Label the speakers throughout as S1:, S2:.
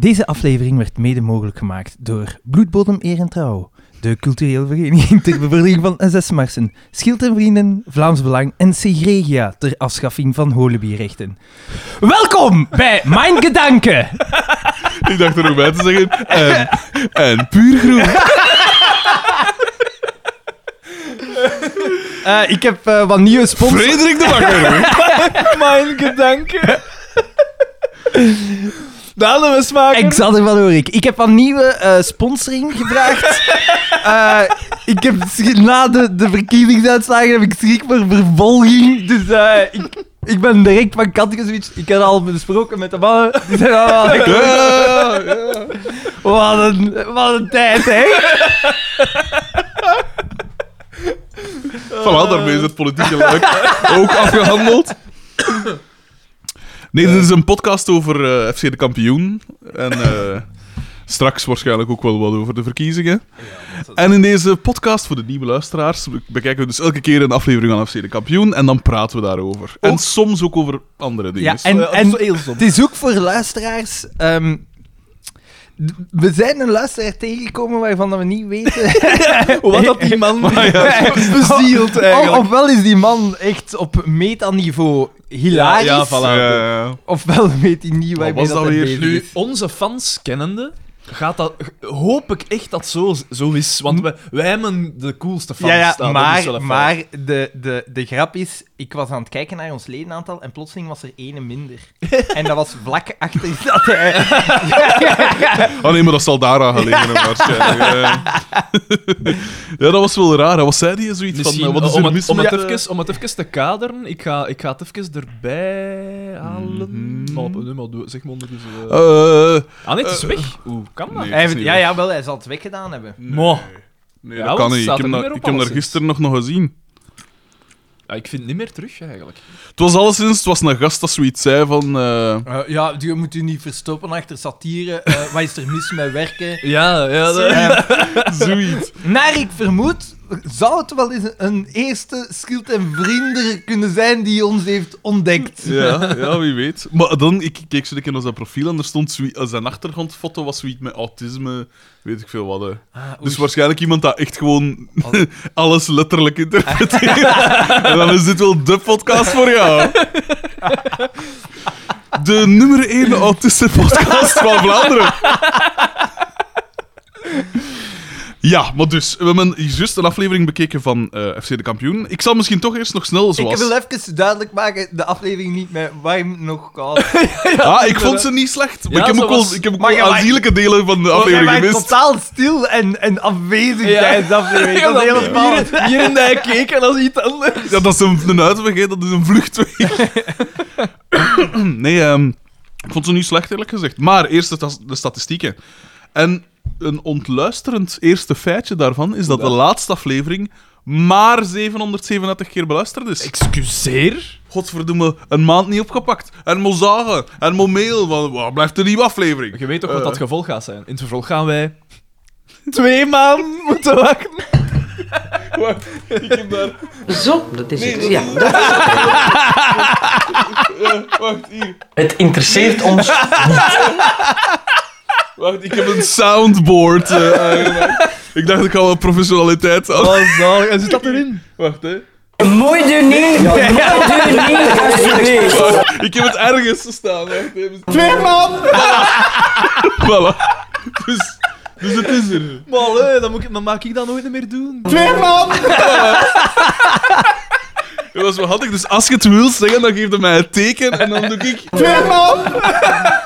S1: Deze aflevering werd mede mogelijk gemaakt door Bloedbodem Eer en Trouw, de culturele vereniging ter bevordering van SS-marsen, Schild en Vrienden, Vlaams Belang en Segregia ter afschaffing van holebierrechten. Welkom bij Mijn Gedanken!
S2: Ik dacht er ook bij te zeggen. En, en puur groen.
S1: Eh, ik heb eh, wat nieuwe sponsors.
S2: Frederik de Bakker.
S3: Mijn gedanken. De hadden we smaak.
S1: Xander van Oorik. Ik heb aan nieuwe eh, sponsoring gevraagd. Eh, ik heb sch- na de, de verkiezingsuitslagen heb ik schrik voor vervolging. Dus eh, ik, ik ben direct van kant geswitcht. Ik had al besproken met de mannen. Die zijn allemaal aan de kant. Wat een, wat een tijd, hè?
S2: Voilà, daarmee is het politieke luik ook afgehandeld. Nee, dit is een podcast over eh, FC de kampioen. En eh, straks waarschijnlijk ook wel wat over de verkiezingen. En in deze podcast voor de nieuwe luisteraars be- bekijken we dus elke keer een aflevering van FC de kampioen. En dan praten we daarover. En soms ook over andere dingen.
S1: Oh Ja, en, en het is ook voor luisteraars. ehm, d- we zijn een luisteraar tegengekomen waarvan we niet weten.
S3: Wat had die man
S1: Of-
S3: bezield eigenlijk.
S1: ofwel is die man echt op metaniveau hilarisch.
S3: Ja, ja, voilà.
S2: Ja, ja, ja.
S1: Ofwel weet hij niet waar
S2: was dat
S1: hij
S2: weer?
S1: bezig
S3: Nu,
S1: is.
S3: onze fans kennende, gaat dat, hoop ik echt dat zo, zo is. Want wij, wij hebben de coolste fans
S1: Ja, ja,
S3: staan. dat is wel
S1: maar,
S3: een
S1: maar de, de, de grap is, ik was aan het kijken naar ons ledenaantal en plotseling was er ene minder. en dat was vlak achter dat hij...
S2: Oh nee, maar dat zal daar aan gelegen hebben, waarschijnlijk. Ja, ja. ja, dat was wel raar. hè. Wat zei die zoiets
S3: Misschien,
S2: van? eh, Wat is
S3: om,
S2: er
S3: het,
S2: mis
S3: om,
S2: met
S3: het
S2: eh,
S3: even, om het even te kaderen, ik ga, ik ga het even erbij halen.
S2: Mhm.
S3: Maar op- nee, maar doe- zeg maar ondertussen. eh.
S2: eh,
S3: ah, nee, het is
S2: eh,
S3: weg. Hoe kan dat?
S2: nee.
S1: Hij-
S2: is niet
S1: ja,
S2: waar.
S1: ja, wel, hij zal het weggedaan hebben.
S3: Mo.
S2: Nee,
S3: Ja,
S2: dat
S3: want
S2: kan
S3: het
S2: niet. Ik
S3: staat
S2: heb,
S3: er niet
S2: dat,
S3: meer op, dus.
S2: ik heb dat
S3: alleszins.
S2: gisteren nog nog gezien.
S3: Ja, ik vind het niet meer terug eigenlijk.
S2: Het was alleszins, het was een gast dat zoiets zei van... eh,
S1: ja, je moet u niet verstoppen achter satire. Eh, wat is er mis met werken? Ehm,
S3: Ja, ja.
S2: zoiets.
S1: naar ik vermoed, zou het wel eens een eerste schild en vrienden kunnen zijn die ons heeft ontdekt.
S2: Ja, ja, wie weet. Maar dan, ik keek zo een keer naar zijn profiel en er stond zoiets- eh, zijn achtergrondfoto was zoiets met autisme, weet ik veel wat. hè. Dus waarschijnlijk iemand dat echt gewoon
S1: Ah, Al-
S2: alles letterlijk interpreteert. en dan is dit wel de podcast voor jou. De nummer 1 autistische podcast van Vlaanderen. Ja, maar dus, we hebben juist een aflevering bekeken van eh, FC De Kampioen. Ik zal misschien toch eerst nog snel, zoals...
S1: Ik wil even duidelijk maken, de aflevering niet met warm nog koud.
S2: ah, ik vond ze niet slecht. Maar
S3: Ja,
S2: ik heb
S3: ze
S2: ook wel,
S3: was-
S2: ik heb ook
S1: Maar
S2: wel
S1: ja, maar-
S2: aanzienlijke delen van de
S1: Jij
S2: aflevering
S1: bent
S2: gemist.
S1: totaal stil en, en afwezig
S3: Ja.
S1: tijdens de aflevering. Dat is heel spannend.
S3: Hier, hier en daar keken als iets anders.
S2: Ja, dat is een, een uitweg, hè. dat is een vluchtweg. nee, ehm, ik vond ze niet slecht, eerlijk gezegd. Maar eerst de, tas- de statistieken. En een ontluisterend eerste feitje daarvan is dat de laatste aflevering maar 737 keer beluisterd is.
S3: Excuseer?
S2: Godverdomme, een maand niet opgepakt. En mo zagen, en mo mail, want waar blijft de nieuwe aflevering?
S3: Je weet toch wat
S2: Eh.
S3: dat gevolg gaat zijn? In het vervolg gaan wij... Twee maanden moeten wachten.
S2: Wacht, ik heb daar...
S4: Zo, dat is het. Ja,
S2: eh, wacht, hier.
S4: Het interesseert ons.
S2: Wacht, ik heb een soundboard eh, aangemaakt. Ik dacht, ik had wel professionaliteit aan.
S3: Oh, zo. En zit dat erin?
S2: Wacht, hè.
S4: Mooi deuning, mooi deuning, alsjeblieft.
S2: Oh, ik heb het ergens staan. Wacht even.
S3: Twee maanden!
S2: Voilà. Dus, dus het is er.
S3: Maar allee, dan, moet ik, dan maak ik dat nooit meer doen.
S2: Twee maanden! Dat was wel handig. Dus als je het wil zeggen, dan geef je mij het teken en dan doe ik... Twee maanden!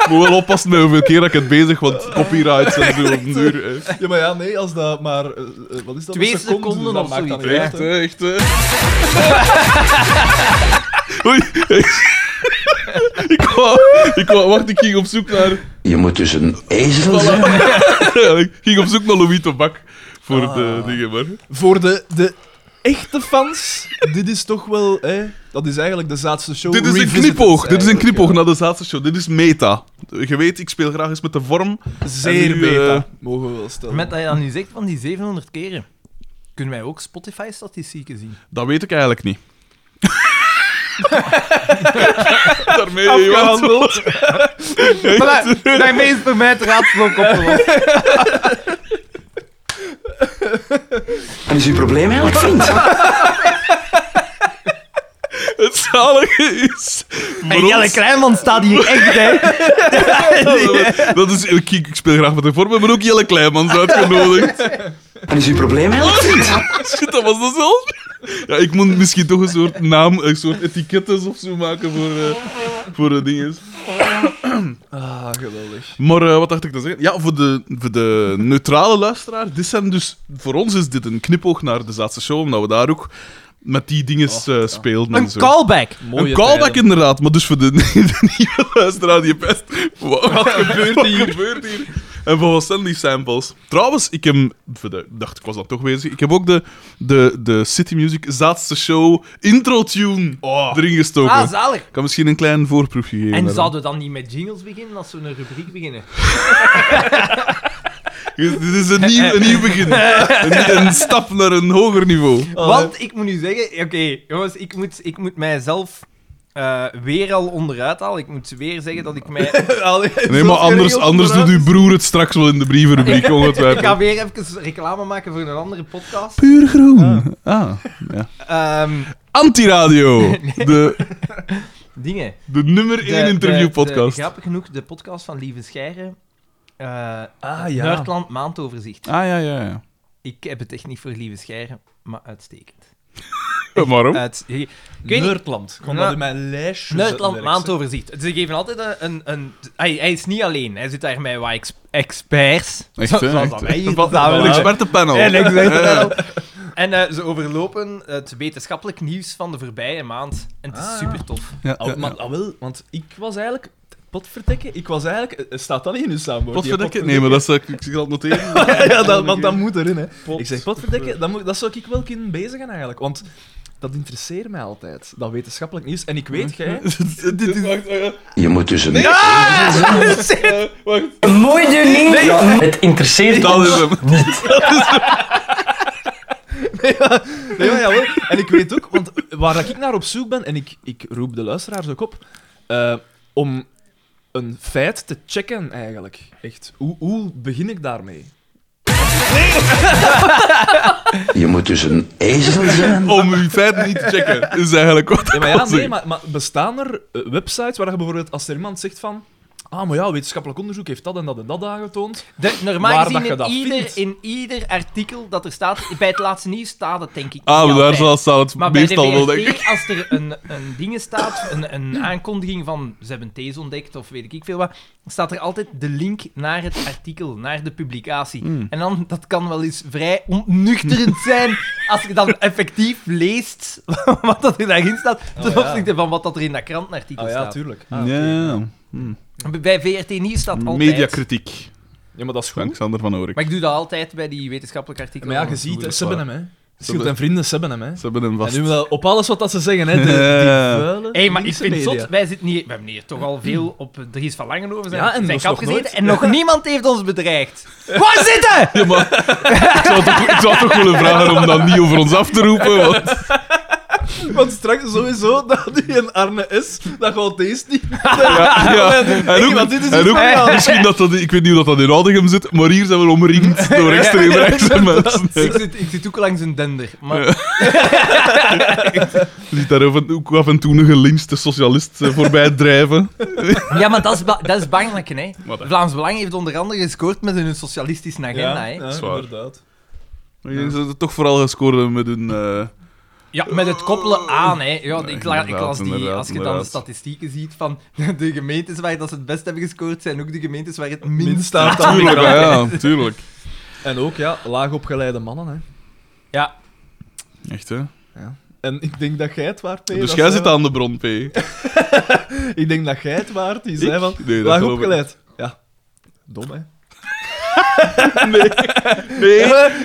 S2: Moet wel oppassen met hoeveel keer dat ik het bezig, want copyrights en zo op den duur. hè.
S3: Ja, maar ja, nee, als dat maar... eh, eh, wat is dat?
S1: Twee
S3: Een seconde,
S1: seconden
S3: dus dat
S1: of
S3: maakt dan
S1: zoiets,
S3: niet
S1: hè.
S3: uit,
S2: Echt,
S3: hè.
S2: hè, echt, hè. Oei. Ik wou, ik wou, wacht, ik ging op zoek naar...
S5: Je moet dus een ezel zijn.
S2: Ja, ik ging op zoek naar Louis Tobak voor de dingen, maar...
S3: Voor de, de echte fans, dit is toch wel... Hè, dat is eigenlijk de zaadste show.
S2: Dit is een
S3: revisited
S2: knipoog. Dit is een
S3: eigenlijk,
S2: knipoog
S3: ja.
S2: naar de zaadste show. Dit is meta. Je weet, ik speel graag eens met de vorm.
S3: Zeer
S2: En nu, eh,
S3: beta, mogen we wel stellen.
S1: Met dat je dan nu zegt van die 700 keren, kunnen wij ook Spotify-statistieken zien?
S2: Dat weet ik eigenlijk niet. daarmee, joh.
S1: Maar daar- daarmee is voor mij het raadsel ook opgelost.
S4: Wat is uw probleem eigenlijk, vriend?
S2: Het zalige is... voor
S1: En Jelle
S2: ons-
S1: Kleinman staat hier echt bij.
S2: dat is, ik, ik speel graag met de vormen, maar ook Jelle Kleinmans uitgenodigd.
S4: Wat is uw probleem eigenlijk, vriend?
S2: Shit, dat was dat zelf. Ja, ik moet misschien toch een soort naam, een soort etikettes of zo maken voor, eh, voor de dinges.
S3: Ah, geweldig.
S2: Maar eh, wat dacht ik te zeggen? Ja, voor de, voor de neutrale luisteraar, dit zijn dus... Voor ons is dit een knipoog naar de Zaatse Show, omdat we daar ook met die dinges eh speelden en
S1: Een
S2: zo.
S1: callback.
S3: Mooie
S2: een callback
S3: tijden.
S2: inderdaad, maar dus voor de, de nieuwe luisteraar die pest. Wat, wat gebeurt hier? Wat gebeurt hier? En van wat zijn die samples? Trouwens, ik heb... voor de- dacht, ik was dan toch bezig. Ik heb ook de, de, de City Music Zaatste Show intro tune
S3: Oh.
S2: erin gestoken.
S1: Ah, zalig.
S2: ik kan misschien een klein voorproefje
S1: En
S2: geven. daarvan.
S1: zouden we dan niet met jingles beginnen als we een rubriek beginnen?
S2: Dit dit is een nieuw, een nieuw begin. Een, een stap naar een hoger niveau.
S1: Want ik moet nu zeggen, oké, jongens, ik moet, ik moet mijzelf eh, weer al onderuit halen. Ik moet weer zeggen dat ik mij.
S2: Nee, maar anders, anders doet uw broer het straks wel in de brievenrubriek,
S1: Ik ga
S2: ongetwijfeld.
S1: weer even reclame maken voor een andere podcast.
S2: Puur groen. Ah, ja.
S1: Ehm,
S2: Antiradio. De,
S1: dingen.
S2: de nummer
S1: De-
S2: 1
S1: de-
S2: interviewpodcast.
S1: de- Grappig genoeg, de podcast van Lieve Scheire. eh
S3: Ah, ja.
S1: Noordland maandoverzicht.
S2: Ah, ja, ja, ja.
S1: Ik heb het echt niet voor Lieve Scheire, maar uitstekend.
S2: Eh, Waarom?
S1: Uit, ik weet niet,
S3: Nerdland. Ik kon
S1: Ja.
S3: dat in mijn lijstje
S1: Nederland
S3: zetten, direct,
S1: maandoverzicht. Ze geven altijd een... een, een hij, hij is niet alleen. Hij zit daar met wat ex- experts.
S2: Echt, hè?
S1: Zoals
S2: Echt,
S1: dat
S2: hè?
S1: wij hier
S2: Wat-
S1: samen
S2: Een
S1: doen.
S2: expertenpanel.
S1: En, ik zeg het
S2: Ja,
S1: wel. en eh, ze overlopen het wetenschappelijk nieuws van de voorbije maand. En het is
S3: Ah.
S1: super tof.
S2: ja,
S3: hè. Al, maar, al wel, want ik was eigenlijk... Potverdekken? Ik was eigenlijk... eh, Staat dat niet in uw samenwoord?
S2: Potverdekken? Nee, maar dat zou ik, ik zal het noteren.
S3: ja, dat, want dat moet erin, hè.
S2: Pot-
S3: Ik zeg, potverdikke, dat, moet, dat zou ik wel kunnen bezigen eigenlijk. Want dat interesseert mij altijd, dat wetenschappelijk nieuws. En ik weet, jij...
S2: Dit is... Wacht, eh,
S5: Je moet dus tussen
S2: eh, wacht.
S4: Mooi doen niet. Het interesseert
S2: Dat is
S4: ons.
S2: hem.
S3: Nee, maar jawel. En ik weet ook, want waar dat ik naar op zoek ben, en ik, ik roep de luisteraars ook op, eh, om een feit te checken eigenlijk. Echt, hoe, hoe begin ik daarmee?
S5: Je moet dus een ezel zijn.
S2: Om uw feiten niet te checken, is eigenlijk wat
S3: Ja, maar
S2: ik
S3: ja,
S2: wil
S3: nee,
S2: zeggen.
S3: maar, maar bestaan er eh, websites waar je bijvoorbeeld, als er iemand zegt van... Ah, maar ja, wetenschappelijk onderzoek heeft dat en dat en dat
S2: Ah,
S3: aangetoond.
S1: De, normaal
S3: Waar
S1: gezien
S3: dat je
S1: in
S3: dat
S1: ieder,
S3: vindt.
S1: in ieder artikel dat er staat... Bij het laatste nieuws staat het denk ik
S2: Ah,
S1: niet
S2: maar daar
S1: altijd.
S2: zal- staat het
S1: Maar bij de
S2: meestal wel, denk ik.
S1: VRT, als er een, een ding staat, een, een aankondiging van ze hebben thees ontdekt of weet ik veel wat, staat er altijd de link naar het artikel, naar de publicatie.
S2: Hmm.
S1: En dan, dat kan wel eens vrij ontnuchterend zijn als je dan effectief leest wat dat er daarin staat, ten
S3: ja.
S1: opzichte van wat dat er in dat krantenartikel
S3: Ah ja,
S1: staat.
S3: tuurlijk. Ah,
S2: Oh, Ja,
S3: oké.
S2: ja.
S3: Hmm.
S1: Bij VRT Nieuws staat altijd...
S2: Mediakritiek.
S3: Ja, maar dat is goed.
S2: Alexander van Oorik.
S1: Maar ik doe dat altijd bij die wetenschappelijke artikelen.
S3: Maar ja, je
S1: van
S3: ziet,
S1: vroeger.
S3: hè, ze hebben hem, hè. Schild
S2: hebben-
S3: en vrienden, ze hebben hem, hè.
S2: Ze hebben hem
S3: En
S2: vast.
S3: nu wel op alles wat dat ze zeggen, hè. De, die
S2: Ja.
S3: vuile
S1: Hé, maar ik
S3: linkse
S1: vind het
S3: media.
S1: zot, wij zitten hier, we hebben hier toch al veel op eh, Dries van Langenhoven zijn,
S3: Ja, en
S1: zijn
S3: dat is
S1: kap
S3: nog
S1: gezeten
S3: nooit.
S1: en nog niemand heeft ons bedreigd. Waar zitten?
S2: Ja, maar ik, zou toch, ik zou toch willen vragen om dat niet over ons af te roepen. Want...
S3: Want straks sowieso dat die een Arne is, dat gaat deze niet.
S2: Ja, ja. En ook,
S3: want dit is
S2: en
S3: iets
S2: ook
S3: van jou.
S2: misschien dat dat... Ik weet niet hoe dat, dat in Oudegem zit, maar hier zijn we omringd door extreemrechtse mensen.
S1: Ik zit, ik zit ook langs een dender. Maar,
S2: Je ziet daar af en- ook af en toe een gelinste socialist eh, voorbij drijven.
S1: ja, maar dat is, ba- dat is bangelijk, hè.
S2: Wat, hè?
S1: Vlaams Belang heeft onder andere gescoord met hun socialistische agenda, hè.
S3: ja,
S2: is waar.
S3: inderdaad.
S2: Maar je zou het toch vooral gescoord hebben met hun... eh,
S1: Ja, met het koppelen aan, hè. Ja, ik, la- ik
S2: inderdaad,
S1: las die,
S2: inderdaad,
S1: als je dan de
S2: inderdaad.
S1: statistieken ziet van de gemeentes waar dat ze het best hebben gescoord, zijn ook de gemeentes waar het minst...
S3: Minst staat aan
S2: Tuurlijk,
S3: migranten.
S2: ja, ja, tuurlijk.
S3: En ook, ja, laagopgeleide mannen, hè.
S1: Ja,
S2: Echt, hè?
S3: En ik denk dat jij het waard, P.
S2: Dus
S3: dat eh,
S2: jij
S3: zei
S2: zit aan de bron, P.
S3: van- Ik denk dat jij het waard, die
S2: Ik?
S3: zei van,
S2: Nee, dat
S3: laagopgeleid. Ja. Dom, hè.
S2: Nee,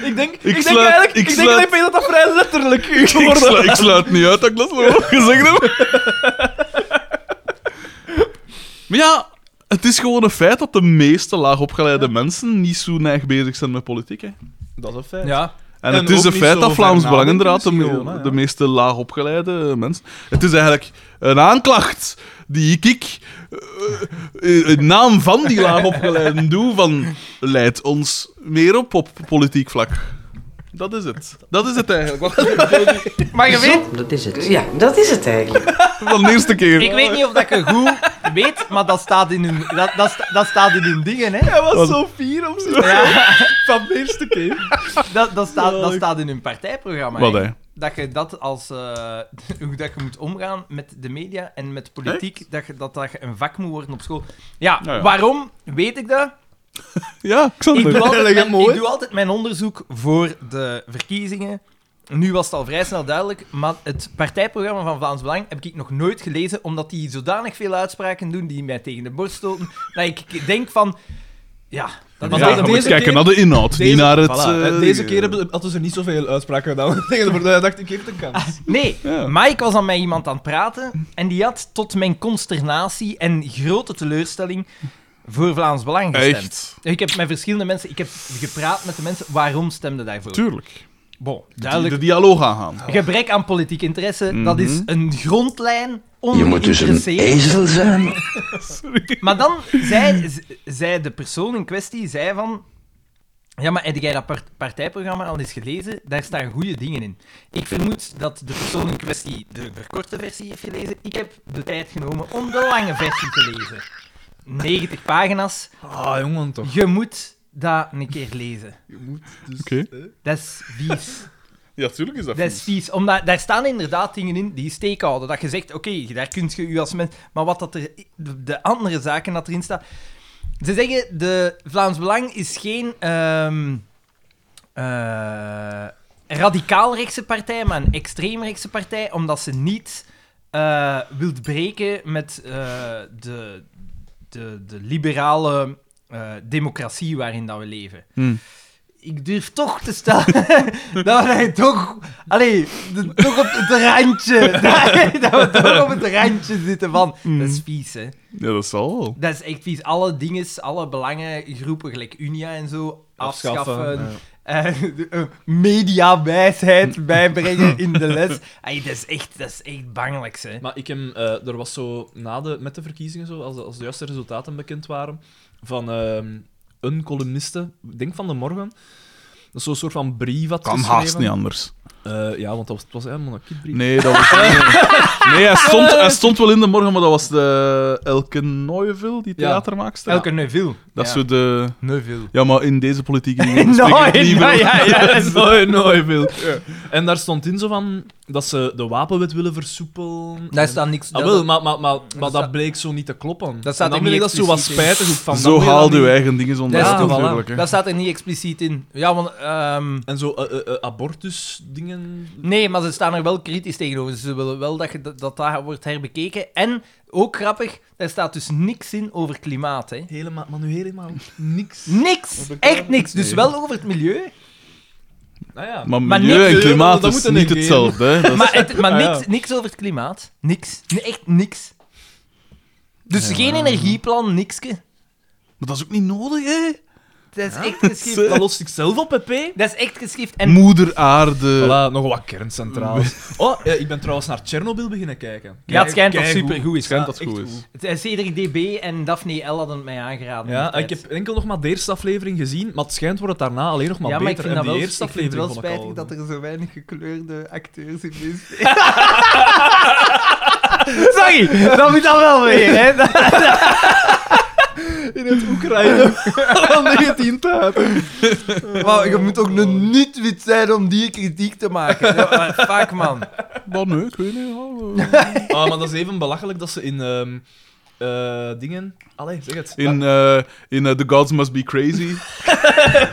S3: ik denk, ik,
S2: sluit- ik sluit-
S3: denk dat dat vrij letterlijk
S2: ik,
S3: geworden
S2: slu- ik sluit niet uit dat ik dat wel gezegd heb. Maar ja, het is gewoon een feit dat de meeste laagopgeleide mensen niet zo neig bezig zijn met politiek. Hè.
S3: Dat is een feit.
S1: ja.
S2: En,
S3: En
S2: het is
S3: ook
S2: een
S3: niet
S2: feit
S3: zo
S2: dat Vlaams
S3: ver nadenken
S2: Belangenraad de,
S3: misschien wel,
S2: me-
S3: hè,
S2: de
S3: ja.
S2: meeste laagopgeleide mensen... Het is eigenlijk een aanklacht die ik, ik eh, eh, in naam van die laagopgeleiden doe, van leidt ons meer op op politiek vlak. Dat is het. Dat is het eigenlijk. Wat-
S6: Maar je weet,
S7: Dat is het.
S4: Ja, dat is het eigenlijk.
S2: Van de eerste keer.
S1: Ik weet niet of dat ik het goed weet, maar dat staat in hun, dat, dat, sta- dat staat in hun dingen, hè.
S3: Hij was zo fier om zich
S1: Ja,
S3: van de eerste keer.
S1: dat, dat, staat, dat staat in hun partijprogramma.
S2: Wat,
S1: hè.
S2: hè?
S1: Dat je dat als... eh, hoe dat je moet omgaan met de media en met politiek, dat, je, dat dat je een vak moet worden op school. Ja,
S2: Nou ja.
S1: waarom weet ik dat?
S2: Ja, ik zal
S1: Ik
S2: het
S1: doe,
S2: doen.
S1: altijd
S3: Leg hem
S1: mijn,
S3: mooi.
S1: ik doe altijd mijn onderzoek voor de verkiezingen. Nu was het al vrij snel duidelijk, maar het partijprogramma van Vlaams Belang heb ik nog nooit gelezen, omdat die zodanig veel uitspraken doen die mij tegen de borst stoten, dat ik denk van... Ja, dat is
S3: Ja,
S2: Ja,
S1: al-
S2: je
S3: deze
S2: moet kijken
S3: keer-
S2: naar de inhoud,
S3: deze-
S2: niet naar het...
S3: Voilà,
S2: eh,
S3: deze keer hebben, hadden ze er niet zoveel uitspraken gedaan. Tegen de dacht ik, geef het een kans.
S1: Nee,
S2: Ja.
S1: Mike was dan met iemand aan het praten en die had tot mijn consternatie en grote teleurstelling voor Vlaams Belang gestemd.
S2: Echt.
S1: Ik heb met verschillende mensen, ik heb gepraat met de mensen, waarom stemden daarvoor?
S2: Tuurlijk.
S1: Bon,
S2: De
S1: duidelijk.
S2: dialoog aangaan.
S1: Oh. Gebrek aan politiek interesse, dat is een grondlijn.
S5: Mhm. Je moet dus een
S1: ongeïnteresseerd.
S5: ezel zijn.
S1: Maar dan zei, z- zei de persoon in kwestie zei van... Ja, maar heb jij dat par- partijprogramma al eens gelezen? Daar staan goede dingen in. Ik vermoed dat de persoon in kwestie de verkorte versie heeft gelezen. Ik heb de tijd genomen om de lange versie te lezen. 90 pagina's.
S3: Ah, jongen,
S5: Oh.
S3: toch.
S1: Je moet dat een keer lezen.
S2: Oké.
S1: Dat is vies.
S2: Ja, tuurlijk is dat
S1: Dat is vies. Omdat daar staan inderdaad dingen in die steek houden. Dat je zegt, oké, daar kun je u als mens... Maar wat dat er... De, de andere zaken dat erin staan... Ze zeggen, de Vlaams Belang is geen... ehm eh, radicaal-rechtse partij, maar een extreemrechtse partij, omdat ze niet eh wilt breken met eh, de, de, de liberale eh, democratie waarin dat we leven.
S2: Hmm.
S1: Ik durf toch te stellen dat wij toch, allee, de- toch op het randje, dat, we toch op het randje zitten van, dat is vies, hè.
S2: Ja, dat zal wel.
S1: Dat is echt vies. Alle dingen, alle belangengroepen, gelijk Unia en zo, afschaffen.
S3: Afschaffen,
S1: Eh, de- eh, mediawijsheid bijbrengen in de les. Ay, dat is echt, dat is echt bangelijks, hè.
S3: Maar ik heb, eh, er was zo na de, met de verkiezingen, zo, als, de- als de juiste resultaten bekend waren, van ehm, een columniste, ik denk van de morgen, dat is zo'n soort van brief had
S2: Kan
S3: geschreven.
S2: haast niet anders.
S3: Eh, ja, want dat was, het was helemaal een kidbrief.
S2: Nee, dat was... nee, hij stond, hij stond wel in de morgen, maar dat was de Elke Neuvel, die
S3: Ja.
S2: theatermaakster.
S1: Elke Neuville.
S2: Dat is
S1: ja.
S2: zo de...
S1: Neuville.
S2: Ja, maar in deze politieke dingen spreek
S1: Nee,
S2: ik liever...
S1: nee, ja, ja.
S3: dat is nooit, nooit veel. En daar stond in zo van dat ze de wapenwet willen versoepelen.
S1: Daar
S3: En-
S1: staat niks...
S3: Ah,
S1: dat-
S3: wel, maar, maar, maar, maar dat
S1: staat-
S3: bleek zo niet te kloppen.
S1: Dat staat
S3: En dan
S1: er
S3: vind ik
S1: niet
S3: dat zo wat
S1: expliciet in.
S3: spijtig. Van, dan
S2: Zo
S3: wil je dat
S2: haal je
S3: niet-
S2: eigen dingen onder.
S1: Dat is
S2: Ja,
S1: toch-
S2: natuurlijk, hè.
S1: Dat staat er niet expliciet in. Ja, want... ehm,
S3: En zo eh, eh, eh, abortus-dingen.
S1: Nee, maar ze staan er wel kritisch tegenover. Ze willen wel dat je, dat, dat daar wordt herbekeken. En, ook grappig, daar staat dus niks in over klimaat, hè.
S3: Helemaal, maar nu helemaal niks.
S1: Niks! Echt niks! Dus wel over het milieu,
S3: Nou ja.
S2: Maar
S1: Maar
S2: milieu
S1: niks-
S2: en klimaat
S3: dat
S2: is
S3: moet er
S2: niet
S3: niet
S2: hetzelfde, hè. Dat is-
S1: maar, het, maar
S3: Ah, ja.
S1: niks, niks over het klimaat. Niks. Nee, Echt niks. Dus geen energieplan, nikske.
S2: Maar dat is ook niet nodig, hè.
S1: Dat is echt geschift.
S3: dat lost ik zelf op, Pepe.
S1: Dat is echt geschift. En
S2: Moeder aarde.
S3: Voilà, nog wat kerncentrales. Oh, eh, ik ben trouwens naar Tsjernobyl beginnen kijken.
S1: Ja, het schijnt dat
S3: Keigoed.
S1: supergoed is.
S2: Schijnt dat
S3: Ja,
S2: goed
S3: echt
S2: is.
S1: het- eh, Cedric DB en Daphne L hadden het mij aangeraden.
S3: Ja,
S1: destijds.
S3: ik heb enkel nog maar de eerste aflevering gezien, maar het schijnt wordt het daarna alleen nog maar
S1: ja, maar
S3: beter.
S1: ik
S3: en
S1: vind
S3: die
S1: dat wel,
S3: eerste
S1: ik vind het wel
S3: aflevering vond ik al-
S1: spijtig dat er zo weinig gekleurde acteurs in zijn. Sorry, dat moet dan wel weer, hè?
S3: in het Oekraïne van 19
S1: Maar je moet ook een niet-wit zijn om die kritiek te maken. Ja, maar Fuck, man.
S2: Maar nee, ik weet niet. ja, eh.
S3: Ah, maar dat is even belachelijk dat ze in ehm, eh, dingen. Allee, zeg het.
S2: In, eh, in eh, The Gods Must Be Crazy.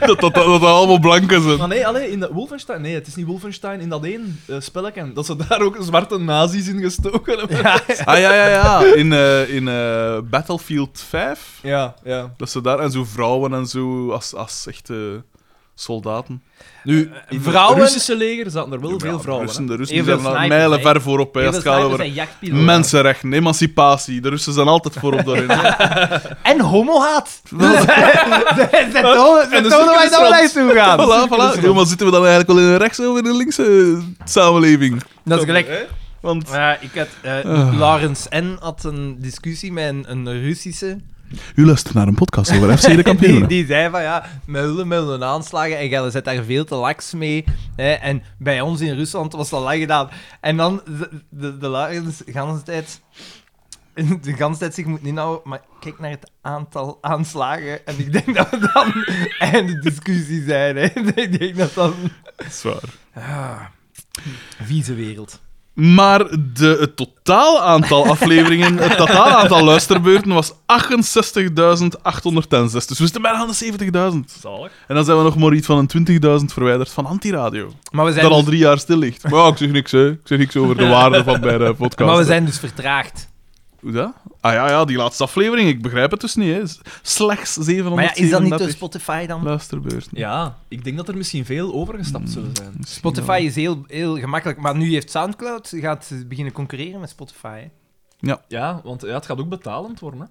S2: dat, dat, dat, dat allemaal blanken zijn.
S3: Maar Ah, nee, allee, in de Wolfenstein. Nee, het is niet Wolfenstein. In dat één eh, spelletje. Dat ze daar ook zwarte nazi's in gestoken hebben. Ja,
S2: Ah ja, ja, ja. In, eh, in eh, Battlefield 5.
S3: ja. ja.
S2: Dat ze daar en zo vrouwen en zo als, als echte soldaten.
S3: Nu, in
S1: Eh, Vrouwen-
S3: het Russische leger zaten er wel
S2: Ja,
S3: veel
S2: de
S3: vrouwen.
S2: Russen,
S3: hè.
S2: de Russen
S8: Heel
S2: zijn
S8: veel
S2: al
S8: snipers,
S2: mijlen
S8: hè.
S2: ver voorop. hè,
S8: Heel
S2: als
S8: veel
S2: het gaat
S8: snipers
S2: over
S8: zijn jachtpiloten.
S2: mensenrechten, emancipatie. De Russen zijn altijd voorop daarin.
S1: En homohaat. Zij tonen zij
S3: en de
S1: tonen waar
S3: cirkel
S1: wij
S3: is
S1: dan
S3: rond.
S1: lijst toe gaan.
S2: voilà, voilà. Ja, maar zitten we dan eigenlijk wel in een rechtse of in een linkse samenleving?
S1: Dat is gelijk.
S2: Want
S1: Maar ik had, eh
S2: Ah.
S1: Lawrence N. had een discussie met een, een Russische.
S2: u luistert naar een podcast over FC de
S1: Die,
S2: kampioenen.
S1: die zei van ja, mullen, mullen aanslagen en jij zet daar veel te laks mee. Hè, en bij ons in Rusland was dat lang gedaan. En dan de, de, de Lawrence de ganse tijd... De ganse tijd zich moet inhouden, maar kijk naar het aantal aanslagen. En ik denk dat we dan einde discussie zijn. Hè. Ik denk dat dat...
S2: Dat is waar.
S1: Vieze wereld.
S2: Maar de, het totaal aantal afleveringen, het totaal aantal luisterbeurten was 68.806. Dus we zitten bijna aan de 70.000. En dan zijn we nog maar iets van een 20.000 verwijderd van Antiradio.
S1: Maar we zijn,
S2: Dat al
S1: dus-
S2: drie jaar stil ligt. Maar ja, ik zeg niks, hè. Ik zeg niks over de waarde van mijn eh, podcast.
S1: maar we zijn dus vertraagd.
S2: Hoe dat? Ah ja, ja, die laatste aflevering. Ik begrijp het dus niet, hè. Slechts 700
S1: Maar ja, is dat niet door Spotify dan?
S2: luisterbeurten?
S3: Ja, ik denk dat er misschien veel overgestapt zullen zijn.
S1: Spotify is heel, heel gemakkelijk, maar nu heeft Soundcloud gaat beginnen concurreren met Spotify. hè.
S3: Ja, want ja, het gaat ook betalend worden. Hè.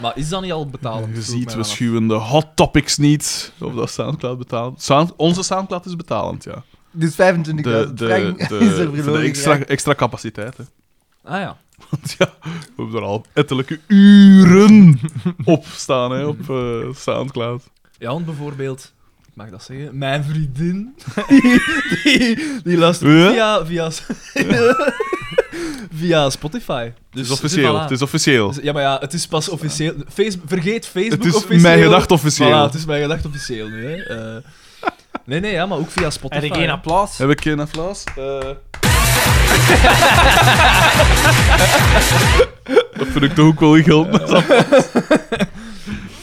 S3: Maar is dat niet al betalend?
S2: Je
S3: Vroeg
S2: ziet, dus-
S3: mij
S2: we
S3: dan af.
S2: schuwen de hot topics niet. Of dat Soundcloud betaalt. Sound- onze Soundcloud is betalend, ja.
S1: Dus 25.000
S2: de,
S1: frank
S2: de,
S1: is
S2: de-
S1: er
S2: voor de
S1: verloren
S2: extra,
S1: gegaan.
S2: extra capaciteit. Hè.
S3: Ah ja.
S2: Want ja, we hebben er al ettelijke uren op staan hè, op eh, Soundcloud.
S3: Ja, want bijvoorbeeld, ik mag dat zeggen, mijn vriendin, die, die luistert
S2: Ja?
S3: via, via, via Spotify.
S2: Het
S3: Dus
S2: is officieel.
S3: dus voilà.
S2: Het is officieel.
S3: Dus- Ja, maar ja, het is pas officieel. Face- vergeet Facebook
S2: Het is
S3: officieel.
S2: mijn gedacht officieel.
S3: Voilà, het is mijn gedacht officieel nu, hè. Eh, nee, nee, ja, maar ook via Spotify.
S1: Heb ik geen applaus?
S2: Heb ik geen applaus? Eh. dat vind ik toch ook wel geld.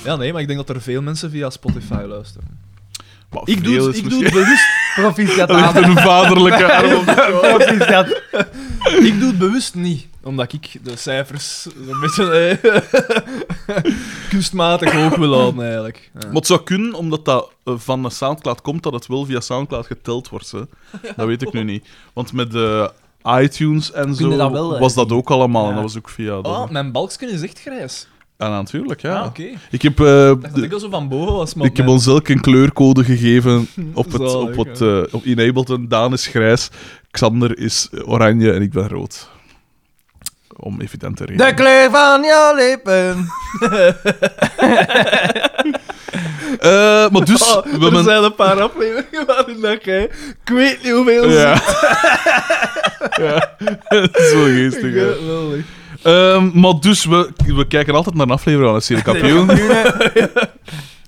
S3: Ja, nee, maar ik denk dat er veel mensen via Spotify luisteren.
S2: Maar
S3: Ik
S2: veel
S3: doe,
S2: is
S3: het, ik doe
S2: misschien-
S3: het bewust.
S1: Proficiat
S2: Er ligt
S1: aan.
S2: een vaderlijke arm op.
S1: Proficiat.
S3: ik doe het bewust niet, omdat ik de cijfers een beetje eh, kunstmatig hoog wil houden, eigenlijk. Ja.
S2: Maar het zou kunnen, omdat dat eh, van de Soundcloud komt, dat het wel via Soundcloud geteld wordt. Hè. Dat weet ik nu niet. Want met de iTunes en zo
S1: Kunnen dat wel, eh,
S2: was dat ook allemaal. En
S1: Ja.
S2: dat was ook via... De...
S3: Oh, mijn balksken is echt grijs.
S2: Ja, natuurlijk, ja.
S3: Ah, oké. Ik
S2: Ik heb... eh,
S3: dacht
S2: de-
S3: dat ik al zo van boven was, man.
S2: Ik heb ons elk een kleurcode gegeven op het, op
S3: Zalig,
S2: het eh, op Enableton. Daan is grijs, Xander is oranje en ik ben rood. Om evidente redenen.
S1: De kleur van jouw lippen.
S2: Eh, maar dus,
S1: Oh,
S2: we
S3: er
S2: hebben-
S3: zijn een paar afleveringen waarin dat jij... Ik weet niet hoeveel...
S2: Ja. ja. Dat is wel geestig.
S1: eh,
S2: hè.
S3: Geweldig.
S2: Ehm, maar dus, we, we kijken altijd naar een aflevering van het Serie Kampioen.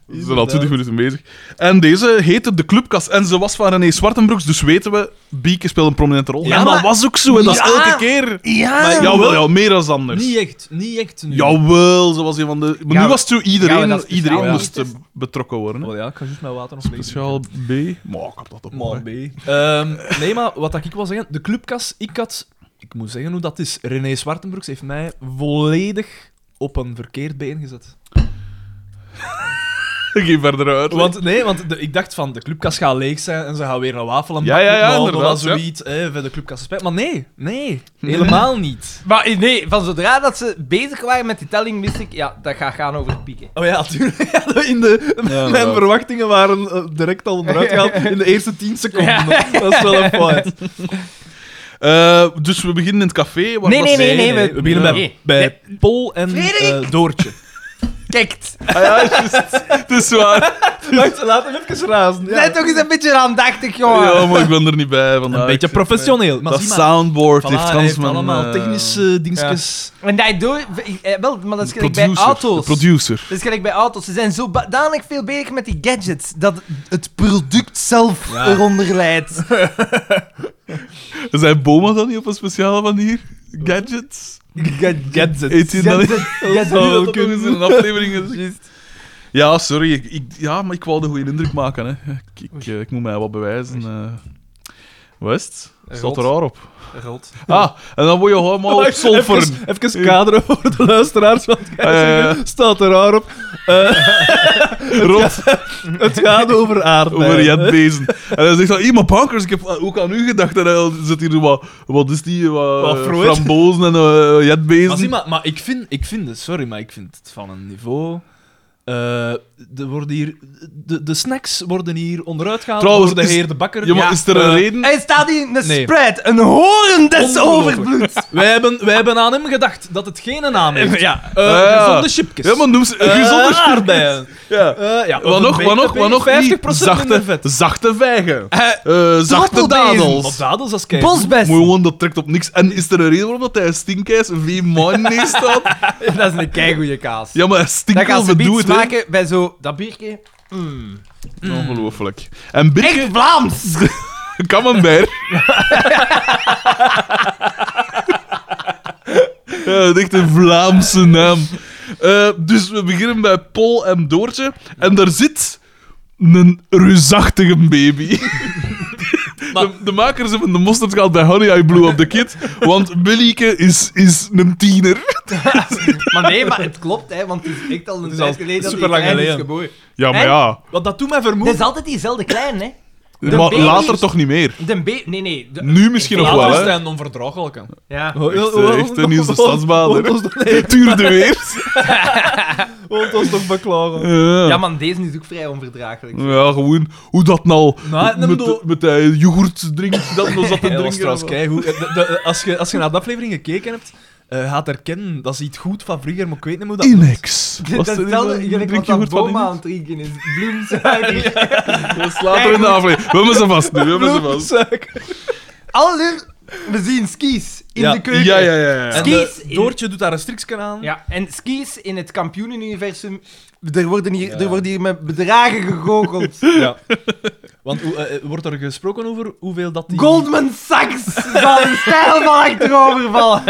S2: We zijn al 20 minuten bezig. En deze heette De Clubkast. En ze was van René Zwartenbroeks, dus weten we, Bieke speelt een prominente rol.
S1: Ja,
S2: en dat
S1: maar-
S2: was ook zo, en dat is
S1: Ja.
S2: elke keer.
S1: Ja.
S2: Maar jawel, ja, meer dan anders.
S3: Niet echt, niet echt nu.
S2: Jawel, ze was een van de... Maar
S1: Gaan
S2: nu
S1: we-
S2: was het zo,
S1: gaan
S2: iedereen,
S1: we dat speciaal
S2: iedereen
S3: doen?
S2: moest eh, betrokken worden. hè.
S3: Oh ja, ik ga juist mijn water nog leeg
S2: Speciaal B. Maar ik heb dat ook
S3: Maar
S2: mooi.
S3: B. Ehm, nee, maar wat dat ik wil zeggen, de clubkas, ik had... Ik moet zeggen hoe dat is. René Zwartenbroeks heeft mij volledig op een verkeerd been gezet.
S2: Geen verder uit.
S3: Want nee, want de- ik dacht van, de clubkas gaat leeg zijn en ze gaan weer een wafel en
S2: Ja, ja, ja,
S3: inderdaad.
S2: inderdaad, ja.
S3: Zoiets, eh, voor de clubkas spijt. Maar nee, nee, helemaal niet.
S1: Maar eh, nee, van zodra dat ze bezig waren met die telling, wist ik, ja, dat gaat gaan over pieken.
S3: Oh ja, tuurlijk. Ja, de- in de, mijn
S2: inderdaad.
S3: verwachtingen waren eh, direct al onderuit gehaald in de eerste 10 seconden. Dat is wel een fout.
S2: Eh, dus we beginnen in het café. Waar
S1: Nee,
S2: was-
S1: nee, nee.
S3: we, beginnen
S1: nee.
S3: bij, bij Pol en
S1: Frederik!
S3: eh, Doortje.
S1: Kijk,
S2: Ah, ja, juist. Het is waar.
S3: Wacht, laat hem even razen.
S1: zijn toch eens een beetje aandachtig, jongen.
S2: Ja, maar ik ben er niet bij vandaag.
S3: Een beetje
S2: Ik zeg,
S3: professioneel. Maar
S2: dat
S3: zie maar,
S2: soundboard
S3: voilà,
S2: heeft
S3: hij
S2: gans
S3: heeft
S2: mijn...
S3: allemaal
S2: eh,
S3: technische dingetjes.
S1: En daardoor, eh, wel, maar dat is gelijk bij
S2: producer, de
S1: auto's.
S2: producer.
S1: Dat is gelijk bij auto's. Ze zijn zo danig veel bezig met die gadgets dat het product zelf
S3: Ja.
S1: eronder leidt.
S2: Zijn Boma dan niet op een speciale manier? Gadgets? Eet je dat niet?
S3: Oh,
S1: Gadgets.
S2: Zou wel kunnen zijn, een aflevering is- Ja, sorry. Ik, ik- ja, maar ik wou de goede indruk maken. Hè. Ik, ik, eh, ik moet mij wat bewijzen. eh. Wat is het? Staat er raar op.
S1: Rot.
S2: Ah, en dan word je
S3: Oh,
S2: helemaal op
S3: Wacht,
S2: solferen.
S3: Even, even kaderen voor de luisteraars, want jij
S2: Ah, Ja, ja, ja.
S3: zegt, staat er raar op.
S2: Rot
S3: Het gaat over aardbeien.
S2: over Jet Bezen. En hij zegt van, hé, maar Pankers, ik heb eh, ook aan u gedacht. En dan zit hier zo wat, wat is die, wat, eh,
S3: Wat fruit.
S2: frambozen en eh Jet
S3: Maar, zie
S2: Bezen.
S3: maar, maar ik vind, ik vind het, sorry, maar ik vind het van een niveau. eh, er worden hier, de, de snacks worden hier onderuit gehaald
S2: Trouwens,
S3: door de
S2: is-
S3: heer De Bakker.
S2: Ja, maar is er een
S3: eh,
S2: reden?
S1: Hij staat hier in een
S3: Nee.
S1: spread, een horen des
S3: Ongelooflijk.
S1: overvloed.
S3: Wij hebben, wij hebben aan hem gedacht dat het geen naam heeft.
S1: Ja.
S3: Eh,
S2: Ah, ja.
S3: Gezonde chipjes.
S2: Ja, maar noem ze
S3: Eh,
S2: gezonde
S3: aardbeien.
S2: Ja.
S3: Eh, ja,
S2: Wat nog, wat nog, wat nog
S3: 50
S2: niet? Zachte,
S3: minder vet.
S2: zachte vijgen.
S1: Eh,
S2: Eh, zachte
S1: tortelbezen.
S2: dadels.
S3: Wat dadels als kijk.
S1: Bosbest.
S2: Mooi gewoon, dat trekt op niks. En is er een reden waarom dat hij stinkijs V man is staat?
S1: Dat is een keigoeie kaas.
S2: Ja, maar hij
S1: dat
S2: stinkt
S1: gaan
S2: wel
S1: ze
S2: verdoe
S1: biet
S2: het, hè.
S1: maken bij zo dat biertje.
S2: Ongelooflijk. En
S1: Echt
S2: Birke,
S1: Vlaams!
S2: Camembert. ja, dat is echt een Vlaamse naam. Eh, dus we beginnen bij Paul en Doortje. En daar zit een reusachtige baby. De, de makers hebben de mosterd gehaald bij Honey I Blew Up The Kid, want Billieke is, is een tiener.
S1: Maar nee, maar het klopt, hè, want het is echt al een
S3: is
S1: tijd
S3: al
S1: geleden dat
S3: superlang
S1: die klein is
S3: geleden.
S1: geboren.
S2: Ja, maar
S1: En?
S2: ja.
S3: Want dat doet mij
S1: Dat is
S3: vermoeden.
S1: altijd diezelfde klein, hè. De
S2: Maar
S1: baby-
S2: later toch niet meer.
S1: De be... Nee, nee. de-
S2: Nu misschien nog wel,
S3: Later is
S2: hè.
S3: hij onverdraaglijk. hè.
S1: Ja.
S2: Echt, eh, echt een nieuwste stadsbader. Het duurde weer.
S3: Wilt ons toch beklagen?
S2: Ja.
S1: ja, man, deze is ook vrij onverdraaglijk.
S2: Ja, gewoon hoe dat nou
S3: Nou,
S2: met,
S3: neem
S2: met,
S3: door.
S2: met dat yoghurt drinkt, dat nou- nog zat te
S3: Dat was
S2: drinken.
S3: trouwens keigoed. Eh, De- de- Als je, als je naar de aflevering gekeken hebt, eh, gaat herkennen, dat is iets goed van vroeger, maar ik weet niet hoe dat...
S2: Inex.
S1: Dat is hetzelfde gelijk wat dat boom aan het
S2: Inex?
S1: drinken is. Bloemsuiker.
S2: Dat is later in de aflevering. We hebben ze vast nu, we hebben ze vast.
S3: Bloemsuiker.
S1: Alle... We zien skis in
S3: Ja.
S1: de keuken.
S2: Ja, ja, ja.
S3: En eh,
S2: ja.
S1: Skis
S3: de-
S1: in-
S3: Doortje doet daar een striksken aan.
S1: Ja, en skis in het kampioenenuniversum, er worden hier, er worden hier met bedragen gegoocheld.
S3: Ja. Want hoe, eh, eh, wordt er gesproken over hoeveel dat die,
S1: Goldman Sachs zal in stijl van achterover vallen.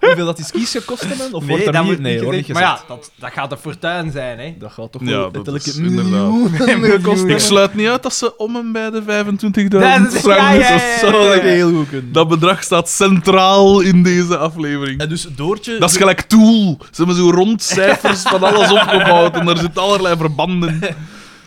S3: hoeveel dat die skis gekost hebben? Of wordt er niet, nee,
S1: niet
S3: wordt niet
S1: Maar ja,
S3: gezegd.
S1: dat, dat gaat een fortuin zijn, hè.
S3: Dat gaat toch
S2: Ja,
S3: wel
S2: dat
S3: letterlijk
S2: is inderdaad.
S3: miljoenen gekost
S2: Ik
S3: hebben.
S2: sluit niet uit dat ze om en bij de 25.000
S1: Dat is- ja,
S2: francs
S1: ja,
S2: of
S1: ja,
S2: zo.
S1: ja.
S3: Zou dat heel goed kunnen.
S2: Dat bedrag staat centraal in deze aflevering.
S3: En dus Doortje...
S2: Dat is gelijk Tool. Ze hebben zo rond cijfers van alles opgebouwd en daar zitten allerlei verbanden.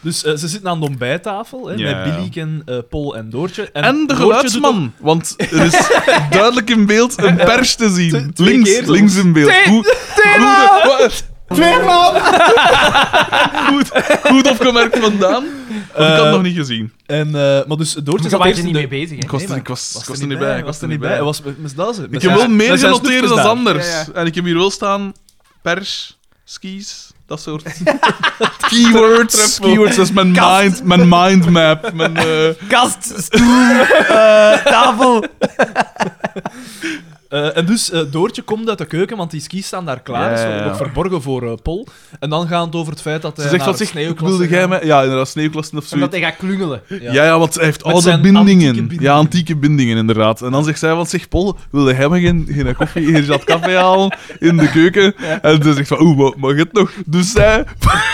S3: Dus eh, ze zitten aan de ontbijttafel hè,
S2: Ja.
S3: met Billy, en, eh, Paul en Doortje.
S2: En de
S3: Doortje doet
S2: geluidsman, want er is duidelijk in beeld een pers te zien.
S3: twee
S2: Links,
S3: keer zelfs.
S2: links in beeld. Goed, goed, goed, goed opgemerkt vandaan. Want ik had het
S3: Eh,
S2: nog niet gezien.
S3: ook- En, eh, maar dus Doortje
S1: Ze
S3: zat
S1: waren
S3: eerst
S1: er
S3: in
S1: niet
S3: de...
S1: mee bezig, hè.
S2: Ik was,
S3: Nee,
S2: er-
S3: maar
S2: ik was, ik
S3: was
S2: was er niet bij. Ik was er niet bij.
S3: Hij was met met z'n duizen.
S2: Ik
S3: Met
S2: heb
S3: zijn-
S2: wel meer
S3: met zijn
S2: genoteerd dan
S3: snoepjesdagen.
S2: anders.
S1: Ja, ja.
S2: En ik heb hier wel staan pers, skis, dat soort keywords. Keywords is mijn
S1: Kast.
S2: mind, mijn mindmap. Mijn, eh,
S1: Kast, stoel, eh, tafel.
S3: Eh, en dus eh, Doortje komt uit de keuken, want die skis staan daar klaar.
S2: Ja,
S3: Ze
S2: ja,
S3: worden
S2: ja.
S3: nog verborgen voor eh, Paul. En dan gaan het over het feit dat hij
S2: ze zegt
S3: naar
S2: wat
S3: nou, de
S2: zich
S3: sneeuwklasse
S2: wilde jij
S3: gaat.
S2: mij... Ja, inderdaad, sneeuwklassen of zoiets.
S1: Omdat hij gaat klungelen.
S3: Ja.
S2: Ja. ja, want hij heeft oude
S3: zijn
S2: bindingen.
S3: antieke bindingen.
S2: Ja, antieke bindingen, inderdaad. En dan zegt zij, want zegt Paul, wilde hem geen, geen koffie, geen zat café halen in de keuken? En ze zegt van, oeh, maar, maar je het nog? Dus zij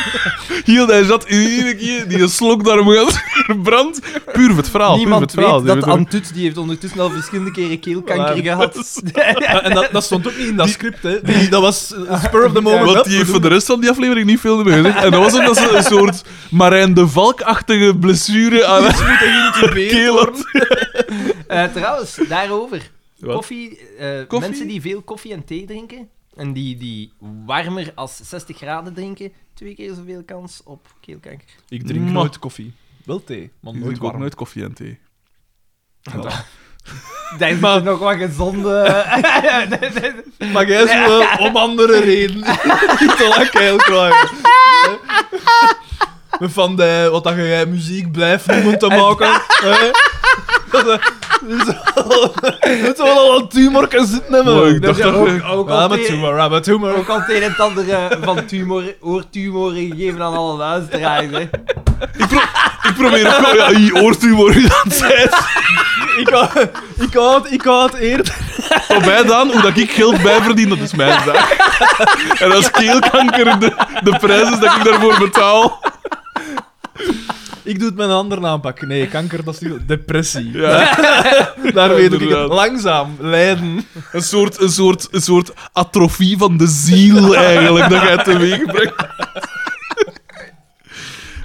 S2: hield hij zat in iedere keer die een slok daarom gaat brand. Puur voor het verhaal,
S1: Niemand
S2: puur voor het verhaal.
S1: weet dat
S2: Die weet-
S1: Antuts, die heeft ondertussen al verschillende keren keelkanker
S3: Ja.
S1: gehad.
S3: Eh, En dat, dat stond ook niet in dat script, hè. Die- dat was eh, spur of the moment.
S2: want
S3: Hup,
S2: die heeft
S3: we
S2: voor de
S3: doen
S2: rest van die aflevering niet veel meer gezegd. En dat was omdat ze een soort Marijn de Valk-achtige blessure aan haar
S3: het.
S2: keel had.
S1: Eh, trouwens, daarover.
S2: Wat?
S1: Koffie, eh,
S2: Koffie?
S1: Mensen die veel koffie en thee drinken, en die, die warmer als 60 graden drinken, twee keer zoveel kans op keelkanker.
S3: Ik drink
S2: Ma.
S3: nooit koffie. Wel thee, maar
S2: Ik
S3: nooit
S2: drink ook
S3: warm.
S2: nooit koffie en thee.
S1: Daar is nog wat gezonde...
S3: Maar jij is wel om andere redenen. Niet te lang heel klaar. Hè? Eh, Van de, wat dat jij muziek blijft noemen te maken. hè? Dat eh, is wel- dat is wel een tumor kan zitten
S2: Maar
S3: hebben.
S2: ik dacht
S1: Ja,
S2: dat
S1: ook,
S2: je-
S1: ook,
S3: Ja,
S1: al
S3: maar
S1: thee-
S3: tumor, ja, maar tumor.
S1: ook al het een en het ander eh, van tumor, oortumoren gegeven aan alle luisteraars. Hè.
S2: Ik probeer ook wel... Ja, je hoort u maar u dat zei.
S3: Ik had, ik had, ik had eerder.
S2: Voor mij dan, hoe dat ik geld bijverdien, dat is mijn zaak. En als keelkanker de, de prijs is dat ik daarvoor betaal.
S3: Ik doe het met een andere aanpak. Nee, kanker, dat is niet. Depressie.
S2: Ja,
S3: Daar weet ik het.
S2: inderdaad.
S3: Langzaam, lijden.
S2: een, soort, een, soort, een soort atrofie van de ziel eigenlijk dat jij teweeg brengt.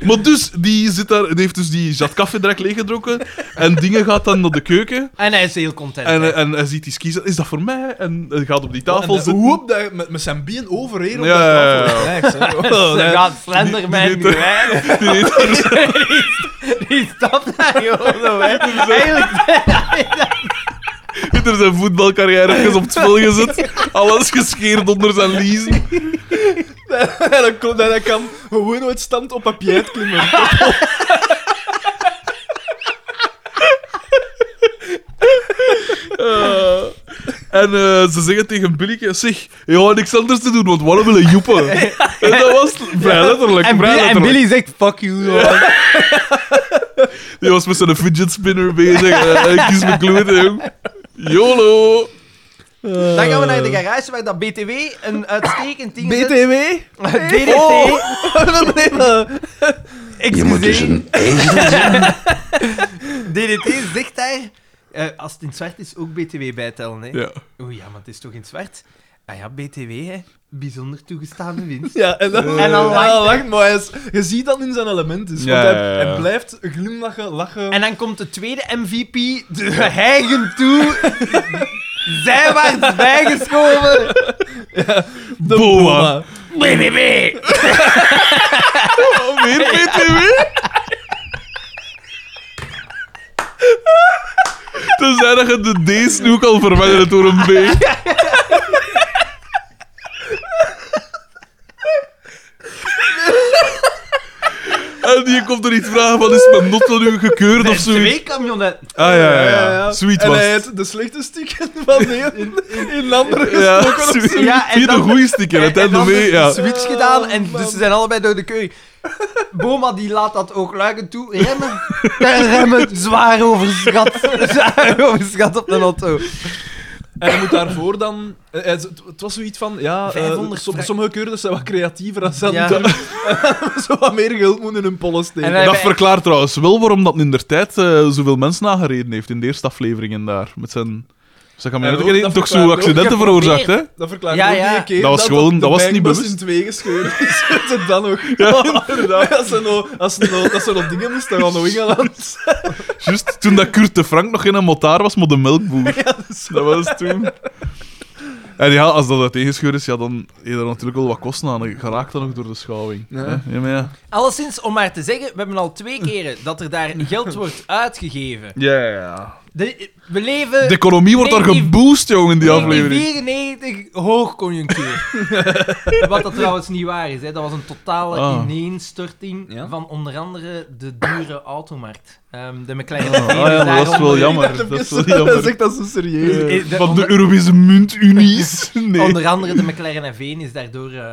S2: Maar dus, die zit daar en heeft dus die zat koffie direct leeggedronken. En dingen gaat dan naar de keuken.
S1: En hij is heel content.
S2: En,
S1: hè.
S2: eh, en hij ziet die skis. Is dat voor mij? En hij gaat op die tafel
S3: Oh, en de,
S2: zitten.
S3: hoep dat, met, met zijn bien overheen op
S2: Ja,
S3: dat
S2: ja, ja, ja.
S3: tafel. Niks, hè. Oh,
S1: Ze
S3: nee.
S1: gaat Slenderman
S2: die- die-
S1: nu hè.
S2: Die eet daar zo-
S1: Die stapt daar gewoon zo weg. Eigenlijk,
S2: heeft er zijn voetbalcarrière even op het spel gezet. Alles gescheerd onder zijn liezen.
S3: En dan kon- en hij kan gewoon nooit stand op papier klimmen.
S2: Eh, en eh, ze zeggen tegen Billyke, zeg, je had niks anders te doen, want waarom willen joepen? en dat was vrij letterlijk.
S9: En,
S2: vrij
S9: Billy, en
S2: letterlijk.
S9: Billy zegt, fuck you. man.
S2: Die was met zijn fidget spinner bezig. eh, Hij kies mijn klote, jong. YOLO!
S1: dan gaan we naar de garage waar dat BTW een uitstekend ding zit.
S9: BTW?
S1: DDT.
S5: Je moet dus
S9: Excuseer.
S5: een ezel zijn.
S1: DDT zegt daar... eh, als het in het zwart is, ook BTW bijtellen, hè.
S2: Ja.
S1: Oeh ja, maar het is toch in het zwart? Ah ja, BTW, hè. Bijzonder toegestaande winst.
S3: Ja, en dan,
S1: En dan lacht hij.
S3: lacht maar hij is- je ziet dat in zijn element is.
S2: Ja,
S3: want hij,
S2: ja, ja.
S3: hij blijft glimlachen, lachen.
S1: En dan komt de tweede MVP de heigen toe. Zijwaarts bijgeschoven.
S3: de
S2: Boa.
S1: BTW.
S2: Oh, Weer BTW? Tenzij dat je de D's nu ook al verwijderen door een B. En die komt er iets vragen van, is mijn notto nu gekeurd of zoiets?
S1: Twee camionetten.
S2: Ah ja, ja,
S3: Ja,
S2: ja.
S3: ja.
S2: Sweet
S3: en
S2: was
S3: hij
S2: het.
S3: had de slechte stikken van de in, in, in andere
S2: Ja,
S3: gestoken. of
S2: sweet.
S3: zo.
S1: Ja, en
S2: Hier de
S1: dan-
S2: goeie sticker, het einde
S1: dan
S2: mee.
S1: de
S2: Ja.
S1: switch gedaan en
S3: Oh, man.
S1: dus ze zijn allebei door de keuring. Boma die laat dat ook luiken toe remmen. En remmen zwaar overschat. Zwaar overschat op de auto.
S3: En hij moet daarvoor dan... eh, hij- Het het was zoiets van, ja, eh,
S1: 500
S3: som-
S1: frank.
S3: sommige keurders zijn wat creatiever dan ze
S1: Ja.
S3: zo wat meer geld moeten in hun pollen steken.
S1: En hij-
S2: Dat verklaart trouwens wel waarom dat in der tijd eh, zoveel mensen nagereden heeft in de eerste aflevering en daar. Met zijn... Zijn
S3: Ja,
S2: kamionet.
S3: ook,
S2: Ik weet
S3: dat
S2: niet, toch zo
S3: verklaart ook.
S2: accidenten veroorzaakt, hè?
S3: dat verklaart
S1: Ja,
S3: ook
S1: ja.
S3: die keer
S2: Dat was gewoon-
S3: de
S2: dat was niet
S3: Bangbus
S2: bewust.
S3: in tweeën gescheurd is. Dat ze dan nog... Als ze nog, als ze nog, dat ze nog dingen moesten gaan naar Engeland.
S2: Juist toen dat Kurt de Frank nog geen motaar was, maar de melkboer. dat was toen. En ja, als dat uit tegenscheur is, ja, dan heeft er natuurlijk wel wat kosten aan. Je raakt dan ook door de schouwing.
S3: Ja.
S2: hè? Ja, maar ja.
S1: Alleszins, om maar te zeggen, we hebben al twee keren dat er daar geld wordt uitgegeven.
S2: Ja, ja, ja.
S1: De, we leven...
S2: De economie wordt daar
S1: negatief-
S2: geboost, jongen, in die aflevering.
S1: 1994 hoogconjunctuur. Wat dat trouwens niet waar is. Hè. Dat was een totale
S2: Ah.
S1: ineenstorting
S3: Ja?
S1: van onder andere de dure automarkt. Ehm, de McLaren
S2: Ah ja, maar dat is wel jammer. Dat is wel
S3: Hij
S2: jammer.
S3: zegt dat zo serieus.
S2: Eh,
S1: de-
S2: Van de Europese muntunies. Nee.
S1: Onder andere de McLaren F1 is daardoor eh,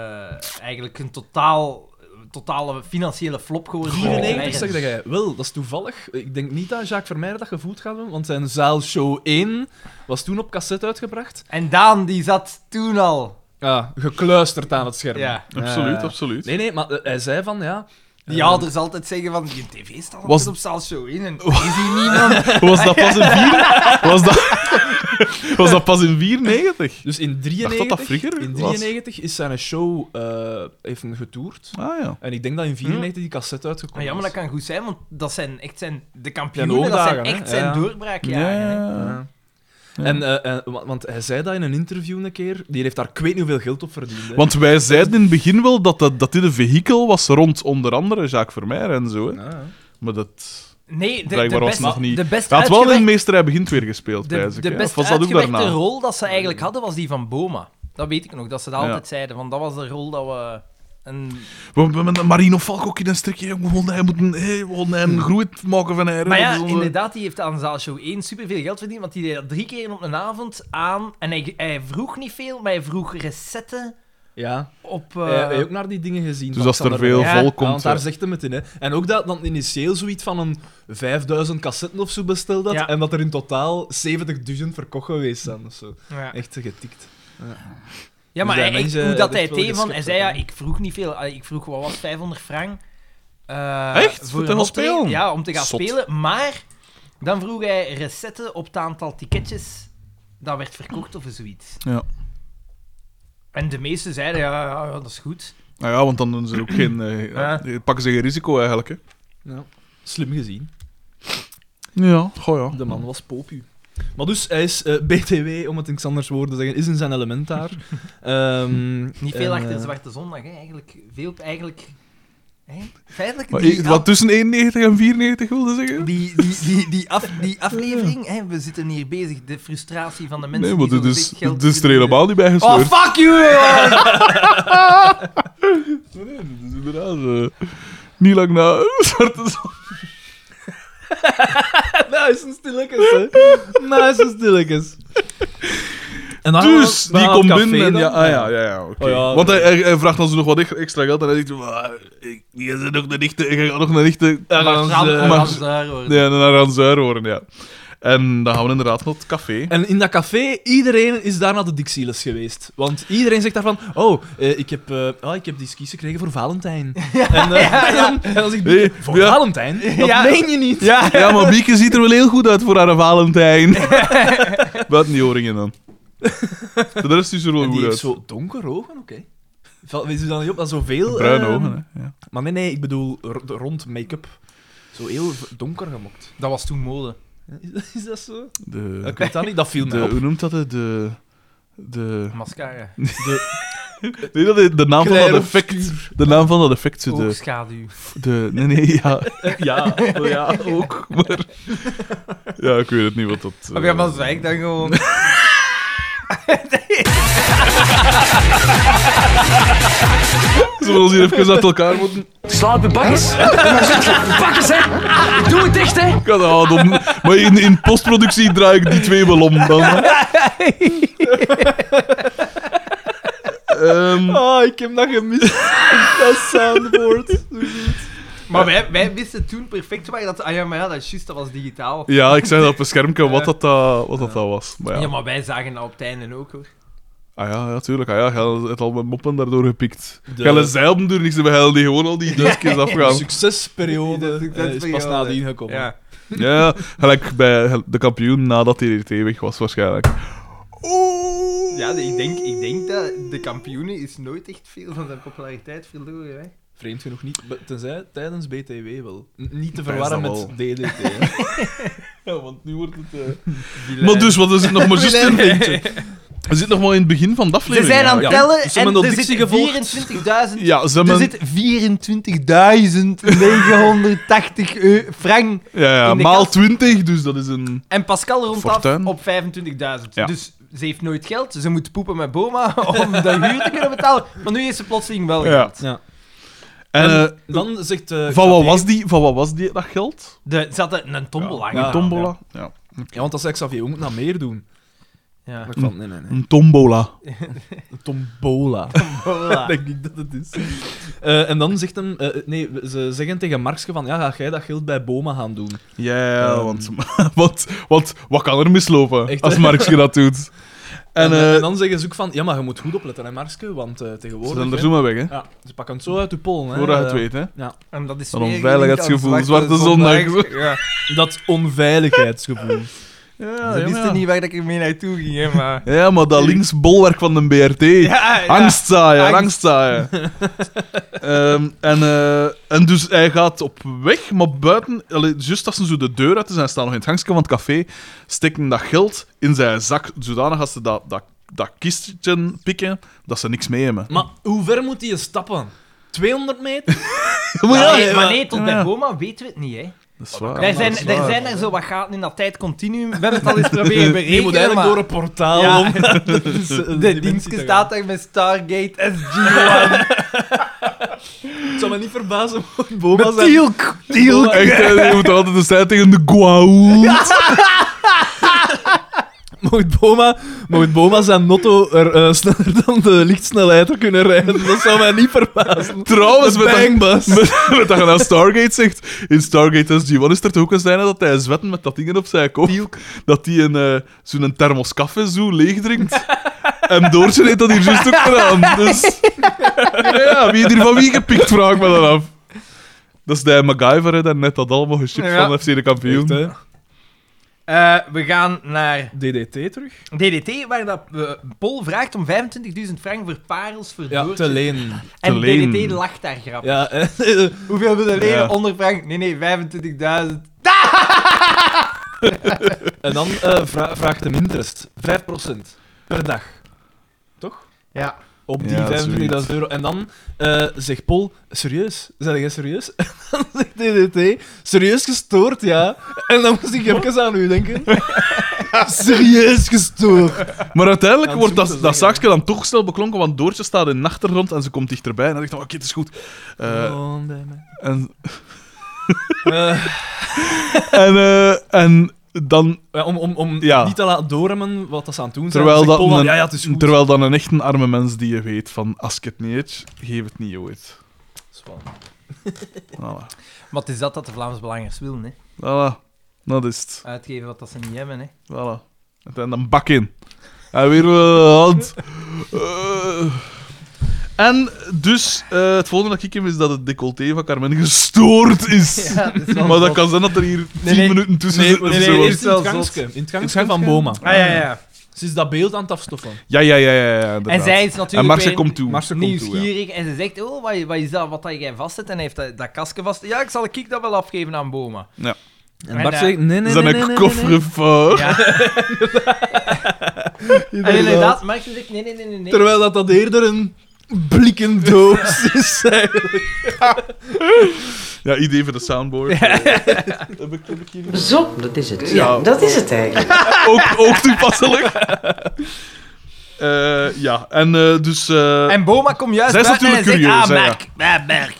S1: eigenlijk een totaal, totale financiële flop geworden. voor
S2: Oh.
S3: 94
S1: McLaren.
S3: zeg jij. Wel, dat is toevallig. Ik denk niet dat Jacques Vermeijer dat gevoeld gaat hebben, want zijn zaalshow 1 was toen op cassette uitgebracht.
S1: En Daan die zat toen al.
S3: Ja, gekluisterd aan het scherm.
S1: Ja.
S2: Absoluut,
S3: Eh,
S2: absoluut.
S3: Nee, nee, maar eh, hij zei van, ja...
S1: Die
S3: eh,
S1: ouders altijd zeggen van, je tv staat
S2: Was-
S1: altijd op zaal show in en is hier niemand.
S2: Was dat pas in 4? Was dat, was dat pas in 94?
S3: Dus in
S2: Dacht dat
S3: 93,
S2: dat vroeger
S3: in
S2: was?
S3: 93 is zijn show eh even getoerd.
S2: Ah ja.
S3: En ik denk dat in 94 die cassette uitgekomen
S1: Maar ja,
S3: is.
S1: maar Hm? Ah, dat kan goed zijn, want dat zijn echt zijn de kampioenen,
S3: Ja, de
S1: dat zijn
S3: hoogdagen, hè?
S1: echt zijn
S3: Ja.
S1: doorbraakjaren. hè.
S2: Ja. Ja.
S3: En, eh, eh, wa- want hij zei dat in een interview een keer. Die heeft daar ik weet niet hoeveel geld op verdiend. hè.
S2: Want wij zeiden in het begin wel dat, dat, dat dit een vehikel was rond onder andere Jacques Vermeer en zo. Hè.
S1: Ah,
S3: Ja, ja.
S2: Maar dat...
S1: Nee, de, de,
S2: Blijkbaar
S1: best,
S2: alsnog niet.
S1: de best
S2: Hij had wel in
S1: uitgewerkte-
S2: Meesterij Begint weer gespeeld,
S1: de,
S2: wijs ik.
S1: de
S2: hè.
S1: best
S2: Of was dat ook
S1: uitgewerkte
S2: daarna?
S1: rol dat ze eigenlijk hadden, was die van Boma. Dat weet ik nog, dat ze dat
S2: Ja.
S1: altijd zeiden. Want dat was de rol dat we... Een...
S2: We hebben met Marino Falk ook in een strikje. We wilden hem, moeten, hey, we wilden hem groeit maken van haar.
S1: Hmm. Maar ja,
S2: Dat is onze-
S1: inderdaad, die heeft aan Zaalshow 1 superveel geld verdiend, want die deed dat drie keer op een avond aan. En hij, hij vroeg niet veel, maar hij vroeg recetten
S3: ja.
S1: op...
S3: Eh,
S1: eh,
S3: heb je ook naar die dingen gezien.
S2: Dus
S3: van
S2: als er
S3: Xander
S2: veel
S3: Berg?
S1: Ja,
S2: vol
S3: Ja,
S2: komt... eh,
S3: want daar zegt hem het in. Hè. En ook dat dan initieel zoiets van een 5000 cassetten of zo besteld had.
S1: Ja.
S3: En dat er in totaal 70.000 verkocht geweest zijn. Of zo.
S1: ja.
S3: Echt getikt.
S1: Ja, maar
S3: Dus
S1: hij,
S3: dat mensen-
S1: ik- hoe dat
S3: dat
S1: hij
S3: is
S1: het
S3: wel
S1: deed, van, hij zei ja,
S3: geschikt, hè.
S1: ik vroeg niet veel. Ah, Ik vroeg, wat was het, 500 frank? eh,
S2: Echt? Voor te
S1: een
S2: gaan
S1: optreden?
S2: spelen?
S1: Ja, om te gaan
S2: Zot.
S1: spelen. Maar dan vroeg hij recetten op het aantal ticketjes dat werd verkocht of zoiets.
S2: Ja.
S1: En de meesten zeiden, ja, ja, ja, dat is goed.
S2: Nou ja, want dan doen ze ook geen, eh,
S3: Ja.
S2: eh, pakken ze geen risico eigenlijk. Hè.
S3: Slim gezien.
S2: Ja, goh ja.
S3: De man was popu. Maar dus, hij is eh, BTW, om het in Xanders woorden te zeggen, is in zijn element daar. Ehm,
S1: Niet veel
S3: en,
S1: achter
S3: eh,
S1: Zwarte Zondag, hè. Eigenlijk veel... Eigenlijk... hè, Feitelijk,
S2: Maar,
S1: die,
S2: eh, wat tussen 91 en 94 wilde
S1: af-
S2: zeggen?
S1: die, die, die, die, af, die aflevering, hè, we zitten hier bezig, de frustratie van de mensen
S2: Nee, maar
S1: die
S2: dit is,
S1: zo'n beetje geld
S2: dit is er
S1: verdienen.
S2: helemaal niet
S1: Oh,
S2: bij gesleurd.
S1: fuck you! jongen.
S2: nee, nee, dit is inderdaad eh, niet lang na Zwarte Zon.
S3: Nice en stilletjes, hè. Nice en stilletjes. En
S1: Ah,
S3: dan
S2: Dus,
S3: gaan we-
S2: die
S3: dan gaan
S2: komt
S3: we op
S2: binnen en
S3: café
S2: ja,
S3: dan.
S2: ah, ja, ja, ja oké.
S3: Oh, ja,
S2: Want
S3: nee.
S2: hij, hij- hij vraagt ons nog wat echt- extra geld en hij zegt, "Ah, ik, je zit nog een echte, ik ga nog een echte...
S3: Dan gaan
S1: Maar
S3: ze-
S1: Ram-
S2: maar-
S1: Ramzaar, hoor.
S2: Ja, naar Ranzuir horen, ja. En dan gaan we inderdaad naar het café.
S3: En in dat café, iedereen is daar naar de Dixieles geweest. Want iedereen zegt daarvan, oh, eh, ik, heb, eh, oh ik heb die skis gekregen voor Valentijn. en, eh, en dan, en dan zegt die,
S2: Nee,
S3: voor
S2: ja.
S3: Valentijn? Dat
S1: Ja.
S3: meen je niet.
S2: Ja. ja, maar Bieke ziet er wel heel goed uit voor haar Valentijn. Wat die oringen dan. De rest is er wel
S3: En die
S2: goed
S3: heeft
S2: uit.
S3: zo donkere ogen, oké. Val- Wees u dan niet op dat zoveel...
S2: Bruine
S3: eh,
S2: ogen, hè. Ja.
S3: Maar nee, nee, ik bedoel r- de rond make-up. Zo heel v- donker gemokt.
S1: Dat was toen mode.
S3: Is dat, is dat zo?
S2: De,
S3: Ik weet dat niet, dat viel
S2: de,
S3: me op.
S2: hoe noemt dat? hè? De, de,
S1: Mascara.
S2: nee, dat is de Eh, naam van dat
S3: Claire
S2: effect. De naam van dat effect. zo De,
S1: Oogschaduw.
S2: de, nee, nee, ja.
S3: Ja, oh ja, ook.
S2: Maar, ja, ik weet het niet wat dat... eh,
S1: Oké, maar zwijg dan gewoon.
S2: eh, Zullen we ons hier even uit elkaar moeten?
S10: Slaap de bakkes. Bakkes, hè. Doe het dicht, hè.
S2: Ik had dat al dom. Maar in, in postproductie draai ik die twee wel om dan. Ehm,
S3: Ah, ik heb dat gemist. dat soundboard.
S1: Maar wij, wij wisten toen perfect waar dat... Ah ja, maar ja, dat is juist, dat was digitaal.
S2: ja, ik zei dat op een schermpje wat dat, dat, wat dat, dat was. Maar
S1: Ja.
S2: ja.
S1: maar wij zagen dat op het einde ook, hoor.
S2: Ah ja, ja, tuurlijk. Ah ja, je had het al met moppen daardoor gepikt.
S3: De-
S2: Gaan zij op den duur niks hebben, gaan die gewoon al die duskjes
S3: De
S2: afgaan.
S3: succesperiode
S1: De
S3: eh, is pas
S1: succesperiode.
S3: nadien gekomen.
S2: Ja, gelijk bij de kampioen nadat hij RT weg was waarschijnlijk. Oeh.
S1: Ja, ik denk, ik denk dat de kampioenen is nooit echt veel van zijn populariteit verloren, hè.
S3: Vreemd genoeg niet, be- tenzij tijdens BTW wel. N- niet te
S2: Tijdens
S3: verwarren met
S2: dat
S3: DDT. hè.
S2: Ja, want nu wordt het... eh,
S1: Die
S2: Maar
S1: lijn.
S2: dus, wat is het nog maar juist in... We zitten nog maar in het begin van
S1: Ze
S2: de aflevering.
S1: zijn aan het
S2: eigenlijk.
S1: tellen
S3: Ze hebben
S1: en
S3: dat
S1: er
S3: dictie
S1: zitten
S3: gevolgd.
S1: 24.000...
S2: Ja, ze
S1: Er
S2: hebben...
S1: zit 24.980 eu- frank.
S2: Ja, ja,
S1: in de
S2: maal
S1: kast.
S2: 20, dus dat is een...
S1: En Pascal rond af
S2: Fortuin.
S1: op 25.000.
S2: Ja.
S1: Dus ze heeft nooit geld. Ze moet poepen met Boma om de huur te kunnen betalen. Maar nu heeft ze plotseling wel
S2: Ja.
S1: geld.
S2: En, eh,
S3: dan zegt... eh,
S2: van, wat
S3: Xavier-
S2: was die, van wat was die dat geld?
S1: De, ze had een een tombola.
S3: Ja.
S2: Een tombola? Ja.
S3: Ja, want dan zei Xavier, we moeten nog meer doen.
S1: Ja.
S2: Hm.
S3: Maar ik vond, nee, nee, nee.
S2: Een tombola.
S3: Een tombola.
S1: Tombola.
S3: denk ik dat het is. Eh, en dan zegt hem... eh, nee, we- ze zeggen tegen Markske van, ja, ga jij dat geld bij Boma gaan doen?
S2: Ja, ja,
S3: Ehm.
S2: want, want, want wat kan er mislopen
S3: Echt,
S2: als
S3: hè?
S2: Marx dat doet?
S3: En,
S2: En,
S3: eh,
S2: eh
S3: en dan zeggen ze ook van, ja, maar je moet goed opletten, hè, Markske, want eh,
S2: ze
S3: tegenwoordig...
S2: zijn er
S3: hè,
S2: zo maar weg, hè?
S3: Ja, ze pakken het zo uit de pollen. hè.
S2: Voordat je het
S3: Eh,
S2: weet, hè?
S1: En dat is
S2: Van
S1: weer
S2: onveiligheidsgevoel,
S1: gelinkt aan
S2: Zwarte Zondag.
S1: Ja.
S3: Dat onveiligheidsgevoel.
S2: Ja,
S1: Ze
S2: ja,
S1: wisten
S2: ja.
S1: niet waar dat ik mee naartoe ging, hè, maar...
S2: Ja, maar dat linksbolwerk van de BRT.
S1: Ja, ja.
S2: Angstzaaien,
S1: Angst.
S2: angstzaaien. Ehm, en, eh, en dus hij gaat op weg, maar buiten... allee, Juist als ze zo de deur uit is en hij staat nog in het gangstje van het café, steken dat geld in zijn zak, zodanig als ze dat, dat, dat kistje pikken, dat ze niks mee hebben.
S3: Maar hoe ver moet hij stappen? 200 meter?
S1: Maar,
S2: ja,
S1: nee,
S2: ja.
S1: maar nee, tot
S2: Ja.
S1: bij Boma weten we het niet, hè.
S2: Dat is waar.
S1: Wij zijn,
S3: dat is
S1: er
S3: waar.
S1: zijn er zo wat gaten in dat tijdcontinuum. We hebben het al eens proberen berekenen,
S3: Je moet eigenlijk
S1: maar...
S3: door een portaal
S1: Ja.
S3: om naar de, dimensie
S1: De
S3: te
S1: dienstje
S3: gaan.
S1: staat daar met Stargate SG.
S3: Het zou me niet verbazen mocht Boma
S1: Met
S3: zijn.
S1: Tielk.
S3: Boma-
S2: Echt, hè, je moet altijd de strijd tegen de Guau.
S3: Mocht Boma, mocht Boma zijn notto er eh, sneller dan de lichtsnelheid kunnen rijden, dat zou mij niet verbazen.
S2: Trouwens,
S3: De
S2: met
S3: bangbus.
S2: dat, met, met dat je nou Stargate zegt, in Stargate SG-1 is er toch ook een scène dat hij zwetten met dat ding op zijn kop, dat hij een, eh, zo'n thermos koffie zo leeg drinkt. En Doortje heeft dat hier juist ook gedaan. Dus, ja, ja, wie heeft hier van wie gepikt, vraag ik me dan af. Dat is de MacGyver, hè, net dat allemaal geschipt
S1: Ja.
S2: van FC de kampioen.
S3: Echt, hè?
S1: Eh, we gaan naar
S3: DDT terug.
S1: DDT, waar dat, eh, Paul vraagt om 25.000 frank voor parels voor
S3: Ja,
S1: Doortje.
S3: te leen.
S1: En
S2: te leen.
S1: DDT lacht daar grap.
S3: Ja,
S1: Hoeveel willen leren?
S2: Ja.
S1: Onder frank? Nee, nee, 25.000.
S3: en dan eh, vra- vraagt hem interest. 5% per dag. Toch?
S1: Ja.
S3: Op die
S2: Ja,
S3: 25.000
S2: zoiets.
S3: euro. En dan eh, zegt Paul, serieus? Zijn jij serieus? En dan zegt DDT, serieus gestoord, ja. En dan moest ik even aan u denken. serieus gestoord.
S2: Maar uiteindelijk wordt
S3: Ja, dat
S2: dat,
S3: is goed te
S2: dat
S3: zeggen.
S2: zaakje dan toch snel beklonken, want Doortje staat in de achtergrond en ze komt dichterbij. En dan dacht ik, oh, oké, het is goed. Eh, en
S3: Eh,
S2: en, eh, en dan,
S3: ja, om om, om
S2: Ja.
S3: niet te laten doorremmen wat dat ze aan het doen zijn.
S2: terwijl,
S3: zegt
S2: dat
S3: Paul van,
S2: een,
S3: ja, ja, het is goed.
S2: terwijl dan een echt een arme mens die je weet van, als ik het niet eet, geef het niet ooit.
S3: Zwaar.
S2: Voilà.
S1: Maar het is dat dat de Vlaams Belangers willen, hè.
S2: Voilà. Dat is het.
S1: Uitgeven wat dat ze niet hebben, hè.
S2: Voilà. En dan bak in. En weer eh, hand. Eh. En dus, eh, het volgende dat ik hem is dat het decolleté van Carmen gestoord is.
S1: dat is wel
S2: maar dat
S1: zot.
S2: kan zijn dat er hier tien
S1: Nee, nee.
S2: minuten tussen
S1: Nee,
S2: zit of
S1: nee, nee,
S2: zo.
S1: nee,
S3: Eerst in
S1: wel
S3: het
S1: zot.
S3: gangske. In het gangske van Boma.
S1: Ah, ja, ja.
S3: Ze is dat beeld aan het afstoffen.
S2: Ja, ja, ja, ja. ja inderdaad.
S1: En zij is natuurlijk
S2: en Marcia
S1: weer
S2: komt toe.
S3: Marcia komt toe, ja.
S1: nieuwsgierig en ze zegt, oh, wat, wat is dat wat dat jij vastzet? En hij heeft dat, dat kastje vast. Ja, ik zal een kick dat wel afgeven aan Boma.
S3: En
S1: En,
S3: Bart
S1: eh,
S3: zegt, nee,
S2: Is
S3: nee,
S2: dat
S3: nee, nee,
S2: een
S3: nee,
S2: koffer voor?
S1: Ja. en inderdaad, Marcia zegt, nee, nee, nee, nee. nee.
S3: Terwijl dat, dat eerder een blikken doos is.
S2: Ja, idee voor de soundboard.
S4: Zo, dat is het. Ja, dat is het eigenlijk.
S2: ook, ook toepasselijk. Eh, ja, en eh, dus... eh,
S1: En Boma komt juist
S2: Zij is
S1: buiten en
S2: natuurlijk
S1: zegt,
S2: curieus, hè,
S1: ah, merk, ah, merk.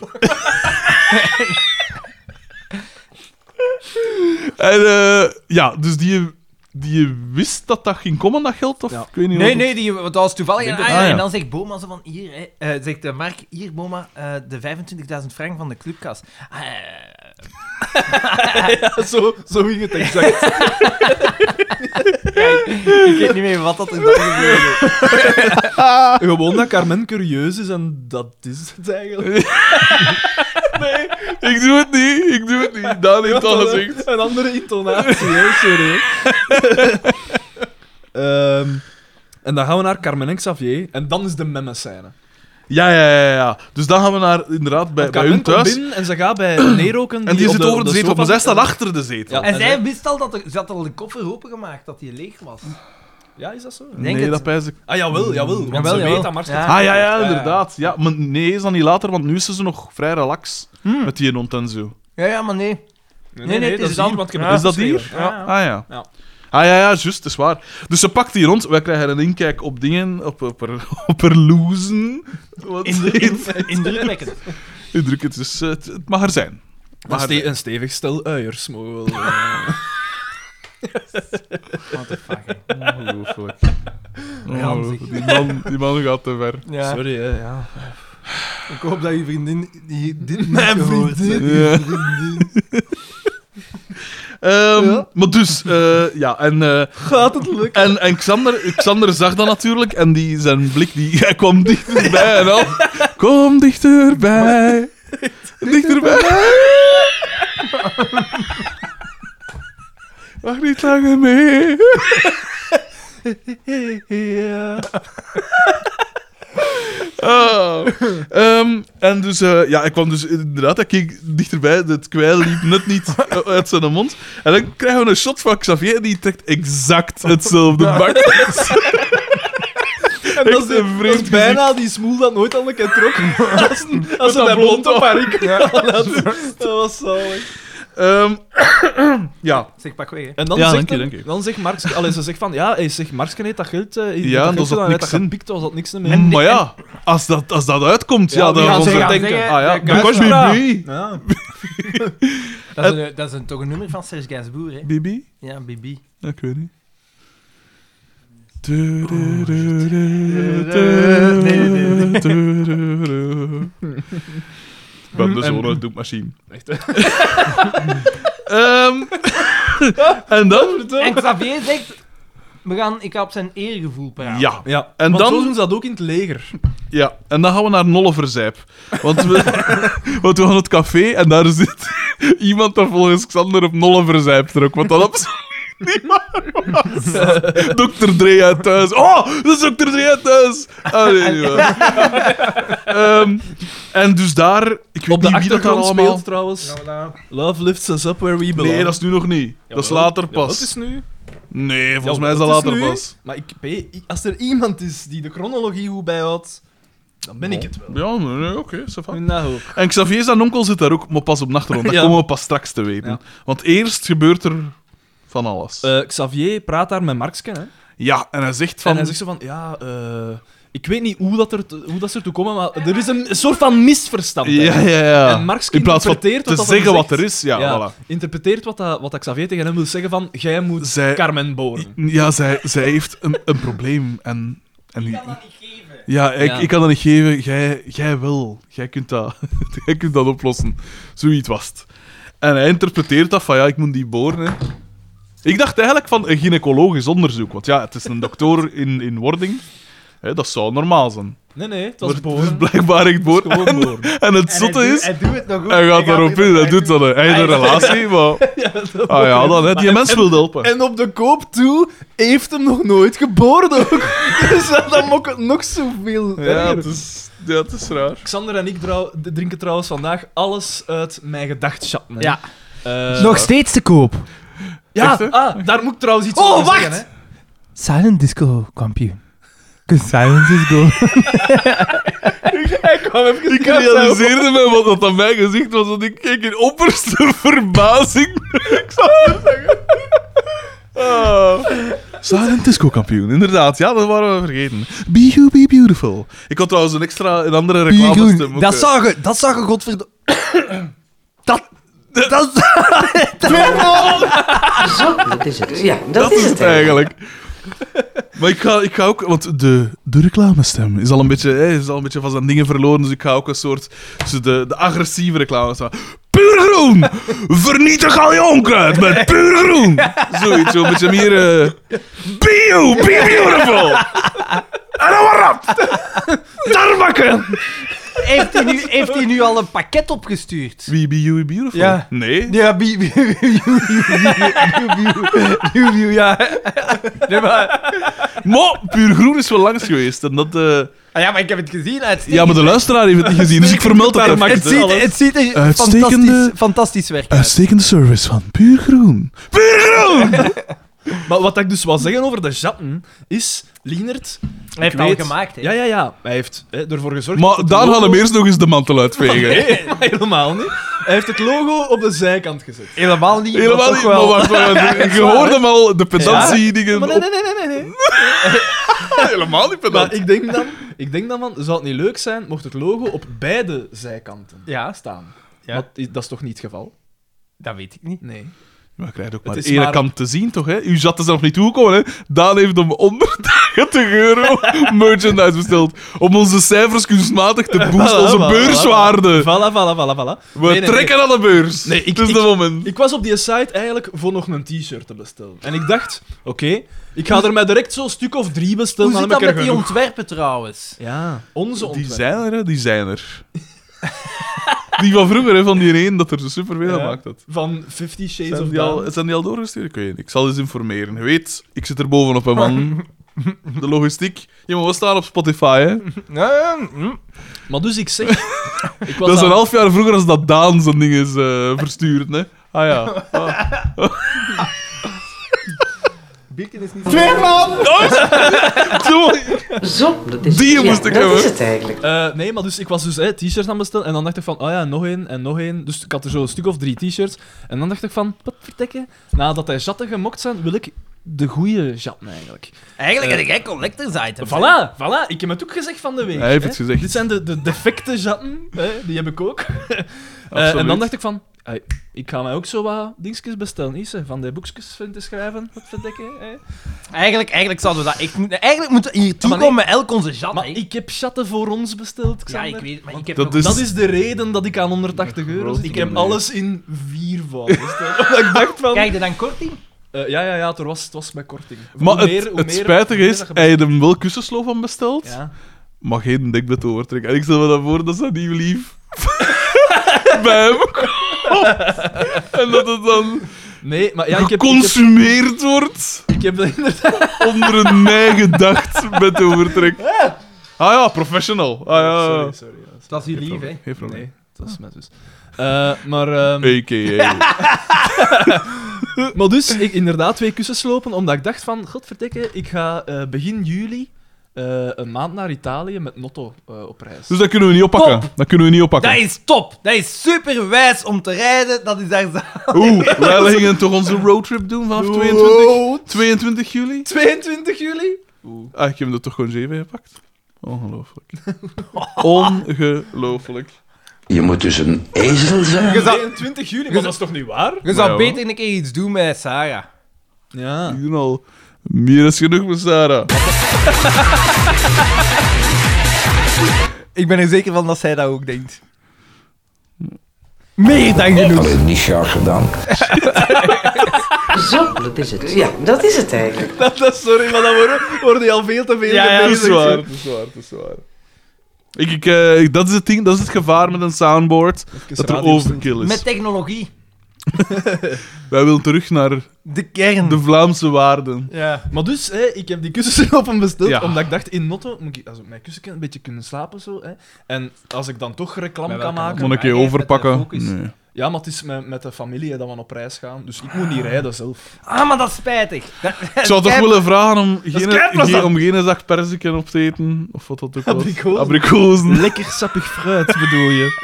S2: En eh, ja, dus die, die wist dat dat ging komen, dat geld? Of?
S3: Ja.
S2: Ik weet niet
S1: Nee,
S2: wat-
S1: nee, die, want dat was toevallig. En,
S2: Denk dat-
S1: ah, ja,
S2: ah, ja.
S1: en dan zegt Boma zo van, hier, hè, eh, zegt eh, Mark, hier Boma, eh, de 25.000 frank van de clubkas. Ah, eh,
S3: zo, zo ging het exact.
S1: ik weet niet meer wat dat is. gebeurde.
S3: Gewoon dat Carmen curieus is en dat is het eigenlijk.
S2: Ik doe het niet, ik doe het niet. Daan heeft al gezegd.
S3: Een andere intonatie, hè, sorry. Ehm, en dan gaan we naar Carmen en Xavier. En dan is de memme-scène.
S2: Ja, ja, ja, ja. Dus dan gaan we naar, inderdaad, bij, bij
S3: Want Carmen
S2: hun
S3: komt
S2: thuis.
S3: binnen en ze gaat bij Neroken.
S2: En die,
S3: op
S2: zit over de, zetel,
S3: sofa
S2: maar zij
S3: zit.
S2: staat achter de zetel.
S3: Ja,
S1: En zij
S3: hij-
S1: wist al dat er, ze had al de koffer opengemaakt, dat die leeg was.
S3: Ja, is dat zo?
S1: denk
S2: nee,
S1: het.
S2: dat pijs ik.
S3: Ah,
S2: Mm.
S3: jawel, jawel. Want
S1: Jawel,
S3: ze
S1: jawel.
S3: weet dat Mars
S1: Ja.
S2: Ah, ja, ja, inderdaad. Ja, maar nee, is dat niet later, want nu is ze nog vrij relax
S1: Hmm.
S2: met die hond en zo.
S1: Ja, ja, maar nee.
S3: Nee,
S1: nee, het is
S3: dat is hier,
S1: dan-
S3: want ik heb
S1: Ja.
S3: het
S2: Is dat hier?
S3: opgeschreven. Ja.
S2: Ah ja.
S3: Ja.
S2: Ah ja, ja, juist, is waar. Dus ze pakt die rond. Wij krijgen een inkijk op dingen, op, op, haar- op haar loezen. Wat heet-
S1: Indrukwekkend.
S2: Indruk, het, is, eh, het, het mag er zijn.
S3: Een
S2: Maar-
S3: ste- een stevig stel uiers mogen wel, eh.
S2: Ongelooflijk. Ongelooflijk. Die man, die man gaat te ver.
S1: Ja.
S3: Sorry, hè, ja.
S1: Ik hoop dat je vriendin die dit niet
S3: Mijn
S1: gehoord
S3: vriendin.
S1: heeft.
S2: Ja. Ehm, Maar dus, eh, ja, en... gaat het lukken? En, en Xander, Xander zag dat natuurlijk, en die, zijn blik die, hij kwam dichterbij en al. Kom dichterbij. Dichterbij. Mag niet langer mee. Oh. Ehm, en dus, eh, ja, ik kwam dus inderdaad, hij keek dichterbij, het kwijl liep net niet uit zijn mond. En dan krijgen we een shot van Xavier, en die trekt exact hetzelfde bak.
S3: En dat is,
S2: een
S3: dat
S2: vreemd
S3: is bijna die smoel dat nooit aan elkaar trok. Als, als ze
S2: dat
S3: dat blond
S2: blond
S3: op haar rik hadden. Dat was zalig.
S2: Ehm, ja,
S1: Zeg, pak weg, hè.
S3: En dan,
S2: Ja,
S3: zegt
S2: dank je,
S3: dan,
S2: dank je.
S3: dan zegt Marx... Allee, ze zegt van... Ja, hij zegt Marx, nee, dat geld... eh, dat
S2: Ja,
S3: geld
S2: en daar
S3: gedaan,
S2: zat niks
S3: hij had dat
S2: in.
S3: gepikt, was dat niks meer.
S2: Mm, maar ja, als dat, als dat uitkomt, ja,
S3: Ja, die
S2: dan
S3: gaan
S2: gaan
S3: ze
S2: ze
S3: gaan
S2: denken,
S1: zeggen,
S2: ah ja,
S1: dat kan
S2: dat kost me
S3: wel.
S2: mee.
S3: Ja.
S1: Dat is, een, dat is een, toch een nummer van Serge Gainsbourg, hè?
S2: Bibi?
S1: Ja, Bibi.
S2: Ja, ik weet niet. Du- du- du- du- du-
S1: Nee, nee,
S2: du- du- du- du. Ik ben de zoon uit doekmachine.
S3: Echt,
S2: Ehm, en dan...
S1: En Xavier zegt, we gaan, ik ga op zijn eergevoel praten.
S2: Ja,
S3: ja.
S2: En
S3: En Want
S2: dan-
S3: zo doen ze dat ook in het leger.
S2: ja. En dan gaan we naar Nolleverzijp. Want we, want we gaan het café en daar zit iemand dat volgens Xander op Nolleverzijp trok. Wat dat absoluut Dr. Dre uit thuis. Oh, dat is Dr. Dre uit thuis. Ah, nee, niet waar. Ehm, en dus daar... Ik weet
S3: Op de
S2: niet wie dat daar
S3: achtergrond
S2: allemaal...
S3: speelt trouwens. Love lifts us up where we belong.
S2: Nee, dat is nu nog niet. dat is
S3: Jawel.
S2: later
S3: Jawel,
S2: pas.
S3: dat is nu.
S2: Nee, volgens
S3: Ja,
S2: mij is dat later
S3: nu.
S2: pas.
S3: Maar ik, weet- als er iemand is die de chronologie goed bijhoudt, dan ben ik het wel.
S2: Ja, nee, nee, oké, ça va.
S3: Nou,
S2: En Xavier zijn onkel zit daar ook, maar pas op nachtgrond. Dat
S3: Ja.
S2: komen we pas straks te weten.
S3: Ja. Eh.
S2: Want eerst gebeurt er van alles.
S3: Xavier praat daar met Marksken, hè.
S2: ja, en hij zegt van...
S3: En hij zegt zo van, ja, eh, ik weet niet hoe dat, er, te- hoe dat ze ertoe komen, maar er is een soort van misverstand. hè.
S2: ja, ja, ja.
S3: En Marx
S2: In plaats van te
S3: interpreteert wat dat
S2: zeggen
S3: hem
S2: wat
S3: zegt.
S2: er is, ja, voilà.
S3: Interpreteert wat, dat, wat dat Xavier tegen hem wil zeggen van, jij moet
S2: Zij-
S3: Carmen boren.
S2: Ja, zij, zij heeft een, een probleem en... en ik kan dat niet geven. Ja, ik,
S3: Ja.
S2: ik kan dat niet geven. Jij, jij wel. Jij kunt, dat, jij kunt dat oplossen. Zoiets was het. En hij interpreteert dat van, ja, ik moet die boren, hè. Ik dacht eigenlijk van een gynaecologisch onderzoek. Want ja, het is een dokter in, in wording. Hè, dat zou normaal zijn.
S3: Nee, nee, het
S2: Maar
S3: was
S2: het is
S3: boren.
S2: dus blijkbaar echt boren.
S3: Gewoon
S2: En,
S3: boren.
S2: en het zotte is...
S1: Hij doet het nog goed.
S2: Hij gaat daarop in, hij doet dat. Hij heeft een relatie, maar... Ah ja, dan, hè. Die mens wil helpen.
S3: En op de koop toe heeft hem nog nooit geboren ook. dus dan mok het nog zoveel.
S2: Ja, het is, ja, het is raar.
S3: Xander en ik trouw- d- drinken trouwens vandaag alles uit mijn gedachtschat. hè.
S9: Ja.
S3: Eh,
S9: Nog steeds te koop.
S3: ja
S2: Echt, hè?
S3: ah, daar moet ik trouwens iets
S1: Oh,
S3: over
S1: wacht!
S3: zeggen. Hè.
S9: Silent Disco kampioen. 'Cause silence is gold.
S2: Ik realiseerde me wat dat aan mijn gezicht was, want ik keek in opperste verbazing. ik zal het zeggen. Ah. Silent Disco kampioen, inderdaad. Ja, dat waren we vergeten. Be you, be beautiful. Ik had trouwens een extra, een andere reclame stem.
S1: Dat zag je, dat zag je, godverdomme. Dat... Dat...
S4: Zo, dat is het. Ja, dat,
S2: Dat is het eigenlijk. Maar ik ga, ik ga ook, want de, de reclamestem is al, een beetje, hè, is al een beetje van zijn dingen verloren, dus ik ga ook een soort, dus de, de agressieve reclamestem. Puur groen! Vernietig al je onkruid met puur groen! Zoiets, zo, een beetje meer... eh, be you, be beautiful! En dan maar rap! Tarmakken!
S1: Heeft hij, nu, heeft hij nu al een pakket opgestuurd?
S2: Wie be you, be beautiful?
S1: Ja.
S2: Nee?
S1: Ja, bi- bi- bi- bi- bi- bi- bi- bi- ja. Nee, maar,
S2: Maar puur groen is wel langs geweest. En dat, eh,
S1: ah ja, maar ik heb het gezien. uitstekend.
S2: ja, maar de luisteraar heeft het niet gezien, dus ik vermeld het even.
S1: het, ziet, het ziet er
S2: Uitstekende-
S1: fantastisch, fantastisch werk uit.
S2: Uitstekende service van Puur Groen. Puur Groen!
S3: Maar wat ik dus wil zeggen over de chatten is, Lienert...
S1: Hij heeft
S3: ik
S1: het al
S3: weet-
S1: gemaakt, hè.
S3: Ja, ja, ja. Hij heeft hè, ervoor gezorgd... dat
S2: Maar
S3: het
S2: daar
S3: logo-
S2: hadden we eerst nog eens de mantel uitvegen.
S3: Nee, maar helemaal niet. Hij heeft het logo op de zijkant gezet.
S1: Helemaal niet.
S2: Helemaal
S1: maar
S2: niet.
S1: toch
S2: Maar
S1: wel.
S2: wacht, wacht, wacht. Je hoorde hem al, de pedantie-dingen.
S3: Maar nee, nee, nee, nee, nee, nee.
S2: Helemaal niet pedant.
S3: Maar ik denk dan, ik denk dan van, zou het niet leuk zijn mocht het logo op beide zijkanten
S1: Ja,
S3: staan?
S1: Ja.
S3: Want i- dat is toch niet het geval?
S1: dat weet ik niet.
S3: Nee.
S2: Maar je krijgt ook maar
S3: Het
S2: de
S3: is
S2: ene
S3: maar-
S2: kant te zien, toch? Hè? U zat er zelf niet toegekomen, hè? Daan heeft om 130 euro merchandise besteld. Om onze cijfers kunstmatig te boosten.
S3: Voilà,
S2: Onze
S3: voilà,
S2: beurswaarde.
S3: Voilà, voilà, voilà, voilà.
S2: We trekken aan de beurs.
S3: Nee, ik-
S2: het is
S3: ik-
S2: de moment.
S3: Ik was op die site eigenlijk voor nog een t-shirt te bestellen. En ik dacht, oké, ik ga er mij direct zo'n stuk of drie bestellen,
S1: Hoe
S3: dan
S1: zit dat
S3: heb ik
S1: met
S3: er
S1: die
S3: genoeg.
S1: ontwerpen trouwens?
S3: Ja, onze
S2: Die
S3: ontwerp.
S2: zijn er, hè? Die zijn er. die van vroeger, hè? Van die ene dat er zo superveel aan
S3: Ja.
S2: maakt. had.
S3: Van Fifty Shades
S2: Zijn
S3: of
S2: die, al,
S3: Down.
S2: zijn die al doorgestuurd? Ik weet niet. Ik zal eens informeren. Je weet, ik zit er bovenop, hè, man. De logistiek. Je moet wel staan op Spotify, hè.
S1: hm.
S3: Maar dus ik zeg... ik
S2: Dat
S3: was
S2: is
S3: aan-
S2: een half jaar vroeger als dat Daan zijn ding is eh, verstuurd, hè. Ah ja. Ah.
S4: Zo, dat is
S2: Die
S4: het.
S2: moest ik
S4: dat
S2: hebben.
S4: is het eigenlijk.
S3: Eh, nee, maar dus ik was dus eh, t-shirts aan het bestellen en dan dacht ik van, oh ja, nog één en nog één. Dus ik had er zo'n stuk of drie t-shirts. En dan dacht ik van, wat vertekken? Nadat hij jatten gemokt zijn, wil ik de goede jatten eigenlijk.
S1: Eigenlijk
S3: Eh,
S1: heb jij collectors items. hè?
S3: Voilà, voilà, ik heb het ook gezegd van de week.
S2: Hij heeft
S3: hè.
S2: het gezegd.
S3: Dit zijn de, de defecte jatten, hè, die heb ik ook. Eh, en dan dacht ik van, ai, ik ga mij ook zo wat dingetjes bestellen, Isse, van die boekjes van te schrijven, wat verdekken. Hè.
S1: Eigenlijk, eigenlijk zouden we dat echt moeten... Eigenlijk moeten we hier
S3: Maar
S1: toekomen
S3: nee.
S1: met elk onze jat,
S3: Maar
S1: hè.
S3: ik heb jatten voor ons besteld,
S1: Ja,
S3: Xander.
S1: ik weet maar ik heb
S2: Dat
S1: nog-
S2: is-
S3: Dat is de reden dat ik aan 180 euro zit. Ik heb
S2: probleem.
S3: alles in vier vouwen besteld. Omdat ik dacht van...
S1: Krijg je dan korting?
S3: eh, ja, ja, ja, het was, het was met korting.
S2: Maar
S3: Hoe meer-
S2: het,
S3: hoe
S2: het
S3: meer-
S2: spijtige
S3: hoe meer
S2: is,
S3: dat je
S2: hij heeft hem wel kussensloof aan besteld,
S3: bestelt. Ja.
S2: maar geen dekbed overtrekken. En ik stel me dan voor dat ze niet lief bij hem komt. En dat het dan...
S3: Nee, maar ja, ik heb, ik heb,
S2: geconsumeerd wordt
S3: ik heb dat inderdaad...
S2: onder een neigedacht met overtrek. Ah ja, professional. Ah ja.
S3: Sorry, sorry. ja,
S1: Dat is hier lief, hè?
S2: Geen probleem.
S3: Nee, dat is mijn zus. Eh, maar, ehm,
S2: A.k.a.
S3: maar dus, ik inderdaad twee kussens lopen, omdat ik dacht van, godverdikke, ik ga eh, begin juli eh, een maand naar Italië met Notto eh, op reis.
S2: Dus dat kunnen we niet oppakken. Dat kunnen we niet oppakken.
S1: Dat is top. Dat is super wijs om te rijden. Dat is daar
S2: Oeh, wij gingen toch onze roadtrip doen vanaf 22, 22 juli?
S3: 22 juli?
S2: Ah, ik heb dat toch gewoon zeven gepakt? Ongelooflijk. Ongelooflijk.
S5: Je moet dus een ezel zijn.
S3: 22 juli? Maar dat is toch niet waar?
S1: Je
S2: zou
S1: zou
S2: Ja, hoor. beter
S1: beter een keer iets doen met Sarah.
S3: Ja.
S2: Ik doe al meer is genoeg met Sarah.
S1: Ik ben er zeker van dat zij dat ook denkt. Meer dan genoeg.
S5: Alleen niet graag gedaan.
S4: Zo, dat is het. Ja, dat is het eigenlijk.
S3: Sorry, maar dan worden, worden die al veel te veel
S2: Ja, dat
S3: mee
S2: is
S3: bezig.
S2: waar, dat is waar, dat is waar. Ik, ik, eh, dat is het ding, dat is het gevaar met een soundboard, dat er
S3: radio
S2: overkill is.
S1: Met technologie.
S2: Wij willen terug naar
S1: De kern.
S2: de Vlaamse waarden.
S1: Ja.
S3: Maar dus, hè, ik heb die kussens open besteld,
S2: Ja.
S3: omdat ik dacht, in Notto moet ik, als ik mijn kussen een beetje kunnen slapen, zo, hè. En als ik dan toch reclame kan maken...
S2: Moet ik je
S1: Hij heeft
S2: overpakken?
S1: met de focus.
S2: Nee.
S3: Ja, maar het is met, met de familie hè, dat we op reis gaan, dus ik moet niet rijden zelf.
S1: Ah, maar dat is spijtig. Dat,
S2: Ik zou toch willen vragen om geen,
S3: keiplezant.
S2: geen- om geen zak perziken op te eten, of wat dat ook was.
S3: Abrikozen.
S2: Abrikozen.
S3: Lekker sappig fruit, bedoel je?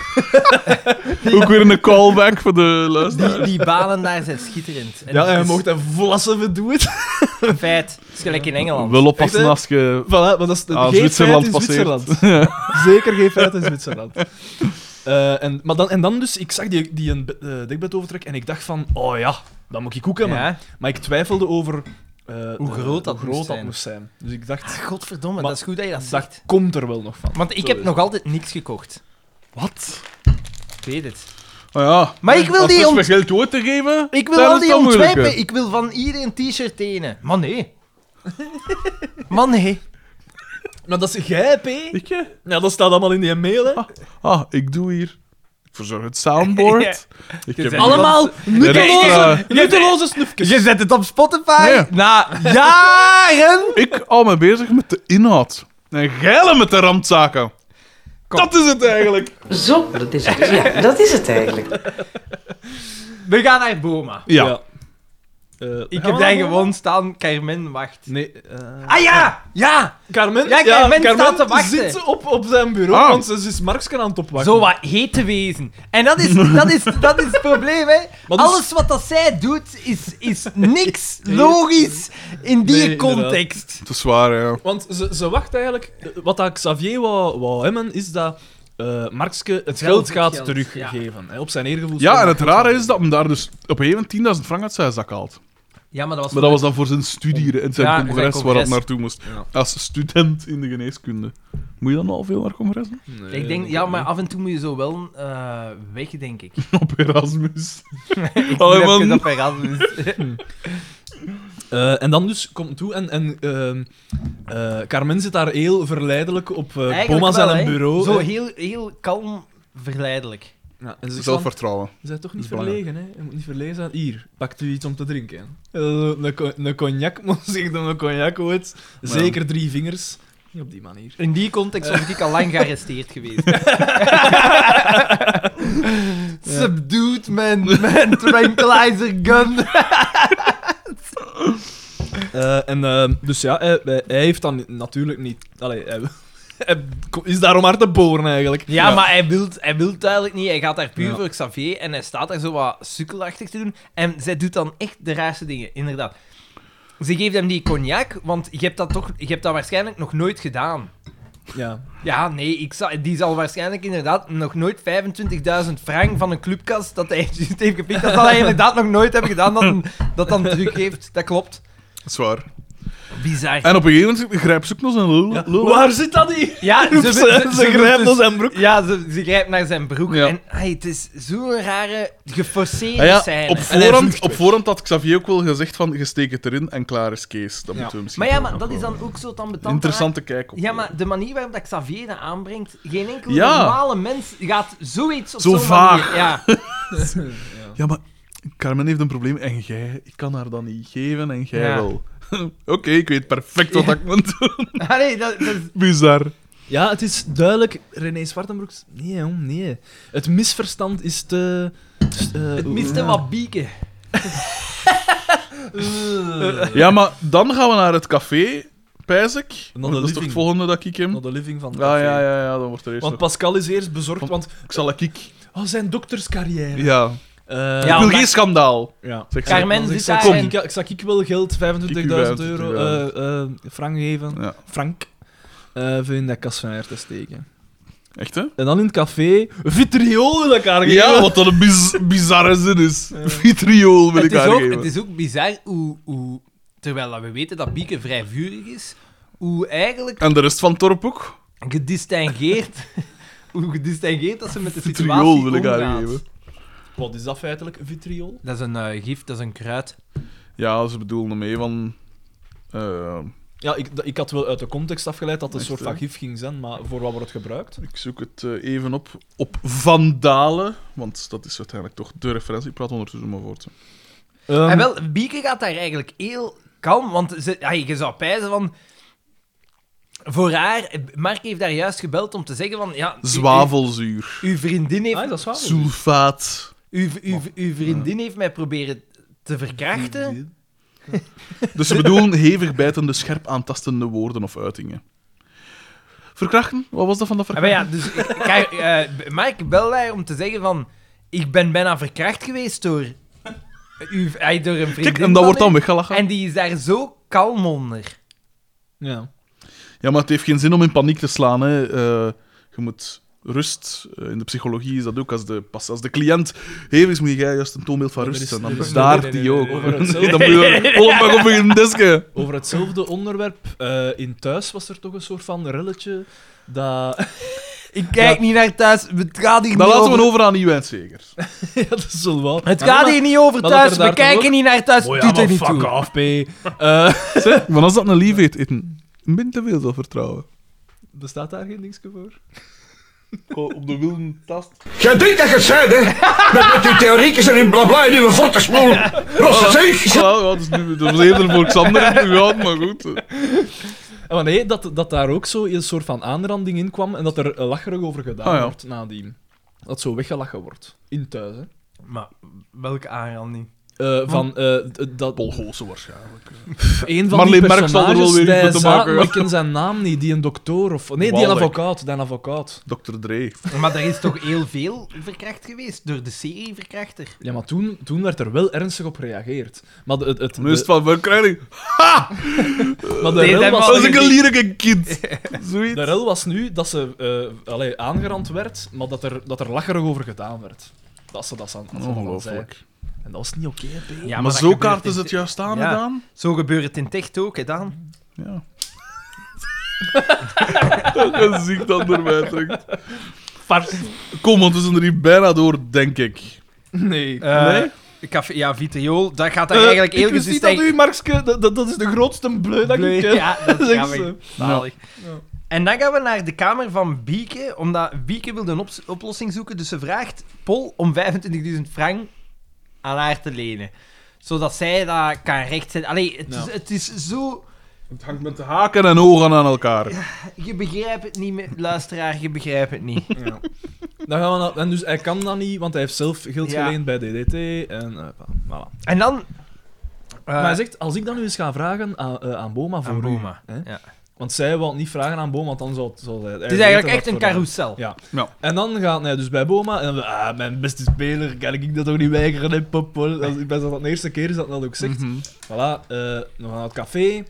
S2: Ook weer een callback voor de luisteraar.
S1: Die, die banen daar zijn schitterend. En
S3: Ja,
S1: dat
S3: en je
S1: is
S3: mocht dat vlassen verdoet.
S1: een feit. Het is gelijk in Engeland.
S2: Wel oppassen
S3: Echt, hè?
S2: als je
S3: Voilà, maar dat is
S2: aan
S3: geen
S2: Zwitserland
S3: feit in
S2: passeert.
S3: Zwitserland. Zeker geen feit in Zwitserland. Eh, en, maar dan, en dan dus, ik zag die, die een be- eh, dekbed overtrek en ik dacht van, oh ja, dat moet ik ook hebben.
S1: Ja.
S3: Maar ik twijfelde over eh,
S1: Hoe
S3: de-
S1: groot dat moest zijn. Ah,
S3: moest zijn. Dus ik dacht,
S1: Godverdomme,
S3: Maar-
S1: dat is goed dat je dat
S3: dat
S1: zegt.
S3: komt er wel nog van.
S1: Want ik
S3: Zo
S1: heb
S3: is
S1: nog altijd niks gekocht.
S2: Wat?
S1: Ik weet het.
S2: Oh ja.
S1: Maar ik wil
S2: Als
S1: die
S2: het
S1: ont-
S2: met geld door te geven,
S1: Ik wil
S2: dan
S1: al
S2: is
S1: die
S2: dat moeilijker.
S1: ontwerpen. Ik wil van iedereen een t-shirt tenen. Maar nee. maar nee.
S3: Maar dat is jij, P.
S2: Ik, hè?
S3: Ja, dat staat allemaal in die mail, hè.
S2: Ah, ik doe hier. Ik verzorg het soundboard. Ik heb
S3: Allemaal
S2: nutteloze-
S1: eh,
S3: nutteloze snufjes.
S1: Je zet het op Spotify.
S2: Ja.
S1: Na jaren.
S2: Ik hou me bezig met de inhoud. En geilen met de randzaken. Dat is het eigenlijk.
S4: Zo, dat is het. Ja, dat is het eigenlijk.
S1: We gaan naar Boma.
S2: Ja.
S3: Eh,
S1: Ik heb daar gewoon staan. Carmen wacht.
S3: Nee, eh,
S1: Ah ja! Ja!
S3: Carmen,
S1: Ja, Carmen staat te wachten.
S3: zit op, op zijn bureau,
S2: Ah.
S3: want ze is Marksken aan het opwachten.
S1: Zo wat heet te wezen. En dat is, dat is, dat is het probleem, hè.
S3: dus-
S1: Alles wat dat zij doet, is, is niks logisch in die
S3: Nee,
S1: context.
S2: Het is waar, ja.
S3: Want ze, ze wacht eigenlijk... eh, Wat dat Xavier wou, wou hebben, is dat eh Markske het
S1: Wel
S3: geld
S1: het
S3: gaat
S1: geld,
S3: teruggeven. Hè, op zijn eergevoel.
S2: Ja, en het rare is dat hem daar dus op een gegeven moment 10.000 frank uit zijn zak haalt.
S1: Ja, maar dat was...
S2: Maar dat was dan voor zijn studie en zijn
S1: Ja, zijn
S2: congres waar dat
S1: congres.
S2: naartoe moest. Als student in de geneeskunde. Moet je dan al veel naar congressen?
S1: ik denk, ja, maar af en toe moet je zo wel eh, weg, denk ik.
S2: Op Erasmus. Allee,
S1: Ik
S2: Oh, man.
S1: heb geen Erasmus.
S3: Eh, en dan dus komt toe en, en ehm, eh, Carmen zit daar heel verleidelijk op eh
S1: Eigenlijk
S3: Boma
S1: wel,
S3: zijn
S1: hè.
S3: bureau.
S1: Zo
S3: eh.
S1: heel, heel kalm, verleidelijk.
S3: ja, en ze zegt van,
S2: Zelfvertrouwen.
S3: Je bent toch niet
S2: Dat is belangrijk.
S3: verlegen, hè? Je moet niet verlegen zijn. Hier, pakt u iets om te drinken. Eh, Een, co- een cognac, man, zegt dan een cognac ooit. Zeker drie vingers. Niet op die manier.
S1: In die context was ik al lang gearresteerd geweest. Subdued mijn, mijn tranquilizer gun.
S3: Eh, en, eh, dus ja, hij, hij- hij heeft dan natuurlijk niet... Allee, hij, hij is daarom hard te boren, eigenlijk.
S1: Ja, maar hij wil hij wilt duidelijk niet. Hij gaat daar puur
S3: Ja.
S1: voor Xavier en hij staat daar zo wat sukkelachtig te doen. En zij doet dan echt de raarste dingen, inderdaad. Ze geeft hem die cognac, want je hebt dat, toch, je hebt dat waarschijnlijk nog nooit gedaan.
S3: Ja.
S1: Ja, nee, ik zal, die zal waarschijnlijk inderdaad nog nooit 25.000 frank van een clubkast dat hij juist heeft gepikt. Dat zal hij inderdaad nog nooit hebben gedaan dat dat dan teruggeeft. Dat klopt.
S2: Dat is waar.
S1: Bizar.
S2: En op een gegeven moment grijpt ze ook nog zijn lul.
S3: Ja,
S2: lul
S3: Waar zit dat hier?
S1: Ja,
S3: Roept ze, ze grijpt
S1: dus-
S3: naar zijn broek.
S1: Ja, ze, ze grijpt naar zijn broek.
S2: Ja.
S1: En ai, het is zo'n rare geforceerde
S2: Ah ja,
S1: scène.
S2: op,
S1: En hij
S2: voorhand,
S1: vlucht
S2: op
S1: weg.
S2: voorhand had Xavier ook wel gezegd van, je steekt het erin en klaar is Kees. Dat moeten we misschien...
S1: Maar ja, maar dat is dan ook zo dan betant.
S2: Interessante kijk op.
S1: Ja, maar de manier waarop dat Xavier dat aanbrengt, geen enkele
S2: Ja.
S1: normale mens gaat zoiets op
S2: Zo
S1: zo'n
S2: vaag.
S1: manier- Ja.
S2: Ja, maar Carmen heeft een probleem en jij, ik kan haar dan niet geven en jij
S1: Ja.
S2: wel. Oké, ik weet perfect wat ik moet doen.
S1: Ah, nee, dat, dat is...
S2: Bizar.
S3: Ja, het is duidelijk. René Zwartenbroek. Nee, jong, nee. Het misverstand is te. eh,
S1: Het miste wat bieken.
S2: Ja, maar dan gaan we naar het café, pijs ik.
S3: de
S2: Want Dat is toch
S3: living.
S2: het volgende dat ik hem... Ah,
S3: Not the living van. het
S2: Ja,
S3: café.
S2: ja, ja, ja, dan wordt er eerst
S3: Want
S2: nog-
S3: Pascal is eerst bezorgd, want
S2: Ik zal ik... ik-
S3: oh, zijn dokterscarrière.
S2: Ja.
S3: Eh,
S1: Ja,
S2: ik wil
S1: omdat-
S2: geen schandaal.
S3: ja.
S2: Zeg ze.
S1: Carmen
S3: Want Dus ik
S1: zit
S3: zag,
S1: daar
S3: kom,
S1: en-
S3: ik, ik zag ik wil geld, 25.000
S2: Ik u
S3: euro,
S2: vijfentwintig,
S3: eh, eh, frank geven,
S2: Ja.
S3: frank, eh, voor in dat kas van haar te steken.
S2: Echt, hè?
S3: En dan in het café, vitriool wil ik haar geven.
S2: Ja, wat dat een biz- bizarre zin is. Vitriool wil
S1: Het
S2: ik
S1: is, ook,
S2: aangeven.
S1: het is ook bizar hoe, hoe... Terwijl dat we weten dat bieken vrij vurig is, hoe eigenlijk
S2: En de rest van het dorp ook?
S1: gedistingeerd... hoe gedistingeerd dat ze met de situatie
S2: Vitriool wil ik
S1: omgaat.
S2: aangeven.
S3: Wat is dat feitelijk, vitriool?
S1: Dat is een eh, gif, dat is een kruid.
S2: Ja, ze bedoelen ermee van... eh,
S3: Ja, ik, dat- ik had wel uit de context afgeleid dat het een
S2: Echt,
S3: soort van
S2: hè?
S3: gif ging zijn, maar voor wat wordt het gebruikt?
S2: ik zoek het eh, even op. Op Vandalen. Want dat is uiteindelijk toch de referentie. Ik praat ondertussen maar voort. hè.
S3: Ehm,
S1: en wel, Bieke gaat daar eigenlijk heel kalm, want ze, ja, je zou pijzen van... Voor haar, Mark heeft daar juist gebeld om te zeggen van... Ja, u-
S2: Zwavelzuur.
S1: Uw vriendin heeft
S3: Ah, dat is waar.
S2: Sulfaat.
S1: Uw, uw, uw vriendin heeft mij proberen te verkrachten.
S2: Dus ze bedoelen hevig bijtende, scherp aantastende woorden of uitingen. Verkrachten? Wat was dat van dat
S1: Ah, Maar
S2: verkrachten?
S1: ja, dus ik- Kar- eh, Mark belde haar om te zeggen van... Ik ben bijna verkracht geweest door... Uw, eh, door een vriendin
S2: Kijk, en dat
S1: van
S2: wordt dan
S1: u.
S2: weggelachen.
S1: En die is daar zo kalm onder.
S3: Ja.
S2: Ja, maar het heeft geen zin om in paniek te slaan. Hè. Eh, je moet rust. eh, in de psychologie is dat ook. Als de, pas als de cliënt hevig is, moet je juist een toonbeeld van
S3: Er is-
S2: rust zijn.
S3: er
S2: Dan
S3: is-
S2: bedaart
S3: nee, nee,
S2: die
S3: nee,
S2: ook.
S3: nee, over hetzelfde.
S2: Nee, Dan moet je allemaal op een desken.
S3: Over hetzelfde onderwerp, eh, in thuis was er toch een soort van relletje dat...
S1: Ik kijk niet naar thuis. Het gaat hier
S2: Dan
S1: niet
S2: laten we
S1: over...
S2: over aan Iwijn zeker.
S3: ja, dat is wel waar.
S1: Het
S3: Maar
S1: gaat
S3: nee,
S1: hier niet over
S3: maar dat
S1: thuis. We
S3: er daar toch
S1: kijken
S3: ook-
S1: niet naar thuis.
S3: Oh ja,
S1: Doet
S3: maar
S1: er niet
S3: fuck
S1: toe.
S3: off, P. Eh,
S2: Want als dat een lief eet, eten. Min te veel zelfvertrouwen.
S3: bestaat daar geen dingetje voor?
S2: Op de wilde tast.
S11: Jij denkt dat je het zei, hè? Met, met die theoriekjes en die blabla en die verrotte smoel. Rosse zeeg.
S2: Ja, ja, dat, is nu, dat was eerder voor Xander gegaan, maar goed.
S3: Eh, Maar nee, dat, dat daar ook zo een soort van aanranding in kwam en dat er eh, lacherig over gedaan
S2: Ah, ja.
S3: wordt nadien. Dat zo weggelachen wordt. In thuis, hè.
S1: Maar welke aanranding?
S3: Eh, van, eh, d- dat...
S2: Bolgozen waarschijnlijk.
S3: Een van
S2: Marleen
S3: die
S2: Merks zal er wel
S3: personages,
S2: weer iets
S3: die
S2: mee te
S3: za-
S2: maken
S3: maar ik
S2: hebben.
S3: ken zijn naam niet, die een dokter of... Nee, die een
S2: Waldeck.
S3: advocaat, die een advocaat.
S2: Dr. Dre.
S1: Maar er is toch heel veel verkracht geweest door de serie Verkrachter.
S3: Ja, maar toen, toen werd er wel ernstig op gereageerd. Maar de, het, het,
S2: Nu is het
S3: de,
S2: van, wat krijg ik?
S3: maar de
S1: Nee,
S3: rel
S1: dat
S3: was,
S2: Dat is ik een lierige kind. Zoiets.
S3: de rel was nu dat ze eh allee, aangerand werd, maar dat er, dat er lacherig over gedaan werd. Dat ze dat aan dat ze dat dan zei.
S2: Ongelooflijk.
S3: En dat was niet oké, hè, P.
S1: Ja,
S2: maar
S1: dat
S2: zo
S1: gebeurt
S2: kaart
S1: in-
S2: is het juist aan
S1: Ja.
S2: gedaan.
S1: Zo gebeurt het in Techt ook, hè, Daan?
S2: Ja. Dat is ziek dat door mij drukt. Kom, want we zijn er hier bijna door, denk ik.
S3: Nee. Eh,
S2: Nee?
S1: Eh, Café, ja, Vitriol, dat gaat daar eigenlijk
S3: ik
S1: heel
S3: wist niet dat
S1: gedistinct...
S3: u, Markske, dat, dat, dat is de grootste bleu dat ik ken.
S1: Ja, dat is
S3: Zeg
S1: jammer.
S3: ze.
S1: Zalig. En dan gaan we naar de kamer van Bieke, omdat Bieke wilde een ops- oplossing zoeken. Dus ze vraagt Pol om 25.000 frank aan haar te lenen. Zodat zij dat kan rechtzetten. Allee, het,
S3: Ja.
S1: is, het is zo...
S2: Het hangt met de haken en ogen aan elkaar.
S1: Je begrijpt het niet, meer, luisteraar. Je begrijpt het niet.
S3: Dan gaan we naar- en dus hij kan dat niet, want hij heeft zelf geld
S1: Ja.
S3: geleend bij DDT. En, eh, voilà.
S1: En dan... eh,
S3: maar hij zegt, als ik dan nu eens ga vragen aan, eh, aan Boma voor
S1: aan
S3: u,
S1: Boma.
S3: hè?
S1: Ja.
S3: Want zij wil niet vragen aan Boma, want dan zou, zou hij...
S1: Het is eigenlijk echt een carousel.
S3: Ja.
S2: Ja.
S3: En dan gaat hij dus bij Boma en dan, ah, mijn beste speler, kan ik dat toch niet weigeren, hè, pop. hoor. Als ik best dat dat de eerste keer is dat hij dat ook
S1: Mhm.
S3: zegt. Voilà, eh nog naar het café.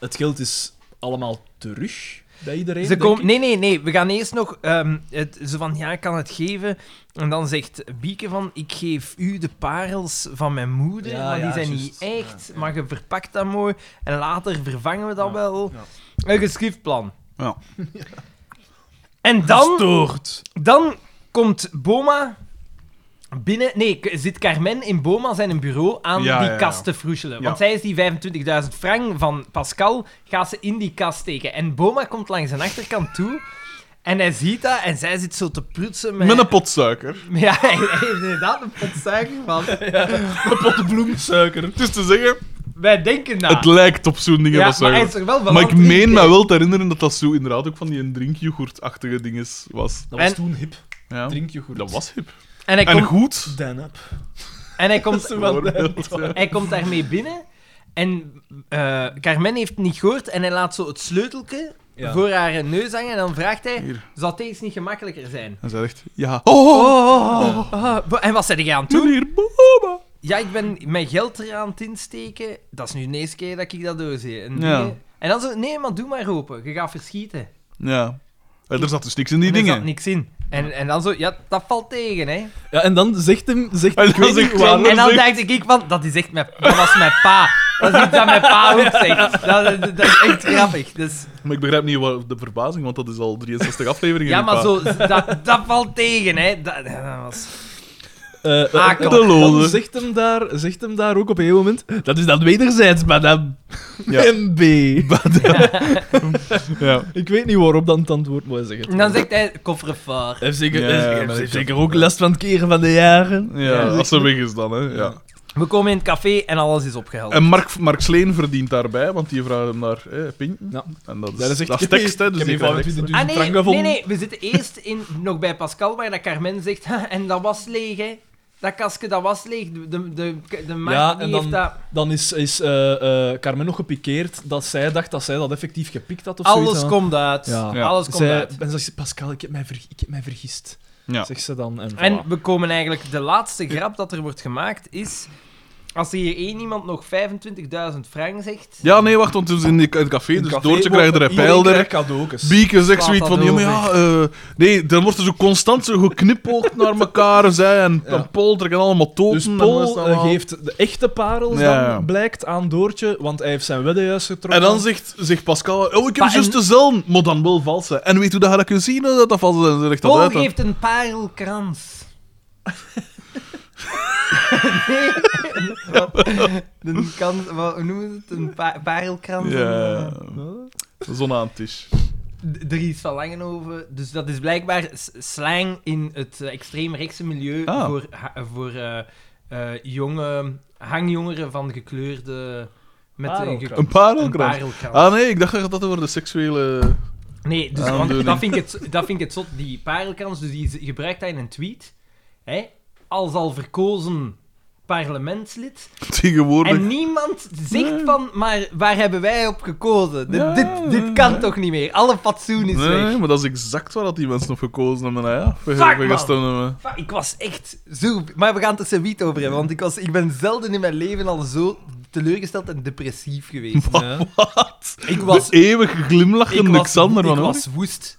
S3: Het geld is allemaal terug bij iedereen,
S1: Ze
S3: denk
S1: komt,
S3: ik.
S1: nee, nee, nee. We gaan eerst nog... ehm het, ze van, ja, ik kan het geven. En dan zegt Bieke van, ik geef u de parels van mijn moeder.
S3: Ja,
S1: maar die
S3: ja,
S1: zijn niet
S3: juist.
S1: echt.
S3: Ja, ja.
S1: Maar je verpakt dat mooi. En later vervangen we dat
S3: Ja,
S1: wel. Een geschriftplan.
S2: Ja.
S1: En dan,
S3: Gestoord.
S1: dan komt Boma binnen... Nee, k- zit Carmen in Boma zijn bureau aan
S2: Ja,
S1: die
S2: ja, ja.
S1: kast te froeselen.
S2: Ja.
S1: Want zij is die 25.000 frank van Pascal, gaat ze in die kast steken. En Boma komt langs zijn achterkant toe... En hij ziet dat en zij zit zo te prutsen met...
S2: Met een pot suiker.
S1: Ja, hij heeft inderdaad een pot suiker van.
S3: Een pot bloemsuiker.
S2: Het is te zeggen,
S1: Wij denken na.
S2: het lijkt op zo'n dingen
S1: ja,
S2: van
S1: maar hij is
S2: suiker.
S1: er wel van
S2: Maar
S1: aan
S2: ik
S1: het
S2: meen
S1: drinken.
S2: me wel te herinneren dat dat zo inderdaad ook van die drinkjoghurtachtige dinges was.
S3: Dat was
S1: En-
S3: toen hip.
S2: Ja.
S3: Drink je goed.
S2: Dat was hip.
S1: En hij
S2: En
S1: komt,
S2: goed.
S3: Dan up.
S1: en hij komt,
S2: bijvoorbeeld, ja.
S1: hij komt daarmee binnen. En eh, Carmen heeft het niet gehoord en hij laat zo het sleutelke
S3: Ja.
S1: voor haar neus hangen. En dan vraagt hij,
S2: Hier.
S1: zou deze niet gemakkelijker zijn?
S2: En zij zegt, ja. Oh,
S1: Ah, En wat zei hij aan toe?
S2: meneer Boba.
S1: Ja, ik ben mijn geld eraan aan het insteken. Dat is nu de eerste keer dat ik dat doorzie. En,
S2: Ja.
S1: dingen- en dan zo, nee, maar doe maar open. Je gaat verschieten.
S2: Ja. Eh, Er zat dus niks in die
S1: En Er zat
S2: dingen.
S1: niks in. En, en dan zo, ja, dat valt tegen, hè.
S3: Ja, en dan zegt hem... Zegt,
S2: En
S3: ik
S2: dan
S3: weet niet
S2: zegt
S3: waarom.
S2: Xander-
S1: En dan
S2: zegt-
S1: dacht ik, ik van, dat is echt mijn, dat was mijn pa. Dat is iets dat mijn pa ook zegt. Dat, dat, dat is echt grappig. Dus,
S2: Maar ik begrijp niet waar de verbazing, want dat is al 63 afleveringen.
S1: ja,
S2: in
S1: maar
S2: pa.
S1: zo, dat, dat valt tegen, hè. Dat, dat was...
S3: Eh, eh,
S1: Ah, kom.
S3: dan
S2: De loze.
S3: zegt hem, daar, zegt hem daar ook op een gegeven moment... Dat is dan wederzijds, madame.
S2: Ja.
S3: MB.
S2: Ja.
S3: Ik weet niet waarop dan het antwoord moet zeggen.
S1: En dan zegt hij, koffervaar.
S3: Hij heeft zeker,
S2: Ja,
S3: hij heeft-
S2: maar
S3: hij heeft
S2: dat-
S3: zeker ook last van het keren van de jaren.
S2: Ja, als ze weg is dan, hè. Ja.
S1: We komen in het café en alles is opgehaald.
S2: En Mark, Mark Sleen verdient daarbij, want die vraagt hem naar hè, Pinten.
S3: Ja.
S2: En dat is,
S3: Dat is echt
S2: tekst, hè.
S3: Ik
S2: Dus
S3: heb
S2: die
S3: hier
S2: krijgt extra.
S3: 25.000
S1: Ah nee,
S3: frank
S1: nee,
S3: gevonden.
S1: nee, we zitten eerst in, nog bij Pascal, waar dat Carmen zegt, "Ha, en dat was leeg, hè. Dat kastje, dat was leeg. De, de, de, de Mark,
S3: Ja,
S1: die
S3: en
S1: heeft
S3: dan-
S1: dat...
S3: Dan is, is eh, eh, Carmen nog gepikeerd dat zij dacht dat zij dat effectief gepikt had of zoiets.
S1: Alles
S3: hè.
S1: komt uit.
S3: Ja.
S2: Ja.
S1: Alles komt
S3: Zij-
S1: uit.
S3: En ze zegt, Pascal, ik heb mij, ver- ik heb mij vergist.
S2: Ja.
S3: Zegt ze dan. En, voilà.
S1: En we komen eigenlijk... De laatste grap dat er wordt gemaakt is... Als er hier één iemand nog 25.000 frank zegt...
S2: Ja, nee, wacht, want het is in die- het café, dus Doortje krijgt er een
S3: Iedereen
S2: pijl er.
S3: krijgt cadeautjes.
S2: Bieke zegt
S1: Slaat
S2: zoiets
S1: dat
S2: van, ja, maar ja, eh, nee, dan wordt er zo constant zo geknipoogd naar elkaar, zij en,
S3: Ja.
S2: en Paul trekken allemaal toten.
S3: Dus
S2: en dan is
S3: Paul
S2: dat
S3: eh,
S2: allemaal-
S3: geeft de echte parels
S2: Ja.
S3: dan, blijkt, aan Doortje, want hij heeft zijn wedden juist
S2: En
S3: getrokken.
S2: dan zegt, zegt Pascal, oh, ik heb
S1: Maar
S2: juist
S1: en-
S2: dezelfde, maar dan wel valse. En weet hoe dat je dat kunt zien, hè, dat dat valse is? En legt dat
S1: Paul
S2: uit, hè.
S1: geeft een parelkrans. nee. Wat? Een kans... Wat, hoe noemen ze het? Een pa- parelkrans?
S2: Ja.
S1: eh,
S2: Zon aan het is.
S1: D- Dries van Langenhoven. Dus dat is blijkbaar s- slang in het eh, extreemrechtse milieu
S2: Ah.
S1: voor, ha- voor eh, eh, jonge, hangjongeren van gekleurde... Met een
S3: Parelkrans.
S1: ge-
S2: Een
S1: een
S2: parelkrans.
S1: parelkrans.
S2: Ah nee, ik dacht dat dat over de seksuele...
S1: Nee, dus,
S2: Aandoening.
S1: want dat, vind ik het, dat vind ik het zot. Die parelkrans, dus die z- gebruikt hij in een tweet. Hè, als al verkozen parlementslid.
S2: Tegenwoordig...
S1: En niemand zegt van, maar waar hebben wij op gekozen? Dit,
S2: Ja,
S1: dit, dit kan toch niet meer? Alle fatsoen is
S2: Nee,
S1: weg.
S2: maar dat is exact waar dat die mensen op gekozen hebben. hè, Ja, We-
S1: Fuck,
S2: we
S1: man.
S2: gestemd hebben.
S1: Fa- Ik was echt zo... Maar we gaan het er zo niet over hebben, want ik, was, ik ben zelden in mijn leven al zo teleurgesteld en depressief geweest.
S3: Ja.
S1: Ik was...
S2: De eeuwige glimlachende
S1: Ik was,
S2: Alexander
S1: ik
S2: van hoor.
S1: was woest.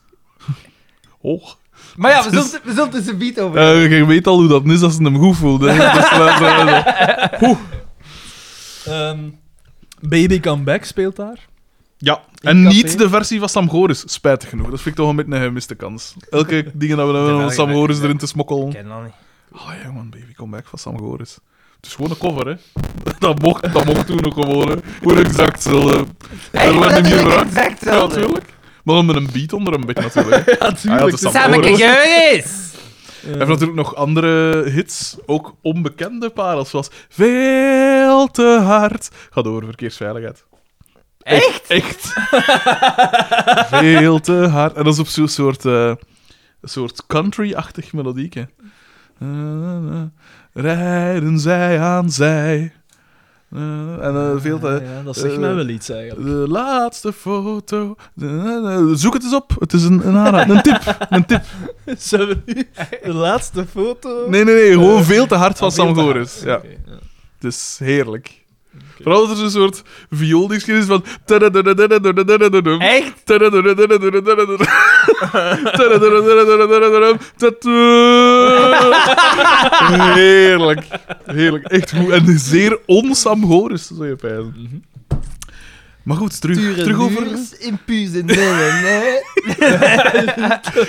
S2: Oh.
S1: Maar ja, we zullen, het- we zullen het er zo niet over hebben.
S2: Eh, je weet al hoe dat is als ze hem goed voelt. hè. Dat is wel zo.
S3: Ehm, Baby Come Back speelt daar.
S2: ja,
S3: In
S2: en
S3: café.
S2: niet de versie van Sam Goris. Spijtig genoeg. Dat vind ik toch een beetje een gemiste kans. Elke dingen dat we hebben om Sam Goris erin te smokkelen.
S1: ken dat niet.
S2: Oh ja, man, baby, kom back van Sam Goris. Het is gewoon een cover, hè? Dat mocht, dat mocht toen ook gewoon, hè? Gewoon exact hetzelfde.
S1: Hey,
S2: dat
S1: dat
S2: niet
S1: is
S2: gebruikt.
S1: exact
S2: Ja,
S1: hetzelfde.
S2: natuurlijk. Maar dan met een beat onder een beetje, natuurlijk. hè. Ah, ja, dat is Sam
S1: Samen
S2: Goris.
S1: Joris!
S2: Hij heeft natuurlijk nog andere hits, ook onbekende parels, zoals Veel te hard. Gaat over verkeersveiligheid. Echt? Echt. Veel te hard. En dat is op zo'n soort, eh, een soort country-achtig melodieke. Na, na, na. Rijden zij aan zij. Eh, en eh, veel te...
S3: Ja, dat zegt
S2: eh,
S3: mij wel iets eigenlijk.
S2: De laatste foto. Na, na, na. Zoek het eens op. Het is een, een aanrader. Een tip. Een tip.
S3: Zullen we nu de laatste foto?
S2: Nee, nee, nee. Gewoon veel te hard van
S3: Ah, veel
S2: Sam
S3: te hard.
S2: Goris. Ja.
S3: Oké,
S2: Het is heerlijk. Vooral dat er zo'n soort viooldingetje is van... tadadadadadadadadadadum,
S1: Echt?
S2: tadadadadadadadadadadadum, tadadadadadadadadadadadum, tadaa. Heerlijk. Heerlijk. Echt goed. En zeer onsamhorisch, zou je pijzen. Maar goed, terug, terug over...
S1: in puzen. Nee, nee, nee.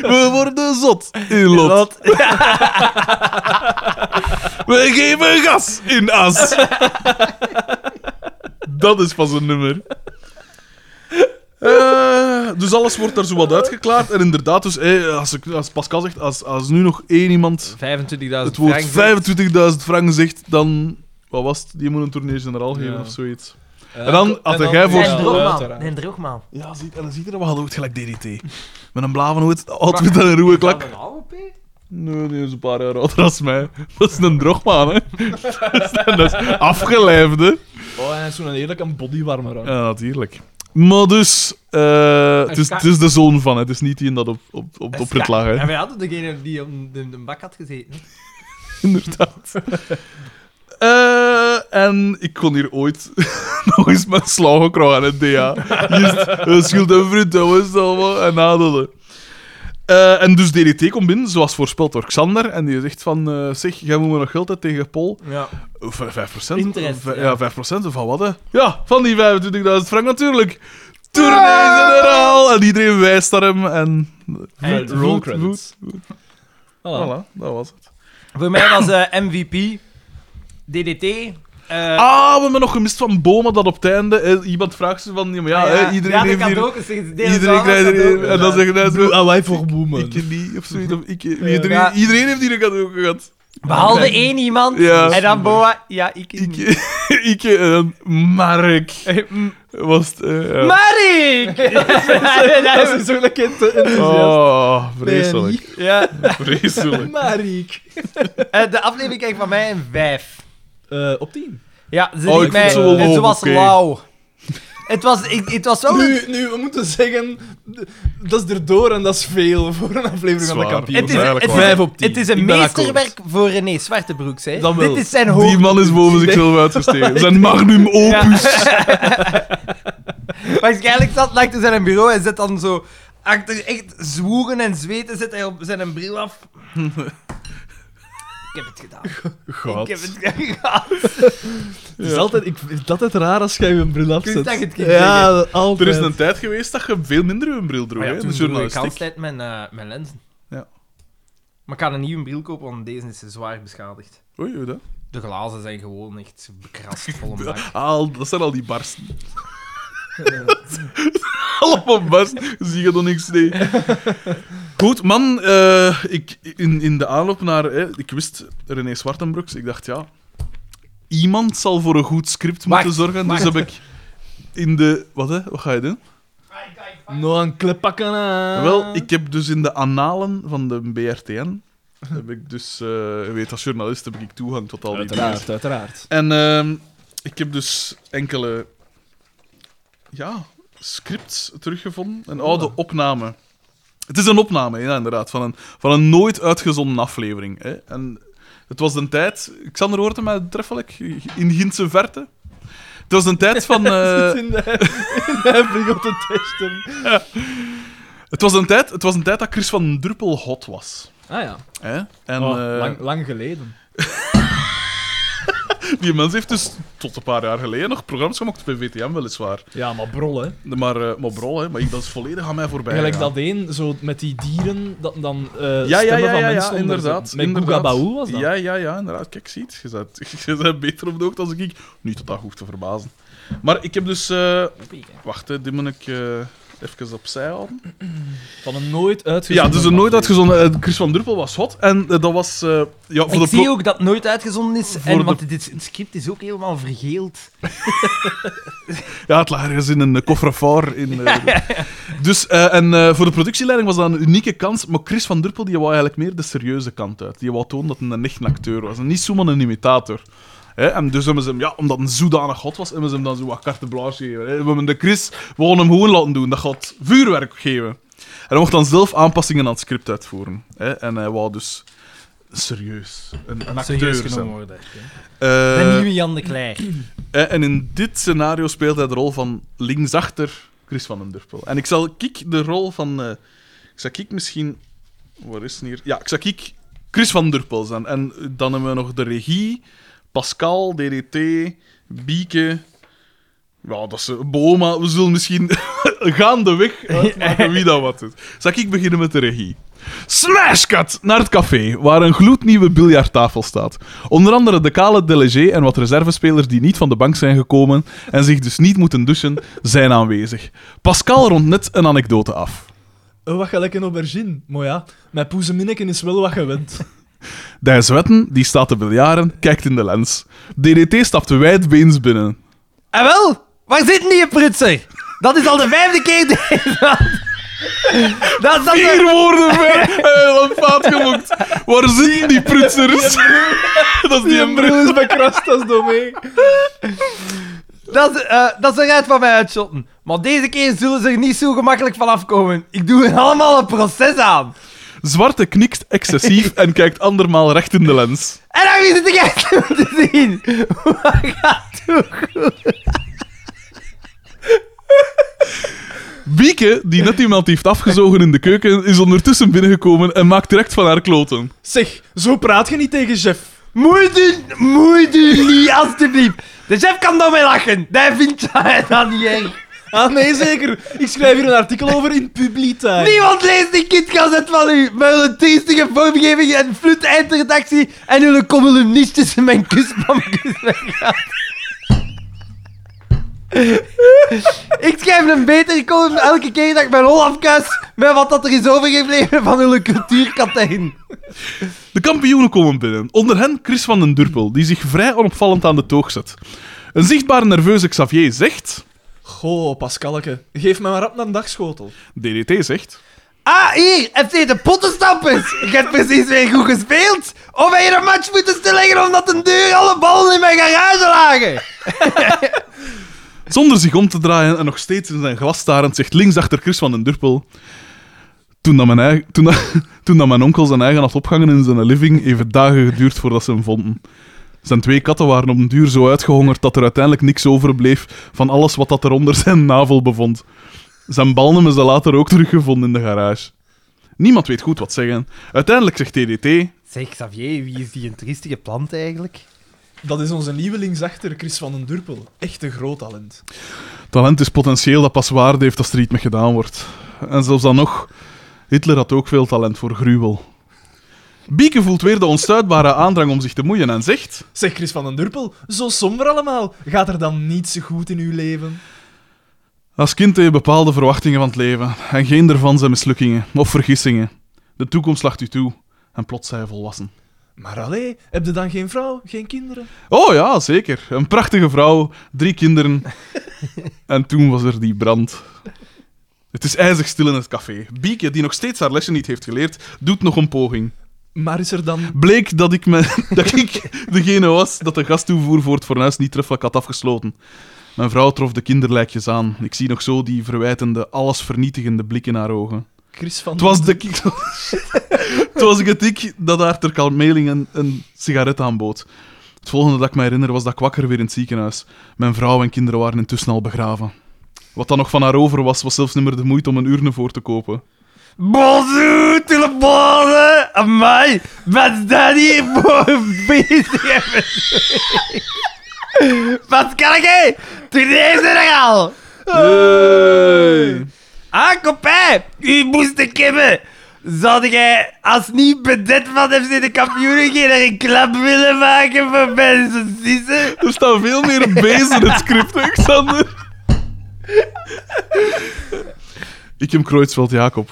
S2: We worden zot in lot. We geven gas in as. Dat is pas een nummer. Eh, dus alles wordt daar zo wat uitgeklaard. En inderdaad, dus, eh, als, ik, als Pascal zegt, als, als nu nog één iemand
S1: 25.000
S2: het woord
S1: frank zegt.
S2: 25.000 frank zegt, dan... Wat was het? Die moet een tournee-generaal geven
S3: Ja.
S2: of zoiets. Eh, En dan had jij voor-
S1: Nee,
S2: Ja,
S1: droogman. Nee, droogman.
S2: Ja, ziet, en dan ziet er wel uit gelijk DDT. Met een blauwe outfit en een rode klak. Nee, die is een paar jaar ouder als mij. Dat is een drogman, hè. dat is afgeleefde.
S3: Oh, en hij is zo'n heerlijk een bodywarmer aan.
S2: Ja, natuurlijk. Maar dus, eh, het, is, het is de zoon van, hè. het is niet die in dat op, op, op, op rit lag, hè.
S1: En wij hadden degene die op de, de bak had gezeten. hè.
S2: inderdaad. Eh, en ik kon hier ooit nog eens mijn slagen krijgen in DA. Just, eh, schuld en vriend, dat was het allemaal, en nadelen. Eh, en dus DDT komt binnen, zoals voorspeld door Xander. En die zegt van, eh, zeg, jij moet me nog geld uit tegen Paul.
S1: Ja.
S2: Eh, v- 5%?
S1: Interest,
S2: V-
S1: ja.
S2: ja, 5% van wat, hè? Ja, van die 25.000 frank natuurlijk.
S1: Ah!
S2: Tournee-generaal! En iedereen wijst naar hem. En...
S3: Roll
S2: Woed, woed,
S3: credits.
S2: woed.
S3: Voilà.
S2: Voilà, dat was het.
S1: Voor mij was eh, MVP, DDT. eh,
S2: Ah, we hebben nog gemist van Boma dat op het einde. eh, iemand vraagt ze van, ja, maar ja,
S1: ah,
S2: hè, iedereen
S1: ja, dat
S2: heeft
S1: kan
S2: hier...
S1: ook. Dus
S2: Iedereen krijgt er een. En dan zeggen hij zo...
S3: Ah, wij voor boemen.
S2: Ik niet, of zoiets. Of ik, iedereen,
S1: Ja.
S2: iedereen heeft hier een cadeau gehad.
S1: Behalve één iemand.
S2: Ja.
S1: En dan Boa. Ja, ik. Mm.
S2: Ik, ik en Mark. Was het... eh, ja.
S1: Marik!
S3: Dat is zo'n kind enthousiast.
S2: Oh, vreselijk.
S1: Ja,
S2: Vreselijk.
S3: Mariek.
S1: eh, de aflevering kreeg van mij een 5.
S3: Eh, op 10.
S1: Ja, ze
S2: Oh,
S1: liet
S2: ik
S1: mij,
S2: vind het zo wel
S1: en ze
S2: hoog,
S1: was
S2: oké.
S1: lauw. het, was, ik, het was wel
S3: Nu, nu, we moeten zeggen, d- dat is erdoor en dat is veel voor een aflevering van de
S2: Zwaar.
S3: kampioen.
S1: Het is,
S2: Eigenlijk
S1: het, is,
S2: waar.
S3: Vijf op tien.
S1: het is een
S3: Ik ben
S1: meesterwerk voor René Zwartebroeks. Hè.
S3: Dat wel.
S1: Dit is zijn
S2: Die
S1: hoogte.
S2: man is boven zichzelf uitgestegen. Zijn magnum opus.
S1: Waarschijnlijk zat hij achter zijn bureau en zit dan zo... Achter echt zwoegen en zweten zit hij op zijn bril af. Ik heb het gedaan.
S2: God.
S1: Ik heb het gedaan.
S3: Het is altijd, ik vind dat het raar als jij je bril afzet.
S1: Ik zeg het, ik
S3: ja, altijd.
S2: Er is een tijd geweest dat je veel minder een bril droeg.
S1: Maar
S2: hè,
S1: ja,
S2: in de
S1: toen droeg ik
S2: journalistiek.
S1: altijd mijn, eh, mijn lenzen.
S2: Ja.
S1: Maar ik ga een nieuwe bril kopen, want deze is zwaar beschadigd.
S2: Oei, oei, dat.
S1: De glazen zijn gewoon echt bekrast vol een bak.
S2: Ah, dat zijn al die barsten. Allemaal barsten. Zie je nog niks, nee. Goed, man. eh, ik, in, in de aanloop naar... hè, ik wist René Zwartenbroeks. Ik dacht, ja... Iemand zal voor een goed script moeten zorgen. Dus heb ik in de... Wat, hè? Wat ga je doen?
S3: Nog een klep pakken aan.
S2: Wel, ik heb dus in de analen van de BRTN... Heb ik dus... eh, je weet, als journalist heb ik toegang tot al die dingen.
S3: Uiteraard, uiteraard.
S2: En ehm, ik heb dus enkele ja, scripts teruggevonden. Een
S3: Oh.
S2: oude opname. Het is een opname, ja, inderdaad, van een, van een nooit uitgezonden aflevering. Hè. En het was een tijd... Xander hoort mij treffelijk, in Gintse verte. Het was een tijd van... eh,
S3: in de, in de heffing op te testen.
S2: het, was een tijd, het was een tijd dat Chris van Druppel hot was.
S3: Ah ja,
S2: Hè. En,
S3: Oh,
S2: eh,
S3: lang, lang geleden.
S2: die mens heeft dus tot een paar jaar geleden nog programma's gemaakt bij VTM, weliswaar.
S3: Ja, maar brol, hè.
S2: Maar, eh, maar brol, hè, maar ik, dat is volledig aan mij voorbij
S3: Gelijk
S2: gegaan.
S3: dat één, zo met die dieren, dat dan eh
S2: ja, ja,
S3: stemmen
S2: ja,
S3: van
S2: ja,
S3: mensen
S2: ja,
S3: onder
S2: inderdaad.
S3: zijn. Met
S2: inderdaad.
S3: Gugabau was dat.
S2: Ja, ja, ja, inderdaad. Kijk, ziet, je bent, je bent beter op de hoogte als ik. Niet dat dat hoeft te verbazen. Maar ik heb dus... eh, wacht, hè, die moet ik eh, even opzij houden.
S3: Van een nooit
S2: Ja,
S3: uitgezonden...
S2: dus een nooit
S3: aflevering.
S2: uitgezonden... eh, Chris van Druppel was hot. En eh, dat was... eh, ja,
S1: Ik
S2: voor de pro-
S1: zie ook dat het nooit uitgezonden is,
S2: de-
S1: en, want dit, het script is ook helemaal vergeeld.
S2: Ja, het lag ergens in een eh, coffre-fort. In, eh, Dus, eh, en eh, voor de productieleiding was dat een unieke kans. Maar Chris van Durpel die wou eigenlijk meer de serieuze kant uit. Die wou tonen dat hij een echt een acteur was. En niet zomaar een imitator. Hè, en dus hebben ze hem, ja, omdat een zodanig god was, hebben ze hem dan zo wat carte blanche gegeven. Hè. We hebben de Chris, we gaan hem gewoon laten doen. Dat gaat vuurwerk geven. En hij mocht dan zelf aanpassingen aan het script uitvoeren. Hè. En hij wou dus serieus een, een acteur zijn.
S1: worden.
S2: Eh,
S1: De nieuwe Jan de Kleijer.
S2: eh, En in dit scenario speelt hij de rol van linksachter Chris van den Durpel. En ik zal Kik de rol van. eh, ik zal Kik misschien. Waar is het hier? Ja, ik zal Kik Chris van Durpel zijn. En eh, dan hebben we nog de regie, Pascal, DDT, Bieke. Ja, dat is eh, Boma. We zullen misschien gaandeweg uitmaken wie dat wat is. Zal ik beginnen met de regie? Smashcut naar het café, waar een gloednieuwe biljarttafel staat. Onder andere de kale delegé en wat reservespelers die niet van de bank zijn gekomen en zich dus niet moeten douchen, zijn aanwezig. Pascal rond net een anekdote af.
S3: Oh, wat gelijk een aubergine. Maar ja, mijn poezeminneken is wel wat gewend.
S2: Dijs Wetten, die staat te biljaren, kijkt in de lens. DDT stapt wijdbeens binnen.
S1: En Ah, wel, waar zit die prutser? Dat is al de vijfde keer deze maand. Dat is dan de-
S2: Vier woorden ver, helemaal fout gemokt. Waar zitten die prutsers? Dat is die een brug.
S3: is bij Krastas domein.
S1: Dat, is, eh dat is eruit van mij uitshotten. Maar deze keer zullen ze er niet zo gemakkelijk van afkomen. Ik doe er allemaal een proces aan.
S2: Zwarte knikt excessief en kijkt andermaal recht in de lens.
S1: En dan is het de gek om te zien. Wat gaat doen?
S2: Bieke, die net iemand heeft afgezogen in de keuken, is ondertussen binnengekomen en maakt direct van haar kloten.
S3: Zeg, zo praat je niet tegen chef.
S1: Moeite, moeite niet, alstublieft. De chef kan daarmee lachen. Dat vindt hij dan niet erg.
S3: Ah, nee, zeker. Ik schrijf hier een artikel over in Publita.
S1: Niemand leest die kindgazet van u. Met hun triestige vormgeving en vloed eindredactie en hun columnistjes in mijn kusman Ik schrijf een betere column elke keer dat ik mijn hol afkuis met wat dat er is overgebleven van hun cultuurkatijn.
S2: De kampioenen komen binnen. Onder hen Chris van den Durpel, die zich vrij onopvallend aan de toog zet. Een zichtbaar nerveuze Xavier zegt...
S3: Goh, Pascalke. Geef mij maar rap naar een dagschotel.
S2: DDT zegt...
S1: Ah, hier, FC de pottenstappers. Je hebt precies weer goed gespeeld. Of heb je de match moeten stilleggen omdat een deur alle ballen in mijn garage lagen?
S2: Zonder zich om te draaien en nog steeds in zijn glas starend, zegt links achter Chris van den Durpel. Toen, dat mijn, eigen- toen, dat, toen dat mijn onkel zijn eigen had opgehangen in zijn living, heeft het dagen geduurd voordat ze hem vonden. Zijn twee katten waren op een duur zo uitgehongerd dat er uiteindelijk niks overbleef van alles wat dat er onder zijn navel bevond. Zijn balnen is dat later ook teruggevonden in de garage. Niemand weet goed wat zeggen. Uiteindelijk zegt TDT...
S1: Zeg, Xavier, wie is die een triestige plant eigenlijk?
S3: Dat is onze nieuwelingsachter, Chris van den Durpel. Echt een groot talent.
S2: Talent is potentieel dat pas waarde heeft als er iets mee gedaan wordt. En zelfs dan nog, Hitler had ook veel talent voor gruwel. Bieke voelt weer de onstuitbare aandrang om zich te moeien en zegt...
S3: Zeg, Chris van den Durpel, zo somber allemaal. Gaat er dan niets zo goed in uw leven?
S2: Als kind heb je bepaalde verwachtingen van het leven. En geen daarvan zijn mislukkingen of vergissingen. De toekomst lacht u toe. En plots zijn je volwassen.
S3: Maar allee, heb je dan geen vrouw, geen kinderen?
S2: Oh ja, zeker. Een prachtige vrouw, drie kinderen. en toen was er die brand. Het is ijzig stil in het café. Bieke, die nog steeds haar lesje niet heeft geleerd, doet nog een poging.
S3: Maar is er dan...
S2: bleek dat ik, me, dat ik degene was dat de gastoevoer voor het fornuis niet treffelijk had afgesloten. Mijn vrouw trof de kinderlijkjes aan. Ik zie nog zo die verwijtende, alles vernietigende blik in haar ogen.
S3: Chris van
S2: Het was de ik. het was het ik dat haar ter kalmeling een, een sigaret aanbood. Het volgende dat ik me herinner was dat ik wakker weer in het ziekenhuis. Mijn vrouw en kinderen waren intussen al begraven. Wat dan nog van haar over was, was zelfs niet meer de moeite om een urne voor te kopen.
S1: Bonjour tout le monde! Amai, wat is dat hier voor bezig? Wat kan ik hé? Tournee zijn er al! Ah, kopij, u moest de kibben! Zou jij als niet bedet van FC de kampioenen geen er een klap willen maken voor mensen sissen?
S2: Er staan veel meer bezen in het script, hè, Xander. Ik heb Kreutzfeldt Jacob.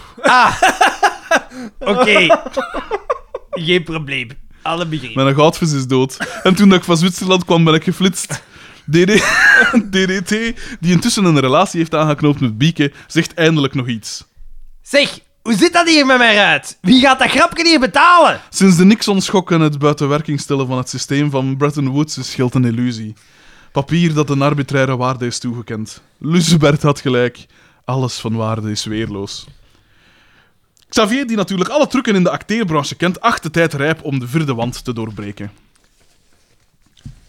S1: Oké, geen probleem. Alle begrepen.
S2: Mijn goudvis is dood. En toen dat ik van Zwitserland kwam, ben ik geflitst. DD DDT, die intussen een relatie heeft aangeknoopt met Bieke, zegt eindelijk nog iets.
S1: Zeg, hoe zit dat hier met mij uit? Wie gaat dat grapje hier betalen?
S2: Sinds de Nixon-schok en het buitenwerking stellen van het systeem van Bretton Woods is geld een illusie. Papier dat een arbitraire waarde is toegekend. Lucebert had gelijk. Alles van waarde is weerloos. Xavier, die natuurlijk alle trucken in de acteerbranche kent, acht de tijd rijp om de vierde wand te doorbreken.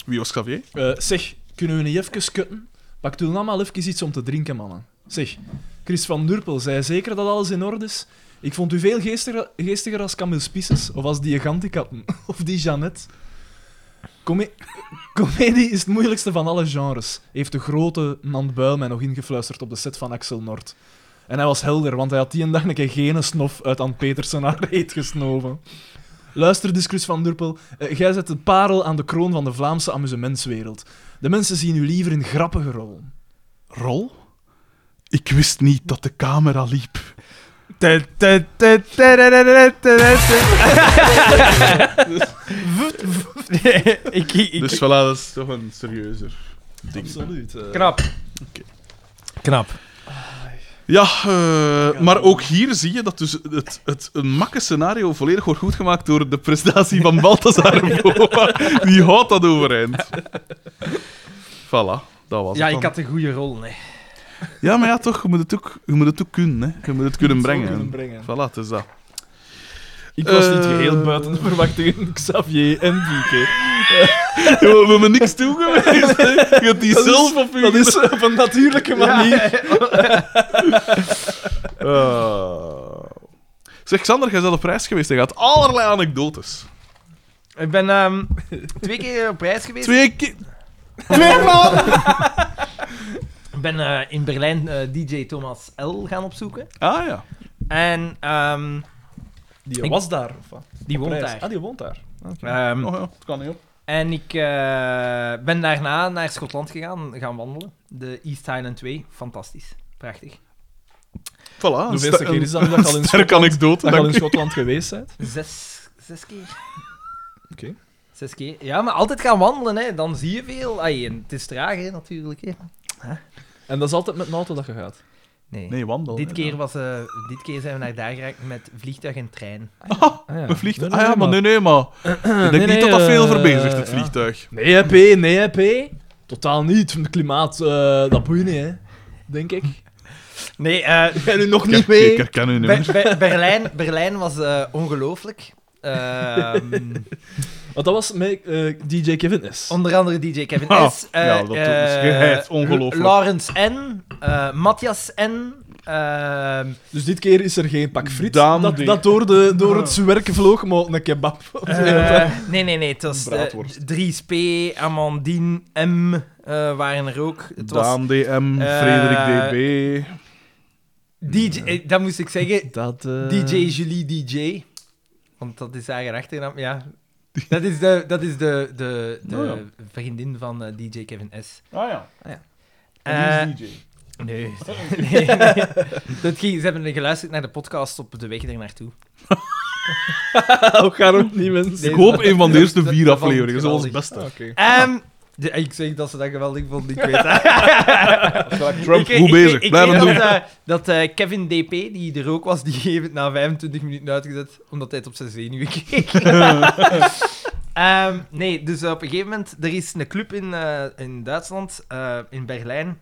S2: Wie was Xavier?
S3: Eh, zeg, kunnen we niet even kutten? Pak toen allemaal even iets om te drinken, mannen. Zeg, Chris van Durpel zei zeker dat alles in orde is. Ik vond u veel geestiger, geestiger als Camille Spices, of als die Gantikappen, of die Jeannette. Come- Comedie is het moeilijkste van alle genres, heeft de grote Nant Buil mij nog ingefluisterd op de set van Axel Nord. En hij was helder, want hij had die een dag een keer geen snof uit aan Petersen haar reet gesnoven. Luister dus, Chris van Durpel. eh, jij zet de parel aan de kroon van de Vlaamse amusementswereld. De mensen zien u liever in grappige rollen.
S2: Rol? Ik wist niet dat de camera liep.
S9: ik, ik,
S2: Dus voilà, dat is toch een serieuzer ding.
S3: Absoluut. eh.
S9: knap. Knap.
S2: Ja, eh, maar ook hier zie je dat dus het, het een makke scenario volledig wordt goedgemaakt door de prestatie van Balthazar Boa. Die houdt dat overeind. Voilà, dat was
S1: Ja,
S2: het
S1: ik
S2: dan.
S1: had een goede rol, nee.
S2: Ja, maar ja, toch, je moet het ook, je moet het ook kunnen. Hè. Je moet het kunnen
S3: het zo
S2: brengen.
S3: kunnen brengen.
S2: Voilà, het is dat.
S3: Ik was niet
S2: Eh.
S3: geheel buiten de verwachtingen. Xavier en Wieke.
S2: Je wil- wil me niks toe geweest. hè. Je hebt die zelf op je...
S3: Dat is op een natuurlijke manier.
S2: Ah. Zeg, Xander, jij bent op reis geweest. Je gaat allerlei anekdotes.
S1: Ik ben ehm, twee keer op reis geweest.
S2: Twee keer...
S1: Ik ben eh, in Berlijn eh, DJ Thomas L. gaan opzoeken.
S2: Ah ja.
S1: En ehm,
S3: Die
S1: Ik-
S3: was daar. Of wat?
S1: die woont
S3: Prijs.
S1: daar.
S3: Ah, die woont daar.
S1: Ehm,
S2: Oh, ja, het kan niet op.
S1: En ik eh, ben daarna naar Schotland gegaan, gaan wandelen. De East Highland 2, fantastisch. Prachtig.
S2: Voilà.
S3: De eerste keer is dat dat je al in
S2: Ah, sterke
S3: Schotland-
S2: anekdote.
S3: Dat je al in
S2: dank u.
S3: Schotland geweest bent.
S1: Zes, zes keer.
S3: Oké.
S1: Zes keer. Ja, maar altijd gaan wandelen, hè. dan zie je veel. Ai, en het is traag, hè, natuurlijk. Hè.
S3: En dat is altijd met een auto dat je gaat.
S1: Nee.
S2: Nee, wandel.
S1: dit,
S2: hè,
S1: keer
S2: ja.
S1: was, eh, dit keer zijn we naar daar geraakt met vliegtuig en trein.
S3: Ah, ja.
S2: Een vliegtuig.
S3: Nee,
S2: Ah ja, maar nee, nee, maar. Ik denk
S3: nee,
S2: niet dat dat
S3: eh,
S2: veel voorbij zegt, het
S3: ja.
S2: vliegtuig.
S3: Nee, hè, P, nee, hè, P. Totaal niet. Van het klimaat, eh, dat boeit niet, hè. Denk ik.
S1: Nee, eh,
S3: En nu nog
S2: Ik,
S3: niet
S2: her-
S3: mee.
S2: ik herken u niet
S1: Ber-
S2: meer.
S1: Ber- Berlijn, Berlijn was eh, ongelooflijk. Ehm,
S3: Want dat was met eh, DJ Kevin S.
S1: onder andere DJ Kevin
S2: Ah,
S1: S. eh,
S2: ja, dat is
S1: eh,
S2: geheid, ongelooflijk.
S1: Lawrence N. eh, Matthias N. ehm,
S3: Dus dit keer is er geen pak friet
S2: Daan
S3: dat,
S2: die-
S3: dat door, de, door
S1: Ah.
S3: het zwerken vloog, maar een kebab.
S1: eh, nee, nee, nee. Het was
S2: Braadworst.
S1: de, Dries P. Amandine M. eh, waren er ook. Het was
S2: Daan DM,
S1: eh,
S2: Frederik DB.
S1: DJ, eh, dat moest ik zeggen.
S3: dat,
S2: Eh.
S3: eh,
S1: DJ Julie DJ. Want dat is haar achternaam, ja. Dat is de, dat is de, de, de
S2: Oh ja.
S1: vriendin van eh, DJ Kevin S.
S2: Ah ja.
S1: Eh,
S2: die is Oh. DJ.
S1: Nee. nee, nee. Dat ging, ze hebben geluisterd naar de podcast op de weg er naartoe.
S3: Ook Garm, niet mensen.
S2: Ik hoop een van de eerste
S1: dat-
S2: vier
S1: dat vond ik
S2: afleveringen, zoals het
S1: geweldig.
S3: Ah,
S2: beste.
S1: Ehm, de- ik zeg dat ze dat geweldig vond, ik weet dat. Ik-
S2: Trump,
S1: ik-
S2: goed
S1: ik-
S2: bezig.
S1: Ik
S2: Blijf
S1: weet dat,
S2: hem doen.
S1: eh, dat eh, Kevin DP, die er ook was, die heeft het na 25 minuten uitgezet, omdat hij het op zijn zenuwen keek. Ehm, nee, dus op een gegeven moment, er is een club in, eh, in Duitsland, eh, in Berlijn,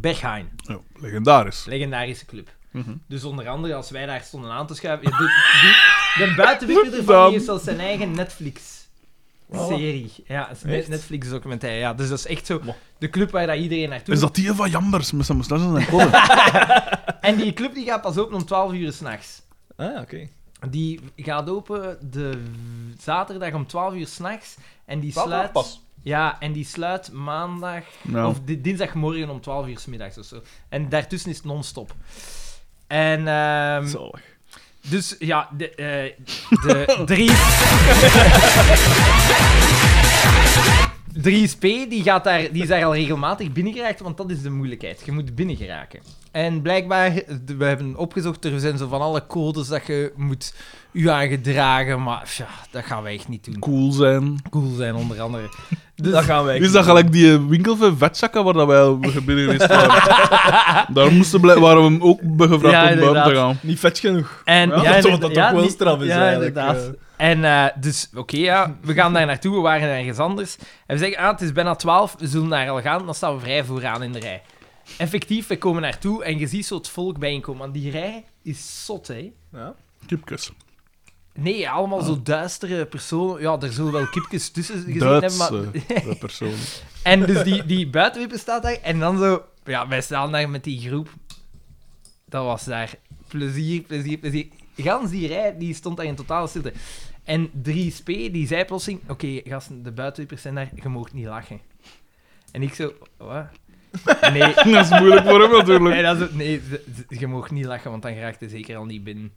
S1: Berghain.
S2: Ja, Nou, legendarisch.
S1: Legendarische club.
S2: Mhm.
S1: Dus onder andere, als wij daar stonden aan te schuiven... Ja, de, die, de buitenwikker ervan die heeft zelfs zijn eigen Netflix-serie. Ja, het is een
S3: Echt?
S1: Netflix-documentaire. Ja, dus dat is echt zo de club waar dat iedereen naartoe
S2: Is dat die van Jambers met zijn moustache en zijn kollen?
S1: En die club die gaat pas open om 12 uur s'nachts.
S3: Ah, oké.
S1: Die gaat open de zaterdag om 12 uur s'nachts. En die sluit... Ja, en die sluit maandag...
S2: Nou,
S1: Of di- dinsdagmorgen om 12 uur 's middags of zo. En daartussen is het non-stop. En... ehm,
S3: Zalig.
S1: Dus ja, de, eh, de Dries. Dries P. Die, gaat daar, die is daar al regelmatig binnengeraakt, want dat is de moeilijkheid. Je moet binnengeraken. En blijkbaar, de- we hebben opgezocht, er zijn zo van alle codes dat je moet u aan gedragen, maar ja, dat gaan wij echt niet doen.
S2: cool zijn.
S1: Cool zijn, onder andere. Dus,
S3: Dat gaan wij.
S2: Is dat gelijk die winkel van vetzakken waar dat wij al binnen geweest waren? Daar moesten blij- waren we ook be- gevraagd
S1: Ja,
S2: om buiten te
S1: inderdaad.
S2: gaan.
S3: Niet vet genoeg.
S1: en,
S3: Ja, dat
S1: inderdaad-
S3: dat toch wel
S1: die-
S3: straf is
S1: Ja,
S3: eigenlijk,
S1: inderdaad. En eh, dus, oké, ja, we gaan daar naartoe, we waren ergens anders. En we zeggen, ah, het is bijna 12, we zullen daar al gaan, dan staan we vrij vooraan in de rij. Effectief, we komen naartoe en je ziet zo het volk bijeenkomen. Want die rij is zot, hè.
S3: Ja.
S2: Kipkes.
S1: Nee, allemaal zo duistere personen. Ja, er zullen wel kipjes tussen gezeten hebben, maar...
S2: Duitse eh, persoon.
S1: En dus die, die buitenwippen staat daar. En dan zo... Ja, wij staan daar met die groep. Dat was daar plezier, plezier, plezier. Gans die rij, die stond daar in totale stilte. En 3SP, die zei plotseling... Oké, gasten, de buitenwippers zijn daar. Je moogt niet lachen. En ik zo... Wat? Nee,
S2: Dat is moeilijk voor hem natuurlijk.
S1: nee, dat is het- nee ze- ze- je mag niet lachen, want dan raakt hij zeker al niet binnen.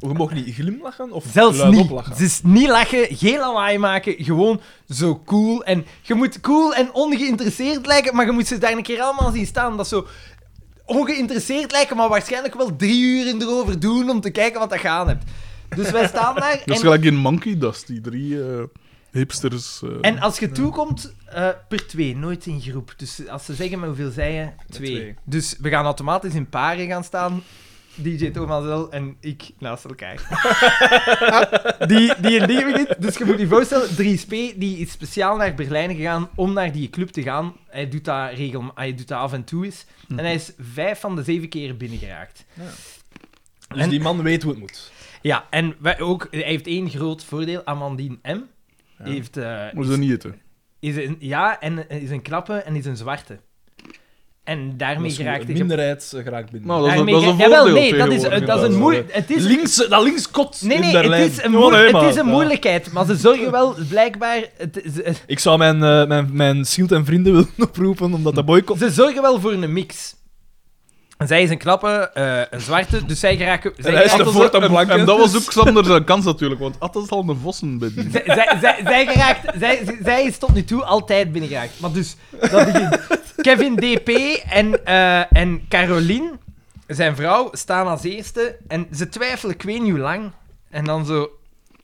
S3: Je mag niet glimlachen of
S1: Zelfs
S3: luid
S1: niet.
S3: oplachen.
S1: Dus niet lachen, geen lawaai maken, gewoon zo cool. En je moet cool en ongeïnteresseerd lijken, maar je moet ze daar een keer allemaal zien staan. Dat is zo ongeïnteresseerd lijken, maar waarschijnlijk wel drie uur erover doen om te kijken wat dat gaan hebt. Dus wij staan daar.
S2: Dat is
S1: en,
S2: gelijk in Monkey Dust, die drie eh, hipsters. eh,
S1: en als je toekomt, eh, per twee, nooit in groep. Dus als ze zeggen met hoeveel zij je, twee.
S3: twee.
S1: Dus we gaan automatisch in paren gaan staan. DJ Thomas L en ik naast elkaar. die, die en die begint. Dus je moet je voorstellen, 3SP die is speciaal naar Berlijn gegaan om naar die club te gaan. Hij doet dat, regel, ah, hij doet dat af en toe eens.
S2: Mhm.
S1: En hij is vijf van de zeven keren binnengeraakt.
S3: Dus die man weet hoe het moet.
S1: Ja, en wij ook, hij heeft één groot voordeel. Amandine M. Heeft, eh,
S2: Moet ze niet eten.
S1: is een, ja, en is een knappe en is een zwarte. En daarmee
S3: Dus
S1: geraakt
S3: een
S1: hij...
S3: minderheid eh, geraakt binnen.
S2: Nou, dat is, een-
S1: daarmee
S2: dat is een
S1: gera- Jawel,
S2: voordeel
S1: nee, dat is,
S2: tegenwoordig.
S1: dat is een
S3: Ja,
S1: moe- Het is
S3: links, dat links kot
S1: Nee,
S3: in
S1: nee,
S3: Berlijn.
S1: het is een,
S3: Oh,
S1: moe-
S3: nee,
S1: het
S3: maar-
S1: is een
S3: ja.
S1: moeilijkheid, maar ze zorgen wel blijkbaar... Het, ze,
S3: Ik zou mijn, eh, mijn, mijn schild en vrienden willen oproepen, omdat dat boycott...
S1: ze zorgen wel voor een mix. En zij is een knappe, eh, een zwarte, dus zij geraken... Zij
S3: hij is
S1: geraken
S3: de
S1: zo-
S3: voort-
S2: En,
S3: een blanke.
S2: en dat was ook Sander zijn kans natuurlijk, want Atta is al een vossen bij die.
S1: zij, zij, zij, zij geraakt, zij, zij- zij is tot nu toe altijd binnengeraakt. Maar dus, dat begint. Kevin DP en, eh en Caroline, zijn vrouw, staan als eerste. En ze twijfelen, ik weet niet hoe lang. En dan zo...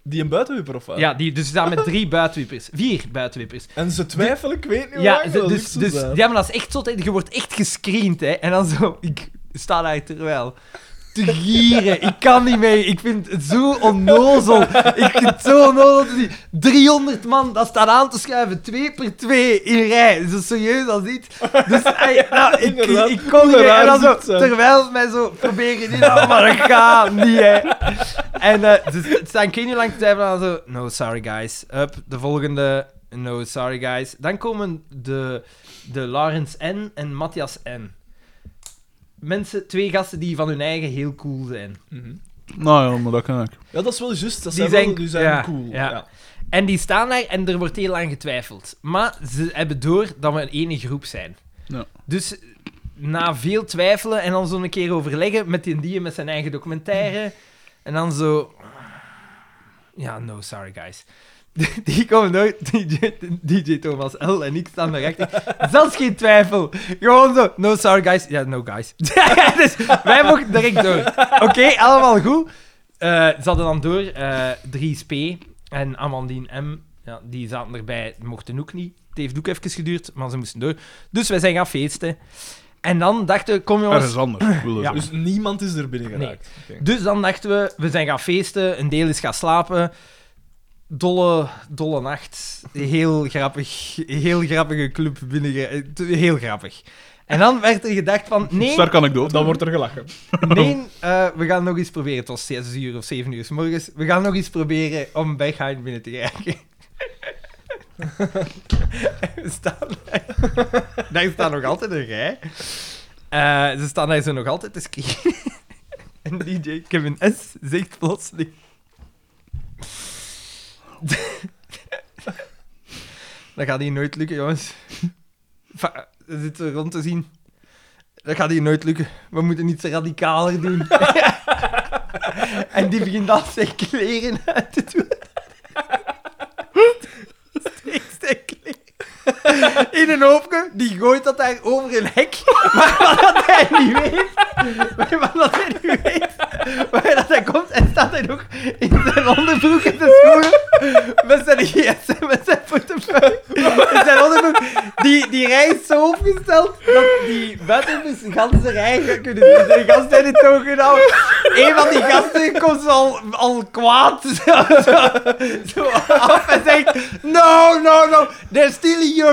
S3: Die een buitenwipper of wat?
S1: Ja, die, dus ze staan met drie buitenwippers. Vier buitenwippers.
S3: En ze twijfelen, ik weet niet hoe
S1: Ja,
S3: lang,
S1: ze-
S3: dat
S1: dus,
S3: is
S1: dus,
S3: zo
S1: ja,
S3: zijn.
S1: maar dat is echt zot. hè. Je wordt echt gescreend, hè. En dan zo... Ik sta daar terwijl... Te gieren. Ik kan niet mee. Ik vind het zo onnozel. Ik vind het zo onnozel. te zien. 300 man, dat staat aan te schuiven. Twee per twee in rij. Zo serieus als iets. Dus ey, nou, ik,
S3: Inderdaad.
S1: ik kon niet
S3: Hoe
S1: mee. En dan
S3: raar
S1: zo,
S3: is het, hè?
S1: terwijl ze mij zo proberen in te maar dat gaat niet, hè. En eh, ze st- staan geen uur lang te twijfelen aan zo... No, sorry, guys. Up, de volgende... No, sorry, guys. Dan komen de, de Lawrence N. en Matthias N. Mensen, twee gasten die van hun eigen heel cool zijn.
S3: Mhm.
S2: Nou ja, maar dat kan ik.
S3: Ja, dat is wel juist. Dat
S1: Die
S3: zijn, wel-
S1: zijn-
S3: die zijn
S1: ja,
S3: cool.
S1: ja.
S3: Ja.
S1: En die staan daar en er wordt heel lang getwijfeld. Maar ze hebben door dat we een ene groep zijn.
S2: Ja.
S1: Dus na veel twijfelen en dan zo'n keer overleggen met die en die en met zijn eigen documentaire. En dan zo... Ja, no, sorry guys. Die komen nooit, DJ, DJ Thomas L en ik staan daarachter. Zelfs geen twijfel. Gewoon zo, no sorry guys. Ja, no guys. dus wij mochten direct door. Oké, allemaal goed. Eh, ze hadden dan door eh 3SP en Amandine M. Ja, die zaten erbij, mochten ook niet. Het heeft ook even geduurd, maar ze moesten door. Dus wij zijn gaan feesten. En dan dachten we, kom jongens,
S2: Ergens anders, wilde
S1: Ja.
S2: zeggen.
S3: Dus niemand is er binnen geraakt. Oké.
S1: dus dan dachten we, we zijn gaan feesten, een deel is gaan slapen. Dolle, dolle nacht. Heel grappig. Heel grappige club binnen. Heel grappig. En dan werd er gedacht van, nee,
S2: Sterk anekdote.
S3: Dan wordt er gelachen.
S1: nee eh, we gaan nog eens proberen. Het was 6 uur of 7 uur s morgens. We gaan nog eens proberen om Berghain binnen te krijgen. we staan daar. daar staat nog altijd een rij. Eh, ze staan daar zo nog altijd te skiën. en DJ Kevin S. zegt plotseling... Dat gaat hier nooit lukken, jongens. Va- Er zit zo rond te zien. Dat gaat hier nooit lukken. We moeten iets radicaler doen. en die begint al zijn kleren uit te doen. Steekt zijn kleren In een hoopje, die gooit dat daar over een hek. Maar wat dat hij niet weet. Maar wat dat hij niet weet. Waar dat hij komt en staat hij nog in zijn onderbroek en zijn schoenen. Met zijn gsm met zijn portefeuille. En zijn onderbroek. Die, die rij is zo opgesteld dat die buitenbus de ganse rij gaan kunnen zien. De gasten zijn het zo gedaan. Een van die gasten komt al, al kwaad zo, zo, zo af en zegt... No, no, no. They're stealing your...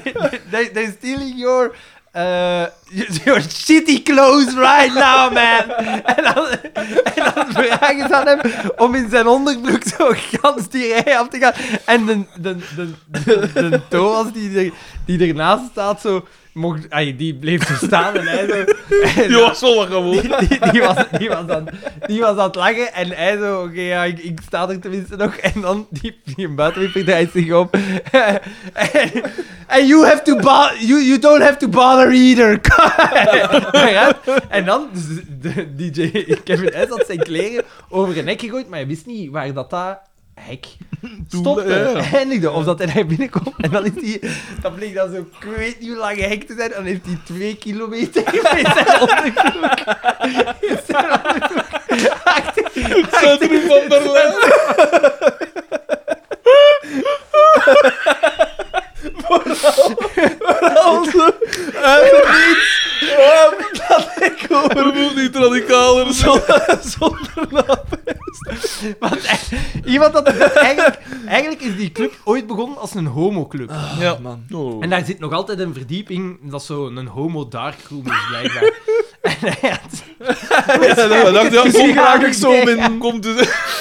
S1: They, they're stealing your... Uh, your shitty clothes right now, man. en, dan, en dan vragen ze aan hem om in zijn onderbroek zo gans die rij af te gaan. En de, de, de, de, de Thomas die, er, die ernaast staat zo... mocht, ai, die bleef zo staan en hij zo... en
S2: Die was wel wat gewoon.
S1: die, die, die was, die, was aan, die was aan het lachen en hij zo, oké, ja, ik, ik sta er tenminste nog. En dan die, die buitenwieper draait zich om. en en you, have to bo- you, you don't have to bother either. Hij gaat. en dan, dus de, DJ Kevin S. had zijn kleren over een hek gegooid, maar hij wist niet waar dat daar hek stopte,
S2: ja, ja.
S1: eindigde. Of dat hij naar binnen komt en dan is hij, dat bleek dan zo, ik weet niet hoe lang hek te zijn, en dan heeft hij twee kilometer met zijn onderbroek. Met zijn onderbroek. Achter-
S2: Centrum van Berlijn. Er moet niet radicaler zijn.
S1: Want hij- iemand had het- eigenlijk, eigenlijk is die club ooit begonnen als een homoclub.
S2: Ja, man.
S1: En daar zit nog altijd een verdieping dat zo een homo darkroom is, blijkbaar. en hij had...
S2: Ja, dacht, ja,
S1: Misschien
S2: kom
S1: raak
S2: graag
S1: ik
S2: ik zo
S1: mee.
S2: binnen. Kom, het is,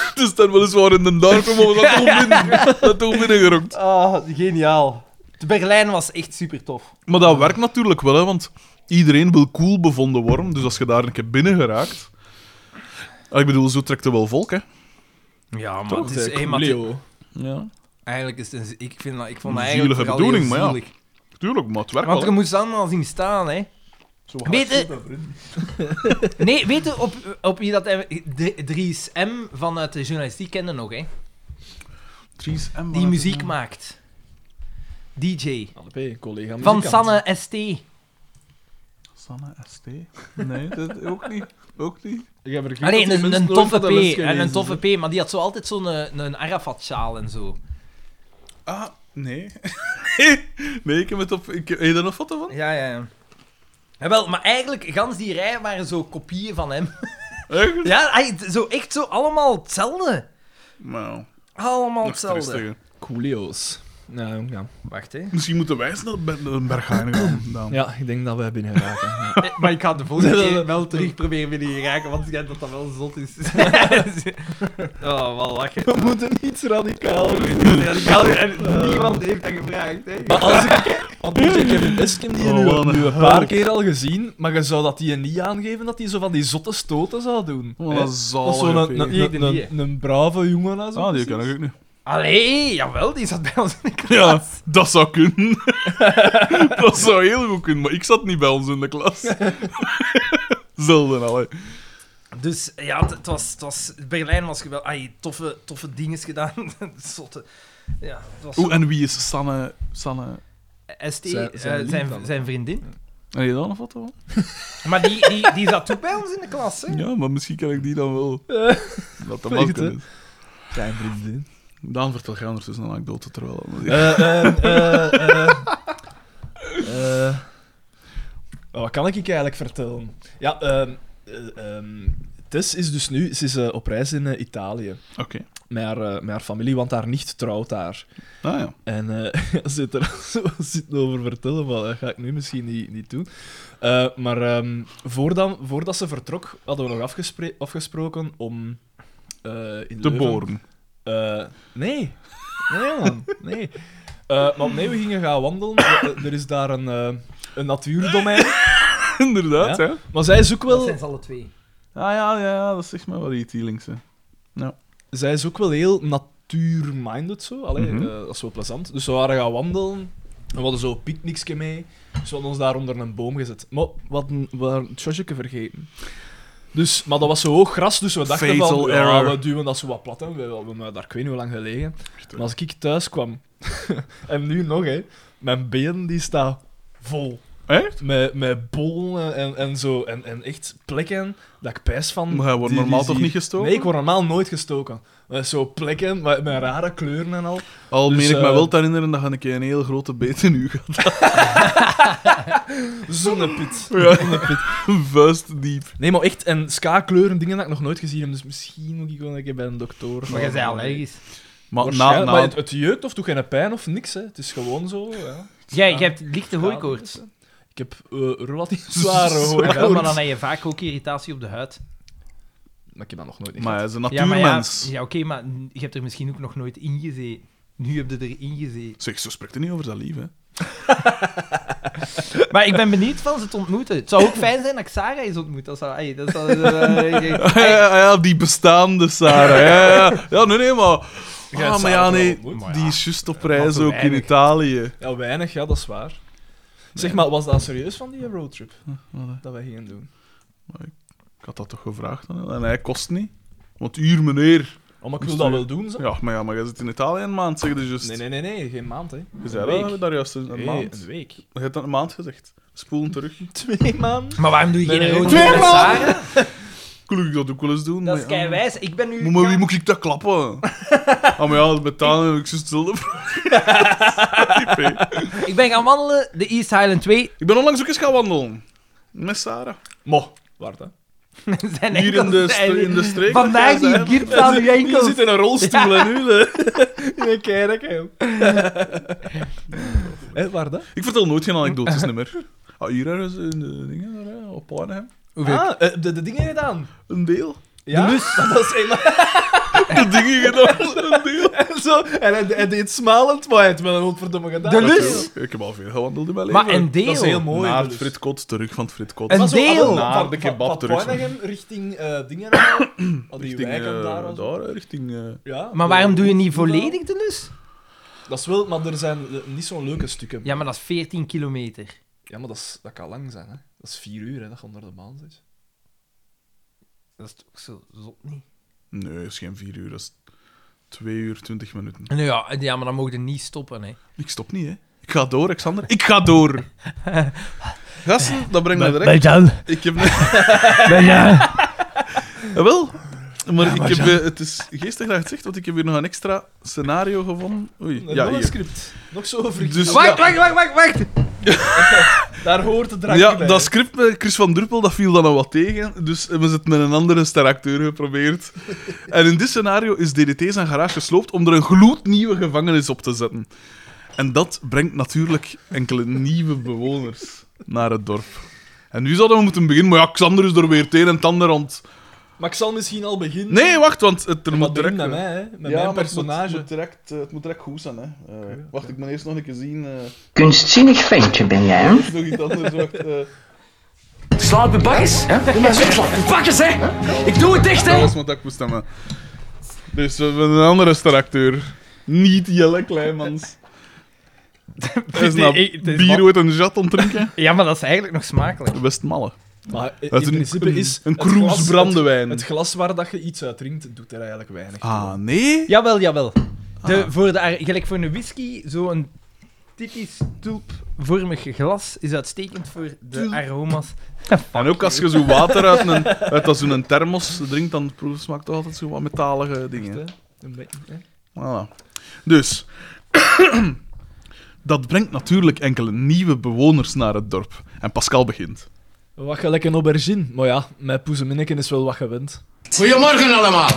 S2: het is dan weliswaar in de dark, maar we zijn toch binnen, dat toch binnen gerokt.
S1: Oh, geniaal. De Berlijn was echt super tof.
S2: Maar dat werkt natuurlijk wel, hè, want iedereen wil cool bevonden worden. Dus als je daar een keer binnen geraakt... Ah, Ik bedoel, zo trekt er wel volk, hè.
S1: Ja, maar
S3: Toch, zeg,
S1: eenmaal-
S3: Leo.
S2: Ja.
S1: Eigenlijk is het, ik, vind dat, ik vond dat
S2: Een
S1: eigenlijk
S2: zielige
S1: vooral
S2: bedoeling,
S1: heel
S2: maar ja.
S1: zielig.
S2: Tuurlijk, maar het werkt
S1: Want
S2: wel.
S1: er moest allemaal zien staan, hè. Weet je... Nee, weet je op, op wie dat... hij- de- 3SM vanuit de journalistiek kende nog, hè.
S2: hè.
S1: Die muziek maakt. DJ.
S3: Allee, collega
S1: Van
S3: muzikant.
S1: Sanne ST.
S2: Sanne ST? Nee, dat ook niet. Ook niet.
S3: Ik heb er geen
S1: Alleen
S3: dat die
S1: een,
S3: mensen
S1: een
S3: nooit
S1: toffe
S3: van dat les
S1: P. En een
S3: gelezen,
S1: toffe
S3: hè.
S1: P. Maar die had zo altijd zo'n een, een Arafat-sjaal en zo.
S2: Ah, nee. nee, ik heb het op... Ik, heb je daar een foto van?
S1: Ja, ja, ja. wel, maar eigenlijk, gans die rij waren zo kopieën van hem.
S2: Echt?
S1: Ja, hij- zo echt zo allemaal hetzelfde.
S2: Nou,
S1: Allemaal
S2: nog
S1: hetzelfde.
S2: triestiger.
S3: Coolio's. Nou, ja.
S1: Wacht, hè.
S2: Misschien moeten wij eens naar Ben- Berghain gaan. Dan.
S3: ja, ik denk dat wij binnen raken. Ja.
S1: Eh, Maar ik ga de volgende keer wel terug proberen binnen te raken, want ik denk dat dat wel zot is. oh, wel lachen.
S3: We moeten iets radicaler doen.
S1: En niemand heeft dat gevraagd, hè.
S3: Maar als ik... Want ik heb een best die
S2: Oh,
S3: nu
S2: wat een
S3: nu een
S2: hel.
S3: paar keer al gezien, maar je zou dat die niet aangeven dat hij zo van die zotte stoten zou doen.
S2: Wat
S3: Hè?
S2: een
S3: Dat is zo'n
S2: zalige
S3: een,
S2: P.
S3: een, een, een, een brave jongen. hè, Zo
S2: Ah, die
S3: precies.
S2: ken ik ook niet.
S1: Allee, jawel, die zat bij ons in de
S2: Ja,
S1: klas.
S2: dat zou kunnen. dat zou heel goed kunnen, maar ik zat niet bij ons in de klas. Zelden al, hè.
S1: Dus ja, het, het was, het was... Berlijn was geweldig. Ai, toffe, toffe dingen gedaan. Zotte. Ja, het was...
S2: Oeh, en wie is Sanne... Sanne...
S1: ST,
S3: Zijn-
S1: eh,
S3: zijn
S1: zijn,
S3: lief
S1: zijn,
S3: dan.
S1: vriendin.
S2: Heb je daar een foto van?
S1: Maar die, die, die zat ook bij ons in de klas, hè.
S2: Ja, maar misschien kan ik die dan wel... Dat dat wel
S3: Weet
S2: kunnen.
S3: Zijn vriendin.
S2: Daan vertel jij ondertussen een anekdote terwijl...
S3: Eh, eh, eh, eh, eh. Oh, Wat kan ik je eigenlijk vertellen? Ja, ehm, eh, ehm, Tess is dus nu ze is, eh, op reis in eh, Italië.
S2: Oké.
S3: Met haar, eh, met haar familie, want haar nicht trouwt daar.
S2: Ah ja.
S3: En eh zit er zo zitten over vertellen, maar dat ga ik nu misschien niet, niet doen. Eh, maar ehm, voordat, voordat ze vertrok, hadden we nog afgespre- afgesproken om eh, in
S2: De
S3: Leuven-
S2: boren.
S3: eh, nee. Nee, man. Nee. Eh, maar nee, we gingen gaan wandelen. Eh, eh, er is daar een, eh, een natuurdomein.
S2: Inderdaad,
S3: Ja.
S2: hè.
S3: Maar zij is ook
S1: Dat
S3: wel,
S1: zijn ze alle twee.
S2: Ah ja, ja, ja, dat zegt maar wat iets hier links, hè.
S3: zij is ook wel heel natuur-minded zo. Allee,
S2: Mhm.
S3: eh, dat is wel plezant. Dus we waren gaan wandelen. En we hadden zo een picknickje mee. Dus we hadden ons daar onder een boom gezet. Maar wat een, we hadden het josjeke vergeten. Dus, maar dat was zo hoog gras, dus we dachten
S2: Fatal
S3: van, ja,
S2: error.
S3: we duwen dat zo wat plat. Hè. We we hebben daar ik weet niet hoe lang gelegen. Maar als ik thuis kwam, en nu nog, hè, mijn been die staat vol.
S2: Echt?
S3: Met, met bollen en, en zo. En, en echt plekken dat ik pijs van.
S2: Maar hij wordt
S3: die-
S2: normaal
S3: die-
S2: toch
S3: die-
S2: niet gestoken?
S3: Nee, ik word normaal nooit gestoken. Maar Zo plekken met, met rare kleuren en al.
S2: Al
S3: Dus,
S2: meen ik
S3: eh,
S2: mij wel te herinneren dat je een keer een heel grote beet in u gaat.
S3: Zonnepit.
S2: Ja. Vuist diep.
S3: Nee, maar echt. En ska-kleuren, dingen dat ik nog nooit gezien heb. Dus misschien moet ik wel een keer bij een dokter.
S1: Maar jij zei allergisch.
S2: Maar na,
S3: Waarschijnlijk,
S2: na,
S3: maar het, het jeukt of doet geen pijn of niks. Hè. Het is gewoon zo. Ja.
S1: Jij, jij hebt lichte hooikoorts.
S3: Ik heb eh, relatief zware
S1: Maar wel,
S3: hooikoorts.
S1: maar dan heb je vaak ook irritatie op de huid.
S3: Maar ik heb dat nog nooit
S2: Maar hij is een
S1: Ja, maar ja,
S2: natuurmens.
S1: ja oké, maar je hebt er misschien ook nog nooit in gezeten. Nu heb je erin gezeten.
S2: Zeg, zo spreekt er niet over zijn lief, hè.
S1: Maar ik ben benieuwd van ze te ontmoeten. Het zou ook fijn zijn dat ik Sarah eens ontmoet. Dat zou, ai, dat zou, eh, ik-
S2: Ah, ja, ah, ja, die bestaande Sarah. Ja, ja. ja nee, nee, maar...
S3: hebt
S2: Ah, maar
S3: Sarah
S2: ja,
S3: wel
S2: nee,
S3: ontmoet,
S2: die is juist op reis
S1: te
S2: ook in
S1: weinig.
S2: Italië.
S3: Ja, weinig, ja, dat is waar. Zeg maar, was dat serieus van die roadtrip? Dat wij gingen doen?
S2: Ik had dat toch gevraagd aan hem? En hij kost niet. Want uur, meneer.
S3: Oh, maar ik wil
S2: Moest
S3: dat
S2: u-
S3: wel doen, zo.
S2: Ja, maar ja, maar jij zit in Italië een maand, zeg je dus juist.
S3: Nee, nee, nee, nee, geen maand, hè.
S2: Je
S3: Een
S2: zei
S3: week.
S2: dat daar juist een
S3: Nee,
S2: maand.
S3: een
S2: Je
S3: week.
S2: hebt dat een maand gezegd. Spoelen terug.
S3: Twee maanden?
S1: Maar waarom doe je
S3: Nee,
S1: geen
S3: nee,
S1: rood
S3: twee
S1: met Sarah?
S2: Kon ik dat ook wel eens doen?
S1: Dat is
S2: maar ja.
S1: keiwijs. Ik ben nu...
S2: Maar, maar wie moet ik dat klappen? ah, maar ja, dat betalen heb ik zo stil.
S1: Ik ben gaan wandelen, de East Highland 2.
S2: Ik ben onlangs ook eens gaan wandelen. Met Sarah.
S3: Mo. Waar dan?
S1: Zijn
S2: Hier in
S1: enkels
S2: de,
S1: zijn-
S2: st- in de streek.
S1: Vandaag
S2: Ja,
S1: die
S2: zij-
S1: gips aan uw
S3: Je
S1: enkel.
S3: zit in een rolstoel en nu,
S2: eh.
S3: hè. In een kerk, hè. Hé, waar dan?
S2: Ik vertel nooit geen anekdotes niet meer. Ah, hier ergens in de dingen, daar, hè, op Arnhem.
S3: Ah, eh, de, de dingen gedaan.
S2: Een deel.
S3: Ja? Dat is eenmaal...
S2: De dingen gedaan. Een deel.
S3: en zo. En hij, hij deed smalend, maar hij heeft wel een godverdomme gedaan.
S1: De lus.
S2: Natuurlijk. Ik heb al veel gewandeld in mijn leven.
S1: Maar een deel.
S3: Dat is heel mooi.
S2: Naar
S3: de
S2: het
S3: lus.
S2: Frit Kot, terug van het Frit Kot.
S1: Een
S3: Maar zo,
S1: deel.
S3: ah, wel,
S2: Naar
S3: van-
S2: de
S3: van-
S2: kebab
S3: van
S2: terug.
S3: Pornegem richting eh, dingen. Al die
S2: richting,
S3: wijken
S2: eh,
S3: daar. al zo.
S2: daar, hè, richting... eh,
S3: Ja,
S1: Maar waarom doe je niet dus? volledig de lus?
S3: Dat is wel, maar er zijn eh, niet zo'n leuke stukken.
S1: Ja, maar dat is 14 kilometer.
S3: Ja, maar dat, is, dat kan lang zijn, hè. Dat is vier uur, hè, dat je onder de baan zit.
S1: Dat is toch zo zot niet?
S2: Nee, dat is geen vier uur. Dat is twee uur, twintig minuten.
S1: Nou ja, eh, ja maar dan mogen niet stoppen, hè.
S2: Ik stop niet, hè. Ik ga door, Alexander. Ik ga door. Gasten, dat brengt mij direct.
S1: dan.
S2: Ik heb... net- Jawel. Maar ik heb, eh, het is geestig dat je het zegt, want ik heb hier nog een extra scenario gevonden. Oei, ja,
S3: nog een
S2: hier.
S3: script. Nog zo'n vriend.
S2: Dus,
S1: Wacht, wacht, wacht, wacht, wacht.
S3: Daar hoort de drank
S2: Ja,
S3: bij.
S2: dat script met Chris van Druppel, dat viel dan al wat tegen. Dus hebben ze het met een andere steracteur geprobeerd. En in dit scenario is DDT zijn garage gesloopt om er een gloednieuwe gevangenis op te zetten. En dat brengt natuurlijk enkele nieuwe bewoners naar het dorp. En nu zouden we moeten beginnen, maar ja, Xander is er weer het een en het ander rond.
S3: Maar ik zal misschien al beginnen.
S2: Nee, wacht, want het, er
S3: maar
S2: moet
S3: dat
S2: direct...
S3: met mij, hè. Met
S2: Ja, maar
S3: mijn
S2: het moet-
S3: personage.
S2: Het moet direct, eh, het moet direct goed zijn, hè. Eh, wacht, ik moet eerst nog een keer zien. eh,
S4: Kunstzinnig ventje ben jij, hè?
S2: nog iets anders, wacht. eh,
S10: Slaat mijn bakjes. hè? Doe maar zo, slaat mijn bakjes, hè. Ik doe het echt, hè.
S2: Alles moet ik bestemmen. Dus we hebben een andere staracteur. Niet Jelle Kleimans. Hij is nou
S1: eh, het is
S2: bier
S1: wel-
S2: uit een jat aan het drinken.
S1: Ja, maar dat is eigenlijk nog smakelijk.
S2: Best malle.
S3: Maar in,
S2: Het
S3: in
S2: een-
S3: principe
S2: een-
S3: is...
S2: een
S3: het
S2: kroes
S3: glas- het-
S2: brandewijn.
S3: Het, glas waar dat je iets uit drinkt, doet er eigenlijk weinig. toe.
S2: Ah, nee?
S1: Jawel, jawel. De, voor de, ar- gelijk voor een whisky, zo'n typisch tulpvormig glas is uitstekend voor de aroma's.
S2: En ook als je zo water uit, een, uit dat zo'n thermos drinkt, dan proef- smaakt toch altijd zo wat metalige dingen.
S3: Een beetje, hè.
S2: Voilà. Dus... Dat brengt natuurlijk enkele nieuwe bewoners naar het dorp. En Pascal begint.
S3: Wat gelijk een aubergine. Maar ja, mijn poezeminneken is wel wat gewend.
S10: Goedemorgen allemaal.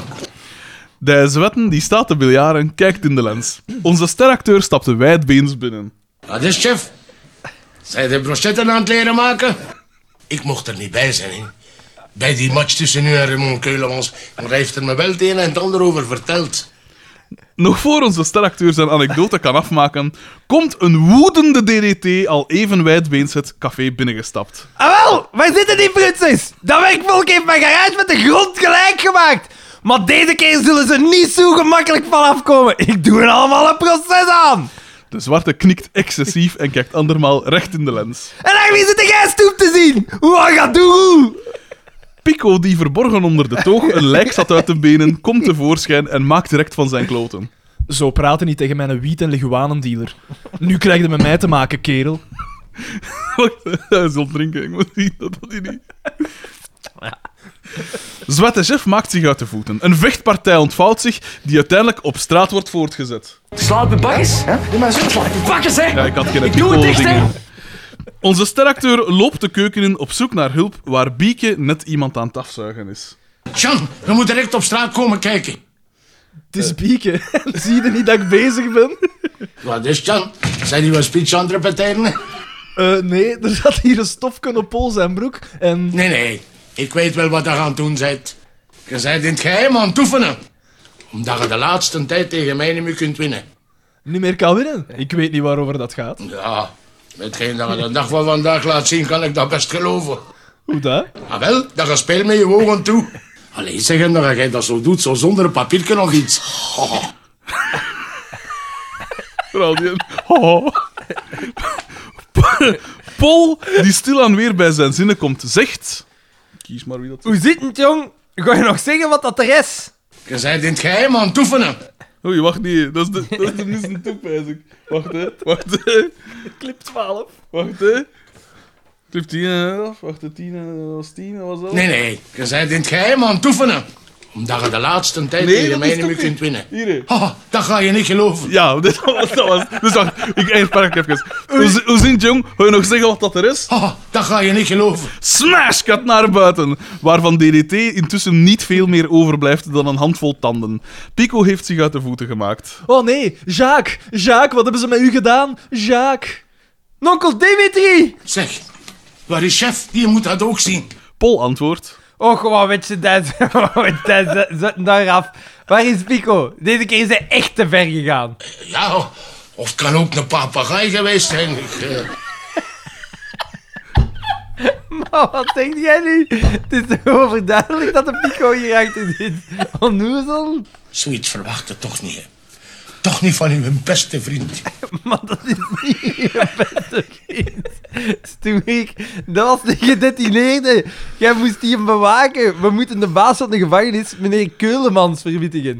S2: De zwetten die staat te biljaren, kijkt in de lens. Onze steracteur stapte wijdbeens binnen.
S12: Wat is, chef? Zij de brochetten aan het leren maken? Ik mocht er niet bij zijn, hè. Bij die match tussen u en Raymond Keulemans. Maar hij heeft er me wel het een en het ander over verteld.
S2: Nog voor onze steracteur zijn anekdote kan afmaken, komt een woedende DDT al even wijdbeens het café binnengestapt.
S9: Ah wel, waar zitten die prutsers? Dat werkvolk heeft mijn garage met de grond gelijk gemaakt. Maar deze keer zullen ze niet zo gemakkelijk vanaf komen. Ik doe er allemaal een proces aan.
S2: De zwarte knikt excessief en kijkt andermaal recht in de lens.
S9: En daar wie zit de gijsstoep te zien? Hoe hij gaat doen?
S2: Pico, die verborgen onder de toog een lijk zat uit de benen, komt tevoorschijn en maakt direct van zijn kloten.
S3: Zo praten niet tegen mijn wiet- en leguanendealer. Nu krijg je met mij te maken, kerel.
S2: Wacht, hij zal drinken. Ik moet zien dat dat hij niet... Zwette chef maakt zich uit de voeten. Een vechtpartij ontvouwt zich, die uiteindelijk op straat wordt voortgezet.
S10: Slaat mijn bakjes. hè? Doe maar zo, slaat mijn bakjes, hè.
S2: Ja, ik had geen
S10: Ik doe het echt, hè.
S2: pico-dingen. Onze steracteur loopt de keuken in op zoek naar hulp, waar Bieke net iemand aan het afzuigen is.
S12: Jan, je moet direct op straat komen kijken.
S3: Het
S2: Eh.
S3: is bieken. Zie je niet dat ik bezig ben?
S12: Wat is, Jan? Zijn die wel speech aan het repeteren?
S3: Eh, nee, er zat hier een stofje op Pool zijn broek. En
S12: Nee, nee. Ik weet wel wat je aan het doen bent. Je bent in het geheim aan het oefenen. Omdat je de laatste tijd tegen mij niet meer kunt winnen.
S3: niet meer kan winnen. Ik weet niet waarover dat gaat.
S12: Ja, Hetgeen dat je de dag van vandaag laat zien, kan ik dat best geloven.
S3: Hoe dat?
S12: Ah wel, dat je speelt met je ogen toe. Allee, zeggen dat jij dat zo doet, zo zonder een papiertje nog iets.
S2: Vooral die... Oh. Paul, die stilaan weer bij zijn zinnen komt, zegt... Kies maar wie dat is.
S9: Hoe zit het, jong? Ga je nog zeggen wat dat er is?
S12: Je bent in het geheim aan het oefenen.
S2: Oei, wacht niet. Dat is de, dat is de missen toep, wijs ik. Wacht, hè. Wacht, hè.
S3: Clip 12.
S2: Wacht, hè. Clip 10 en 11. Wacht, hè. 10 en dat was 10. Dat was dat.
S12: Nee, nee, je bent in het geheim aan het oefenen. Omdat je de laatste tijd
S2: Nee,
S12: tegen
S2: dat
S12: mij
S2: is
S12: niet
S2: toch
S12: meer kunt winnen.
S2: Hier, hè.
S12: Ha, dat ga je niet geloven.
S2: Ja, dit was, dat was... Dus wacht, ik eindig park even. Hoe, zi- hoe zint, jong? Wil je nog zeggen wat dat er is?
S12: Ha, dat ga je niet geloven.
S2: Smash gaat naar buiten, waarvan DDT intussen niet veel meer overblijft dan een handvol tanden. Pico heeft zich uit de voeten gemaakt.
S3: Oh nee, Jacques! Jacques, wat hebben ze met u gedaan? Jacques!
S9: Nonkel Dimitri!
S12: Zeg, waar is chef? Die moet dat ook zien.
S2: Paul antwoordt.
S9: Och, wat weet je dat? Wat weet je dat? Zet hem daar af. Waar is Pico? Deze keer is hij echt te ver gegaan.
S12: Ja, of het kan ook een papegaai geweest zijn. Ik, eh,
S9: Maar Oh, wat denk jij nu? Het is toch overduidelijk dat de Pico hier achter zit. Onnoezel?
S12: zoiets verwachtte toch niet, hè. Toch niet van uw beste vriend.
S9: Maar dat is niet je beste vriend. Stoerik, dat was de gedetineerde. Jij moest hier bewaken. We moeten de baas van de gevangenis, meneer Keulemans, verwittigen.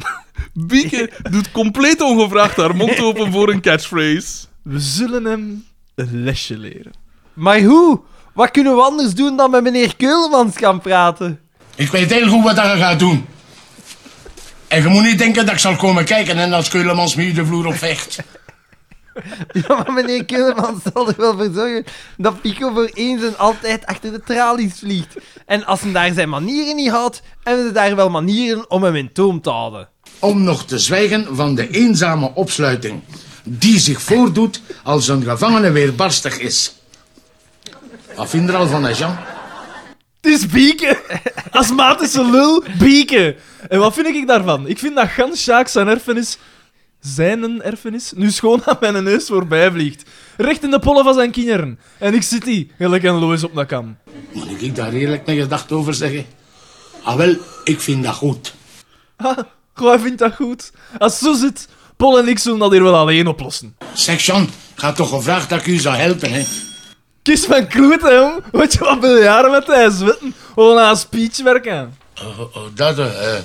S2: Bieke doet compleet ongevraagd haar mond open voor een catchphrase.
S3: We zullen hem een lesje leren.
S9: Maar hoe? Wat kunnen we anders doen dan met meneer Keulemans gaan praten?
S12: Ik weet heel goed wat dat je gaat doen. En je moet niet denken dat ik zal komen kijken en als Keulemans me hier de vloer op vecht.
S9: Ja, maar meneer Keulemans zal er wel voor zorgen dat Pico voor eens en altijd achter de tralies vliegt. En als hij daar zijn manieren niet houdt, hebben ze daar wel manieren om hem in toom te houden.
S12: Om nog te zwijgen van de eenzame opsluiting die zich voordoet als een gevangene weerbarstig is. Afindral van Ajan.
S3: Het is bieken! Astmatische lul, bieken! En wat vind ik daarvan? Ik vind dat gans Jacques zijn erfenis, zijn een erfenis, nu schoon aan mijn neus voorbij vliegt. Recht in de pollen van zijn kinderen. En ik zit hier, gelijk een Lois op dat kam.
S12: Moet ik daar eerlijk mijn gedacht over zeggen? Ah wel, ik vind dat goed.
S3: Ha, Ah, goh, hij vindt dat goed. Als het zo zit, Paul en ik zullen dat hier wel alleen oplossen.
S12: Zeg Jan, ik had toch gevraagd dat ik u zou helpen, hè?
S3: Kies mijn kloot, hè, jong. Weet je wat jaren met hij zwitten? Gewoon aan een speech werken.
S12: Oh, oh, dat, eh... eh,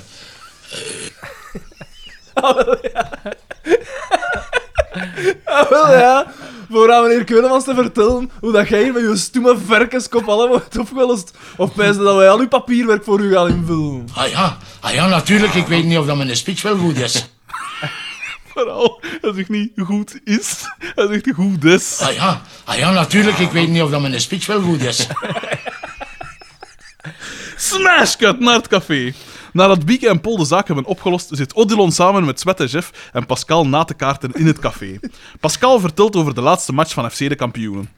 S3: Ah, wel ja. Voor aan meneer Keulemans te vertellen hoe dat jij hier met je stoeme verkenskop allemaal hebt opgelost. Of pijzen dat wij al uw papierwerk voor u gaan invullen.
S12: ah ja, ah ja, natuurlijk, ik weet niet of dat mijn speech wel goed is.
S2: Vooral, hij zegt niet goed is, hij zegt goed is.
S12: Ah ja, ah ja, natuurlijk, ik weet niet of dat mijn speech wel goed is.
S2: Smash gaat naar het café. Nadat Bieke en Paul de zaak hebben opgelost, zit Odilon samen met Sweat en Jeff en Pascal na te kaarten in het café. Pascal vertelt over de laatste match van FC de kampioenen.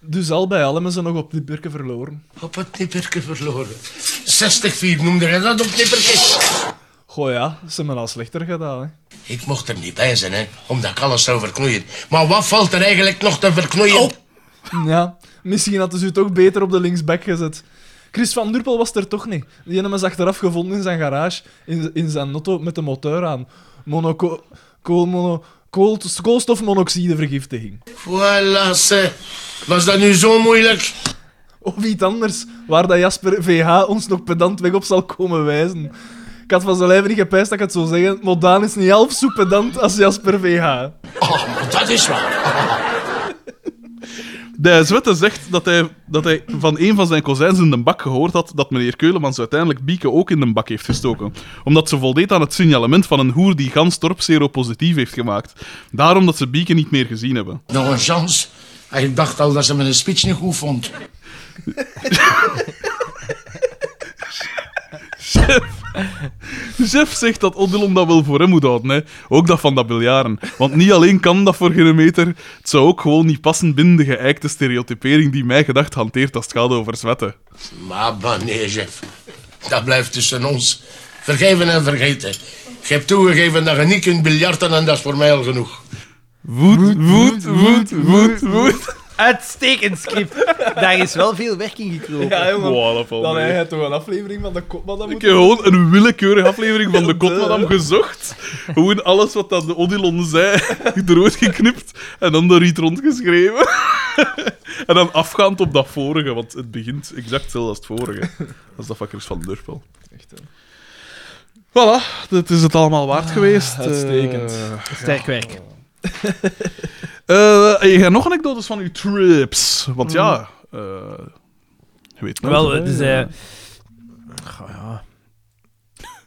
S3: Dus al bij al hebben ze nog op die burken verloren.
S12: Op het nipperke verloren. 60-4 noemde hij dat op het nipperke.
S3: Goh ja, ze hebben al slechter gedaan, hè.
S12: Ik mocht er niet bij zijn, hè, omdat ik alles zou verknoeien. Maar wat valt er eigenlijk nog te verknoeien?
S3: Ja, misschien hadden ze u toch beter op de linksback gezet. Chris van Durpel was er toch niet. Die hebben hem eens achteraf gevonden in zijn garage, in, in zijn auto met de motor aan. Monoco kool, mono kool, koolstofmonoxidevergiftiging.
S12: Voilà, ze. Was dat nu zo moeilijk?
S3: Of iets anders, waar dat Jasper VH ons nog pedant weg op zal komen wijzen. Ik had van zijn lijf niet gepijst dat ik het zou zeggen, maar Daan is niet half zo pedant als Jasper VH.
S12: Oh, maar dat is waar.
S2: De Zwette zegt dat hij, dat hij van een van zijn kozijns in de bak gehoord had dat meneer Keulemans uiteindelijk Bieke ook in de bak heeft gestoken. Omdat ze voldeed aan het signalement van een hoer die Ganstorp seropositief heeft gemaakt. Daarom dat ze Bieke niet meer gezien hebben.
S12: Nog een chance. Hij dacht al dat ze mijn speech niet goed vond.
S2: Jeff zegt dat Odilon dat wel voor hem moet houden, hè. ook dat van dat biljaren. Want niet alleen kan dat voor geen meter, het zou ook gewoon niet passen binnen de geëikte stereotypering die mij gedacht hanteert als het gaat over zwetten.
S12: Maar meneer Jeff, dat blijft tussen ons. Vergeven en vergeten. Je hebt toegegeven dat je niet kunt biljarten en dat is voor mij al genoeg.
S2: Woed, woed, woed, woed, woed.
S1: Uitstekend script. Daar is wel veel werk in gekropen.
S3: Ja, jongen.
S2: Wow, dat valt
S3: Dan
S2: mee.
S3: heb je toch een aflevering van de Kopman dat
S2: Ik
S3: moet
S2: heb gewoon een willekeurige aflevering van de
S3: Ja,
S2: Kotmadam
S3: duh.
S2: gezocht. Gewoon alles wat dat de Odilon zei, eruit geknipt en dan de Riet rondgeschreven. en dan afgaand op dat vorige, want het begint exact hetzelfde als het vorige. Als dat vakkers van Durpel.
S3: Echt,
S2: Voilà, dat is het allemaal waard geweest.
S3: Ah, uitstekend.
S2: Eh,
S1: Sterk werk.
S2: eh, en je gaat nog anekdotes van uw trips. Want ja,
S3: Hmm.
S2: eh, je weet nooit,
S1: Wel,
S2: hè.
S1: het is... eh, goh, ja.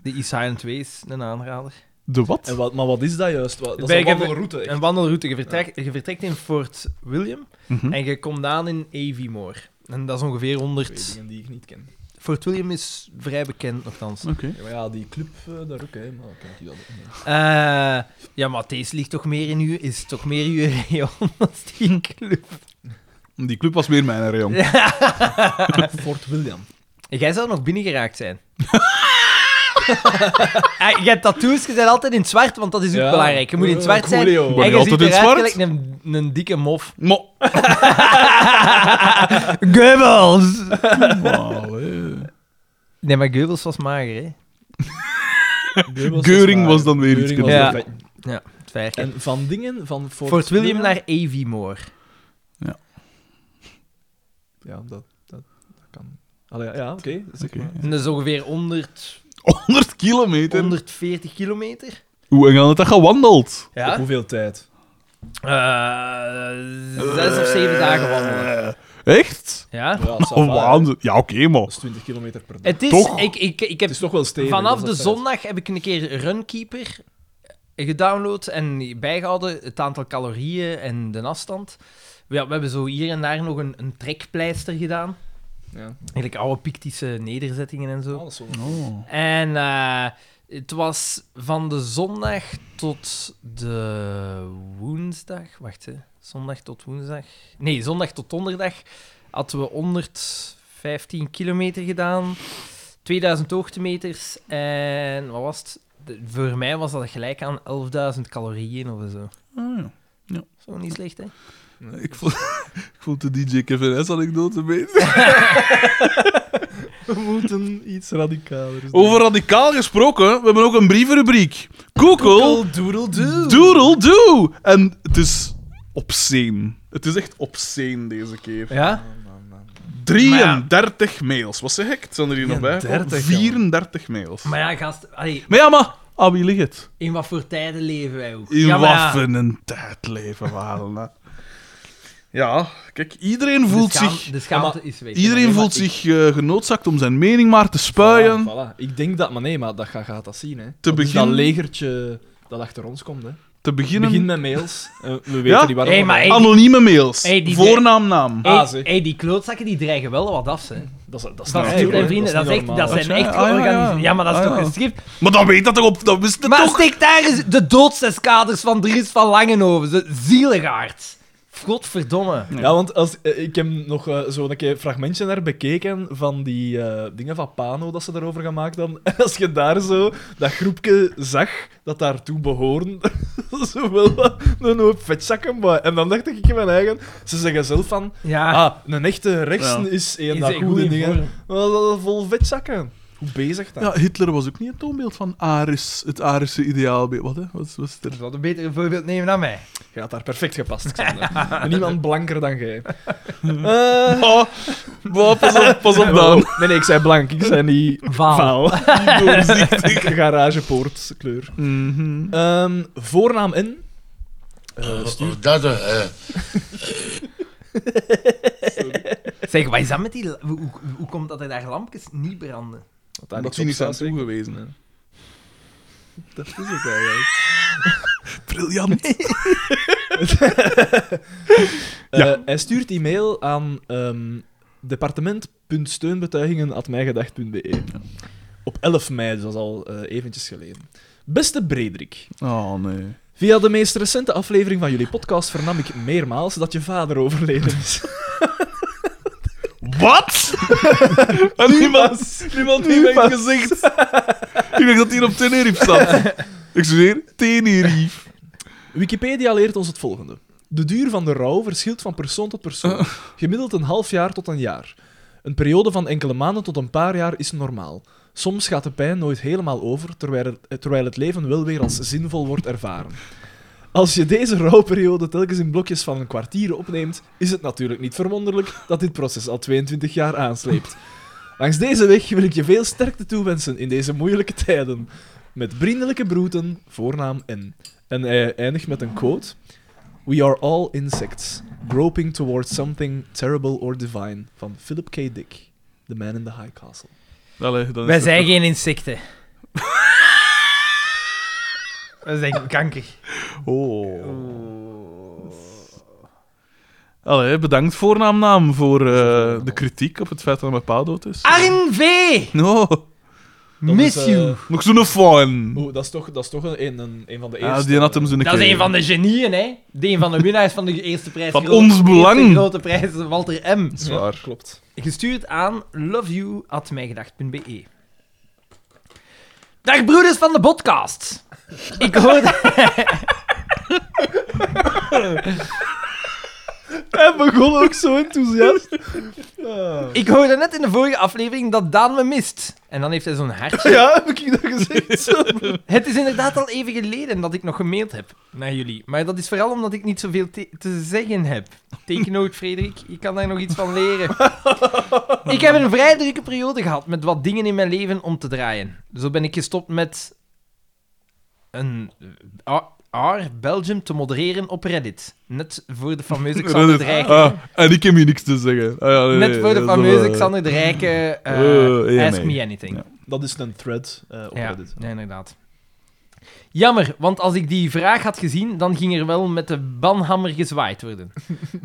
S1: De E-Silent 2 is een aanrader.
S2: De wat?
S3: En wat, maar wat is dat juist? Wat, dat
S1: Wij
S3: is een
S1: hebben-
S3: wandelroute. echt.
S1: Een wandelroute. Je vertrekt, je vertrekt in Fort William en je komt aan in Aviemore. En dat is ongeveer
S3: Twee
S1: 100...
S3: dingen die ik niet ken.
S1: Fort William is vrij bekend, nogthans.
S3: Ja, maar ja, die club eh, daar ook, hè. Maar kijk je dat ook niet.
S1: Eh, ja, maar deze ligt toch meer in u, is toch meer uw regio als die club.
S2: Die club was meer mijn rayon.
S3: Fort William.
S1: Jij zou nog binnengeraakt zijn. Eh, je hebt tattoos, je bent altijd in het zwart, want dat is ook
S3: Ja.
S1: belangrijk. Je moet in het
S3: Eh,
S1: zwart zijn.
S3: coolio.
S2: Ben
S1: en
S2: je
S1: je
S2: altijd
S1: ziet
S2: in het
S1: eruit
S2: zwart?
S1: gelijk een, een dikke mof.
S2: Maar...
S1: Goebbels!
S2: Allee.
S1: Nee, maar Goebbels was mager, hè.
S2: Geuring was dan weer iets
S3: dus Geuring
S1: anders.
S3: was dan-
S1: Het werk, hè.
S3: En van dingen van Fort,
S1: Fort William naar Aviemore.
S3: Ja, dat, dat, dat kan. Allee, ja, ja, oké. zeg
S2: Oké.
S3: maar.
S1: En dat is ongeveer 100,
S2: 100 kilometer.
S1: 140 kilometer.
S2: Hoe en had dat gewandeld?
S3: Op hoeveel tijd?
S1: Eh, zes of zeven dagen wandelen.
S2: Eh, Echt?
S1: Ja.
S3: Ja, dat is
S2: Oh,
S3: wel waar, hè.
S2: waanzin. Ja, oké, man.
S3: Dat is 20 kilometer per dag.
S1: Het is,
S2: Toch?
S1: Ik, ik, ik heb
S3: Het is toch wel stevig.
S1: vanaf
S3: dat
S1: de
S3: is dat
S1: zondag heb ik een keer Runkeeper gedownload en bijgehouden het aantal calorieën en de afstand. Ja, we hebben zo hier en daar nog een, een trekpleister gedaan.
S3: Ja.
S1: Eigenlijk oude Pictische nederzettingen en zo.
S3: feit. Ah, dat is wel-
S1: Oh. En eh, het was van de zondag tot de woensdag. Wacht, hè. zondag tot woensdag. Nee, zondag tot donderdag hadden we 115 kilometer gedaan, 2000 hoogtemeters en wat was het? De- voor mij was dat gelijk aan 11.000 calorieën of zo.
S2: Ah, ja.
S1: Zo niet slecht, hè?
S2: ik, vond, ik vond de DJ Kevin S anekdote beter.
S3: We moeten iets radicaler doen.
S2: Over radicaal gesproken, we hebben ook een brievenrubriek. Google
S3: doodle do.
S2: Doodle Doo. En het is obscene. Het is echt obscene deze keer.
S1: Ja?
S2: 33 mails. Wat zeg ik? Het zijn er hier nog bij.
S3: 30,
S2: 34 mails.
S1: Maar ja, gast, allee,
S2: Maar ja, maar aan wie ligt het?
S1: in wat voor tijden leven wij ook?
S2: In
S1: ja, maar ja,
S2: wat voor een tijd leven we al, hè. Ja, kijk, iedereen
S1: de
S2: voelt
S1: schaam-
S2: zich,
S1: De schaamte is weg.
S2: iedereen voelt zich eh, genoodzaakt om zijn mening maar te spuien.
S3: Voilà, voilà. Ik denk dat, maar nee, maar dat ga- gaat dat zien. Hè.
S2: Te
S3: dat is
S2: begin-
S3: dat legertje dat achter ons komt. Hè.
S2: Te beginnen
S3: Begin met mails. Eh, we weten
S2: Ja?
S3: niet waarom.
S1: Hey, maar
S3: hè.
S1: ik-
S2: anonieme mails.
S1: Hey, die-
S2: Voornaam, naam.
S1: Hey,
S3: Ah, zeg.
S1: hey, die klootzakken die dreigen wel wat af, hè.
S3: Dat is, dat is
S1: Dat
S3: niet
S1: is
S3: natuurlijk,
S1: en
S3: hè.
S1: vrienden, dat,
S3: is
S1: is
S3: niet
S1: echt-
S3: normaal.
S1: dat zijn
S2: Ah,
S1: echt
S2: ja, ja, ja.
S1: georganiseerd. Ja, maar dat is
S2: Ah,
S1: toch
S2: ja.
S1: een schrift.
S2: Maar dan weet dat toch op... Dat wist het
S1: Maar
S2: toch?
S1: steek daar eens de doodseskaders van Dries van Langenhoven. Ze- Zieligaard. Godverdomme.
S3: Ja, want als, eh, ik heb nog eh, zo een keer fragmentje naar bekeken van die eh, dingen van Pano dat ze daarover gemaakt hadden. En als je daar zo dat groepje zag dat daartoe behoren, zo wel wat- een hoop vetzakken. Maar. En dan dacht ik in mijn eigen, ze zeggen zelf van,
S1: Ja.
S3: ah, een echte rechtsen
S2: Ja.
S3: is
S1: Is
S3: één dat
S1: hij
S3: goed in dingen.
S1: vorm?
S3: Maar dat is vol vetzakken. Hoe bezig dat?
S2: Ja, Hitler was ook niet het toonbeeld van Aris, het Arische ideaalbeeld. Wat, hè? Wat was het
S1: Je
S2: er?
S1: zou een betere voorbeeld nemen dan mij.
S3: Je had daar perfect gepast, Xander. Niemand blanker dan jij.
S2: Oh, wow, pas op, pas op dan.
S3: Oh, nee, nee, ik zei blank. Ik zei niet
S1: Vaal.
S3: vaal. Doorzichtig. Garagepoortkleur.
S1: Mhm.
S3: Ehm, voornaam en... Eh, stuur.
S12: Dat, eh,
S1: Zeg, wat is dat met die... la- Hoe, hoe, hoe komt dat er daar lampjes niet branden?
S3: Wat daar
S2: Dat
S3: niks
S2: is
S3: op
S2: niet
S3: staat,
S2: zijn
S3: zeker?
S2: toegewezen.
S3: Nee. Dat is het eigenlijk.
S2: Briljant.
S3: Eh, hij stuurt e-mail aan ehm departement.steunbetuigingen.mijgedacht.be Op 11 mei, dus dat is al eh, eventjes geleden. Beste Bredrik,
S2: Oh, nee.
S3: Via de meest recente aflevering van jullie podcast vernam ik meermaals dat je vader overleden is.
S2: Wat? en niemand, niemand heeft mij
S3: Niemand.
S2: gezegd. Ik dacht dat hij op Tenerife zat. Ik zweer, Tenerife.
S3: Wikipedia leert ons het volgende. De duur van de rouw verschilt van persoon tot persoon. Gemiddeld een half jaar tot een jaar. Een periode van enkele maanden tot een paar jaar is normaal. Soms gaat de pijn nooit helemaal over, terwijl, er- eh, terwijl het leven wel weer als zinvol wordt ervaren. Als je deze rouwperiode telkens in blokjes van een kwartier opneemt, is het natuurlijk niet verwonderlijk dat dit proces al 22 jaar aansleept. Langs deze weg wil ik je veel sterkte toewensen in deze moeilijke tijden. Met vriendelijke broeten, voornaam N. En hij eindigt met een quote. We are all insects, groping towards something terrible or divine. Van Philip K. Dick, The Man in the High Castle.
S2: Allee, dan is
S1: Wij
S2: het
S1: zijn
S2: toch-
S1: geen insecten. Wij zijn kanker.
S2: Oh. Allee, bedankt voornaamnaam voor eh, de kritiek op het feit dat mijn pa dood is.
S1: Arn V!
S2: No,
S3: Dat
S1: Miss
S3: is, eh,
S1: you!
S2: nog zo'n fan.
S3: Oeh, dat is toch, dat is toch een, een, een- een van de eerste. eh,
S2: Ja, die had hem zo'n
S1: Oh, eh, Dat is
S2: keer.
S1: een van de genieën, hè? Die een van de winnaars van de eerste prijs.
S2: Van
S1: grote-
S2: ons
S1: eerste
S2: belang.
S1: grote prijs, Walter M.
S2: Dat is waar.
S3: Klopt.
S1: Gestuurd aan loveyou.mijgedacht.be. Dag broeders van de podcast. Ik hoorde...
S3: Hij begon ook zo enthousiast. Oh.
S1: Ik hoorde net in de vorige aflevering dat Daan me mist. En dan heeft hij zo'n hartje.
S3: Ja, heb ik dat gezegd?
S1: Het is inderdaad al even geleden dat ik nog gemaild heb naar jullie. Maar dat is vooral omdat ik niet zoveel te, te zeggen heb. Tekenoot, Frederik. Je kan daar nog iets van leren. ik heb een vrij drukke periode gehad met wat dingen in mijn leven om te draaien. Zo ben ik gestopt met een R, R Belgium te modereren op Reddit. Net voor de fameuze Xander de Rijke.
S2: Ah, en ik heb hier niks te zeggen. Ah, ja, nee,
S1: Net voor de
S2: dat is wel,
S1: fameuze
S2: eh,
S1: Xander de Rijke eh,
S2: Eh, ja,
S1: Ask
S2: nee.
S1: Me Anything.
S3: Dat is een thread eh, op
S1: Ja,
S3: Reddit.
S1: ja, inderdaad. Jammer, want als ik die vraag had gezien, dan ging er wel met de banhammer gezwaaid worden.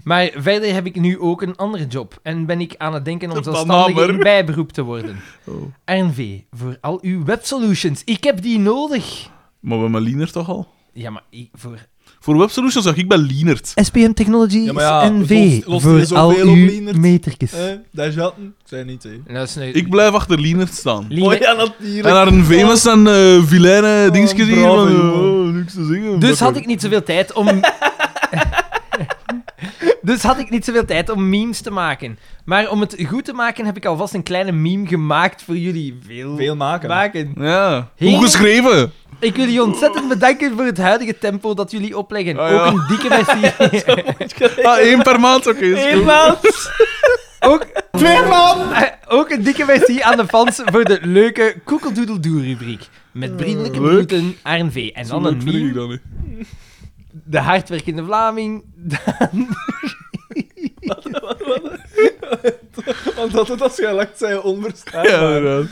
S1: maar verder heb ik nu ook een andere job en ben ik aan het denken om
S2: De
S1: zelfstandig
S2: banhammer.
S1: in bijberoep te worden.
S2: Oh.
S1: RNV, voor al uw websolutions. Ik heb die nodig.
S2: Maar we hebben Lienert toch al?
S1: Ja, maar ik- voor...
S2: Voor Web Solutions zag ik bij Lienert.
S1: SPM Technologies
S3: Ja, maar ja,
S1: NV,
S3: lost- lost er
S1: voor
S3: zoveel
S1: al
S3: op,
S1: uw
S3: Lienert?
S1: metertjes.
S3: Eh, daar zaten. Zijn niet, hè?
S1: Luister,
S2: Ik blijf achter Lienert staan.
S1: Lienert-
S3: Oh ja, natuurlijk.
S2: En haar een famous en eh vilaine dingetjes hier.
S3: brave
S2: van,
S3: jongen.
S2: oh, niks te zingen.
S1: Dus had ik niet zoveel tijd om. dus had ik niet zoveel tijd om memes te maken. Maar om het goed te maken heb ik alvast een kleine meme gemaakt voor jullie. Veel,
S3: Veel maken.
S1: maken.
S2: Ja.
S1: Heel-
S2: Hoe geschreven?
S1: Ik wil jullie ontzettend bedanken voor het huidige tempo dat jullie opleggen.
S2: Ah, ja.
S1: Ook een dikke merci.
S2: Ah, één per maand, oké. is goed.
S1: maand. Ook, Eh, ook een dikke merci aan de fans voor de leuke koekeldoedeldoe-rubriek. Met vriendelijke
S2: Leuk.
S1: groeten, RNV. En
S2: Zo
S1: dan
S2: leuk
S1: een
S2: vind
S1: meme
S2: ik dat niet.
S1: De hardwerkende Vlaming. Dan...
S3: Want dat het als jij lacht, zijn onverstaanbaar.
S2: Ja, inderdaad.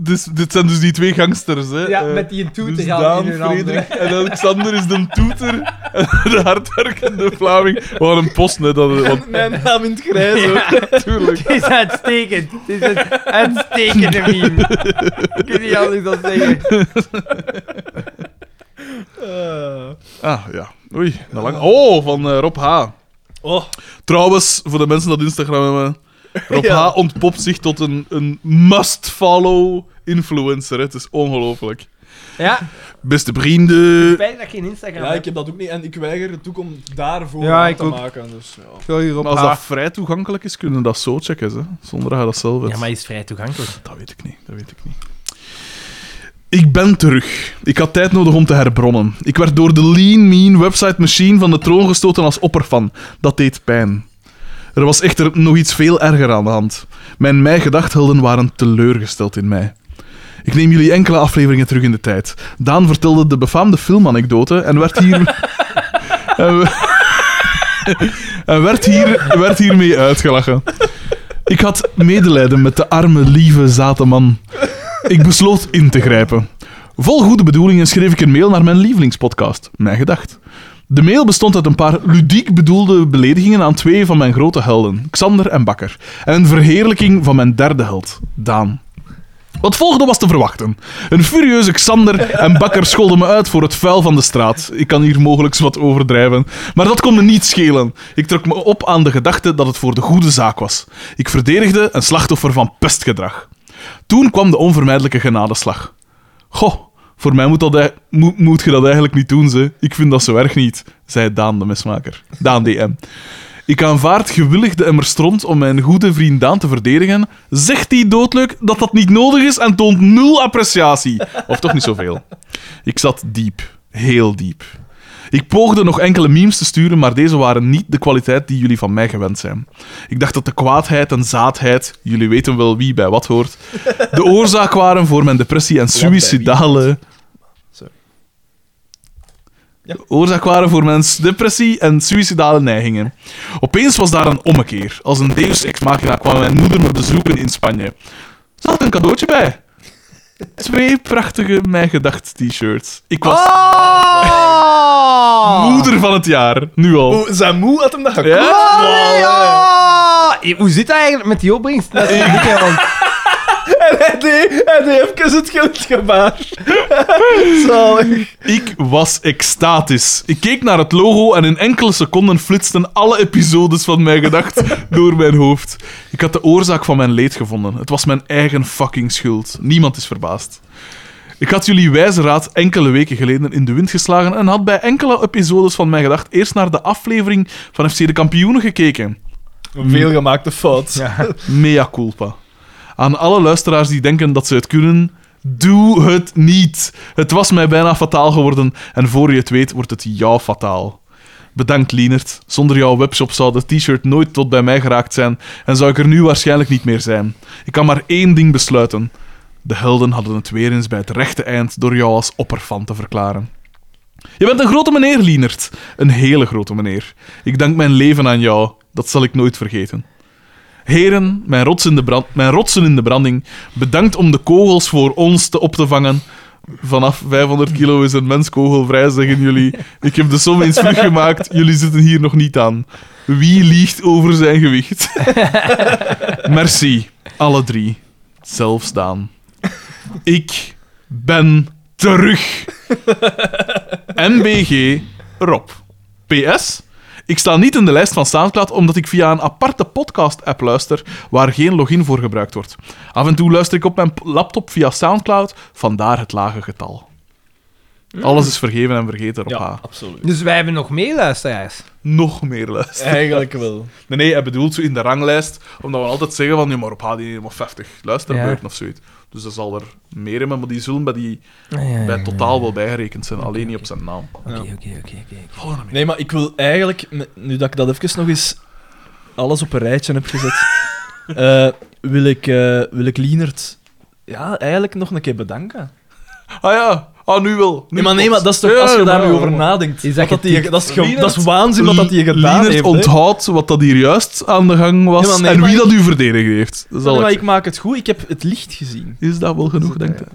S2: Dus, dit zijn dus die twee gangsters, hè?
S1: Ja,
S2: Eh,
S1: met die een toeter
S2: dus
S1: al
S2: Daan,
S1: in hun handen.
S2: Frederik en Alexander is de toeter en de hardwerkende Vlaming. Wat een post, hè? Dat, want,
S3: Mijn naam in het grijs, hoor.
S2: natuurlijk.
S1: Het is uitstekend. Het is een uitstekende meme. Ik kan niet anders dan zeggen.
S3: Eh,
S2: Ah, ja. Oei, dat lang. Oh, van eh, Rob H.
S3: Ah. oh,
S2: Trouwens, voor de mensen dat Instagram hebben, Rob
S3: Ja.
S2: H. ontpopt zich tot een, een must-follow influencer. hè. Het is ongelooflijk.
S1: Ja,
S2: Beste vrienden.
S1: spijt dat ik geen Instagram
S3: ja,
S1: heb.
S3: ik heb dat ook niet. En ik weiger het ook om daarvoor
S9: Ja,
S3: aan
S9: ik
S3: te
S9: ook.
S3: maken. Dus, ja.
S9: Sorry, Rob.
S2: Maar als
S9: H.
S2: dat vrij toegankelijk is, kunnen we dat zo checken, hè? zonder dat je dat zelf hebt.
S1: Ja, maar is vrij toegankelijk.
S2: Dat weet ik niet, dat weet ik niet. Ik ben terug. Ik had tijd nodig om te herbronnen. Ik werd door de lean, mean website machine van de troon gestoten als opperfan. Dat deed pijn. Er was echter nog iets veel erger aan de hand. Mijn mij-gedachthelden waren teleurgesteld in mij. Ik neem jullie enkele afleveringen terug in de tijd. Daan vertelde de befaamde filmanekdote en werd hier... en we- en werd, hier, werd hiermee uitgelachen. Ik had medelijden met de arme, lieve, zate man. Ik besloot in te grijpen. Vol goede bedoelingen schreef ik een mail naar mijn lievelingspodcast, Mijn Gedacht. De mail bestond uit een paar ludiek bedoelde beledigingen aan twee van mijn grote helden, Xander en Bakker, en een verheerlijking van mijn derde held, Daan. Wat volgde was te verwachten. Een furieuze Xander en Bakker scholden me uit voor het vuil van de straat. Ik kan hier mogelijk wat overdrijven, maar dat kon me niet schelen. Ik trok me op aan de gedachte dat het voor de goede zaak was. Ik verdedigde een slachtoffer van pestgedrag. Toen kwam de onvermijdelijke genadeslag. Goh, Voor mij moet, dat, ei- moet, moet je dat eigenlijk niet doen, ze. Ik vind dat zo erg niet, zei Daan de mesmaker. Daan DM. Ik aanvaard gewillig de emmer stront om mijn goede vriend Daan te verdedigen. Zegt hij doodleuk dat dat niet nodig is en toont nul appreciatie. Of toch niet zoveel. Ik zat diep. Heel diep. Ik poogde nog enkele memes te sturen, maar deze waren niet de kwaliteit die jullie van mij gewend zijn. Ik dacht dat de kwaadheid en zaadheid, jullie weten wel wie bij wat hoort, de oorzaak waren voor mijn depressie en suïcidale...
S3: Sorry.
S2: De oorzaak waren voor mijn s- depressie en suïcidale neigingen. Opeens was daar een ommekeer. Als een deus ex machina kwam mijn moeder me bezoeken in Spanje. Ze had een cadeautje bij. Twee prachtige Mijn Gedacht t-shirts. Ik was
S1: Oh!
S2: moeder van het jaar, nu al.
S3: Oh, zijn moe had hem dat gekocht.
S2: Ja?
S1: Eh, Hoe zit dat eigenlijk met die opbrengst? Dat is niet, hè, want-
S3: Hij deed, hij deed even het geld gebaar. Zalig.
S2: Ik was extatisch. Ik keek naar het logo en in enkele seconden flitsten alle episodes van mijn gedacht door mijn hoofd. Ik had de oorzaak van mijn leed gevonden. Het was mijn eigen fucking schuld. Niemand is verbaasd. Ik had jullie wijze raad enkele weken geleden in de wind geslagen en had bij enkele episodes van mijn gedacht eerst naar de aflevering van FC de Kampioenen gekeken. Mm.
S3: Een veelgemaakte fout.
S2: Mea culpa. Aan alle luisteraars die denken dat ze het kunnen, doe het niet. Het was mij bijna fataal geworden en voor je het weet wordt het jou fataal. Bedankt, Lienert. Zonder jouw webshop zou dat t-shirt nooit tot bij mij geraakt zijn en zou ik er nu waarschijnlijk niet meer zijn. Ik kan maar één ding besluiten. De helden hadden het weer eens bij het rechte eind door jou als opperfan te verklaren. Je bent een grote meneer, Lienert. Een hele grote meneer. Ik dank mijn leven aan jou. Dat zal ik nooit vergeten. Heren, mijn rotsen, in de brand, mijn rotsen in de branding, bedankt om de kogels voor ons te op te vangen. Vanaf 500 kilo is een mens kogelvrij, zeggen jullie. Ik heb de som eens teruggemaakt, jullie zitten hier nog niet aan. Wie liegt over zijn gewicht? Merci, alle drie. Zelfs Daan. Ik ben terug. MBG Rob. PS. Ik sta niet in de lijst van Soundcloud omdat ik via een aparte podcast-app luister waar geen login voor gebruikt wordt. Af en toe luister ik op mijn laptop via Soundcloud, vandaar het lage getal. Alles is vergeven en vergeten, Rob. H.
S3: absoluut.
S1: Dus wij hebben nog meer luisteraars.
S2: Nog meer luisteren.
S3: Eigenlijk wel.
S2: Nee, nee, hij bedoelt zo in de ranglijst, omdat we altijd zeggen van, ja, maar op HD helemaal 50 luisterbeurten of zoiets. Dus er zal er meer in, maar die zullen bij, die, bij het totaal wel bijgerekend zijn, alleen niet op zijn naam.
S3: Nee, maar ik wil eigenlijk, n- nu dat ik dat even nog eens alles op een rijtje heb gezet, eh, wil, ik, eh wil ik Lienert ja, eigenlijk nog een keer bedanken.
S2: Ah ja, ah, nu wel. Nu
S3: Nee, maar, nee,
S2: pas.
S3: maar dat is toch,
S2: Ja,
S3: als je
S2: ja,
S3: daar
S2: maar-
S3: nu over nadenkt,
S1: Is dat
S3: wat dat, die-
S1: getikt?
S3: dat, is, ge-
S2: Lienert-
S3: dat is waanzin wat dat hij gedaan
S2: Lienert
S3: heeft. hè.
S2: onthoudt wat dat hier juist aan de gang was
S3: Ja, maar nee,
S2: en
S3: maar
S2: wie
S3: ik-
S2: dat u verdedigd heeft. Dat is,
S3: Nee,
S2: al
S3: maar
S2: ik...
S3: ik maak het goed, ik heb het licht gezien.
S2: is dat wel genoeg, denk ik.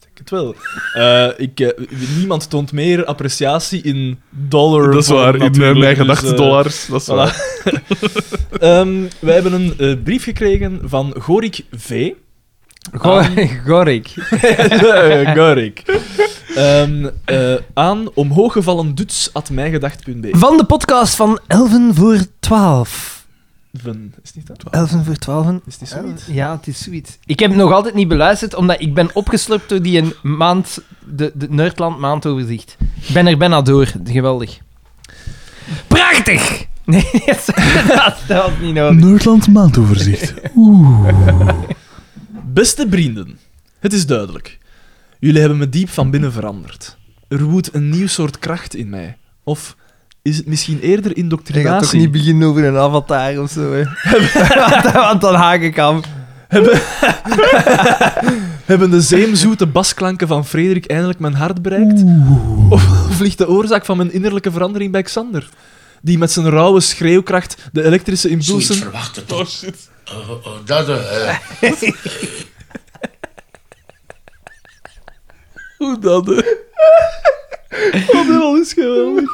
S3: Ik het wel. Eh, ik, eh, niemand toont meer appreciatie in dollar.
S2: Dat is
S3: vorm
S2: waar, in eh,
S3: natuurlijk,
S2: mijn
S3: dus,
S2: gedachten
S3: eh,
S2: dollars. Dat is
S3: Voilà.
S2: waar.
S3: Ehm, wij hebben een eh, brief gekregen van Gorik V.
S1: Gorik.
S3: Eh, Gorik. Ehm, eh, aan omhooggevallen duts.mijgedacht.be.
S1: Van de podcast van 11 voor 12.
S3: Is niet dat?
S1: 11 voor 12.
S3: Is die zoiets?
S1: Ja, het is zoiets. Ik heb nog altijd niet beluisterd, omdat ik ben opgeslurpt door die een maand, de, de Nerdland maandoverzicht. Ik ben er bijna door. Geweldig. Prachtig! Nee, dat is- dat was niet nodig.
S2: Noordland maandoverzicht.
S3: Beste vrienden, het is duidelijk. Jullie hebben me diep van binnen veranderd. Er woedt een nieuw soort kracht in mij. Of is het misschien eerder indoctrinatie?
S1: beginnen over een avatar of zo, Want dan haak ik af.
S3: Hebben de zeemzoete basklanken van Frederik eindelijk mijn hart bereikt? Of ligt de oorzaak van mijn innerlijke verandering bij Xander? Die met zijn rauwe schreeuwkracht de elektrische
S12: Zoiets
S3: impulsen...
S12: verwachten toch? Oh, oh, dat... eh, eh,
S2: Hoe dat, eh, hè?
S3: Dat is geweldig.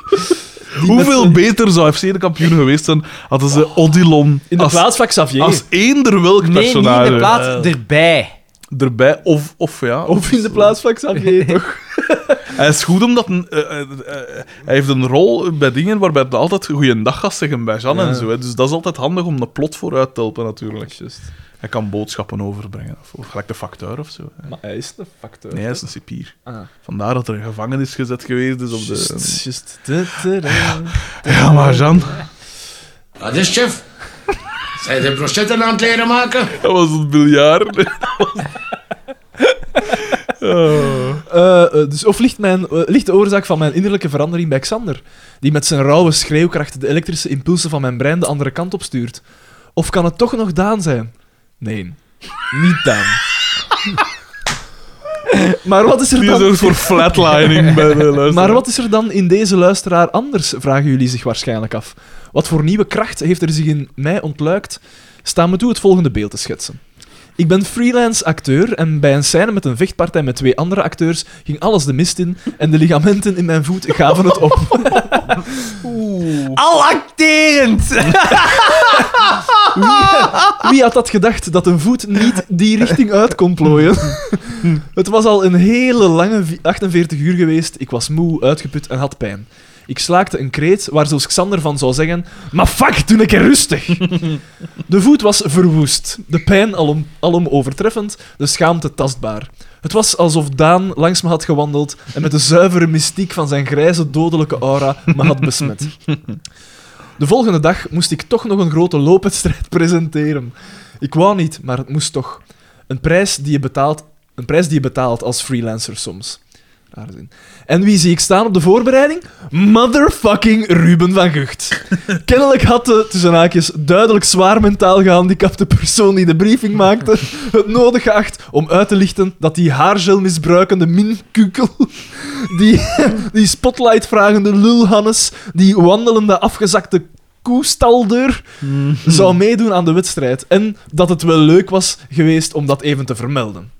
S2: Hoeveel beter zou FC de kampioen geweest zijn hadden ze Odilon
S3: Oh. In de
S2: als,
S3: plaats van Xavier.
S2: als eender welk
S1: Nee, niet in
S2: personage
S1: de plaats erbij.
S2: erbij. Of, of ja.
S3: Of in de plaats van Xavier, toch?
S2: Hij is goed omdat een, eh, eh, eh, hij heeft een rol bij dingen waarbij hij altijd goeiedag gaat zeggen bij Jeanne en zo. Hè. Dus dat is altijd handig om de plot vooruit te helpen, natuurlijk. Hij kan boodschappen overbrengen. Of, of gelijk de facteur of zo.
S3: Maar hij is de facteur.
S2: Nee, hij is een cipier.
S3: Ah.
S2: Vandaar dat er een gevangenis gezet geweest is op de...
S3: Just, just, ja.
S2: Ja, maar Jean,
S12: Wat Ah, is, chef? Zijn de brochetten aan het leren maken?
S2: dat was het biljart.
S3: Eh, eh, dus of ligt, mijn, eh, ligt de oorzaak van mijn innerlijke verandering bij Xander, die met zijn rauwe schreeuwkracht de elektrische impulsen van mijn brein de andere kant op stuurt? Of kan het toch nog Daan zijn? Nee, niet Daan. maar, wat is er
S2: Die
S3: dan,
S2: zorgt voor flatlining bij de luisteraar.
S3: maar wat is er dan in deze luisteraar anders, vragen jullie zich waarschijnlijk af. Wat voor nieuwe kracht heeft er zich in mij ontluikt? Sta me toe het volgende beeld te schetsen. Ik ben freelance acteur en bij een scène met een vechtpartij met twee andere acteurs ging alles de mist in en de ligamenten in mijn voet gaven het op.
S9: Al acterend!
S3: Wie had dat gedacht dat een voet niet die richting uit kon plooien? Het was al een hele lange vi- 48 uur geweest. Ik was moe, uitgeput en had pijn. Ik slaakte een kreet waar zoals Xander van zou zeggen: Maar fuck, doe een keer rustig! De voet was verwoest, de pijn alom, alom overtreffend, de schaamte tastbaar. Het was alsof Daan langs me had gewandeld en met de zuivere mystiek van zijn grijze dodelijke aura me had besmet. De volgende dag moest ik toch nog een grote loopwedstrijd presenteren. Ik wou niet, maar het moest toch. Een prijs die je betaalt, een prijs die je betaalt als freelancer soms. Rare zin. En wie zie ik staan op de voorbereiding? Motherfucking Ruben van Gucht. Kennelijk had de, tussen haakjes, duidelijk zwaar mentaal gehandicapte persoon die de briefing maakte het nodig geacht om uit te lichten dat die haargel misbruikende minkukel, die, die spotlight vragende lulhannes, die wandelende afgezakte koestaldeur zou meedoen aan de wedstrijd. En dat het wel leuk was geweest om dat even te vermelden.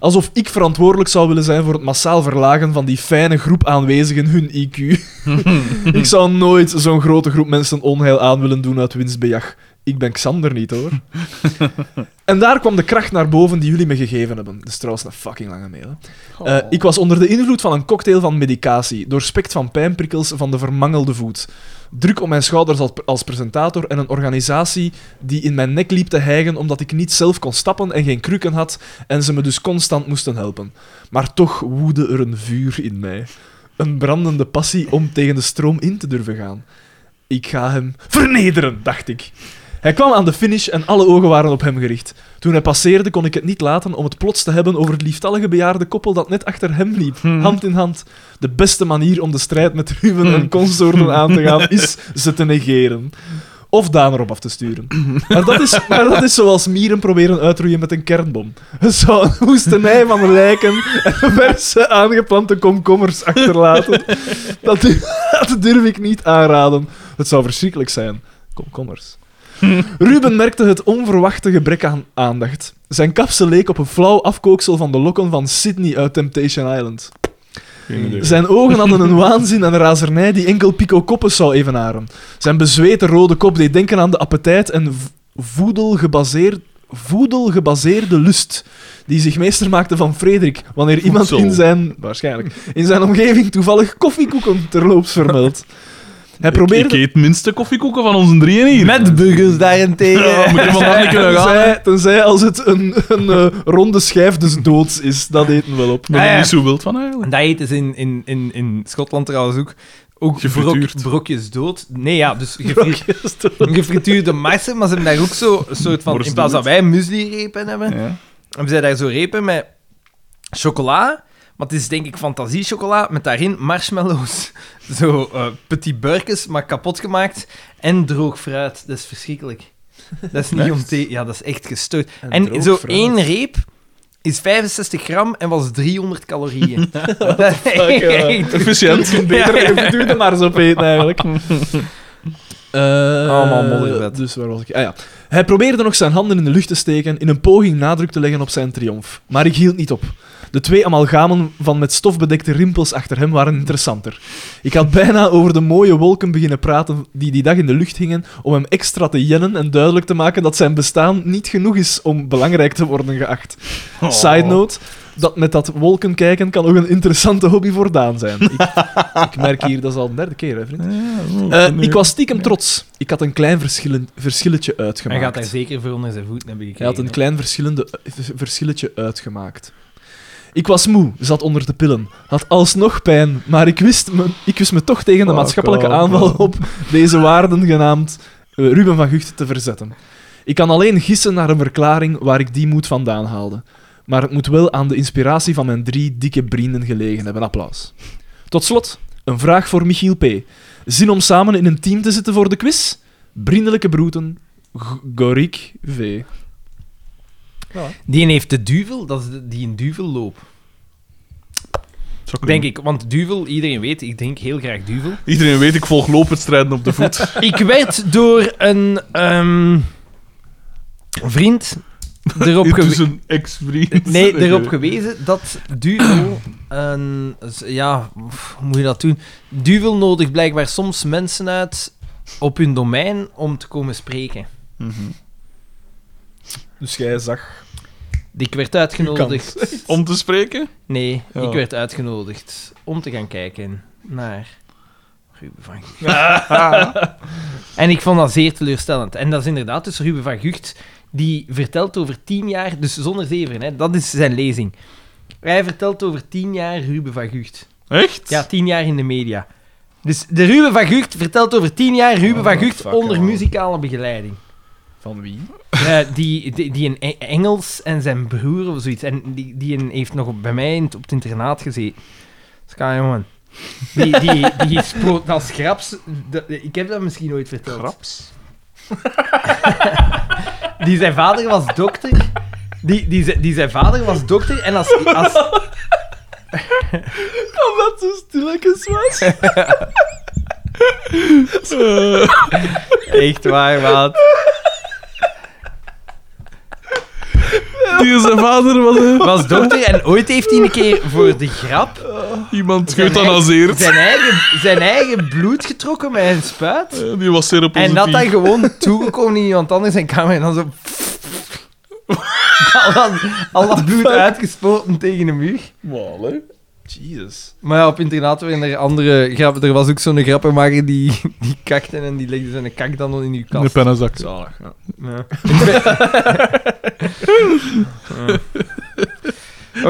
S3: Alsof ik verantwoordelijk zou willen zijn voor het massaal verlagen van die fijne groep aanwezigen hun IQ. ik zou nooit zo'n grote groep mensen onheil aan willen doen uit winstbejag. Ik ben Xander niet hoor. en daar kwam de kracht naar boven die jullie me gegeven hebben. Dat is trouwens een fucking lange mail. hè. Eh, ik was onder de invloed van een cocktail van medicatie, doorspekt van pijnprikkels van de vermangelde voet. Druk op mijn schouders als, als presentator en een organisatie die in mijn nek liep te hijgen omdat ik niet zelf kon stappen en geen krukken had en ze me dus constant moesten helpen. Maar toch woedde er een vuur in mij. Een brandende passie om tegen de stroom in te durven gaan. Ik ga hem vernederen, dacht ik. Hij kwam aan de finish en alle ogen waren op hem gericht. Toen hij passeerde, kon ik het niet laten om het plots te hebben over het lieftallige bejaarde koppel dat net achter hem liep, hand in hand. De beste manier om de strijd met Ruben en consorten aan te gaan is ze te negeren. Of Daan erop af te sturen. Maar dat is, maar dat is zoals mieren proberen uitroeien met een kernbom. Het zou een hoestenij van lijken en verse aangeplante komkommers achterlaten. Dat, dat durf ik niet aanraden. Het zou verschrikkelijk zijn. Komkommers. Ruben merkte het onverwachte gebrek aan aandacht. Zijn kapsel leek op een flauw afkooksel van de lokken van Sydney uit Temptation Island. Zijn ogen hadden een waanzin en razernij die enkel Pico Koppes zou evenaren. Zijn bezweten rode kop deed denken aan de appetijt en v- voedelgebaseerd, voedelgebaseerde lust die zich meester maakte van Frederik wanneer iemand
S2: Voedsel.
S3: in zijn, waarschijnlijk, in zijn omgeving toevallig koffiekoeken terloops vermeldt. Hij
S2: Ik,
S3: probeerde...
S2: ik eet minste koffiekoeken van onze drieën hier.
S9: Met burgers daarentegen.
S2: Ja, moet je van dat niet kunnen gaan.
S3: Tenzij, tenzij als het een, een eh, ronde schijf dus doods is, dat eten wel op.
S2: Ik ben
S9: Ah,
S2: er
S9: ja.
S2: niet zo wild van eigenlijk.
S9: Dat heet is in, in, in, in Schotland trouwens ook. Ook brok,
S2: Gefrituurd.
S9: brokjes dood. Nee, ja, dus gefri- gefrituurde marsen, maar ze hebben daar ook zo een soort van... In
S2: Worstdood.
S9: plaats dat wij muesli-repen hebben,
S2: Ja.
S9: hebben zij daar zo repen met chocola. Maar het is denk ik fantasiechocola, met daarin marshmallows. Zo eh, petit burkes, maar kapot gemaakt. En droog fruit. Dat is verschrikkelijk. Dat is niet om te... Ja, dat is echt gestoord. En,
S3: droog
S9: zo
S3: fruit.
S9: één reep is 65 gram en was 300 calorieën. dat is
S3: ja.
S9: echt
S2: Efficiënt.
S3: Beter even doe het maar zo eten eigenlijk. Eh,
S9: Allemaal modderbed.
S3: Dus waar was ik? Ah, ja. Hij probeerde nog zijn handen in de lucht te steken in een poging nadruk te leggen op zijn triomf. Maar ik hield niet op. De twee amalgamen van met stof bedekte rimpels achter hem waren interessanter. Ik had bijna over de mooie wolken beginnen praten die die dag in de lucht hingen om hem extra te jennen en duidelijk te maken dat zijn bestaan niet genoeg is om belangrijk te worden geacht. Side note. dat met dat wolken kijken kan ook een interessante hobby voor Daan zijn. Ik, ik merk hier, dat is al de derde keer, hè, vriend. Eh, ik was stiekem trots. Ik had een klein verschillen- verschilletje
S1: Hij
S3: uitgemaakt.
S1: gaat daar zeker voor onder zijn voeten hebben
S3: Hij
S1: gekregen.
S3: had een klein verschillende, v- verschilletje uitgemaakt. Ik was moe, zat onder de pillen, had alsnog pijn, maar ik wist me, ik wist me toch tegen de maatschappelijke aanval op deze waarden genaamd eh, Ruben van Gucht te verzetten. Ik kan alleen gissen naar een verklaring waar ik die moed vandaan haalde. Maar het moet wel aan de inspiratie van mijn drie dikke vrienden gelegen hebben. Applaus. Tot slot, een vraag voor Michiel P. Zin om samen in een team te zitten voor de quiz? Vriendelijke broeten, G- Gorik V.
S1: Die heeft de duvel, dat is de- die een duvelloop. Denk ik, want duvel, iedereen weet, ik drink heel graag duvel.
S2: Iedereen weet, ik volg loopwedstrijden op de voet.
S1: Ik werd door een ehm, vriend erop gewezen.
S2: Intussen ex-vriend.
S1: Nee, erop gewezen dat duvel. een- z- ja, pff, hoe moet je dat doen? Duvel nodig blijkbaar soms mensen uit op hun domein om te komen spreken.
S2: Mhm.
S3: Dus jij zag.
S1: Ik werd uitgenodigd.
S2: Om te spreken?
S1: Nee,
S2: Ja.
S1: ik werd uitgenodigd om te gaan kijken naar Ruben van Gucht. en ik vond dat zeer teleurstellend. En dat is inderdaad dus Ruben van Gucht, die vertelt over tien jaar, dus zonder zeven, hè, dat is zijn lezing. Hij vertelt over tien jaar Ruben van Gucht.
S2: Echt?
S1: Ja, tien jaar in de media. Dus de Ruben van Gucht vertelt over tien jaar Ruben van Gucht
S3: Oh, fuck,
S1: onder
S3: man.
S1: muzikale begeleiding.
S3: Van wie?
S1: Eh, die, die, die een E- Engels en zijn broer of zoiets. En die, die een heeft nog op- bij mij in het- op het internaat gezeten. Ska, jongen. Die, die, die is pro- dat is graps. Dat- ik heb dat misschien nooit verteld.
S2: Graps.
S1: Die zijn vader was dokter. Die, die, zijn- die zijn vader was dokter en als... als
S3: Omdat zo stilletjes was.
S1: Echt waar, maat.
S2: Die zijn vader was eh,
S1: Was dokter en ooit heeft hij een keer voor de grap
S2: iemand
S1: Zijn
S2: geëthanaseerd.
S1: zijn eigen, zijn eigen bloed getrokken met een spuit.
S2: Eh, Die was zeer
S1: En dat dan
S2: positief.
S1: gewoon toegekomen in iemand anders zijn kamer en dan zo... al, dat, al dat bloed uitgespoten tegen de muur.
S2: Wel, hè.
S3: Jesus.
S1: Maar ja, op internaat waren er andere grappen. Er was ook zo'n grappenmaker die, die kakte en die legde zijn kak dan in uw
S2: In de
S1: kast.
S2: pennenzak.
S3: Zalig. Ja.
S1: Ja.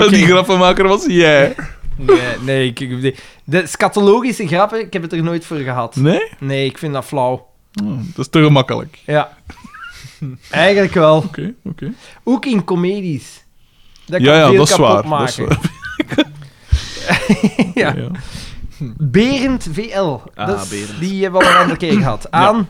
S2: En die grappenmaker was jij.
S1: Nee, nee ik, ik- de, de scatologische grappen, ik heb het er nooit voor gehad.
S2: Nee?
S1: Nee, ik vind dat flauw.
S2: Hm, dat is te gemakkelijk.
S1: Ja. Eigenlijk wel.
S2: Oké, oké.
S1: Ook in comedies. Dat kan
S2: Ja, ja,
S1: veel
S2: dat is
S1: kapot
S2: waar. Dat is
S1: maken.
S2: waar.
S1: Ja.
S2: Ja.
S1: Berend VL.
S3: Ah,
S1: Dat is-
S3: Berend.
S1: Die hebben we al een andere keer gehad. Aan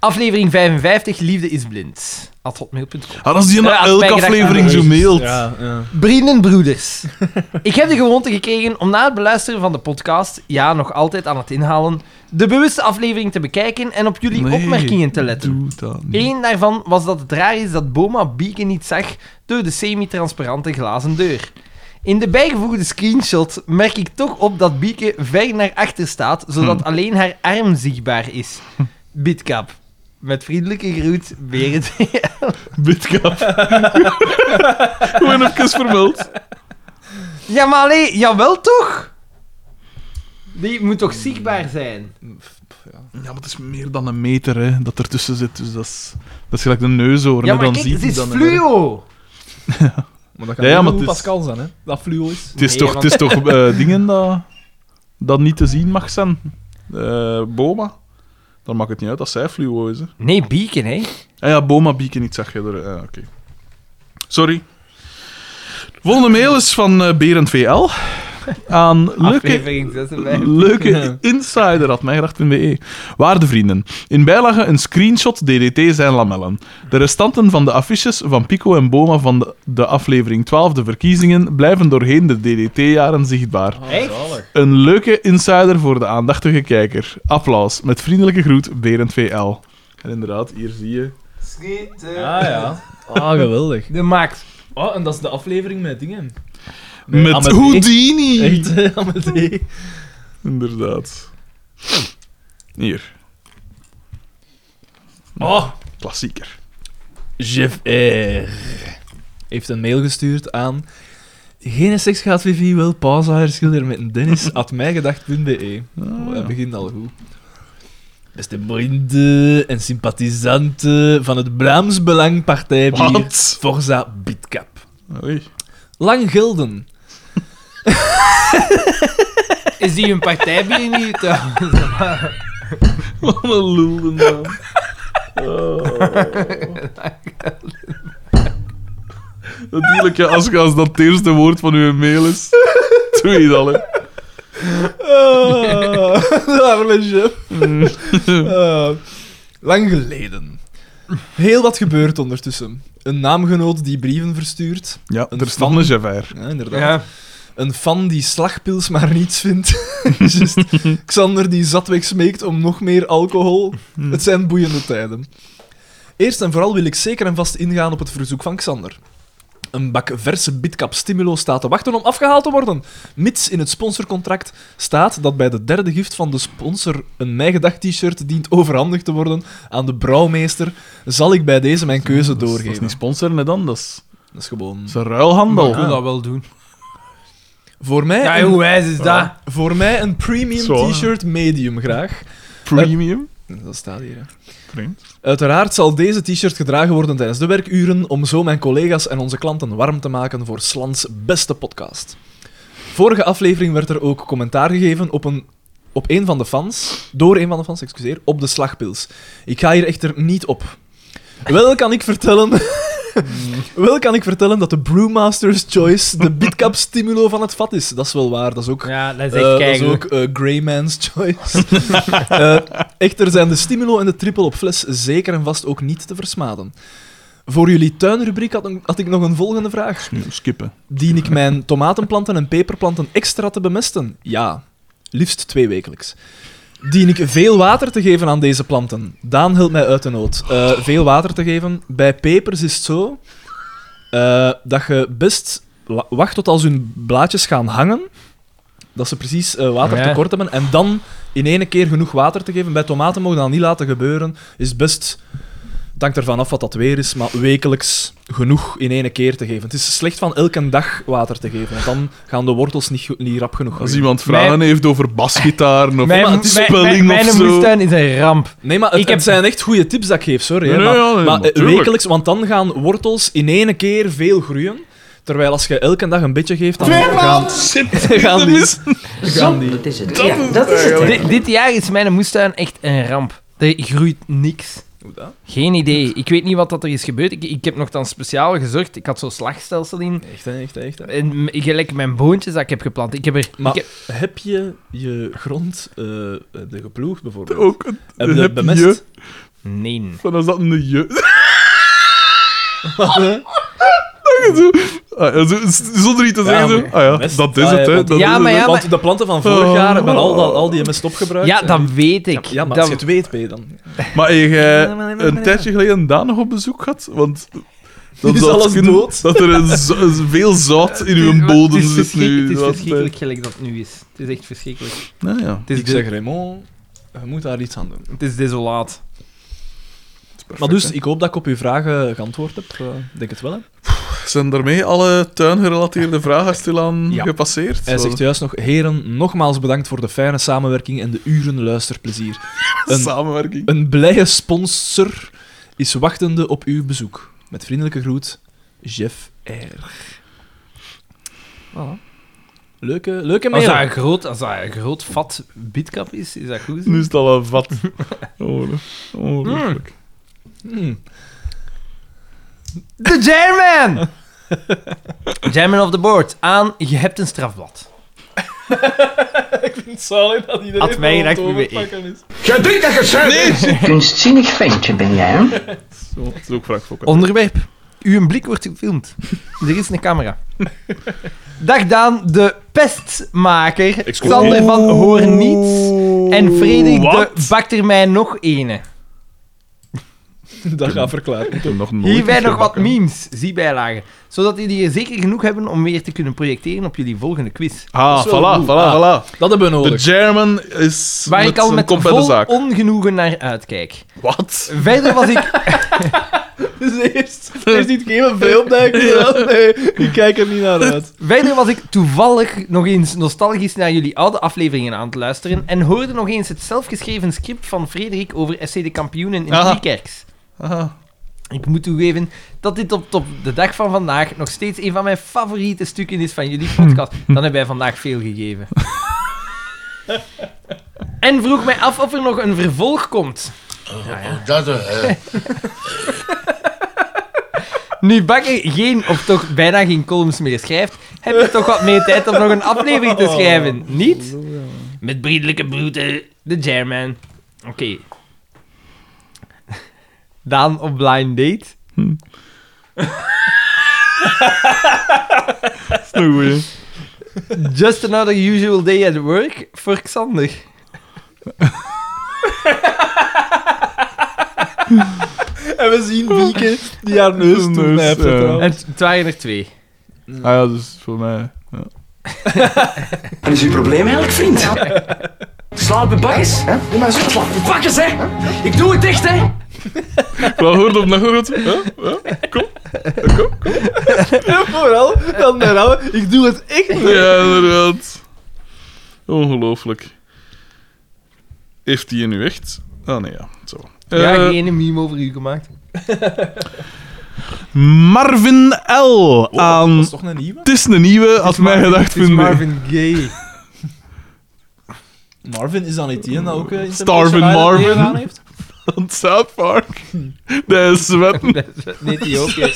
S1: aflevering 55, Liefde is blind. At hotmail.com.
S2: Ah, dat is
S1: Ja,
S2: die na
S1: het
S2: elke
S1: spijker dat
S2: aflevering
S1: je
S2: zo mailt.
S3: Ja, ja.
S1: Vriendenbroeders. Ik heb de gewoonte gekregen om na het beluisteren van de podcast, ja, nog altijd aan het inhalen, de bewuste aflevering te bekijken en op jullie
S2: Nee,
S1: opmerkingen te letten.
S2: Doe dat niet.
S1: Eén daarvan was dat het raar is dat Boma Bieke niet zag door de semi-transparante glazen deur. In de bijgevoegde screenshot merk ik toch op dat Bieke ver naar achter staat, zodat
S2: Hm.
S1: alleen haar arm zichtbaar is. Bidkap. Met vriendelijke groet, Berend.
S2: Bidkap. Gewoon even vermeld.
S1: ja, maar allee, jawel toch? Die moet toch zichtbaar zijn?
S2: Ja, maar het is meer dan een meter hè, dat ertussen zit. Dus dat is, dat is gelijk de neushoorn.
S1: ja,
S2: hè,
S1: maar
S2: dan
S1: kijk,
S2: ziet
S1: het
S2: hij
S1: is
S2: dan
S1: fluo.
S3: Maar dat kan
S2: Ja, ja,
S3: niet
S2: maar
S3: hoe
S2: het is-
S3: Pascal zijn, hè? Dat fluo is.
S2: Het is
S1: Nee,
S2: toch, het is toch eh, dingen dat, dat niet te zien mag zijn. Eh, Boma. Dan maakt het niet uit dat zij fluo is. Hè.
S1: Nee, Bieke, hè.
S2: Ah ja, Boma Bieken niet zag je er. eh, Oké. Sorry. De volgende mail is van eh, Berend VL.
S1: Ah,
S2: Aan Lukke
S1: Aflevering 56.
S2: Leuke insider had mijgracht.be. E. Waarde vrienden, in bijlage een screenshot DDT zijn lamellen. De restanten van de affiches van Pico en Boma van de, de aflevering 12, de verkiezingen, blijven doorheen de DDT-jaren zichtbaar. Een leuke insider voor de aandachtige kijker. Applaus. Met vriendelijke groet, Berend VL. En inderdaad, hier zie je...
S3: Ah ja. Ah, geweldig.
S1: De maakt.
S3: Oh, en dat is de aflevering met dingen.
S2: met
S3: Amadee.
S2: Houdini!
S3: Echt, hè, Amadee.
S2: Inderdaad. Hier,
S3: Oh, Ah,
S2: klassieker.
S3: Jeff R. heeft een mail gestuurd aan geen seks gaat Vivi wel pauze haar schilder met een Dennis at mijgedacht.be.
S1: Ah.
S3: Oh, dat begint al goed. Beste vrienden en sympathisanten van het Vlaams Belang Partijbier Forza Bitcap.
S2: Oei.
S3: Lang gelden.
S1: Is die een partijbier niet? eh?
S3: Wat een lullen, man.
S2: Natuurlijk, ja, als, als dat het eerste woord van uw mail is, doe je dat, hè.
S3: Oh, arme chef. Oh, lang geleden. Heel wat gebeurt ondertussen. Een naamgenoot die brieven verstuurt.
S2: Ja,
S3: Een
S2: er is nog een Javert.
S3: Ja, inderdaad. Een fan die slagpils maar niets vindt. Just. Xander die zatweg smeekt om nog meer alcohol.
S2: Hmm.
S3: Het zijn boeiende tijden. Eerst en vooral wil ik zeker en vast ingaan op het verzoek van Xander. Een bak verse Bitcap Stimulo staat te wachten om afgehaald te worden. Mits in het sponsorcontract staat dat bij de derde gift van de sponsor een Mijgedacht t-shirt dient overhandigd te worden aan de brouwmeester, zal ik bij deze mijn
S2: Dat
S3: keuze
S2: is- Dat is
S3: doorgeven.
S2: niet sponsoren, hè, dan. Dat is,
S3: Dat is gewoon...
S2: dat is een ruilhandel.
S1: Ik wil dat wel doen.
S3: Voor mij...
S1: Ja,
S3: een-
S1: hoe wijs is dat?
S3: Voor mij een premium
S2: Zo.
S3: t-shirt medium graag.
S2: Premium.
S3: Dat staat hier. hè.
S2: Vreemd.
S3: Uiteraard zal deze t-shirt gedragen worden tijdens de werkuren om zo mijn collega's en onze klanten warm te maken voor Slans beste podcast. Vorige aflevering werd er ook commentaar gegeven op een, op een van de fans, door een van de fans, excuseer, op de slagpils. Ik ga hier echter niet op. Wel kan ik vertellen... wel kan ik vertellen dat de Brewmaster's Choice de Bitcap Stimulo van het vat is. Dat is wel waar, dat is ook
S1: Ja, dat
S3: eh, dat is ook eh, Grey Man's Choice. Eh, echter zijn de Stimulo en de Triple op fles zeker en vast ook niet te versmaden. Voor jullie tuinrubriek had, een- had ik nog een volgende vraag.
S2: Nu, skippen.
S3: Dien ik mijn tomatenplanten en peperplanten extra te bemesten? Ja, liefst twee wekelijks. Dien ik veel water te geven aan deze planten? Daan helpt mij uit de nood. Eh, veel water te geven. Bij pepers is het zo eh, dat je best la- wacht tot als hun blaadjes gaan hangen. Dat ze precies eh, watertekort hebben. En dan in één keer genoeg water te geven. Bij tomaten mogen we dat niet laten gebeuren. Is best. Het hangt ervan af wat dat weer is, maar wekelijks genoeg in één keer te geven. Het is slecht van elke dag water te geven, want dan gaan de wortels niet, go- niet rap genoeg
S2: Als
S3: groeien.
S2: iemand vragen heeft over basgitaren of
S1: Mijn,
S2: spelling
S1: mijn, mijn,
S2: of
S1: mijn
S2: zo...
S1: moestuin is een ramp.
S3: Nee, maar het,
S1: Ik heb-
S3: het zijn echt goede tips dat ik geef, sorry. hè,
S2: Nee, nee,
S3: maar
S2: ja, nee,
S3: maar, eh,
S2: natuurlijk.
S3: wekelijks, want dan gaan wortels in één keer veel groeien. Terwijl als je elke dag een beetje geeft, dan gaan, gaan die... Gaan die
S10: is het.
S1: Di- dit jaar is mijn moestuin echt een ramp. Er groeit niks.
S3: Hoe dat?
S1: Geen idee. Ik weet niet wat dat er is gebeurd. Ik, ik heb nog dan speciaal gezorgd. Ik had zo'n slagstelsel in.
S3: Echt, hè, echt, hè, echt. hè.
S1: En m- gelijk mijn boontjes dat ik heb geplant. Ik heb er...
S3: Maar
S1: ik heb-
S3: heb je je grond eh, de geploegd, bijvoorbeeld?
S2: Ook een-
S3: heb je
S2: Oh, heb
S3: bemest?
S2: je-
S1: Nee.
S2: Van als dat een je... Dat je zo- ah, ja, zo- z- Zonder iets te
S3: Ja,
S2: zeggen, zo,
S3: maar-
S2: ah ja,
S3: mest.
S2: dat is
S3: Ah, ja,
S2: het, hè.
S3: want-
S2: dat
S1: Ja,
S2: is
S1: maar
S2: het,
S1: ja,
S3: Want de planten van vorig jaar hebben al, dat, al die mest opgebruikt.
S1: Ja,
S3: hè.
S1: dat weet ik.
S3: Ja, maar
S1: Dat-
S3: als je het weet, ben je dan...
S2: hè. Maar heb jij een tijdje geleden Daan nog op bezoek gehad? Want...
S3: Is
S2: zou het
S3: alles
S2: kunnen
S3: dood?
S2: Dat er een zo- veel zout in uw bodem
S1: het is,
S2: zit
S1: verschrik-
S2: nu.
S1: Het is
S2: de laatste
S1: verschrikkelijk gelijk dat het nu is. Het is echt verschrikkelijk.
S2: tijd. Nou ja.
S1: Het is,
S3: Ik
S1: de-
S3: zeg, Raymond, je moet daar iets aan doen.
S1: het is desolaat.
S3: Maar dus, ik hoop dat ik op uw vragen geantwoord heb. Eh, Ik denk het wel, hè?
S2: Zijn daarmee alle tuingerelateerde vragen stilaan
S3: Ja.
S2: gepasseerd?
S3: Hij
S2: Zo.
S3: zegt juist nog, heren, nogmaals bedankt voor de fijne samenwerking en de uren luisterplezier. Een,
S2: Samenwerking.
S3: een blije sponsor is wachtende op uw bezoek. Met vriendelijke groet, Jeff R. Voilà. Leuke, leuke
S1: Als
S3: mail.
S1: dat, een groot, als dat een groot vat bitkap is, is dat goed?
S2: Nu is het al een vat. Ongelooflijk.
S1: Hmm.
S2: Ongelooflijk.
S3: Hmm.
S1: De German! German of the board. Aan, je hebt een strafblad.
S3: Sorry dat iedereen
S1: Had mij
S3: van
S1: gedacht,
S3: het
S1: wie weet
S3: overpakken is.
S11: Jij denkt dat je het zei, hè?
S4: Kunstzinnig ventje ben jij, hè?
S2: Zo, dat is ook vraag voor elkaar.
S1: Onderwerp. Uw blik wordt gefilmd. Er is een camera. Dag Daan, de pestmaker.
S2: Excuseer.
S1: Xander van Hoor Niets. En Frederik, de
S2: Oh. Wat?
S1: bakt er mij nog ene.
S3: Dat gaat verklaren.
S2: Ik heb nog nooit
S1: Hierbij
S2: iets
S1: nog wat
S2: gebakken.
S1: memes, zie bijlagen. Zodat jullie er zeker genoeg hebben om weer te kunnen projecteren op jullie volgende quiz.
S2: Ah,
S3: Dat is wel
S2: voilà,
S3: goed.
S2: voilà, voilà.
S3: Dat hebben we
S2: De
S3: nodig.
S2: German is
S1: Ah. Waar ik al
S2: zijn
S1: met
S2: kop bij de
S1: vol
S2: zaak.
S1: ongenoegen naar uitkijk.
S2: Wat?
S1: Verder was ik...
S3: Dus eerst, eerst niet geven, veel opduiken. dan- Nee, ik kijk er niet naar uit.
S1: Verder was ik toevallig nog eens nostalgisch naar jullie oude afleveringen aan het luisteren en hoorde nog eens het zelfgeschreven script van Frederik over SC de Kampioenen in
S2: Aha.
S1: Driekerks.
S2: Ah.
S1: Ik moet toegeven dat dit op, op de dag van vandaag nog steeds een van mijn favoriete stukken is van jullie podcast. Dan hebben wij vandaag veel gegeven. en vroeg mij af of er nog een vervolg komt.
S12: Oh, dat, eh, eh,
S1: Nu Bakker geen, of toch bijna geen columns meer schrijft, heb je toch wat meer tijd om nog een aflevering te schrijven, niet? Met vriendelijke groeten, de chairman. Oké. Daan op blind date. Just another usual day at work voor Xander.
S3: En we zien Wieke die haar neus
S2: Neus,
S3: toeknijpt.
S2: ja.
S3: trouwens.
S1: En het waren er twee.
S2: Ah ja, dus voor mij. Ja.
S10: Wat is uw probleem eigenlijk, vriend? Slaap in bakjes? hè? Doe maar zo, slaap in bakjes, hè? Ik doe het echt, hè?
S2: Wel hoort op nog hoort. Ja, ja.
S3: Vooral, Oh, dan daarna, ik doe het echt niet.
S2: Ja, inderdaad. Ongelooflijk. Heeft hij nu echt? Ah, nee, ja. Zo.
S1: Ja,
S2: Eh,
S1: geen meme over u gemaakt.
S2: Marvin L. aan...
S3: Dat is toch een nieuwe?
S2: Het is een nieuwe, had mij gedacht.
S1: Oh, Het is
S2: vind ik.
S1: Marvin Gaye.
S3: Marvin is dan niet die dat ook eh, in
S2: Starvin
S3: Temptation Island
S2: Marvin.
S3: meegedaan heeft?
S2: Van South Park. Dat is zwetten.
S1: Nee, die ook. hè.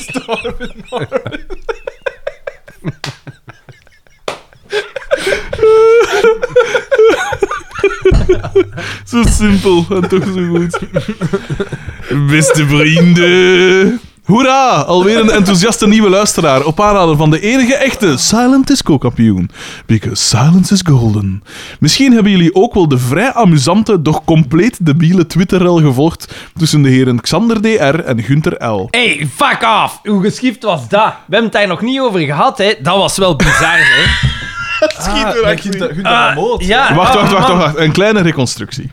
S2: Zo simpel en toch zo goed. Beste vrienden. Hoera! Alweer een enthousiaste nieuwe luisteraar op aanraden van de enige echte Silent Disco kampioen. Because silence is golden. Misschien hebben jullie ook wel de vrij amusante, doch compleet debiele Twitterrel gevolgd tussen de heren Xander DR en Gunther L.
S1: Hey, fuck off! Hoe geschift was dat? We hebben het daar nog niet over gehad, hè? Dat was wel bizar, hè?
S3: Ah, met Gunther- Gunther Lamoot.
S1: Ja,
S2: Wacht,
S1: oh,
S2: wacht, wacht,
S1: man.
S2: wacht, wacht. Een kleine reconstructie.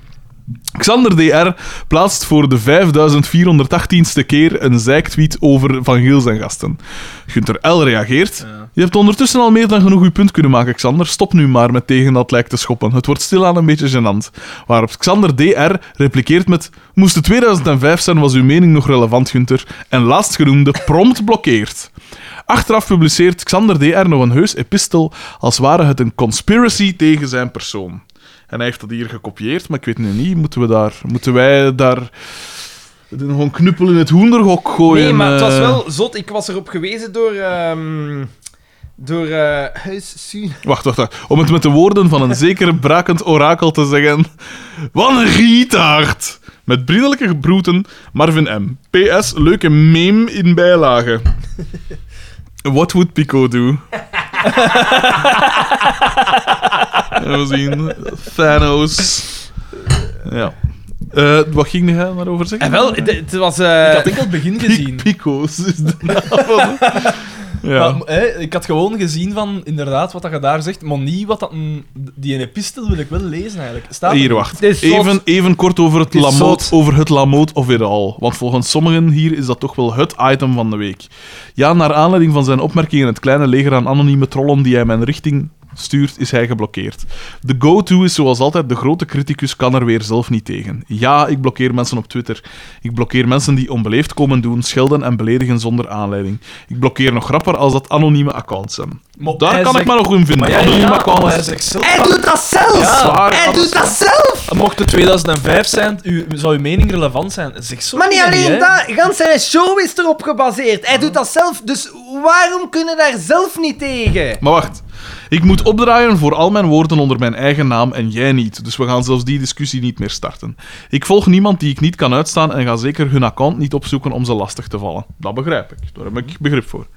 S2: Xander DR plaatst voor de 5418ste keer een zijktweet over Van Gils en gasten. Gunter L. reageert. Je hebt ondertussen al meer dan genoeg uw punt kunnen maken, Xander. Stop nu maar met tegen dat lijk te schoppen. Het wordt stilaan een beetje gênant. Waarop Xander DR replikeert met... Moest het 2005 zijn, was uw mening nog relevant, Gunter. En laatstgenoemde prompt blokkeert. Achteraf publiceert Xander DR nog een heus epistel als ware het een conspiracy tegen zijn persoon. En hij heeft dat hier gekopieerd, maar ik weet nu niet, moeten, we daar, moeten wij daar nog een knuppel in het hoenderhok gooien?
S1: Nee, maar het was
S2: eh?
S1: wel zot. Ik was erop gewezen door... ehm door eh Huis Suun.
S2: Wacht, wacht, wacht. Om het met de woorden van een zeker brakend orakel te zeggen. Wat een gietaard! Met vriendelijke gebroeten, Marvin M. PS, leuke meme in bijlage. What would Pico do? En we zien Thanos. Ja. Eh, wat ging hij daarover
S1: En
S2: zeggen?
S1: wel, het- het was... eh,
S3: Ik had enkel het begin gezien.
S2: Pico's is de naam van- Ja.
S3: Maar, hè, ik had gewoon gezien van inderdaad wat dat je daar zegt, maar niet wat dat een, die een epistel wil ik wel lezen eigenlijk. Staat er
S2: Hier,
S3: niet.
S2: wacht.
S1: Het is zot.
S2: Even, even kort over het,
S1: is
S2: lamoot,
S1: zot.
S2: over het lamoot of weer al. Want volgens sommigen hier is dat toch wel het item van de week. Ja, naar aanleiding van zijn opmerkingen het kleine leger aan anonieme trollen die hij mijn richting stuurt, is hij geblokkeerd. De go-to is zoals altijd, de grote criticus kan er weer zelf niet tegen. Ja, ik blokkeer mensen op Twitter. Ik blokkeer mensen die onbeleefd komen doen, schelden en beledigen zonder aanleiding. Ik blokkeer nog grapper als dat anonieme accounts zijn.
S3: Maar
S2: Daar
S3: hij
S2: kan ik
S3: zegt-
S2: me nog in vinden.
S3: Maar ja,
S2: anonieme
S3: ja, maar hij
S2: accounts.
S3: zegt zelf
S9: Hij doet dat zelf!
S2: Zwaar
S9: Hij doet dat zelf!
S3: Mocht het 2005 zijn, u, zou uw mening relevant zijn. Zeg zo
S1: Maar niet
S3: dingen
S1: alleen
S3: hè.
S1: dat, gans zijn show is erop gebaseerd. Hij doet dat zelf, dus waarom kunnen daar zelf niet tegen?
S2: Maar wacht. Ik moet opdraaien voor al mijn woorden onder mijn eigen naam en jij niet. Dus we gaan zelfs die discussie niet meer starten. Ik volg niemand die ik niet kan uitstaan en ga zeker hun account niet opzoeken om ze lastig te vallen. Dat begrijp ik. Daar heb ik begrip voor.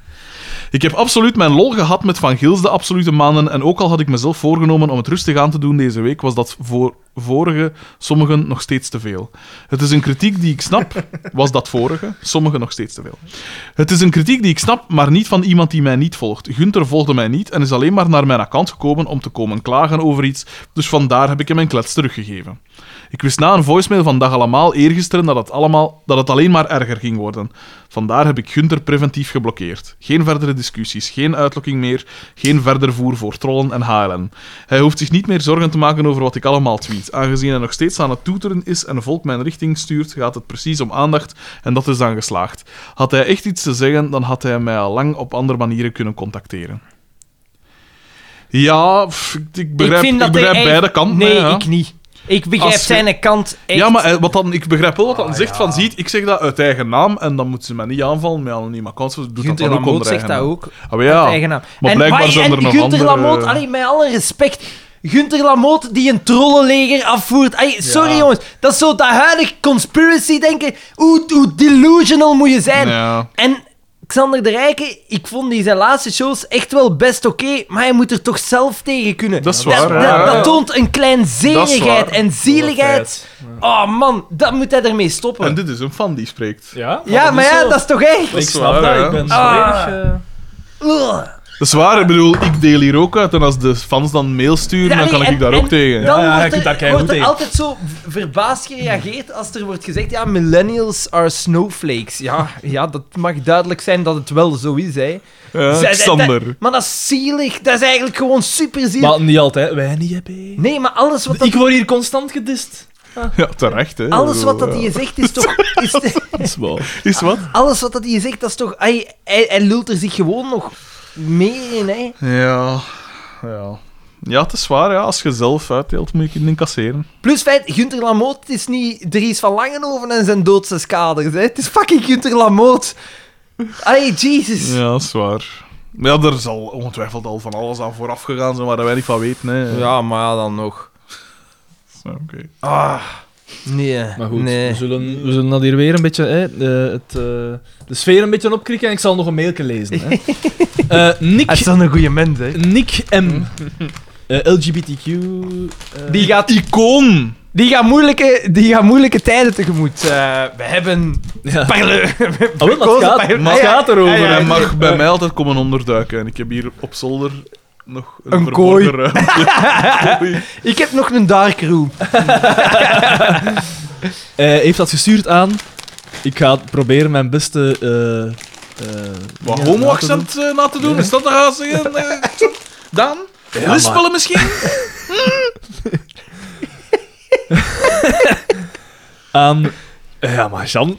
S2: Ik heb absoluut mijn lol gehad met Van Gils de absolute maanden. En ook al had ik mezelf voorgenomen om het rustig aan te doen deze week, was dat voor vorige sommigen nog steeds te veel. Het is een kritiek die ik snap, was dat vorige, sommigen nog steeds te veel. Het is een kritiek die ik snap, maar niet van iemand die mij niet volgt. Gunther volgde mij niet en is alleen maar naar mijn account gekomen om te komen klagen over iets, dus vandaar heb ik hem een klets teruggegeven. Ik wist na een voicemail van dag allemaal eergisteren dat het, allemaal, dat het alleen maar erger ging worden. Vandaar heb ik Gunter preventief geblokkeerd. Geen verdere discussies, geen uitlokking meer, geen verder voer voor trollen en HLN. Hij hoeft zich niet meer zorgen te maken over wat ik allemaal tweet. Aangezien hij nog steeds aan het toeteren is en volk mijn richting stuurt, gaat het precies om aandacht en dat is dan geslaagd. Had hij echt iets te zeggen, dan had hij mij al lang op andere manieren kunnen contacteren. Ja, pff, ik- ik begrijp, ik begrijp
S1: hij echt-
S2: beide kanten.
S1: Nee,
S2: hè, ja.
S1: ik niet. Ik begrijp
S2: Als we-
S1: zijn kant echt. Ah,
S2: Ja, maar eh, wat dan, ik begrijp wel wat dan zegt van ziet, ik zeg dat uit eigen naam en dan moeten ze mij niet aanvallen met anonieme accounts. want ze Doet dat
S1: Gunther
S2: dan ook
S1: Lamoot
S2: onder
S1: zegt
S2: eigen
S1: dat
S2: naam.
S1: ook.
S2: Ah, maar ja.
S1: Uit eigen naam.
S2: Maar
S1: en
S2: blijkbaar
S1: maar-
S2: zijn er
S1: en
S2: nog
S1: Gunther
S2: andere...
S1: Lamoot, allee, met alle respect. Gunther Lamoot die een trollenleger afvoert. Allee, sorry jongens, dat is zo dat huidig conspiracy denken. Hoe, hoe delusional moet je zijn.
S2: Ja.
S1: En Xander de Rijke, ik vond die zijn laatste shows echt wel best oké, maar hij moet er toch zelf tegen kunnen.
S2: Dat is
S1: Dat,
S2: waar, ja, ja.
S1: dat toont een
S2: Dat is waar.
S1: kleinzerigheid en zieligheid.
S3: feit.
S1: Oh man, dat moet hij ermee stoppen.
S2: En dit is een fan die spreekt.
S3: Ja?
S1: ja, maar ja, dat is toch echt...
S3: Ik
S2: is waar,
S3: snap dat,
S2: hè.
S3: ik ben
S1: Ah.
S3: volledig, eh,
S1: Ugh.
S2: Dat is waar, ik bedoel, ik deel hier ook uit en als de fans dan mail sturen,
S1: Ja,
S2: dan
S1: nee,
S2: kan
S1: en-
S2: ik daar
S1: en
S2: ook tegen.
S1: Dan
S3: Ja, ja, je kunt
S1: wordt
S3: daar
S1: er,
S3: keigoed
S1: wordt er
S3: tegen.
S1: altijd zo v- verbaasd gereageerd als er wordt gezegd: ja, millennials are snowflakes. Ja, ja, dat mag duidelijk zijn dat het wel zo is, hè.
S2: Ja,
S1: Zij-
S2: Xander.
S1: dat- maar dat is zielig. Dat is eigenlijk gewoon super zielig.
S3: Maar niet altijd. Wij niet, heb ik.
S1: nee, maar alles wat dat,
S3: Ik word hier constant gedist.
S2: Ja, terecht, hè.
S1: alles wat dat
S2: Ja.
S1: hier zegt is toch. Is,
S2: is waar. Is wat?
S1: alles wat dat hier zegt, dat is toch. Hij, hij, hij lult er zich gewoon nog meer in, hè.
S2: Ja, ja. Ja, het is waar, ja. Als je zelf uitdeelt, moet je het incasseren.
S1: Plus feit, Gunther Lamoot het is niet Dries van Langenhoven en zijn doodse kaders. Hè. Het is fucking Gunther Lamoot. Allee, Jesus.
S2: Ja, dat is waar. Maar Ja, er zal ongetwijfeld al van alles aan vooraf gegaan zijn waar wij niet van weten, hè.
S1: maar ja, dan nog.
S2: Ja, oké.
S1: Nee.
S3: Maar goed,
S1: nee.
S3: we, zullen, we zullen dat hier weer een beetje, hè, eh, het, eh, de sfeer een beetje opkrikken en ik zal nog een mailje lezen. Hè.
S1: Hij
S3: Eh,
S1: is
S3: Nick,
S1: wel een goede mens, hè.
S3: Nick M. Eh, LGBTQ. eh,
S1: Die gaat,
S2: Icoon!
S1: die, gaat moeilijke, die gaat moeilijke tijden tegemoet. Eh, we hebben...
S3: Ja.
S1: Parle...
S3: Oh, wel, maar het gaat-
S1: Parle-
S3: maar het gaat erover.
S2: Maar
S1: Ja,
S2: hij
S1: ja.
S2: mag bij mij altijd komen onderduiken. En ik heb hier op zolder nog een,
S1: Een kooi.
S2: verborgen ruimte. Kooi.
S1: Ik heb nog een dark room.
S3: eh, heeft dat gestuurd aan. Ik ga proberen mijn beste. eh, eh,
S2: Wat
S3: dingen na te
S2: homo-accent eh, na te doen? Is dat dan gaan zeggen? eh, Dan? Lispelen misschien?
S3: doen. Aan. eh, Ja, maar Jan.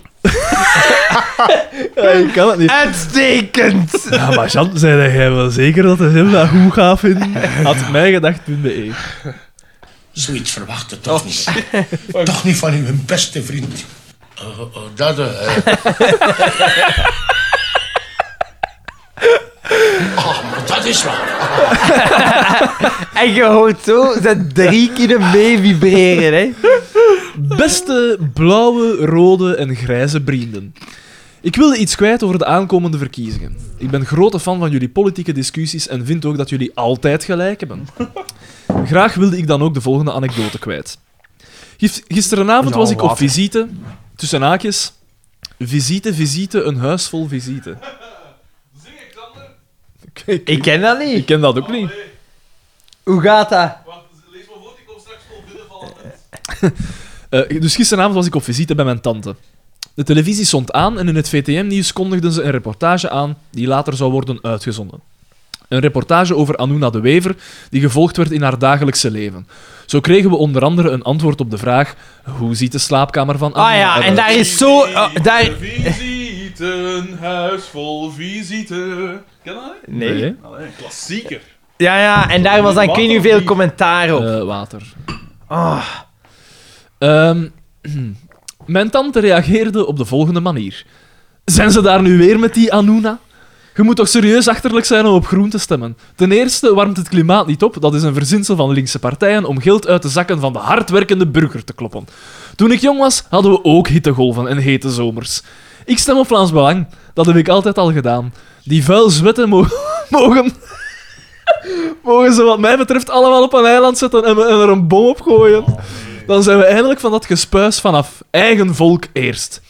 S3: ja, ik kan het niet.
S1: Uitstekend!
S3: Ja, maar Jan, zei jij wel zeker dat het hem dat goed gaat vinden? Had mij gedacht.be.
S12: Zoiets verwachten toch niet. toch niet van uw beste vriend. Oh, oh, dat eh. oh, maar dat is waar.
S1: En je hoort zo zijn drie kinderen mee vibreren, hè.
S3: Beste blauwe, rode en grijze vrienden. Ik wilde iets kwijt over de aankomende verkiezingen. Ik ben grote fan van jullie politieke discussies en vind ook dat jullie altijd gelijk hebben. Graag wilde ik dan ook de volgende anekdote kwijt. Gis- Gisterenavond was ik op visite, tussen haakjes. Visite, visite, een huis vol visite. Kijk,
S1: Ik ken dat
S3: ik
S1: niet.
S3: ken dat ook niet.
S1: Hoe gaat dat?
S3: Eh, dus gisteravond was ik op visite bij mijn tante. De televisie stond aan en in het VTM-nieuws kondigden ze een reportage aan die later zou worden uitgezonden. Een reportage over Anuna de Wever, die gevolgd werd in haar dagelijkse leven. Zo kregen we onder andere een antwoord op de vraag: hoe ziet de slaapkamer van Anuna
S1: Ah ja, en
S3: eruit?
S1: daar is zo... ah, daar...
S2: Visite, een huis vol visite. Ken dat?
S1: Nee.
S2: Allee, een klassieker.
S1: Ja, ja, en daar was dan ik weet niet veel commentaar op.
S3: Eh, water. Ah. Ehm, mijn tante reageerde op de volgende manier. Zijn ze daar nu weer met die Anuna? Je moet toch serieus achterlijk zijn om op groen te stemmen. Ten eerste warmt het klimaat niet op. Dat is een verzinsel van linkse partijen om geld uit de zakken van de hardwerkende burger te kloppen. Toen ik jong was, hadden we ook hittegolven en hete zomers. Ik stem op Vlaams Belang. Dat heb ik altijd al gedaan. Die vuil zwetten mo- mogen mogen ze wat mij betreft allemaal op een eiland zetten en, en er een bom op gooien. Dan zijn we eindelijk van dat gespuis vanaf. Eigen volk eerst.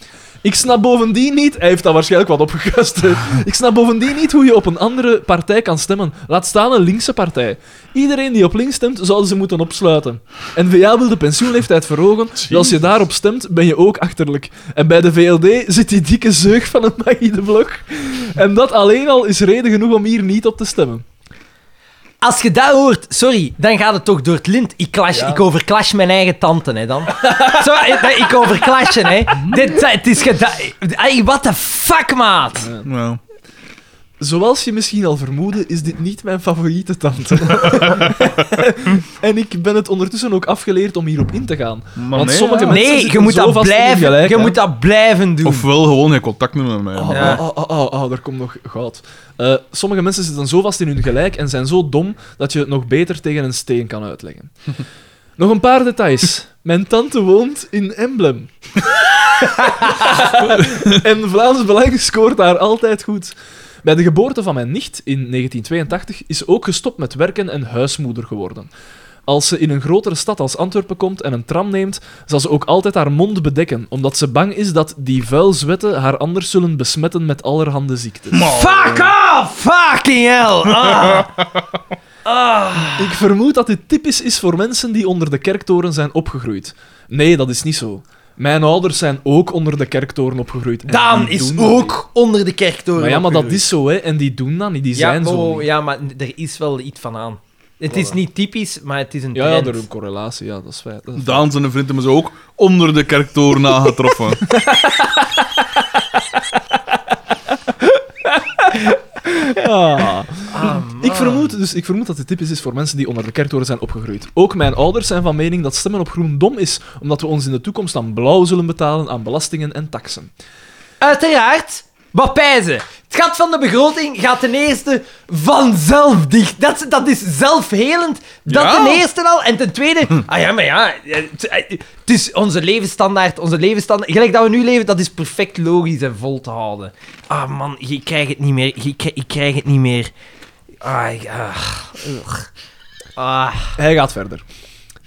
S3: Ik snap bovendien niet... Hij heeft dat waarschijnlijk wat opgekust. hè. Ik snap bovendien niet hoe je op een andere partij kan stemmen. Laat staan een linkse partij. Iedereen die op links stemt, zouden ze moeten opsluiten. N-VA wil de pensioenleeftijd verhogen. Dus als je daarop stemt, ben je ook achterlijk. En bij de VLD zit die dikke zeug van een Maggie de Blok. En dat alleen al is reden genoeg om hier niet op te stemmen.
S1: Als je dat hoort, sorry, dan gaat het toch door het lint. Ik, clash, ik overclash mijn eigen tante, hè, dan. Zo, eh, dat- ik overclash, hè. Dit, eh, het is gedaan. Ey, what the fuck, maat?
S2: Nou,
S3: Zoals je misschien al vermoedde, is dit niet mijn favoriete tante. en ik ben het ondertussen ook afgeleerd om hierop in te gaan. Want
S2: nee,
S3: sommige
S2: ja.
S3: mensen
S1: Nee, je
S3: zitten
S1: moet
S3: zo
S1: dat
S3: vast in hun
S1: blijven,
S3: gelijk,
S1: je
S3: hè.
S1: moet dat blijven doen.
S2: Ofwel gewoon geen contact meer met mij.
S3: Oh,
S1: Ja.
S3: oh, oh, oh, oh, daar komt nog goud. Eh, sommige mensen zitten zo vast in hun gelijk en zijn zo dom dat je het nog beter tegen een steen kan uitleggen. nog een paar details. Mijn tante woont in Emblem. en Vlaams Belang scoort daar altijd goed. Bij de geboorte van mijn nicht in 1982 is ook gestopt met werken en huismoeder geworden. Als ze in een grotere stad als Antwerpen komt en een tram neemt, zal ze ook altijd haar mond bedekken, omdat ze bang is dat die vuil zwetten haar anders zullen besmetten met allerhande ziektes.
S1: Fuck off! Fucking hell! Ah.
S3: Ik vermoed dat dit typisch is voor mensen die onder de kerktoren zijn opgegroeid. Nee, dat is niet zo. Mijn ouders zijn ook onder de kerktoren opgegroeid. En
S1: Daan
S3: die
S1: is
S3: doen dat niet.
S1: ook onder de kerktoren.
S3: Maar ja, maar dat
S1: opgegroeid.
S3: is zo, hè. En die doen dat niet, die
S1: Ja,
S3: zijn zo
S1: wow,
S3: niet.
S1: ja, maar er is wel iets van aan. Het is niet typisch, maar het is een
S3: Ja, ja,
S1: trend.
S3: er is een correlatie, ja, dat is feit. Dat is
S2: Daan zijn vriend hebben ze ook onder de kerktoren aangetroffen.
S3: Ik vermoed, dus ik vermoed dat het typisch is voor mensen die onder de kerktoren zijn opgegroeid. Ook mijn ouders zijn van mening dat stemmen op groen dom is, omdat we ons in de toekomst aan blauw zullen betalen aan belastingen en taksen.
S1: Uiteraard, wat pijzen. Het gat van de begroting gaat ten eerste vanzelf dicht. Dat, is- dat is zelfhelend. Dat
S2: Ja.
S1: ten eerste al. En ten tweede, ah ja, maar ja, het, eh, het is onze levensstandaard. Onze levensstandaard, gelijk dat we nu leven, dat is perfect logisch en vol te houden. Ah man, ik krijg het niet meer. Ik, krijg- ik krijg het niet meer. Ah, ja. Ugh. Ah.
S3: Hij gaat verder.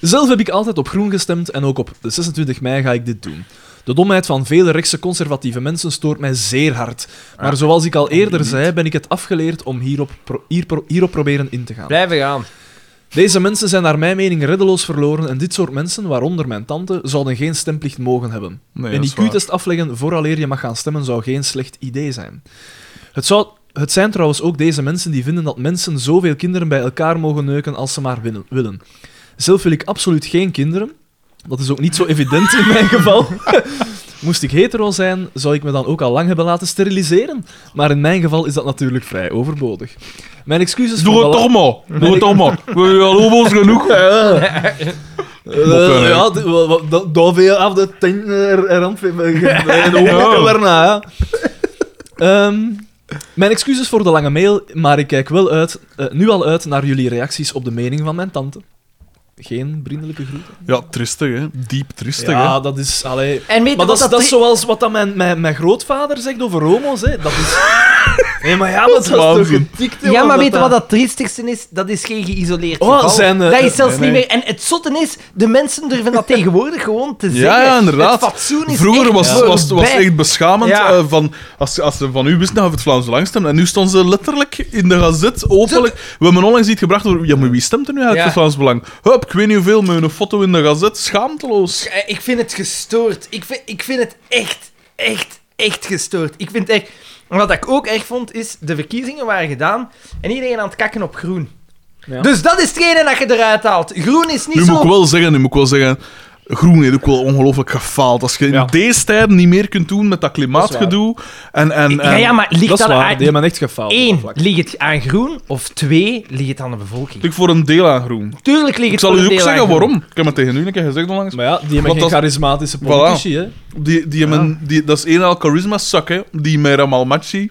S3: Zelf heb ik altijd op groen gestemd en ook op de 26 mei ga ik dit doen. De domheid van vele rechtse conservatieve mensen stoort mij zeer hard. Maar zoals ik al eerder zei, ben ik het afgeleerd om hierop, pro- hier pro- hierop proberen in te gaan.
S1: Blijven gaan.
S3: Deze mensen zijn naar mijn mening reddeloos verloren en dit soort mensen, waaronder mijn tante, zouden geen stemplicht mogen hebben.
S2: Nee, dat
S3: een
S2: is waar.
S3: IQ-test afleggen vooraleer je mag gaan stemmen zou geen slecht idee zijn. Het, zou, het zijn trouwens ook deze mensen die vinden dat mensen zoveel kinderen bij elkaar mogen neuken als ze maar willen- willen. Zelf wil ik absoluut geen kinderen. Dat is ook niet zo evident in mijn geval. Moest ik hetero zijn, zou ik me dan ook al lang hebben laten steriliseren. Maar in mijn geval is dat natuurlijk vrij overbodig. Mijn excuses
S2: Doe
S3: voor
S2: het
S3: de la-
S2: toch maar. Doe het toch maar. We hebben al homo's genoeg.
S3: Eh, ja, d- wa- wa- da- daar wil je af de eh, tent rand en ook daarna. ja. Ehm, mijn excuses voor de lange mail, maar ik kijk wel uit, eh, nu al uit naar jullie reacties op de mening van mijn tante. Geen vriendelijke groeten.
S2: Ja, tristig, hè. Diep tristig,
S3: Ja, dat is... Allee.
S1: En weet je
S3: Maar
S1: wat
S3: dat is,
S1: dat
S3: dat is
S1: tri-
S3: zoals wat dat mijn, mijn, mijn grootvader zegt over homo's. Hè. Dat is... Nee, maar ja, maar dat is toch
S2: waanzin.
S3: gedikt,
S1: Ja,
S3: jongen,
S1: maar weet je wat dat triestigste is? Dat is geen geïsoleerd
S3: Oh,
S1: geval.
S3: zijn, eh,
S1: dat is zelfs
S3: nee,
S1: niet meer... En het zotte is, de mensen durven dat tegenwoordig gewoon te
S2: hè.
S1: zeggen.
S2: Ja, ja,
S1: Het
S2: inderdaad.
S1: fatsoen is
S2: Vroeger
S1: echt
S2: was het was, was
S1: voorbij.
S2: echt beschamend.
S1: Ja.
S2: eh, van, als, als ze van u wisten, dan het Vlaams Belang stemmen. En nu stonden ze letterlijk in de gazet, openlijk. We hebben onlangs iets gebracht over... Ja, maar wie stemt er nu
S1: Ja.
S2: eigenlijk voor Vlaams Belang? Hup, ik weet niet hoeveel, met een foto in de gazet. Schaamteloos.
S1: Eh, Ik vind het gestoord. Ik vind, ik vind het echt, echt, echt gestoord. Ik vind het echt... Wat ik ook erg vond, is de verkiezingen waren gedaan en iedereen aan het kakken op groen.
S3: Ja.
S1: Dus dat is hetgene dat je eruit haalt. Groen is niet
S2: Nu
S1: zo...
S2: moet ik wel zeggen, nu moet ik wel zeggen... Groen heeft ook wel ongelooflijk gefaald. Als je
S3: Ja.
S2: in deze tijden niet meer kunt doen met dat
S3: waar.
S2: klimaatgedoe... En, en, en,
S1: Ja, ja, maar ligt
S3: Dat is
S1: dat
S3: waar,
S1: aan... Ah,
S3: die hebben echt gefaald. op dat
S1: Eén,
S3: vlak.
S1: ligt het aan groen? Of twee, ligt het aan de bevolking?
S2: Ik voor een deel aan groen.
S1: Tuurlijk ligt
S2: Ik
S1: het
S2: zal
S1: voor
S2: u
S1: een
S2: ook
S1: deel aan
S2: zeggen
S1: groen.
S2: waarom. Ik heb het tegen u een keer gezegd onlangs.
S3: Maar ja, die hebben
S2: Want
S3: geen
S2: dat-
S3: charismatische politici, hè.
S2: Die, die hebben, die, dat is één al charisma zak, hè. Die met Ramal Machi.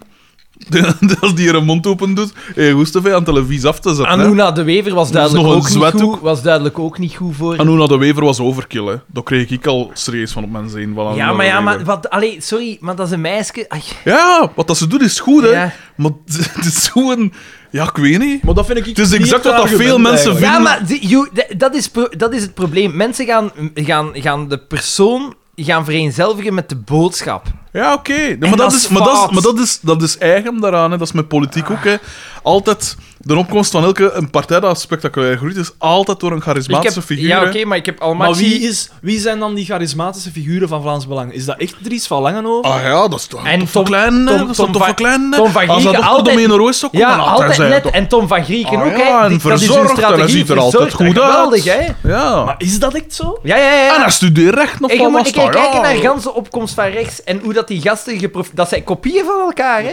S2: die- Als die haar mond open doet, eh, goed te veel aan televisie af te zetten. hè.
S1: Anuna de Wever was duidelijk,
S2: nog een
S1: ook niet,
S2: zwetdoek.
S1: goed, was duidelijk ook niet goed voor.
S2: Anuna nou de Wever was overkill, hè. Daar kreeg ik al serieus van op mijn zin. Van Anuna
S1: ja, maar
S2: de
S1: ja, maar
S2: Wever.
S1: wat, allee, sorry, maar dat is een meisje. Ai,
S2: Ja, wat dat ze doet is goed, hè.
S1: Ja.
S2: Maar het is zo'n... Ja, ik weet niet.
S3: Maar dat vind ik...
S2: Het is exact wat dat veel mensen vinden.
S1: ja, maar die- you- d- dat, is pro- dat is het probleem. Mensen gaan, gaan, gaan de persoon gaan vereenzelvigen met de boodschap.
S2: Ja, oké. Nee, Maar, dat
S9: dat
S2: is,
S9: is
S2: maar, dat is,
S9: fout.
S2: maar dat is dat is eigen daaraan, hè. dat is met politiek ook. Hè. Altijd de opkomst van elke een partij dat spectaculair groeit, is altijd door een charismatische figuur.
S1: ja,
S2: hè.
S1: oké, maar ik heb allemaal...
S3: Maar wie, is, wie zijn dan die charismatische figuren van Vlaams Belang? Is dat echt Dries van Langenhoven?
S2: Ah ja, dat is toch
S1: En
S2: Tom
S1: Tom-
S2: van Klein,
S1: Tom-
S2: hè. dat is
S1: Tom
S2: toch Tom
S1: van-
S2: van Klein. hè.
S1: Tom van
S2: Als dat
S1: Grieken, altijd-
S2: ook altijd... Domino Roos zou komen,
S1: Ja,
S2: dan had hij
S1: altijd
S2: zijn
S1: net.
S2: toch-
S1: En Tom van Grieken
S2: Ah
S1: ook, hè.
S2: ja, en
S1: Die- dat is hun
S2: verzorgd, en hij
S1: strategie.
S2: ziet er altijd
S1: verzorgd en
S2: goed uit.
S1: Geweldig, hè.
S2: Ja.
S3: Is dat echt zo?
S1: Ja, ja, ja.
S2: En hij studeert recht nog
S1: Ik
S2: van
S1: moet
S2: was
S1: ik
S2: dat, Oh.
S1: kijk kijken
S2: ja.
S1: naar ganse opkomst van rechts en hoe dat die gasten geprof... Dat zijn kopieën van elkaar, hè?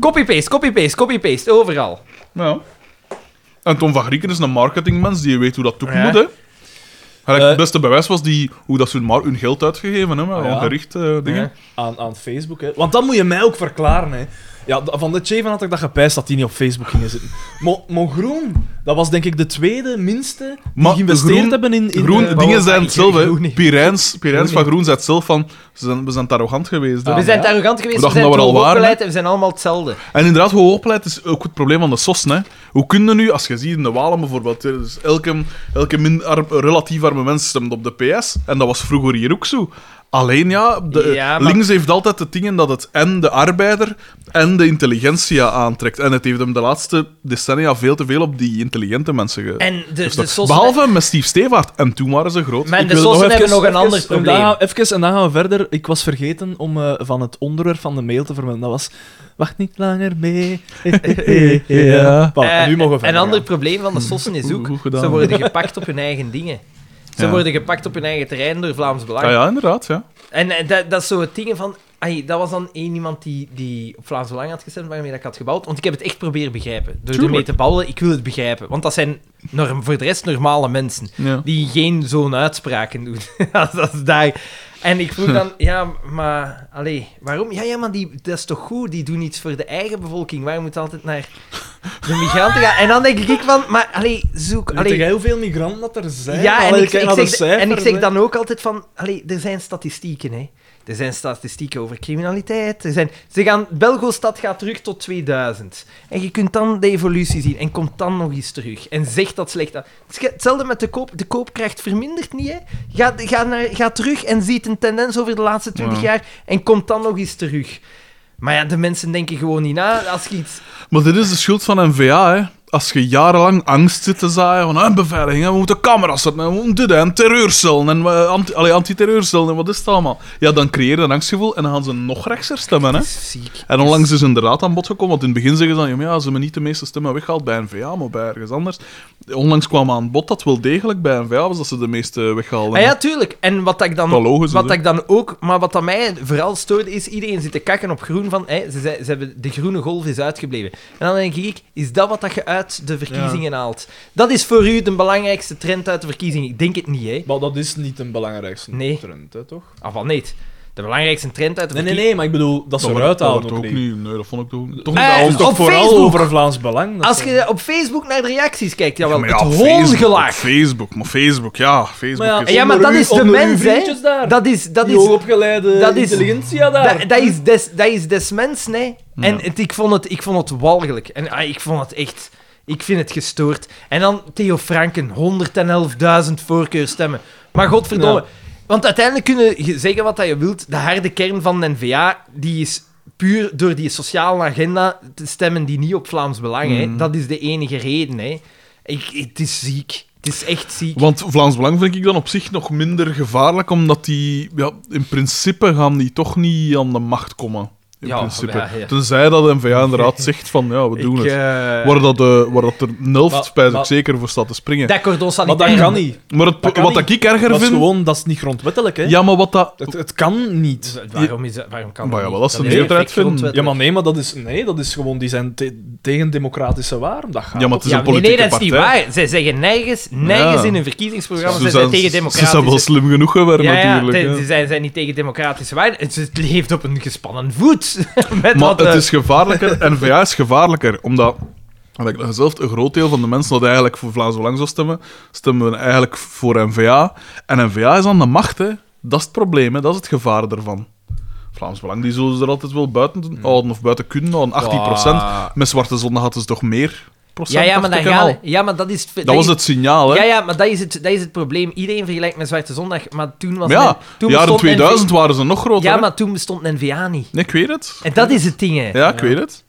S1: Copy-paste, copy-paste, copy-paste, overal.
S2: Ja. En Tom van Grieken is een marketingmens die weet hoe dat toe moet, hè. Gelijk,
S3: Eh.
S2: het beste bewijs was die, hoe dat ze hun, mar- hun geld uitgegeven hebben,
S3: Ah, ja.
S2: aan gericht eh, dingen.
S3: Aan, aan Facebook, hè. Want dat moet je mij ook verklaren, hè. Ja, d- van de Cheven had ik dat gepijst dat die niet op Facebook gingen zitten. Mo, Mo Groen, dat was denk ik de tweede minste die
S2: Maar
S3: geïnvesteerd
S2: Groen-
S3: hebben in... in
S2: Groen,
S3: eh,
S2: dingen zijn
S1: Groen
S2: hetzelfde. hè.
S1: niet.
S2: Pirijns, Pirijns van Groen zei het zelf van, ze zijn, we zijn te arrogant geweest. hè.
S3: Ah.
S1: We zijn te arrogant geweest, we
S2: dachten
S1: zijn
S2: dat we er
S1: te
S2: al waren,
S1: opgeleid en we zijn allemaal hetzelfde.
S2: En inderdaad, hoe opleid is ook het probleem van de sossen. Hè. Hoe kun je nu, als je ziet in de Walen bijvoorbeeld, hè, dus elke, elke min, arm- relatief arme mens stemt op de PS, en dat was vroeger hier ook zo. Alleen ja, de,
S1: Ja, maar-
S2: links heeft altijd de dingen dat het en de arbeider en de intelligentsia aantrekt. En het heeft hem de laatste decennia veel te veel op die intelligente mensen ge...
S1: En de, de
S2: gestopt.
S1: sossen...
S2: Dus Behalve met Steve Stevaart. En toen waren ze groot.
S1: Maar
S3: Ik
S1: de
S3: wil
S1: sossen hebben
S3: even-
S1: nog een
S3: even-
S1: ander
S3: en dan
S1: probleem.
S3: gaan- Even, en dan gaan we verder. Ik was vergeten om eh, van het onderwerp van de mail te vermelden. Dat was... Wacht niet langer mee. ja. Voilà,
S1: Eh,
S3: en nu mogen we verder
S1: Een ander
S3: gaan.
S1: probleem van de sossen is ook,
S2: Goed gedaan.
S1: ze worden gepakt op hun eigen dingen. Ze
S2: Ja.
S1: worden gepakt op hun eigen terrein door Vlaams Belang.
S2: Ah ja, inderdaad, ja.
S1: En eh, dat, dat is zo het ding van... ai, dat was dan één iemand die, die op Vlaams Belang had gestemd, waarmee dat ik had gebouwd. Want ik heb het echt proberen begrijpen. Door ermee te bouwen, ik wil het begrijpen. Want dat zijn norm, voor de rest normale mensen.
S2: Ja.
S1: Die geen zo'n uitspraken doen. Als dat is daar. En ik vroeg dan, ja, maar... Allee, waarom? Ja, ja, maar die, dat is toch goed? Die doen iets voor de eigen bevolking. Waarom moet het altijd naar de migranten gaan? En dan denk ik van, maar allee, zoek...
S3: Weet
S1: Allee,
S3: jij hoeveel migranten dat er zijn?
S1: ja, en
S3: Allee,
S1: ik,
S3: kijk
S1: ik
S3: naar de
S1: zeg, en ik
S3: cijfers,
S1: zeg
S3: hè.
S1: dan ook altijd van... Allee, er zijn statistieken, hè. Er zijn statistieken over criminaliteit. Er zijn, ze gaan, Belgostad gaat terug tot 2000. En je kunt dan de evolutie zien. En komt dan nog eens terug. En zegt dat slecht aan. Het is ge- Hetzelfde met de koop. De koopkracht vermindert niet, hè. Ga, ga, naar, ga terug en ziet een tendens over de laatste 20 jaar. En komt dan nog eens terug. Maar ja, de mensen denken gewoon niet na als je iets...
S2: Maar dit is de schuld van NVA, hè. Als je jarenlang angst zit te zaaien van ah, beveiliging, hè, we moeten camera's zetten, hè, we moeten dit hè, en terreurcellen en eh, anti, allee, antiterreurcellen en wat is het allemaal? Ja, dan creëer je een angstgevoel en dan gaan ze nog rechtser stemmen, hè.
S1: Ziek.
S2: En onlangs is inderdaad aan bod gekomen, want in het begin zeggen ze dan, ja, maar ja, ze hebben niet de meeste stemmen weggehaald bij NVA, maar bij ergens anders. Onlangs kwam aan bod dat wel degelijk bij NVA was dat ze de meeste weghaalden.
S1: Ah ja, tuurlijk. En wat dat ik dan,
S2: Dat logisch is,
S1: wat
S2: hè.
S1: dat ik dan ook, maar wat dat mij vooral stoorde, is iedereen zit te kakken op groen van, hè, ze, zei- ze hebben de groene golf is uitgebleven. En dan denk ik, is dat wat dat je uit de verkiezingen haalt? Dat is voor u de belangrijkste trend uit de verkiezingen. Ik denk het niet, hè?
S3: Maar dat is niet een belangrijkste
S1: Nee.
S3: trend, hè, toch?
S1: Ah, van nee. De belangrijkste trend uit de
S3: Nee, nee,
S1: verkiezingen.
S3: nee, maar ik bedoel, dat ze
S2: Dat wordt-
S3: eruit
S2: dat
S3: halen
S2: wordt
S3: ook
S2: ook
S3: niet.
S2: niet. Nee, dat vond ik toch, toch
S1: Eh,
S2: niet.
S3: Dat is toch
S1: op
S3: vooral
S1: Facebook.
S3: over Vlaams Belang? dat
S1: Als
S3: ze-
S1: je op Facebook naar de reacties kijkt, jawel,
S2: Maar
S1: het
S2: op Facebook, op
S1: hoongelaag.
S2: Facebook, maar Facebook, ja, Facebook
S3: Maar ja,
S2: is...
S1: En Ja, maar
S3: Onder
S1: dat
S3: uw-
S1: is de
S3: onder uw
S1: mens, hè?
S3: vriendjes daar.
S1: Dat is, dat
S3: die
S1: is
S3: hoogopgeleide
S1: dat is-
S3: intelligentsia daar.
S1: Dat, dat is des, dat is des mens, nee. En het, ik, vond het, ik vond het walgelijk. En ah, ik vond het echt... Ik vind het gestoord. En dan Theo Franken, 111.000 voorkeurstemmen. Maar godverdomme.
S3: Ja.
S1: Want uiteindelijk kun je zeggen wat dat je wilt. De harde kern van de N-VA, die is puur door die sociale agenda te stemmen die niet op Vlaams Belang.
S2: Mm.
S1: Hè. Dat is de enige reden. Hè. Ik, het is ziek. Het is echt ziek.
S2: Want Vlaams Belang vind ik dan op zich nog minder gevaarlijk, omdat die... Ja, in principe gaan die toch niet aan de macht komen. In
S1: Ja,
S2: principe.
S1: ja, ja.
S2: Tenzij dat de NVA inderdaad zegt van, ja, we doen
S1: Ik,
S2: het.
S1: eh,
S2: Waar dat, de, waar dat er
S3: Maar-
S2: Nelft, spijs
S3: maar-
S2: ik zeker, voor staat te springen.
S1: dat cordon
S3: maar
S1: sanitaire.
S3: dat kan niet.
S2: maar het,
S3: dat kan
S2: wat
S3: niet.
S2: dat ik erger
S3: Dat is
S2: vind...
S3: gewoon, dat is niet grondwettelijk, hè?
S2: Ja, maar wat dat...
S3: Het, het kan niet.
S1: Waarom, is, dat- waarom kan dat
S2: Maar ja,
S1: niet?
S2: wel, als ze
S1: Dat
S2: een
S1: is
S2: meerderheid
S1: perfect
S2: vinden.
S3: Ja,
S1: grondwettelijk.
S3: maar nee, maar dat is, nee, dat is gewoon, die zijn te- tegen democratische waarden. Dat gaat
S2: Ja, maar het
S3: toch
S2: is een
S1: Ja, nee,
S2: politieke
S1: nee, dat is niet
S2: partij.
S1: waar. Zij zeggen nergens, nergens
S2: Ja.
S1: in hun verkiezingsprogramma,
S2: Ze
S1: ze zijn tegen democratische...
S2: Ze zijn wel slim genoeg geworden,
S1: ja, ja,
S2: natuurlijk.
S1: te-
S2: ja.
S1: ze zijn, zijn niet tegen democratische waarden. Ze leeft op een gespannen voet. Met
S2: Maar
S1: wat,
S2: het
S1: eh,
S2: is gevaarlijker. N-VA is gevaarlijker, omdat... Like, zelf een groot deel van de mensen dat eigenlijk voor Vlaams Belang zou stemmen, stemmen eigenlijk voor N-VA. En N-VA is aan de macht, hè. Dat is het probleem, hè. Dat is het gevaar ervan. Vlaams Belang, die zullen ze er altijd wel buiten houden of buiten kunnen houden. 18 Met Zwarte Zondag hadden ze toch meer?
S1: Ja, ja, maar,
S2: dacht
S1: dan
S2: ik al.
S1: gaat, ja, maar dat is...
S2: Dat was het signaal, hè?
S1: Ja, ja, maar dat is, het, dat is het probleem. Iedereen vergelijkt met Zwarte Zondag, maar toen was...
S2: Maar ja,
S1: men- toen
S2: jaren
S1: bestond
S2: 2000
S1: NV
S2: waren ze nog groter.
S1: Ja,
S2: hè?
S1: maar toen bestond NVA niet.
S2: Nee, ik weet het.
S1: En dat is het ding, hè.
S2: Ja, ik weet het.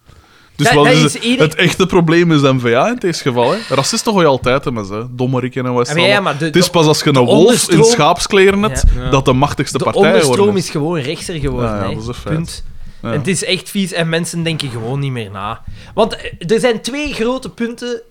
S2: Dus
S1: Dat-
S2: wat
S1: dat
S2: is
S1: is
S2: het,
S1: ieder-
S2: het echte probleem is NVA in deze geval. Hè? Racisten gooi je altijd hè, met ze. Dommerikken en wat
S1: Ja, Ah, maar ja, maar de-
S2: Het is
S1: de-
S2: pas als je een wolf in
S1: onderstroom-
S2: schaapskleren hebt, dat de machtigste
S1: De
S2: partij
S1: onderstroom
S2: wordt.
S1: is gewoon rechter geworden.
S2: Ja, ja,
S1: hè.
S2: dat is een feit.
S1: Punt.
S2: Ja.
S1: En het is echt vies en mensen denken gewoon niet meer na. Want eh, er zijn twee grote punten,